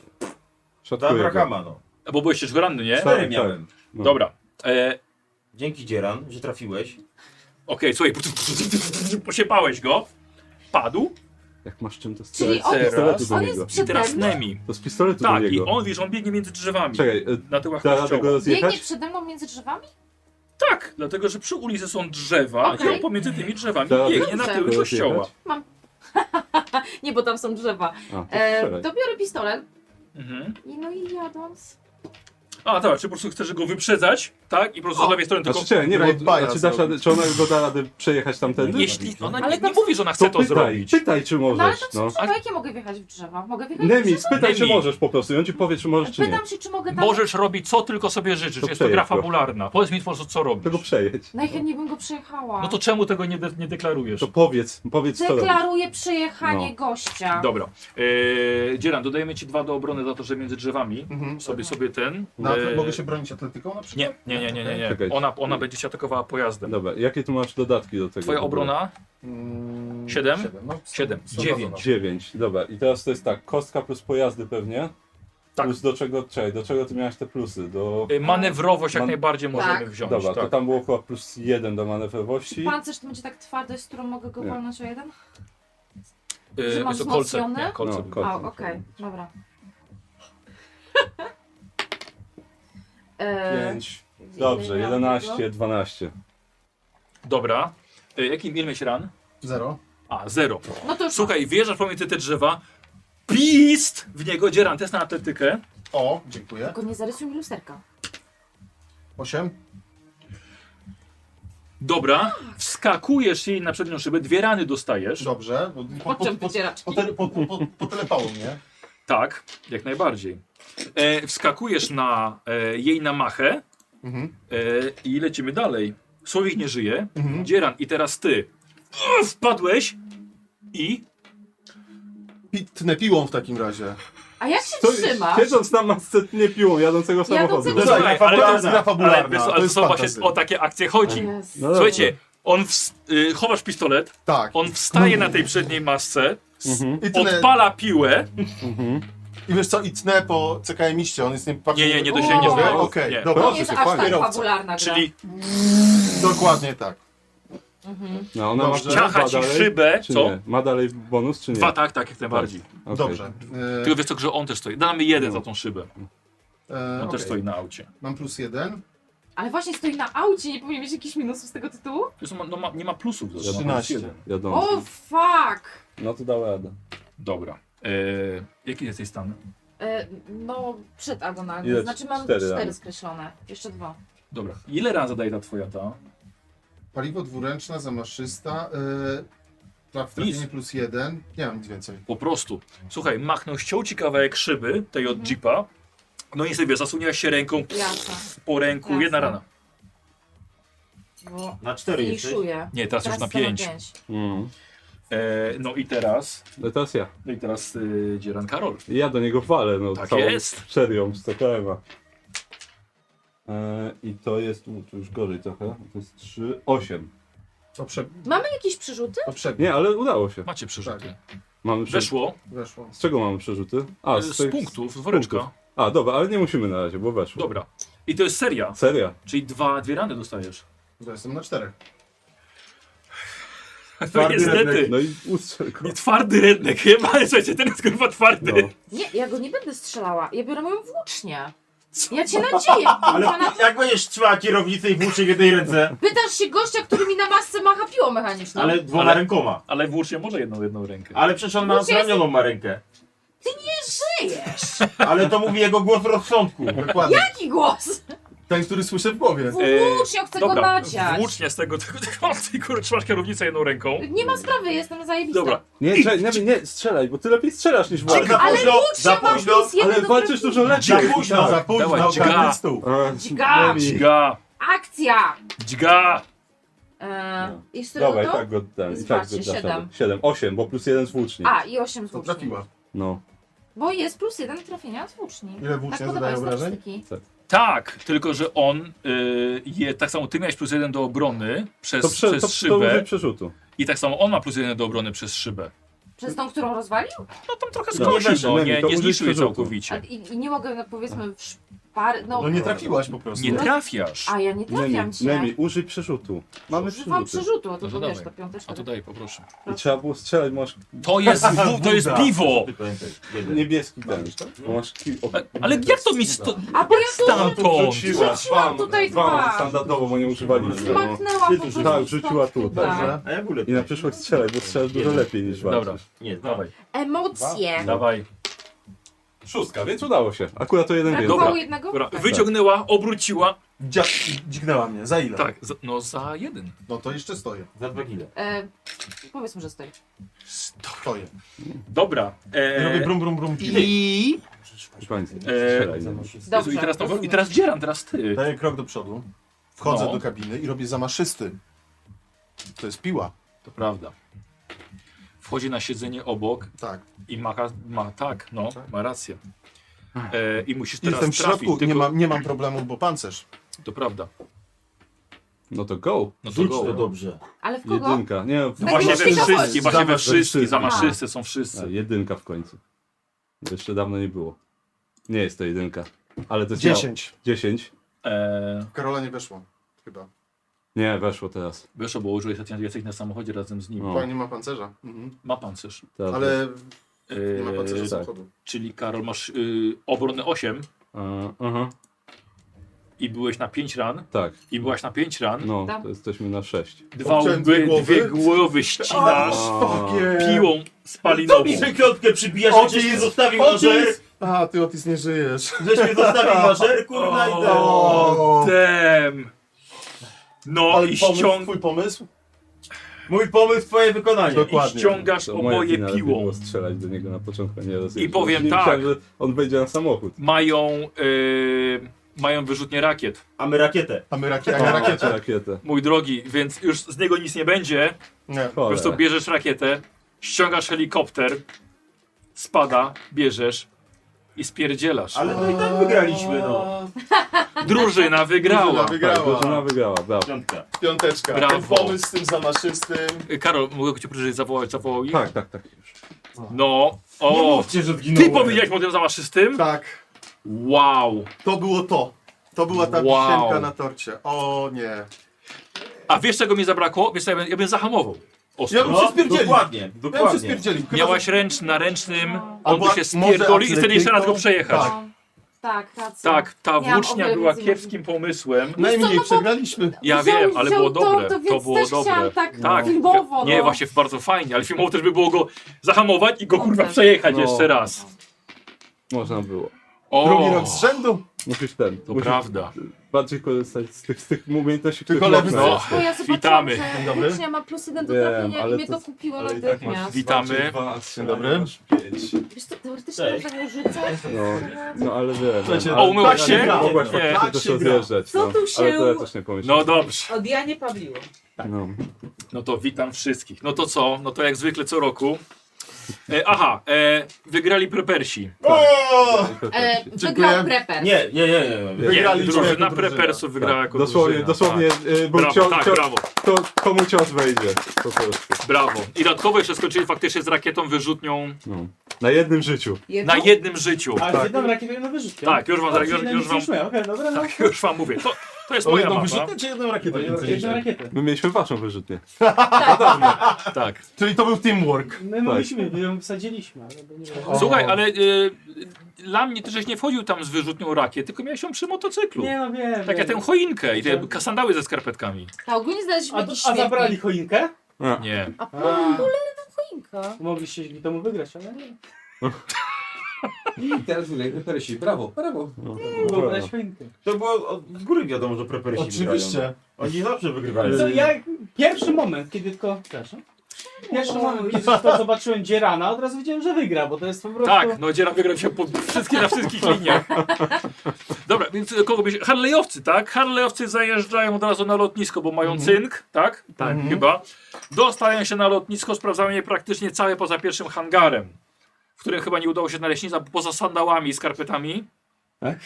Szatkuję Dobra, go. Kama, no. A Bo byłeś też ranny, nie? Cztery miałem. No. Dobra. E, Dzięki Dzieran, że trafiłeś. Okej, słuchaj, posiepałeś go, padł. Jak masz czym to Czyli strzelać? on- Z pistoletu on do jest niego. przede I teraz mną? Nemi. To z pistoletu do Tak, i niego. on, wiesz, on biegnie między drzewami. Czekaj, e, na tyłach da kościoła. tego rozjechać? Biegnie przede mną między drzewami? Tak, dlatego że przy ulicy są drzewa i Okej. on pomiędzy tymi drzewami Da biegnie na Dobrze. tyły Teraz kościoła. jechać? Mam. nie, bo tam są drzewa. A, to E, strzelaj. to biorę pistolet. Mhm. I no i jadąc. A, dobra, czy po prostu chcesz go wyprzedzać, tak? I po prostu z lewej strony tylko... Znaczy, czekaj, nie, bo, znaczy, dasz radę, czy ona go da radę przejechać tamtędy? Jeśli ona nie, Ale nie to- mówi, że ona chce to, no? pytaj, zrobić. Pytaj, czy No ale możesz. to co No. no. jakie mogę wjechać w drzewa? Mogę wjechać w Nemi, drzewa? spytaj, czy Nemi. możesz po prostu. I on ci powie, czy możesz, czy nie. Pytam się, czy mogę tam... Możesz robić co tylko sobie życzysz, To jest to gra przejedź go. fabularna. Powiedz mi po prostu, co robisz. Tego przejedź. Najchętniej bym go przejechała. No to czemu tego nie, de nie deklarujesz? To powiedz, powiedz co robisz. Deklaruję przejechanie No. gościa. Dobra. Eee, Dzieran, dodajemy ci dwa do obrony za to, że między drzewami. Sobie sobie ten. Mhm. Na, Eee, Mogę się bronić atletyką na przykład? Nie, nie, nie, nie, nie. nie. Czekaj. Ona, ona będzie cię atakowała pojazdem. Dobra, jakie tu masz dodatki do tego? Twoja w ogóle? obrona? Mm, Siedem? siedem, no. Siedem. Są Dziewięć. Dziewięć. Dobra, i teraz to jest tak, kostka plus pojazdy pewnie. Tak. Plus do czego, czekaj, do czego ty miałeś te plusy? Do... Eee, Manewrowość jak Man- najbardziej możemy Tak. wziąć. Dobra, to tak. tam było chyba plus jeden do manewrowości. Pancerz to będzie tak twardy, z którą mogę go Nie. walnąć o jeden? Eee, Że mam jest to kolce. wzmocnione? Nie, kolce. No, było. kolce. A, okej, dobra. Eee, Pięć. Dobrze, no. 11, 12. Dobra. Eee, jaki ile miałeś ran? Zero. A, zero. No to już Słuchaj, wjeżdżasz pomiędzy te drzewa. Pist! W niego Dzieran, test na atletykę. O, dziękuję. tylko nie zarysuj mi lusterka. 8. Dobra, Tak. wskakujesz jej na przednią szybę, dwie rany dostajesz. Dobrze. bo- Po, po, Podciąg po, wycieraczki. po, po, po, po, potelepało mnie. Tak, jak najbardziej. E, wskakujesz na e, jej namachę Mhm. e, i lecimy dalej. Słowik nie żyje, Mhm. Dzieran i teraz ty. O, wpadłeś i... Pi- Tnę piłą w takim razie. A jak się To- trzymasz? Siedząc na masce nie piłą jadącego samochodu. Jadącego- Dobra, Słuchaj, gra fabularna, ale- to jest gra fabularna, Ale, wiesz co, to ale jest Mhm. to właśnie o fantasy. takie akcje chodzi. Jest. No dobra. Słuchajcie, on ws- y, chowasz pistolet, Tak. on wstaje na tej przedniej masce, Mhm. I tnę, odpala piłę. Mhm. I wiesz co, i tnę po CKM iście, on jest nie patrzy. Nie, nie, nie dosięgnie. Okej, Nie. okej, Nie. dobra. To nie jest aż tak Kierowca. fabularna gra. Czyli Dokładnie tak. No, ona ma Dobrze. Ciacha ma ci dalej, szybę, czy co? Nie? Ma dalej bonus, czy nie? dwa tak, tak, jak najbardziej. Okej. Dobrze. E, Tylko wiesz co, że on też stoi. Damy jeden za tą szybę. e, On okej. też stoi na aucie. Mam plus jeden. Ale właśnie stoi na aucie, nie powinien mieć jakichś minusów z tego tytułu? Zresztą ma, no ma, nie ma plusów. do tego. 13. Wiadomo. O, fuck! No to dała radę. Dobra. E, jaki jest jej stan? E, no, przed agonalnie. Ile? Znaczy mam Cztery cztery, rany. skreślone. Jeszcze dwa. Dobra. Ile ran zadaje ta twoja ta? Paliwo dwuręczne, zamaszysta. E, Na wtrafienie plus jeden. Nie mam nic więcej. Po prostu. Słuchaj, machnął, ściął ci kawałek szyby, tej od jeepa. No i sobie zasłoniłaś się ręką Jasne. po ręku, Jasne. jedna rana. Bo Na cztery jesteś? zmniejszuję. Nie, teraz już na to pięć. E, no i teraz. Mm. No teraz ja. No i teraz y, Dzieran Karol. Ja do niego walę, no Tak całą jest. serią z TKM-a. E, I to jest, u, to już gorzej trochę, to jest 3, 8. To prze... Mamy jakieś przerzuty? Nie, ale udało się. Macie przerzuty. Mamy przerzuty. Weszło. Weszło. Z czego mamy przerzuty? A, E, z punktów, z woreczka. A, dobra, ale nie musimy na razie, bo weszło. Dobra. No I to jest seria. Seria. Czyli dwa, dwie rany dostajesz. To jestem na czterech. No niestety. redneck, No i ustrzel go. No. I twardy redneck chyba, ale słuchajcie, ten jest kurwa twardy. Nie, ja go nie będę strzelała. Ja biorę moją włócznię. Ja cię nadzieję. kurwa, na... jak będziesz trzymała kierownicę i włócznie w jednej ręce? Pytasz się gościa, który mi na masce macha piłą mechaniczną. Ale dwoma rękoma. Ale włócznie może jedną, jedną rękę. Ale przecież on ma Włócznie jest- zranioną ma rękę. Ty nie żyjesz. Ale to mówi jego głos rozsądku. Dokładnie. Jaki głos? Ten, który słyszę w głowie. Włócznia, chcę go E, dobra, nadziać. włócznie z tego, tego, tego ty kurwa, trzymasz kierownicę jedną ręką. Nie ma sprawy, jestem zajebista. Dobra. Nie, cze- nie, nie, strzelaj, bo ty lepiej strzelasz niż Ale walczysz. późno, za późno, ale walczysz dużo lepiej. E, Za późno, Tak. późno, Dawaj, ogarnij dźga. stół. A, Dźga. Demi. Dźga, Akcja! dźga. Eee, I z którego Dawaj, to? tak go ten, i tak go Zobaczcie, siedem. 7, 8, bo plus 1 z włóczni. A, i 8 z włóczni. No. Bo jest plus 1 trafienia z włóczni. Ile włócznia tak zadaje podawały obrażeń? statystyki. Tak, tylko że on y, je, tak samo ty miałeś plus jeden do obrony przez, To, prze, przez to, to szybę. użyj przerzutu. I tak samo on ma plus jeden do obrony przez szybę. Przez tą, którą rozwalił? No tam trochę No, nie skosił weszło, go, Lemi, nie, to nie użyj zniszczył jej przerzutu. całkowicie. A, i, I nie mogę, no, powiedzmy, w szpar... No, po prostu. Nie trafiasz. A ja nie trafiam Nemi, cię. Nemi, użyj przerzutu. Mamy Używam przerzuty. przerzutu, a to, No to to wiesz, dawaj. to piąteczka. A to daj, poproszę. I trzeba było strzelać, masz To jest, wu- to jest Buda. piwo! niebieski ten. Masz tak? ki- o- Ale jak to mi sto... A bo ja Stamtąd! tu rzuciłam tutaj Bam, dwa. tak, standardowo, bo nie używaliśmy. No. Smaknęła po prostu. Tak, rzuciła tu. stąd chyba. Tak. I na przyszłość strzelaj, bo strzelasz dużo lepiej niż walczysz. Dobra, nie, dawaj. Emocje. Dawaj. Szóstka, więc udało się. Akurat to jeden Brakowało więcej. jednego? Dobra, Tak. wyciągnęła, obróciła. Dźgnęła mnie, za ile? Tak, za, no za jeden. No to jeszcze stoję. Za dwa kile. E, powiedzmy, że stoi. Stoję. Dobra. E, Robię brum, brum, brum. I... Proszę Państwa, no. E, Strzelaj. Jezu, I teraz, to, i teraz dzieram, teraz ty. Daję krok do przodu, wchodzę No. do kabiny i robię zamaszysty. To jest piła. To prawda. Wchodzi na siedzenie obok Tak. i ma, ma tak, no, ma rację. E, I musisz teraz Jestem w trafić, środku, nie, tylko- mam, nie mam problemu, bo pancerz. To prawda. No to go. No to Rzuć go. to dobrze. Ale w kogo? Jedynka. Nie, Tak Właśnie we myślę, że wszystkich, chodzi. właśnie we Zamach- wszystkich, zamaszysty zamaszysty. są A, wszyscy. jedynka w końcu. Jeszcze dawno nie było. Nie jest to jedynka. Ale to jest Dziesięć. mało. Dziesięć. Tak. E, Karola nie weszło, chyba. Nie, weszło teraz. wiesz, bo użyłeś ostatnio jesteś na samochodzie razem z nim. No. Chyba nie ma pancerza. Mhm. Ma pancerz. Teraz Ale E, nie ma pancerza samochodu. Czyli Karol, masz y, obronę 8 E, aha. i byłeś na 5 ran. Tak. I byłaś na 5 ran. No, Tam. to jesteśmy na sześć. Dwa Obciąłem łby, dwie głowy. dwie głowy ścinasz Fucking. piłą To spalinową. mi się klotkę przybijasz, Otis, żeś mnie zostawił Otis! mażer, A, ty Otis nie żyjesz. żeś mnie zostawił mażer, kurna i ten. O, dem. No Ale i pomysł, ściąg... twój pomysł? Mój pomysł, twoje wykonanie. Dokładnie. I ściągasz To moja oboje wina, że nie piłą. było strzelać do niego na początku, a nie raz I powiem Myślałem, tak. że on wejdzie na samochód. Mają, y, mają wyrzutnie rakiet, A my rakietę. A my raki- jak na rakietę. Tak. rakietę. mój drogi, więc już z niego nic nie będzie. Nie. Już to bierzesz rakietę, ściągasz helikopter, spada, bierzesz i spierdzielasz. Ale to i tak wygraliśmy, no. Drużyna wygrała. Drużyna Tak, wygrała. drużyna wygrała, brawo. Piątka. Piąteczka. Ten Brawo. pomysł z tym zamaszystym. Y, Karol, mogę cię prosić, zawołać, zawołał ich? Tak, tak, tak. No, Nie o, mówcie, że ty zginąłem. powiedziałeś o tym zamaszystym? Tak, Wow. to było to. To była ta Wow. wisienka na torcie. O nie. A wiesz czego mi zabrakło? Wiesz co, ja bym, ja bym zahamował. Ostro. Ja bym się spierdzielił. dokładnie, Ja bym się dokładnie. spierdzielił. No, Chyba, Miałaś ręcz na ręcznym, on Albo by się może spierdolił i wtedy jeszcze raz go atletyką. przejechać. Tak. No, Tak, racja. Tak, ta Miałam włócznia obrę była więcej kiepskim pomysłem. Najmniej no bo- przegraliśmy. Ja Wziął- wiem, ale wziął było dobre. To, to, to więc było też dobre. chciałam tak tak. filmowo, Nie, no. właśnie bardzo fajnie, ale filmowo też by było go zahamować i go kurwa przejechać No. jeszcze raz. Można było. O! Drugi rok z rzędu. Musisz ten. To musisz prawda. Bardziej korzystać z tych, z tych umiejętności, Tylko których lewy można. No, Bo ja zobaczyłam, witamy. że Dzień dobry. Włócznia ma plus jeden do Wiem, trafienia i ale mnie to- to kupiło ale i tak natychmiast. Witamy. Dzień dobry. Wiesz co, teoretycznie można nie rzucać. No, no ale wiem. Słuchajcie, no, a ale- umyłaś tak się? gra, Nie. Mogłaś Nie. faktycznie Tak też się gra. rozjeżdżać. Co no, tu się- Ale to ja też nie pomyślałem. No dobrze. Od Janie Pawliło. No. No to witam wszystkich. No to co? No to jak zwykle co roku. E, aha, e, wygrali prepersi. E, Dziękuję. wygrał preper. Nie, nie, nie, nie. Nie, drużyna prepersów wygrała jako Dosłownie, drużyna. dosłownie Tak. y, był brawo, cio- tak, cio- brawo, To, komu cios wejdzie. Po prostu. brawo. I dodatkowo jeszcze skończyli faktycznie z rakietą wyrzutnią No. Na jednym życiu. na jednym życiu. Ale z jedną rakietą jedną wyrzutkę. Tak, już wam- A, już- czyli na już nic wam- nie czuję. Okej, dobra, no. Tak, już wam mówię. To, to jest O, moja jedną mapa. wyrzutnię czy jedną rakietę? O, jedną- jedną rakietę. My mieliśmy waszą wyrzutnię. Tak. Czyli to był teamwork. My mogliśmy, my ją wsadziliśmy, ale by nie było. Słuchaj, ale y, y, dla mnie ty żeś nie wchodził tam z wyrzutnią rakiet, tylko miałeś ją przy motocyklu. Nie no wiem. Tak jak tę choinkę i te sandały ze skarpetkami. A ogólnie znaleźliśmy A, jakiś a śmietnik. zabrali choinkę? Nie. A potem to choinka. Mogliście dzięki temu wygrać, ale nie. I teraz wygraj prepersi. Brawo, brawo. No, Wyobraź choinkę. To było od z góry wiadomo, że prepersi Oczywiście. wygrają. Oni zawsze wygrywają. Co, ja, pierwszy moment, kiedy tylko. Przepraszam. Pierwszy moment, kiedy to zobaczyłem Dzierana, od razu wiedziałem, że wygra, bo to jest po prostu. Tak, no dzieram wygrał się po wszystkie, na wszystkich liniach. Dobra, więc kogo byś... Harleyowcy, tak? Harleyowcy zajeżdżają od razu na lotnisko, bo mają cynk, tak? Tak, chyba. Dostają się na lotnisko, sprawdzają je praktycznie całe poza pierwszym hangarem, w którym chyba nie udało się znaleźć nic, a poza sandałami i skarpetami. Tak.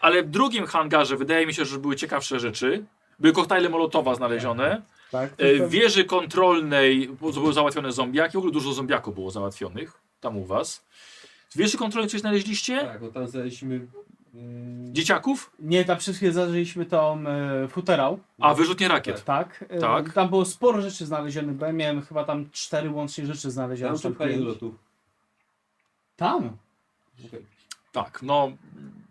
Ale w drugim hangarze wydaje mi się, że były ciekawsze rzeczy. Były koktajle Molotowa znalezione. Tak, E, W wieży kontrolnej były załatwione zombiaki, w ogóle dużo zombiaków było załatwionych, tam u was. W wieży kontrolnej coś znaleźliście? Tak, bo tam znaleźliśmy... mm, Dzieciaków? Nie, dla wszystkich zażyliśmy tą e, futerał. No. A, wyrzutnie rakiet. Tak, e, Tak. Tam było sporo rzeczy znalezionych, bo ja miałem chyba tam cztery łącznie rzeczy znalezionych. Tam czy tam szukali pięć. lotów. Tam? Tak, no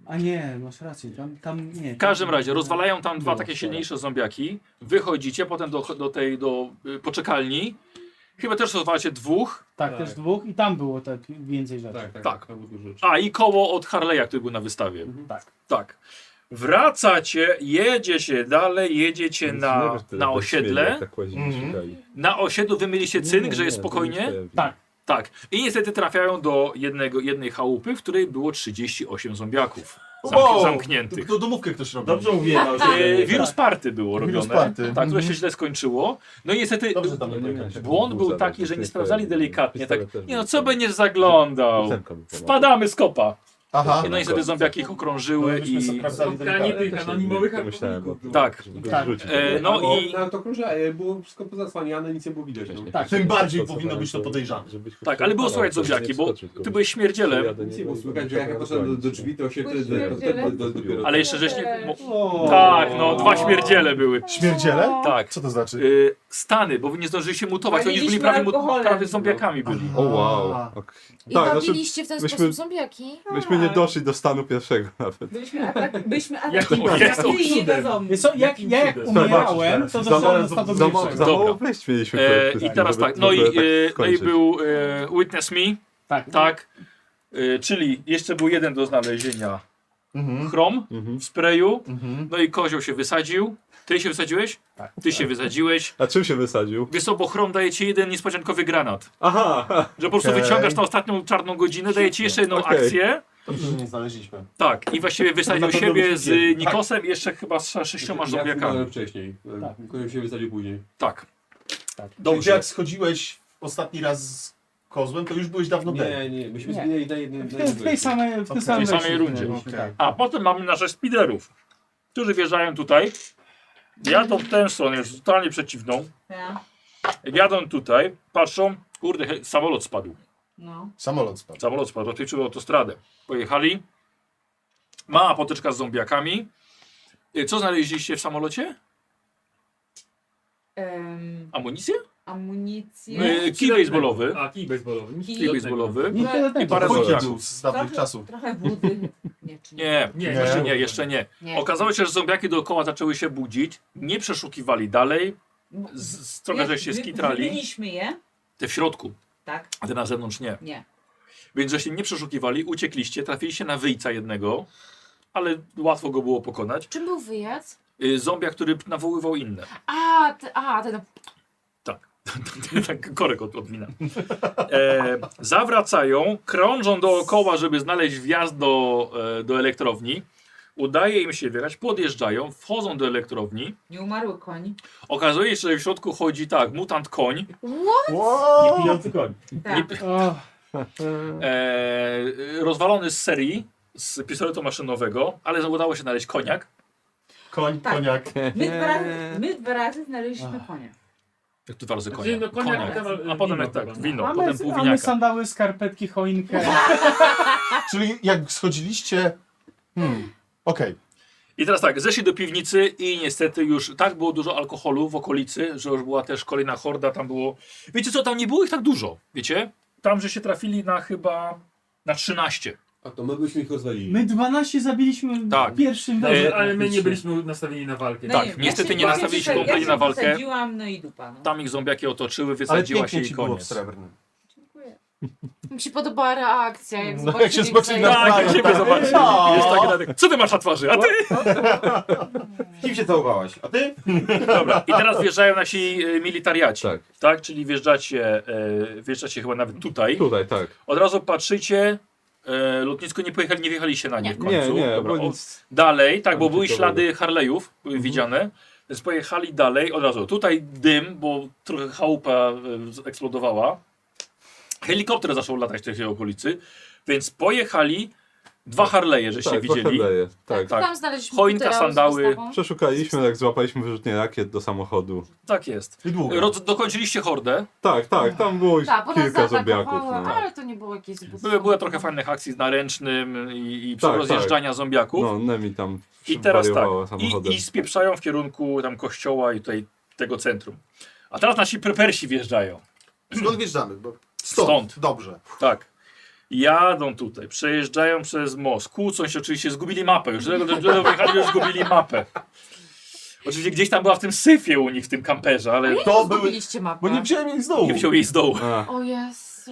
A nie, masz rację, tam, tam nie. w każdym razie rozwalają tam No, dwa tak. takie silniejsze zombiaki. Wychodzicie potem do, do tej, do y, poczekalni. Chyba też rozwalacie dwóch. Tak, też dwóch i tam było tak więcej rzeczy. Tak. A i koło od Harley'a, który był na wystawie. Mhm. Tak. Tak. Wracacie, jedzie się dalej, jedziecie na, na osiedle. tak. Na osiedlu wymyliście cynk, że jest spokojnie? Tak. Tak. I niestety trafiają do jednego, jednej chałupy, w której było 38 zombiaków. Zamk Wow! Zamkniętych. To domówkę ktoś robił. Dobrze mówiłem, ale się E, nie wirus tak. party było robione. Wirus party. Tak, które się Mhm. źle skończyło. No i niestety pamiętam. błąd był taki, że nie sprawdzali delikatnie. Tak, pistolet też nie no, co będziesz zaglądał? Ósemka by była. Wpadamy z kopa. Aha. I no niestety zombiaki ich No, okrążyły i... Spotkanie tych anonimowych Myślałem o Tak. Tak. E, no i... Na to krąża, e, było wszystko pozasłaniane, nic nie było widać. No. Tak. Tym bardziej powinno być to podejrzane. Tak, ale było słychać zombiaki, bo ty byłeś śmierdzielem. Nic nie było słychać, że jak ja poszedłem do, do drzwi, to się wtedy... Byłeś to- to- to- to- dopiero- Ale jeszcze żeś nie... Mo... Tak, no dwa śmierdziele były. Śmierdziele? Tak. Co to znaczy? Y, Stany, bo wy nie zdążyliście mutować, oni już byli Waliliśmy prawie, mu... alkoholem. prawie zombiakami byli. O wow. Ok. I Tak, znaczy, babiliście w ten myśmy- Tak. sposób zombiaki. Myśmy nie doszli do stanu pierwszego nawet. Byliśmy atak, byliśmy Jakim atakowani. jest Ty i jego zombie. Wiesz co, jak, ja jak umierałem, to Za dostałem mało- do stanu za mało- wilczego. Za mało Tak. Dobra. wejść mieliśmy. przede E, I wszystkim, teraz żeby- tak, no i, żeby tak e, no i skończyć. był e, Witness Me, Tak. tak, e, czyli jeszcze był jeden do znalezienia Mhm. chrom w sprayu, Mhm. no i kozioł się wysadził. Ty się wysadziłeś? Tak. Ty się wysadziłeś. A czym się wysadził? Wiesz co, bo chrom daje ci jeden niespodziankowy granat. Aha! Że po prostu Okej. wyciągasz na ostatnią czarną godzinę, daje ci jeszcze jedną Okej. akcję. Dobrze, że nie znaleźliśmy. Tak, i właściwie wysadził Na pewno Tak. siebie byśmy wiedzieli. z Nikosem i jeszcze chyba z sze- sześcioma Ja zombiakami. wyglądałem wcześniej. Kończyłem się wysadził później. Tak. Dobrze. Jak schodziłeś ostatni raz z kozłem, to już byłeś No dawno tak. dead. Nie, nie, myśmy Nie. zginęli na jednym... W tej, w tej samej, w tej tej samej samej, wejściu rundzie. No, byliśmy, tak. A potem mamy naszych spiderów, którzy wjeżdżają tutaj. Jadą w tę stronę, już totalnie przeciwną. Ja. Jadą tutaj, patrzą, kurde, he- samolot spadł. No. Samolot spadł. Samolot spadł, rozpieczyły autostradę. Pojechali. Mała potyczka z zombiakami. Y, Co znaleźliście w samolocie? Em, Amunicję? amunicję. Y, Kij baseballowy. A, kij baseballowy. Kij. Kij baseballowy. Nie tyle I tego. parę Wojciech zombiaków. był z dawnych Trochę- czasów. Trochę wody. Nie, czy nie. Nie, Nie, jeszcze nie. nie, jeszcze nie. Nie. Okazało się, że zombiaki dookoła zaczęły się budzić, nie przeszukiwali dalej, z, z trochę Jak żeście wy- skitrali, Wybiliśmy je. te w środku, Tak, a te na zewnątrz nie. nie. Więc żeście nie przeszukiwali, uciekliście, trafiliście na wyjca jednego, ale łatwo go było pokonać. Czym był wyjazd? Y, Zombia, który nawoływał inne. A, te, a, ten. Tak. tak korek od, odmina. E, zawracają, krążą dookoła, żeby znaleźć wjazd do, e, do elektrowni. Udaje im się wjechać, podjeżdżają, wchodzą do elektrowni. Nie umarły koń. Okazuje się, że w środku chodzi tak, mutant koń. What? Niepijący koń. Tak. Nie- E, rozwalony z serii, z pistoletu maszynowego, ale udało się znaleźć koniak. Koń, Tak. koniak. My dwa, razy, my dwa razy znaleźliśmy konia. Tak, Jak tu dwa razy konia. Znaczy, no, koniak, koniak. kawał- A potem wino jak tak, chyba. wino, mamy, potem pół mamy winiaka. sandały, skarpetki, choinkę. Czyli jak schodziliście... Hmm, okej. I teraz tak, zeszli do piwnicy i niestety już tak było dużo alkoholu w okolicy, że już była też kolejna horda, tam było... Wiecie co, tam nie było ich tak dużo, wiecie? Tam, że się trafili na chyba... na 13. A to my byśmy ich rozwalili. My 12 zabiliśmy Tak. w pierwszym Dobrze, razie. ale my nie byliśmy nastawieni na walkę. No Tak, niestety nie nastawiliśmy kompletnie na walkę. Wysadziłam, no i dupa. No. Tam ich zombiaki otoczyły, wysadziła się pięknie i ci było w koniec. Srebrnym. Mi się podobała reakcja, jak No, zobaczyli, jak się zobaczyli na zajęli. Tak, jak ciebie tak. zobaczyli. No. Jest tak dalej. Co ty masz na twarzy? A ty? Kim się całowałaś? A ty? Dobra, i teraz wjeżdżają nasi e, militariaci. Tak. Czyli wjeżdżacie, e, wjeżdżacie chyba nawet tutaj. Tutaj, tak. Od razu patrzycie, e, lotnisko nie pojechali, nie wjechaliście na nie w Nie, końcu. nie, Dobra, bo o- nic- Dalej, tak, bo Tam były tylko ślady Harley'ów były Mhm. widziane. Więc pojechali dalej od razu. Tutaj dym, bo trochę chałupa e, eksplodowała. Helikopter zaczął latać w tej okolicy, więc pojechali dwa Harley'e, żeście tak, dwa widzieli. Harley'e, tak. No, Tam znaleźliśmy Choinka, futera z sandały. wystawą. Przeszukaliśmy, jak złapaliśmy wyrzutnie rakiet do samochodu. Tak jest. I długo. Roz, dokończyliście hordę. Tak, tak, tam było już Tak, bo nas kilka zaatakowały, zombiaków. No. ale to nie było jakieś zbyt... Były, były trochę fajnych akcji z naręcznym i, i Tak, rozjeżdżania tak. zombiaków. No, Nemi tam I teraz tak. wariowała samochodem. I, I spieprzają w kierunku tam kościoła i tutaj tego centrum. A teraz nasi prepersi wjeżdżają. Skąd wjeżdżamy? No, Bo... Stąd. Dobrze. Tak. Jadą tutaj, przejeżdżają przez most, kłócą się oczywiście, zgubili mapę. Już do tego wyjechali, już zgubili mapę. Oczywiście gdzieś tam była w tym syfie u nich, w tym kamperze, ale... Ale to były... mapę. wziąłem jej z Nie wziął jej z dołu. O Jezu.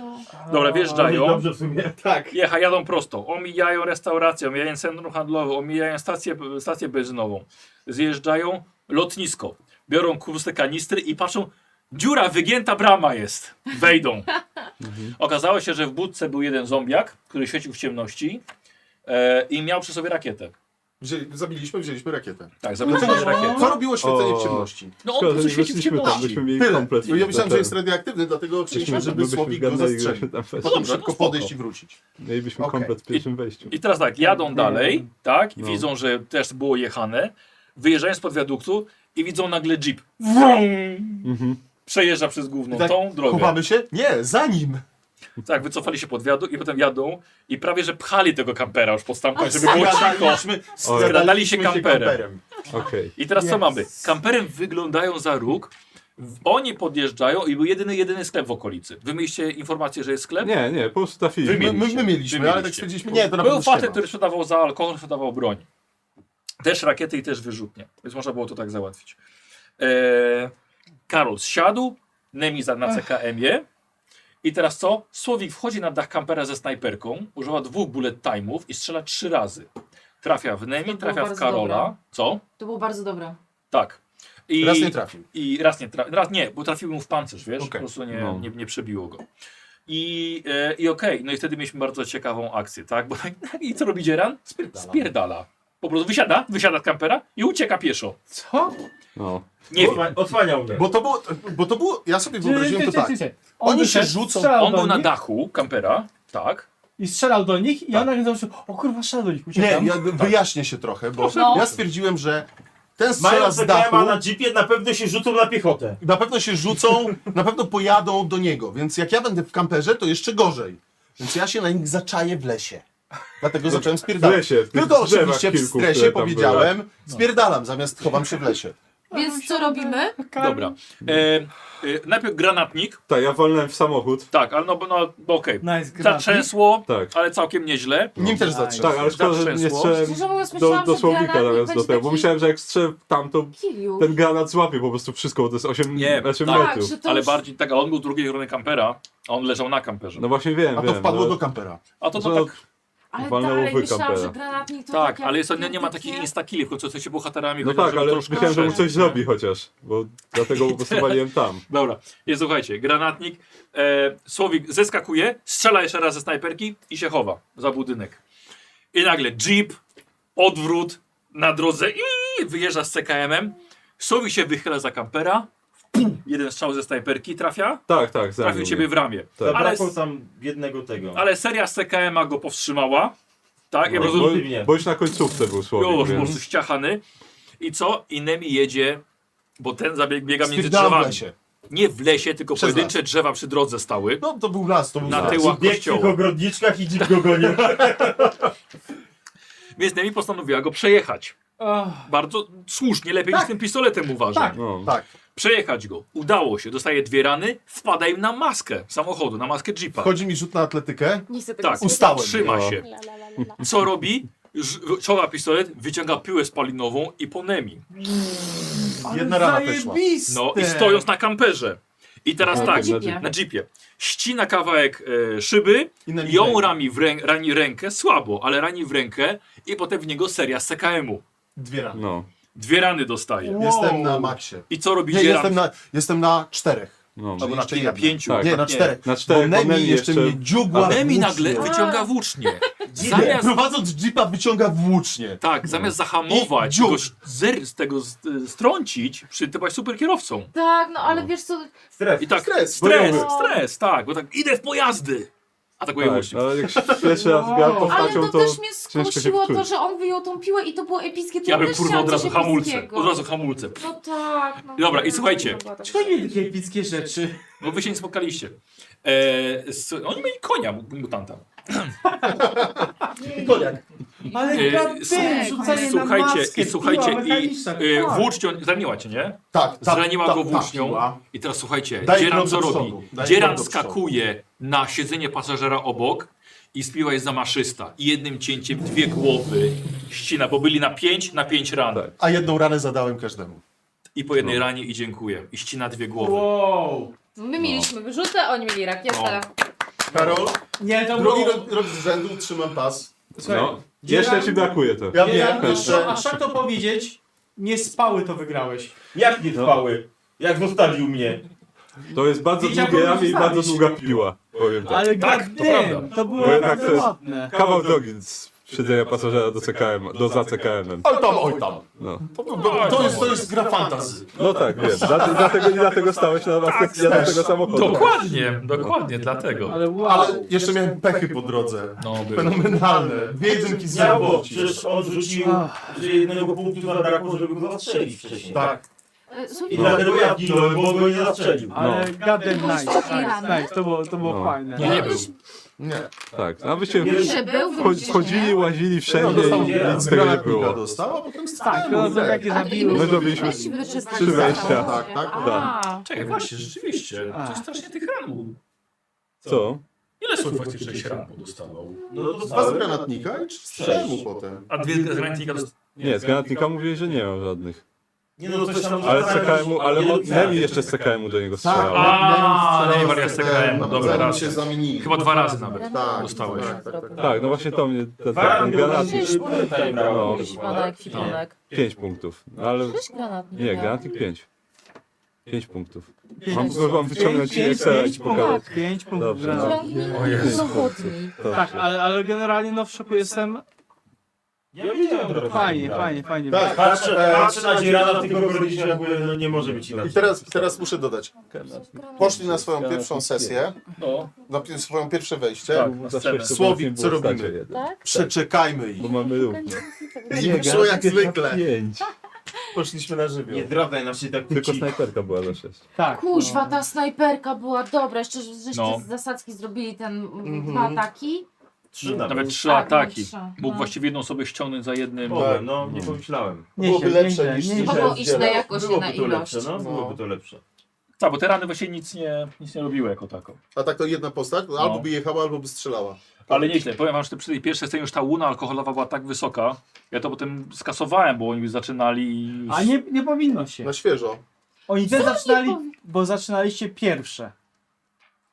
Dobra, wjeżdżają. Dobrze w sumie, tak. Jecha, jadą prosto. Omijają restaurację, omijają centrum handlowe, omijają stację, stację benzynową. Zjeżdżają lotnisko. Biorą puste kanistry i patrzą, dziura, wygięta brama jest. Wejdą. Okazało się, że w budce był jeden zombiak, który świecił w ciemności e, i miał przy sobie rakietę. Wzięli, zabiliśmy, wzięliśmy rakietę. Tak, zabiliśmy rakietę. Co robiło świecenie O. w ciemności? No on po prostu świecił w ciemności. Tyle. No komplet Ja myślałem, komputerów. że jest radioaktywny, dlatego chcieliśmy, żeby byśmy Słowik go gadali, zastrzelił. żeby tam weszli. No dobrze, szybko no spoko. podejść i wrócić. Mielibyśmy komplet w pierwszym wejściu. I teraz tak, jadą dalej, tak, i No. widzą, że też było jechane, wyjeżdżają spod wiaduktu i widzą nagle jeep. Wrum! Mhm. Przejeżdża przez główną I tak tą drogę. Chowamy się? Nie, za nim. Tak, wycofali się pod wiaduk i potem jadą i prawie, że pchali tego kampera już pod stamką, żeby było cicho. Skradaliśmy- Skradali się skradaliśmy kamperem. Okej. I teraz co Yes. mamy? Kamperem wyglądają za róg, w- oni podjeżdżają i był jedyny, jedyny sklep w okolicy. Wy mieliście informację, że jest sklep? Nie, nie, po prostu trafiliśmy. My, my, my mieliśmy, ale tak mieliście. stwierdziliśmy, nie, to na Był pewno facet, ściema. który sprzedawał za alkohol, sprzedawał broń. Też rakiety i też wyrzutnie. Więc można było to tak załatwić. Eee, Karol zsiadł, Nemi za- na CKM-ie. I teraz co? Słowik wchodzi na dach kampera ze snajperką, używa dwóch bullet time'ów i strzela trzy razy. Trafia w Nemi, trafia w bardzo Karola. dobre. Co? To było bardzo dobre. Tak. I, Raz nie trafił. I raz nie trafił. Raz nie, bo trafił mu w pancerz, wiesz? Okej. Po prostu nie, No. nie, nie przebiło go. I, e, i okej, no i wtedy mieliśmy bardzo ciekawą akcję, tak? Bo tak, i co robi Dzieran? Spierdala. Spierdala. Po prostu wysiada, wysiada z kampera i ucieka pieszo. Co? No. Nie Bo- wiem. Odsłaniał Bo to było, bo to było, ja sobie wyobraziłem to tak. Oni się rzucą, On był na dachu kampera, tak. I strzelał do nich i ona nagle zaczął, o kurwa, strzelał do nich, Nie, uciekam. Tak. ja wyjaśnię się trochę, bo Proszę. ja stwierdziłem, że ten strzela Mają z dachu, CKM na jeepie, na pewno się rzucą na piechotę. na pewno się rzucą, na pewno pojadą do niego, więc jak ja będę w kamperze, to jeszcze gorzej. Więc ja się na nich zaczaję w lesie. Dlatego zacząłem W spierdalać. lesie, w tych Tak. Tylko drzewach oczywiście w kilku, stresie które tam No. powiedziałem, były. spierdalam, zamiast chowam się w lesie. No, Więc co robimy? Dobra. E, e, najpierw granatnik. Tak, ja walnąłem w samochód. Tak, ale no, no bo okej. Nice, granatnik. zatrzęsło, Tak. ale całkiem nieźle. Nim też zatrzęsło. Tak, ale szkoda, że nie Zatrzęsło. strzelałem Szczerze mówiąc, do, myślałam, do że słownika granat zamiast do będzie tego, bo taki- myślałem, że jak strzelę tam, to Kiliu. ten granat złapie po prostu wszystko, bo to jest 8, Nie, znaczy tak, metrów. ale bardziej tak, a on był drugiej strony kampera, a on leżał na kamperze. No właśnie wiem, A to wiem, wpadło no. do kampera. A to, no tak, Ale Walnęło dalej wy myślałam, kampera. że granatnik to tak tak ale jest, nie, nie ma takich instakili, choć jesteście bohaterami. No chociaż tak, żeby ale troszkę myślałem, że mu przeżyć, coś nie? zrobi chociaż, bo dlatego po prostu waliłem tam. Dobra, nie, słuchajcie, granatnik, e, Słowik zeskakuje, strzela jeszcze raz ze snajperki i się chowa za budynek. I nagle jeep, odwrót na drodze i wyjeżdża z CKM-em. Słowik się wychyla za kampera, pum, jeden strzał ze snajperki trafia, Tak, tak, trafił zabił ciebie mnie. w ramię. Tak. Ale, Zabrakło tam jednego tego. ale seria z CKM-a go powstrzymała, tak, i po bo, prostu bo już na końcówce był słowik. już po więc- prostu ściachany. I co? Inemi jedzie, bo ten zabieg, biega między Stwierdzałem w drzewami. lesie. Nie w lesie, tylko pojedyncze drzewa przy drodze stały. No to był las, to był Na las. tyłach Biegł w kościoła. ogrodniczkach i dzik go gonił. Więc Nemi postanowiła go przejechać. Bardzo słusznie, lepiej niż tym pistoletem uważam. Tak, No. tak. Przejechać go. Udało się, dostaje dwie rany, wpada im na maskę samochodu, na maskę jeepa. Chodzi mi rzut na atletykę. Nie chcę tego Tak, słyszeć. Ustałem. Trzyma No. się. Co robi? Ż- Czoła pistolet, wyciąga piłę spalinową i po Nemi. Jedna rana weszła. No i stojąc na kamperze. I teraz Na tak, jeepie. na jeepie. Ścina kawałek e, szyby, ją rami w rę- rani rękę, słabo, ale rani w rękę i potem w niego seria z CKM-u. Dwie rany. No. Dwie rany dostaje. Jestem na maksie. I co robi Nie, dzieran? jestem na, jestem na czterech. No. Albo na Czyli na jednej. pięciu. Tak. Nie, na Nie, czterech. na czterech, bo Bo Nemi Nemi jeszcze jeszcze- mnie dziógła A Nemi włócznie. nagle wyciąga włócznie. Jeepem. Zamiast, Prowadząc jeepa wyciąga włócznie. tak, zamiast zahamować, go z- zer, z tego z, y, strącić, przy, ty byłaś super kierowcą. Tak, no ale wiesz co, I tak, stres, stres, bojowy. stres, tak, bo tak idę w pojazdy. Atakuje Tak, włócznie. ale jak pierwszy raz grałem ale postacią, to, to też mnie ciężko się skusiło to, wczuć. że on wyjął tą piłę i to było epickie. To Ja bym też kurwa chciałam od razu coś hamulce, epickiego. od razu hamulce. No tak. No, Dobra, i tak, słuchajcie. to była taka- Czego mieli takie epickie rzeczy? Bo wy się nie spotkaliście. E, s- oni mieli konia mu- mutanta. E, Koniak. Ale E, gadem, s- rzucanie na słuchajcie, maskę, i słuchajcie, piła i mechaniczna, e, tak. włócznią, zraniła cię, nie? Tak, tak, Zraniła tak, go tak, włócznią. piła. I teraz słuchajcie, Daj Dzieran krok co do robi? przodu, daj Dzieran krok do przodu. skakuje na siedzenie pasażera obok i spiła jest zamaszysta. I jednym cięciem dwie głowy ścina, bo byli na pięć, na pięć ran. A jedną ranę zadałem każdemu. I po No. jednej ranie i dziękuję. I ścina dwie głowy. Wow. My mieliśmy wyrzutę, oni mieli rakietę. Karol, Nie, No. to drugi było- rok, rok z rzędu trzymam pas. Słuchaj, No. Jeszcze ci brakuje to. Ja Dzieran, wiem, no, jeszcze. A tak szak to powiedzieć, nie spały to wygrałeś. Jak nie trwały? Jak zostawił mnie? To jest bardzo Wiedział, długie kogo ramię i bardzo zostawić. długa piła, powiem tak. Ale tak, god to damn, prawda. To było Bo jednak naprawdę to jest ładne. kawał drogi z siedzenia pasażera do CKM, do za CKM. Oj tam, oj tam. No. To jest, to jest gra fantasy. no tak, wiem. Dlatego, dlatego, dlatego stałeś na tak, ja tego samochodu. Dokładnie, dokładnie dlatego. Ale wow. Ale jeszcze miałem pechy po drodze. No, było. Fenomenalne. Dwie jedynki z Ja, bo zawoci. przecież on rzucił, że jednego punktu zabrakło, żeby go zastrzelić wcześniej. Tak. E, I słuchaj, dlatego ja ginąłem, bo on go nie zastrzelił. Ale no. gadem nice, nice, Rany? nice, Tak, to było, to było No. fajne. Nie, nie był. Nie. Tak, a byście Że był, cho- chodzili, łazili wszędzie i nic tego nie było. Dostała, potem Tak, no to są takie zabiły. My zrobiliśmy Weź wyczytać trzy wejścia. zastaw. Tak, tak, tak. A, Czekaj, właśnie, rzeczywiście. A. To strasznie tych ran było. Co? Ile słów faktycznie się ran dostawał? No to Dwa z granatnika i trzy z strzemu potem. A dwie granatnika dost- Nie, z granatnika mówili, że nie mam żadnych. Nie no, coś tam Ale z zostawił, CKM-u, ale od jeden Nemi jeszcze z CKM-u do niego Tak, strzelała. A, no Nemi nie, z wariat CKM, CKM, zanim dobra, raz. się zamienili. Chyba dwa razy nawet Tak, dostałeś. tak, tak, tak. Tak, no właśnie to mnie... ta- ta- Warant był granat- gdzieś tutaj brał. No, Ekwipunek, ekwipunek. Pięć punktów, ale... Sześć granat. Nie, miał. granatnik pięć. Pięć punktów. Pięć. Mam, mam wyciągnąć Pięć, Excela i pięć ci pokazać. punktów, pięć punktów Dobrze. granatu. O Jezu. Tak, ale, ale generalnie no w szoku jestem. Ja widziałem trochę. Fajnie, fajnie, fajnie. Tak, Patrzę, E, patrzę na dzierana, tylko gorniczy, jak mówię, no nie może być I inaczej. teraz, teraz muszę dodać. Poszli na swoją pierwszą sesję, No, na pi- swoją pierwsze wejście. tak, na scenę. Słowik, co robimy? Tak? Przeczekajmy ich. Bo mamy równo. I wyszło jak zwykle. Pięć. Poszliśmy na żywioł. Nie zdradzaj naszej Tylko taktyki. snajperka była za sześć. Tak. Kuźwa, ta snajperka była dobra, jeszcze żeście No. z zasadzki zrobili ten mm, Mhm. dwa ataki. Trzy nawet. Nawet trzy Tak, ataki. nawet trzy, Mógł no. właściwie jedną osobę ściągnąć za jednym. tak. Mogłem, no, nie pomyślałem. Byłoby lepsze niż nie myślałem, iść na jakość, byłoby nie na to ilość. lepsze, no, No. byłoby to lepsze. Tak, bo te rany właśnie nic nie, nic nie robiły jako tako. No. A tak to jedna postać, albo by jechała, albo by strzelała. Ale nieźle, powiem wam, że przy tej pierwszej scenie już ta łuna alkoholowa była tak wysoka, ja to potem skasowałem, bo oni już zaczynali... Już... A nie, nie powinno się. Na świeżo. Oni też zaczynali, bo zaczynaliście pierwsze.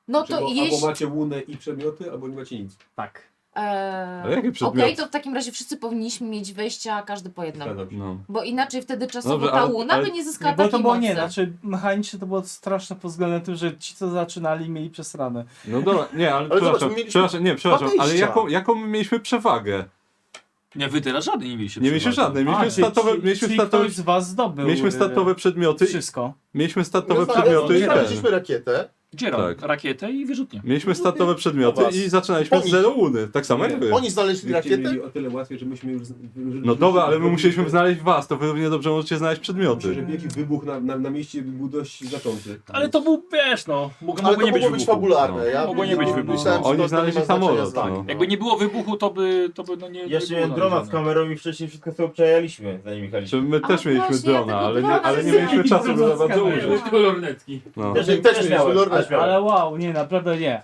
No to jeśli... Albo macie łunę i przedmioty, albo nie macie nic. Tak. Eee, Ale jakie Okej, przedmioty? to w takim razie wszyscy powinniśmy mieć wejścia, każdy po Tak. jednym. No. Bo inaczej wtedy czasowo Dobrze, ta ale- łuna ale- by nie zyskała bo takiej to było mocy. nie, znaczy mechanicznie to było straszne pod względem tym, że ci co zaczynali mieli przesrane. No dobra, nie, ale, przepraszam, przepraszam, nie, przepraszam, ale jaką, jaką my mieliśmy przewagę? Nie, wy teraz żadnej nie mieliście Nie mieliśmy przewagi. żadnej, mieliśmy A, statowe, czyli- mieliśmy czyli statowe, ktoś z was zdobył, mieliśmy y, statowe przedmioty. Wszystko. Mieliśmy statowe No tak, przedmioty i ten. Znaleźliśmy rakietę. Gdzie Tak. Rakietę i wyrzutnię. Mieliśmy statowe przedmioty Was. i zaczynaliśmy z Oni- zero łuny, tak samo jak wy. Mieli o tyle łatwiej, że myśmy już... No dobra, ale my musieliśmy znaleźć was, to wy równie dobrze możecie znaleźć przedmioty. Żeby jakiś wybuch na, na, na mieście był dość zaczący. Ale to był, wiesz, no, mógł, Ale mogło to nie być mogło być wybuchu. fabularne, No. ja mogło nie być no, wybuchu. myślałem, że Oni to- to znaleźli samolot, tak. no. Jakby nie było wybuchu, to by, to by no nie... nie Jeszcze było miałem drona żadnego. z kamerą i wcześniej wszystko sobie obczajaliśmy, zanim jechaliśmy. My też mieliśmy drona, ale nie, ale nie mieliśmy czasu, żeby za bardzo użyć. Kolornetki. No. Też- też mieliśmy lornetki. ale, ale wow, nie, naprawdę nie.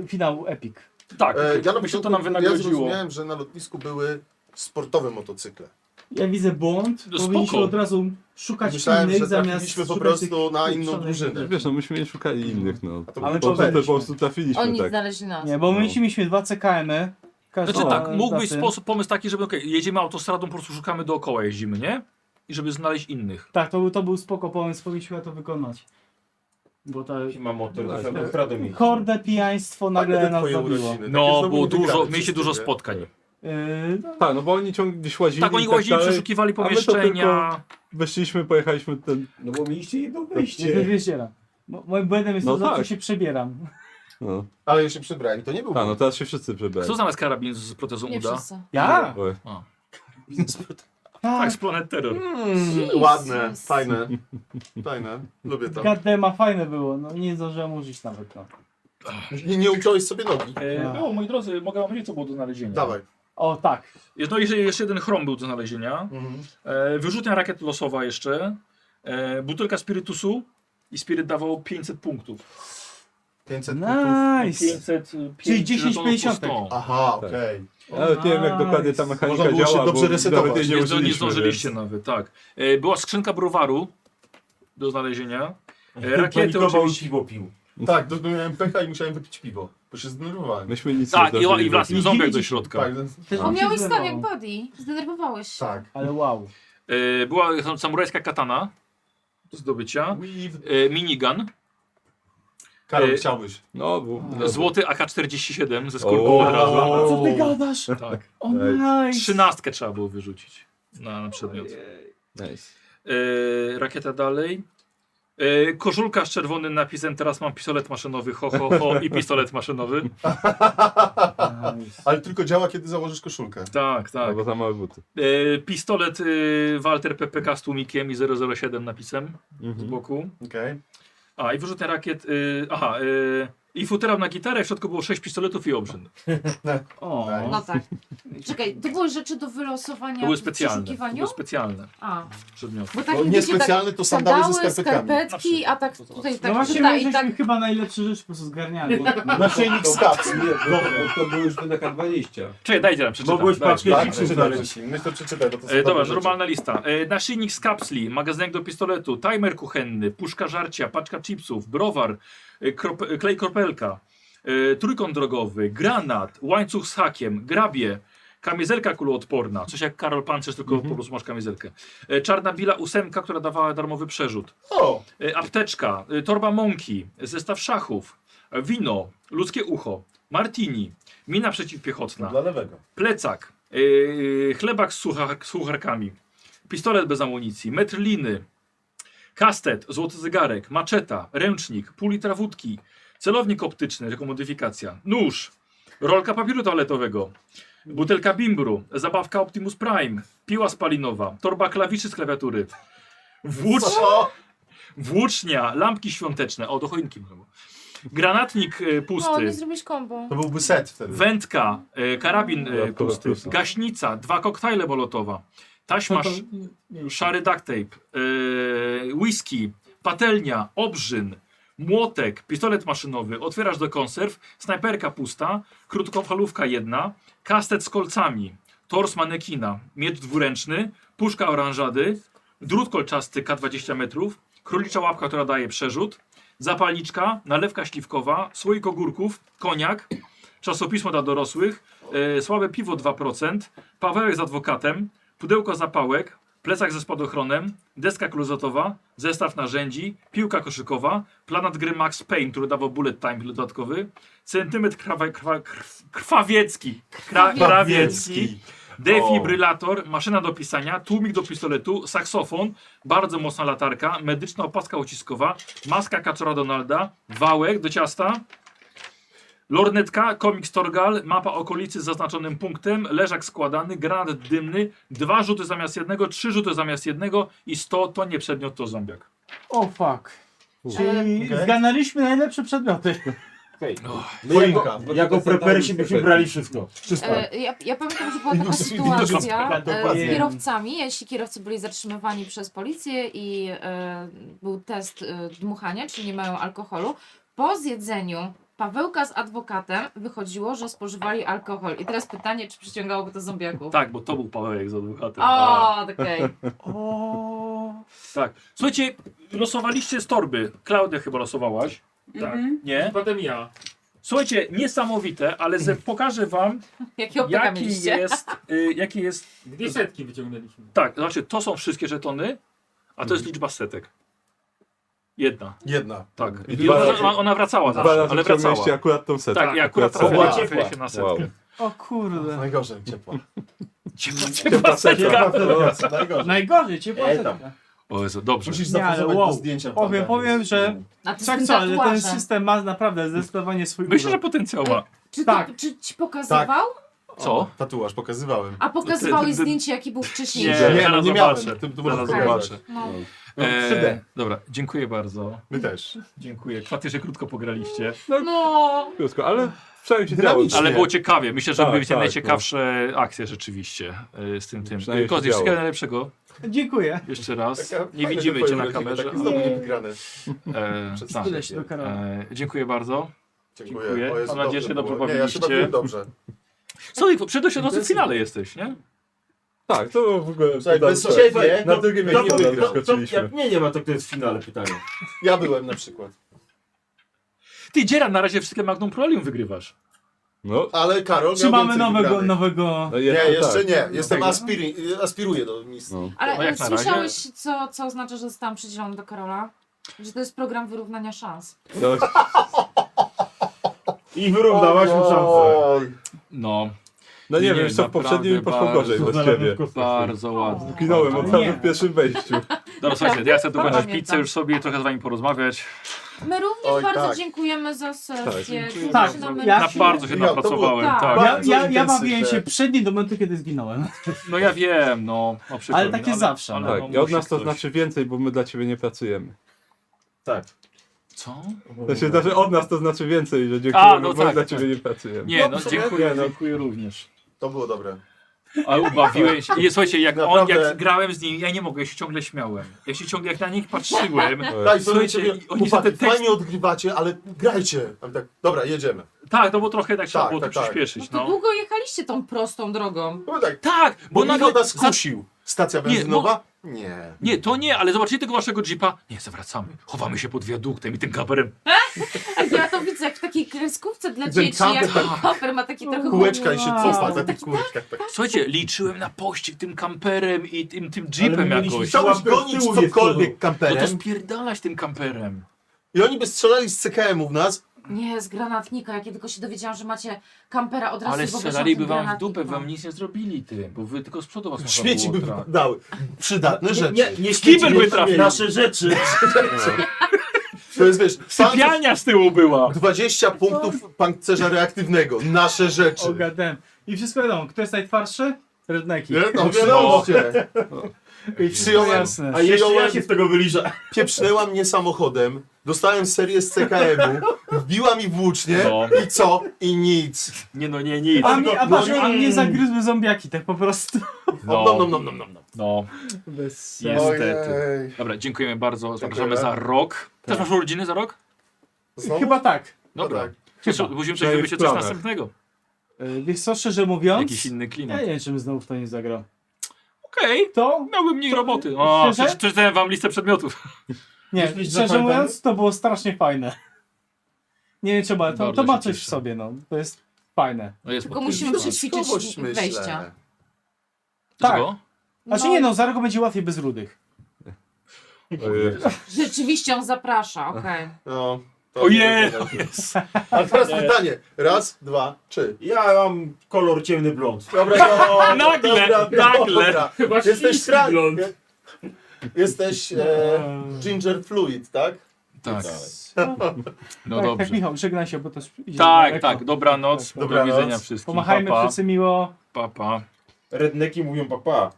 Yy, finał epic. Tak, E, ja, na początku, ja zrozumiałem, że na lotnisku były sportowe motocykle. Ja widzę błąd. No Powinniśmy spoko. od razu szukać Myślałem, innych że zamiast. trafiliśmy po szukać prostu tych na inną pieprzonych. drużynę. Wiesz, no myśmy nie szukali innych, no. był po, prostu, po popędź. prostu trafiliśmy, Oni tak. znaleźli nas. Nie, bo my mieliśmy dwa CKM-y. Każdy Znaczy ma tak, mógł być daty. sposób, pomysł taki, żeby okej, jedziemy autostradą, po prostu szukamy dookoła, jeździmy, nie? I żeby znaleźć innych. Tak, to był, to był spoko pomysł, powinniśmy to wykonać. Bo ta... Ma motor, to trzeba radę mieć. Hordę Tak, pijaństwo nagle nas zabiło. No, było dużo, mieliście dużo spotkań. Yy, Tak, no bo oni ciągle gdzieś łazili Tak, oni i łazili, dalej, przeszukiwali a my to pomieszczenia. tylko Weszliśmy, pojechaliśmy ten... No bo mieliście jedno Nie wyzieram. Mo- Moim błędem jest No to, że zawsze tak. się przebieram. No. Ale już się przebrali, to nie był Tak, no teraz się wszyscy przebrali. Kto znalazł karabin z protezą Nie uda? wszyscy. Ja? Oj. A. Tak, z Planet Terror. Mm, Jesus. ładne, fajne. Fajne, lubię Tak, to. Gadema fajne było, no nie zdążyłem użyć nawet. No. Nie, nie uciąłeś sobie nogi. E, było, moi drodzy, mogę wam powiedzieć, co było do znalezienia. Dawaj. O, tak. No i jeszcze jeden chrom był do znalezienia. E, wyrzutnia rakiet losowa jeszcze. E, butelka spirytusu. I spiryt dawał 500 punktów. 500 Nice. 500, Czyli 5 10 żetonów po 100. pięćdziesiątek. Aha, okej. Nawet nie wiem, jak dokładnie ta mechanika Można było się działa, dobrze bo resetować. nawet jej nie Nie, zdo- użyliśmy, nie zdążyliście nawet, tak. E, była skrzynka browaru do znalezienia. E, rakiety Panikował i oczywiście. piwo pił. Tak, to miałem pecha i musiałem wypić piwo, bo się zdenerwowałem. Myśmy nic Tak, nie i- zdążyli i wlazł zrobić. ząbek do środka. Tak, Też Bo mam miałeś się stan jak body, zdenerwowałeś się. Tak. Ale wow. E, była sam- samurajska katana do zdobycia. E, minigun. Karol, E, chciałbyś. No, był... Złoty AK-47 ze O, skórką od razu. A co ty gadasz? Tak. O, nice. Trzynastkę trzeba było wyrzucić na, na przedmiot. no. Nice. E, rakieta dalej. E, koszulka z czerwonym napisem teraz mam pistolet maszynowy, ho ho ho i pistolet maszynowy. Ale tylko działa, kiedy założysz koszulkę. Tak, tak. Albo No, za małe buty. E, pistolet y, Walter PPK z tłumikiem i 007 napisem z Mhm. boku. Okej. A i wyrzutnia rakiet. Y, aha, y, i futerał na gitarę, w środku było 6 pistoletów i obrzyn. O. No tak. Czekaj, to były rzeczy do wylosowania To były w specjalne. To przeszukiwaniu? były specjalne A. przedmioty. Bo tak widzicie, tak, sandały, skarpetki, a tak tutaj No tak, właśnie ta, my i żeśmy tak chyba najlepsze rzeczy po prostu zgarniali. to- Stacy. Nie, no, to było już do DK20. Czekaj, dajcie nam przeczytać. Mogłeś paczkę chipsów znaleźć. Myślę, że Tak, przeczytaj, bo to są E, dobra, dobre rzeczy. normalna lista. E, naszyjnik z kapsli, magazynek do pistoletu, timer kuchenny, puszka żarcia, paczka chipsów, browar, e, krop, e, klej kropelka, e, trójkąt drogowy, granat, łańcuch z hakiem, grabie, kamizelka kuloodporna, coś jak Karol Pancerz, tylko po prostu masz kamizelkę. E, czarna bila ósemka, która dawała darmowy przerzut. O! E, apteczka, e, torba mąki, zestaw szachów, e, wino, ludzkie ucho, martini, mina przeciwpiechotna, Dla lewego. plecak, e, chlebak z, suchar z sucharkami, pistolet bez amunicji, metr liny, kastet, złoty zegarek, maczeta, ręcznik, pół litra wódki, celownik optyczny, jako modyfikacja, nóż, rolka papieru toaletowego, butelka bimbru, zabawka Optimus Prime, piła spalinowa, torba klawiszy z klawiatury, włócz... Włócznia, lampki świąteczne, o do choinki było. Granatnik e, pusty. No, O, nie zrobisz kombo. byłby set wtedy. Wędka, e, karabin e, Dodatkowa pusty, plusa. gaśnica, dwa koktajle bolotowa, taśma, No to- sz, szary duct tape, e, whisky, patelnia, obrzyn, młotek, pistolet maszynowy, otwierasz do konserw, snajperka pusta, krótkofalówka jedna, kastet z kolcami, tors manekina, miecz dwuręczny, puszka oranżady, drut kolczasty K20 metrów, królicza łapka, która daje przerzut, zapalniczka, nalewka śliwkowa, słoik ogórków, koniak, czasopismo dla dorosłych, e, słabe piwo 2%, Pawełek z adwokatem, pudełko zapałek, plecak ze spadochronem, deska klozetowa, zestaw narzędzi, piłka koszykowa, planat gry Max Payne, który dawał bullet time dodatkowy, centymetr krawa, krawa, krw, krwawiecki, kra, krawiecki, Krawiecki. defibrylator, maszyna do pisania, tłumik do pistoletu, saksofon, bardzo mocna latarka, medyczna opaska uciskowa, maska kaczora Donalda, wałek do ciasta, Lornetka, komiks Torgal, mapa okolicy z zaznaczonym punktem, leżak składany, granat dymny, dwa rzuty zamiast jednego, trzy rzuty zamiast jednego i 100 to nie przedmiot, to zombiak. O oh, fuck. Czyli Okej. zganaliśmy najlepsze przedmioty. No My jako, jako preperysi byśmy brali wszystko. E, ja, ja pamiętam, że była taka Minus minus sytuacja e, dokładnie. z kierowcami, jeśli kierowcy byli zatrzymywani przez policję i e, był test e, dmuchania, czyli nie mają alkoholu, po zjedzeniu Pawełka z adwokatem wychodziło, że spożywali alkohol. I teraz pytanie, czy przyciągało go to zombiaków? Tak, bo to był Pawełek z adwokatem. O, okej. Tak. Słuchajcie, losowaliście z torby. Klaudia chyba losowałaś. Tak. Mhm. Nie? Potem ja. Słuchajcie, niesamowite, ale ze, pokażę wam, Jakie opyka jaki mieliście? jest, y, jaki jest... Dwie setki wyciągnęliśmy. Tak, znaczy to są wszystkie żetony, a to jest Mhm. liczba setek. Jedna. Jedna. Tak. I I dwa ona, razy- ona, ona wracała dwa zawsze, razy ale wracała. ciągnęliście akurat tą setkę. Tak, i akurat Akurat trafiła, setkę. trafiła się na setkę. Wow. O kurde. Najgorzej, ciepła. Ciepła, ciepła No, setka. Najgorzej. Najgorzej, ciepła Ej, setka. O Jezu, dobrze. Musisz zapozować do zdjęcia. Powiem, powiem, No. że A to tak są co, ale ten tatuaże. system ma naprawdę zdecydowanie swój Myślę, że urok. potencjał ma. Czy, Tak. to, czy ci pokazywał? Co? Tatuaż pokazywałem. A pokazywałeś zdjęcie, jaki był wcześniej. Nie, Nie, zaraz nie miałem. zobaczę. Ty- ty może zaraz zobaczę. zobaczę. No. E, 3D. dobra, dziękuję bardzo. My też. Dziękuję. Kwaty, że krótko pograliście. No. Krótko, ale przynajmniej się działo. Ale było ciekawie. Myślę, że Tak, były tak, najciekawsze akcje rzeczywiście e, z tym tym. Przynajmniej się Kozli, wszystkiego działo. najlepszego. Dziękuję. Jeszcze raz. Taka nie fajna widzimy twoja cię na urodzina, kamerze. taki znowu Eee. niewygrany. E, Przez tak. tyle się do kanału. e, dziękuję bardzo. Dziękuję. dziękuję. O Jezu, Mam nadzieję, że dobrze się było. dobrze Nie, ja się bawiliście. bawiłem dobrze. Co, przed się w finale jesteś, nie? Tak, to było w ogóle... Słuchaj, udało bez się. ciebie- Na no, drugie no, miejsce no, no, skoczyliśmy. to Nie, nie ma, to kto jest w finale pytanie. Ja byłem na przykład. Ty, Dzieran, na razie wszystkie Magnum Prolium wygrywasz. No. Ale Karol Czy miał mamy więcej nowego- wygranych. nowego- No Nie, jeszcze tak. nie. Jestem Tego? aspiri- aspiruję do mistrza. No, Ale e, słyszałeś, co, co oznacza, że zostałam przydzielona do Karola? Że to jest program wyrównania szans. No, I wyrównałaś mu szansę. No. No nie wiem, co w poprzednim mi poszło gorzej bez ciebie. Bardzo ładnie. Zginąłem od razu No, Nie. w pierwszym wejściu. Dobra, słuchajcie, ja chcę dokończyć Pamiętam. tak. pizzę, już sobie trochę z wami porozmawiać. My również Oj, bardzo tak. dziękujemy za sesję. Dziękuję Tak. Dziękujemy na Ja bardzo się napracowałem, tak. Ja, ja, ja Bardzo bawiłem się intensywne. przed nim do momentu, kiedy zginąłem. No ja wiem, no. no przykro Ale mi, tak no, jest zawsze, no. Tak, no, i od musi nas to ktoś. znaczy więcej, bo my dla ciebie nie pracujemy. Tak. Co? To się znaczy od nas to znaczy więcej, że dziękuję, No, A, no bo my tak, dla tak. ciebie nie pracujemy. Nie, no Dobrze. dziękuję, Nie, no. dziękuję również. To było dobre. Ale ubawiłeś się. I słuchajcie, jak on, Naprawdę. jak grałem z nim, ja nie mogę, ja się ciągle śmiałem. Ja się ciągle, jak na nich patrzyłem. słuchajcie, Daj, słuchajcie, i oni są te chłopaki, teksty... fajnie odgrywacie, ale grajcie. A my tak, dobra, jedziemy. Tak, no bo trochę tak trzeba było tak, to tak. przyspieszyć, To no. długo jechaliście tą prostą drogą. tak. Tak, Bo nagle- Niko nas kusił. Stacja Nie, benzynowa? Nie. Nie, to nie, ale zobaczycie tego waszego jeepa. Nie, zawracamy. Chowamy się pod wiaduktem i tym kaperem. Ja to widzę jak w takiej kreskówce dla Ten dzieci, jak kaper. koper ma taki trochę... Kółeczka i się Wow. cofa, tak w kółeczkach. Tak. Słuchajcie, liczyłem na pościg tym kamperem i tym, tym jeepem jakoś. Chciałbyś gonić cokolwiek No to kamperem spierdalać tym kamperem. i oni by strzelali z CKM-ów w nas. Nie, z granatnika. Jak ja tylko się dowiedziałam, że macie kampera od razu Ale wyobrażam strzelaliby ten wam w granatnik. dupę, wam nic nie zrobili ty, bo wy tylko z przodu was można Śmieci było tak. by traf- dały. Przydatne rzeczy. nie, nie śmieci, Kibel by nie trafił. Nasze rzeczy. To jest, wiesz, sypialnia z tyłu była. 20 punktów pancerza reaktywnego. Nasze rzeczy. Ogadem. I wszystko wiadomo, kto jest najtwardszy? Redneki. Nie, no, oczywiście. I Przyjąłem, No jasne. przyjąłem- tego wyliża. Pieprznęła mnie samochodem. Dostałem serię z CKM-u, wbiła mi włócznie No. i co? I nic. Nie no, nie, nic. A, mi, a, No, patrz, a mnie zagryzły zombiaki, tak po prostu. No. Nom, nom, nom, nom, nom. No, Bez sensu. niestety. Dobra, dziękujemy bardzo. Zapraszamy za Tak. rok. Też masz urodziny za rok? Znowu? Chyba tak. Dobra. Chyba. Cieszę- Musimy To coś jest zrobić coś planer. następnego. Y, Wiesz co, szczerze mówiąc... Jakiś inny klimat. Ja nie wiem, czym znowu w to nie zagrał. Okej, to miałbym mniej roboty. O, Szczerze? przeczy- przeczytałem wam listę przedmiotów. Nie, Myślisz, że szczerze fajne? mówiąc, to było strasznie fajne. Nie wiem czemu, ale to, to ma coś w sobie, no. To jest fajne. No jest Tylko musimy przećwiczyć wejścia. Tak. No. Znaczy nie no, Zarego będzie łatwiej bez rudych. No, Rzeczywiście on zaprasza, okej. No. Ojej! A teraz pytanie. Raz, dwa, trzy. Ja mam kolor ciemny blond. Dobra, no, Nagle, nagle. Chyba Jesteś chiński tra- blond. Jesteś e, ginger fluid, tak? Tak. No tak, dobrze. tak, Michał, żegnaj się, bo to idzie Tak, daleko. tak, dobranoc. Do Dobranoc. widzenia wszystkim. Pomachajmy pa, pa. wszyscy miło. Pa, pa. Redneki mówią papa.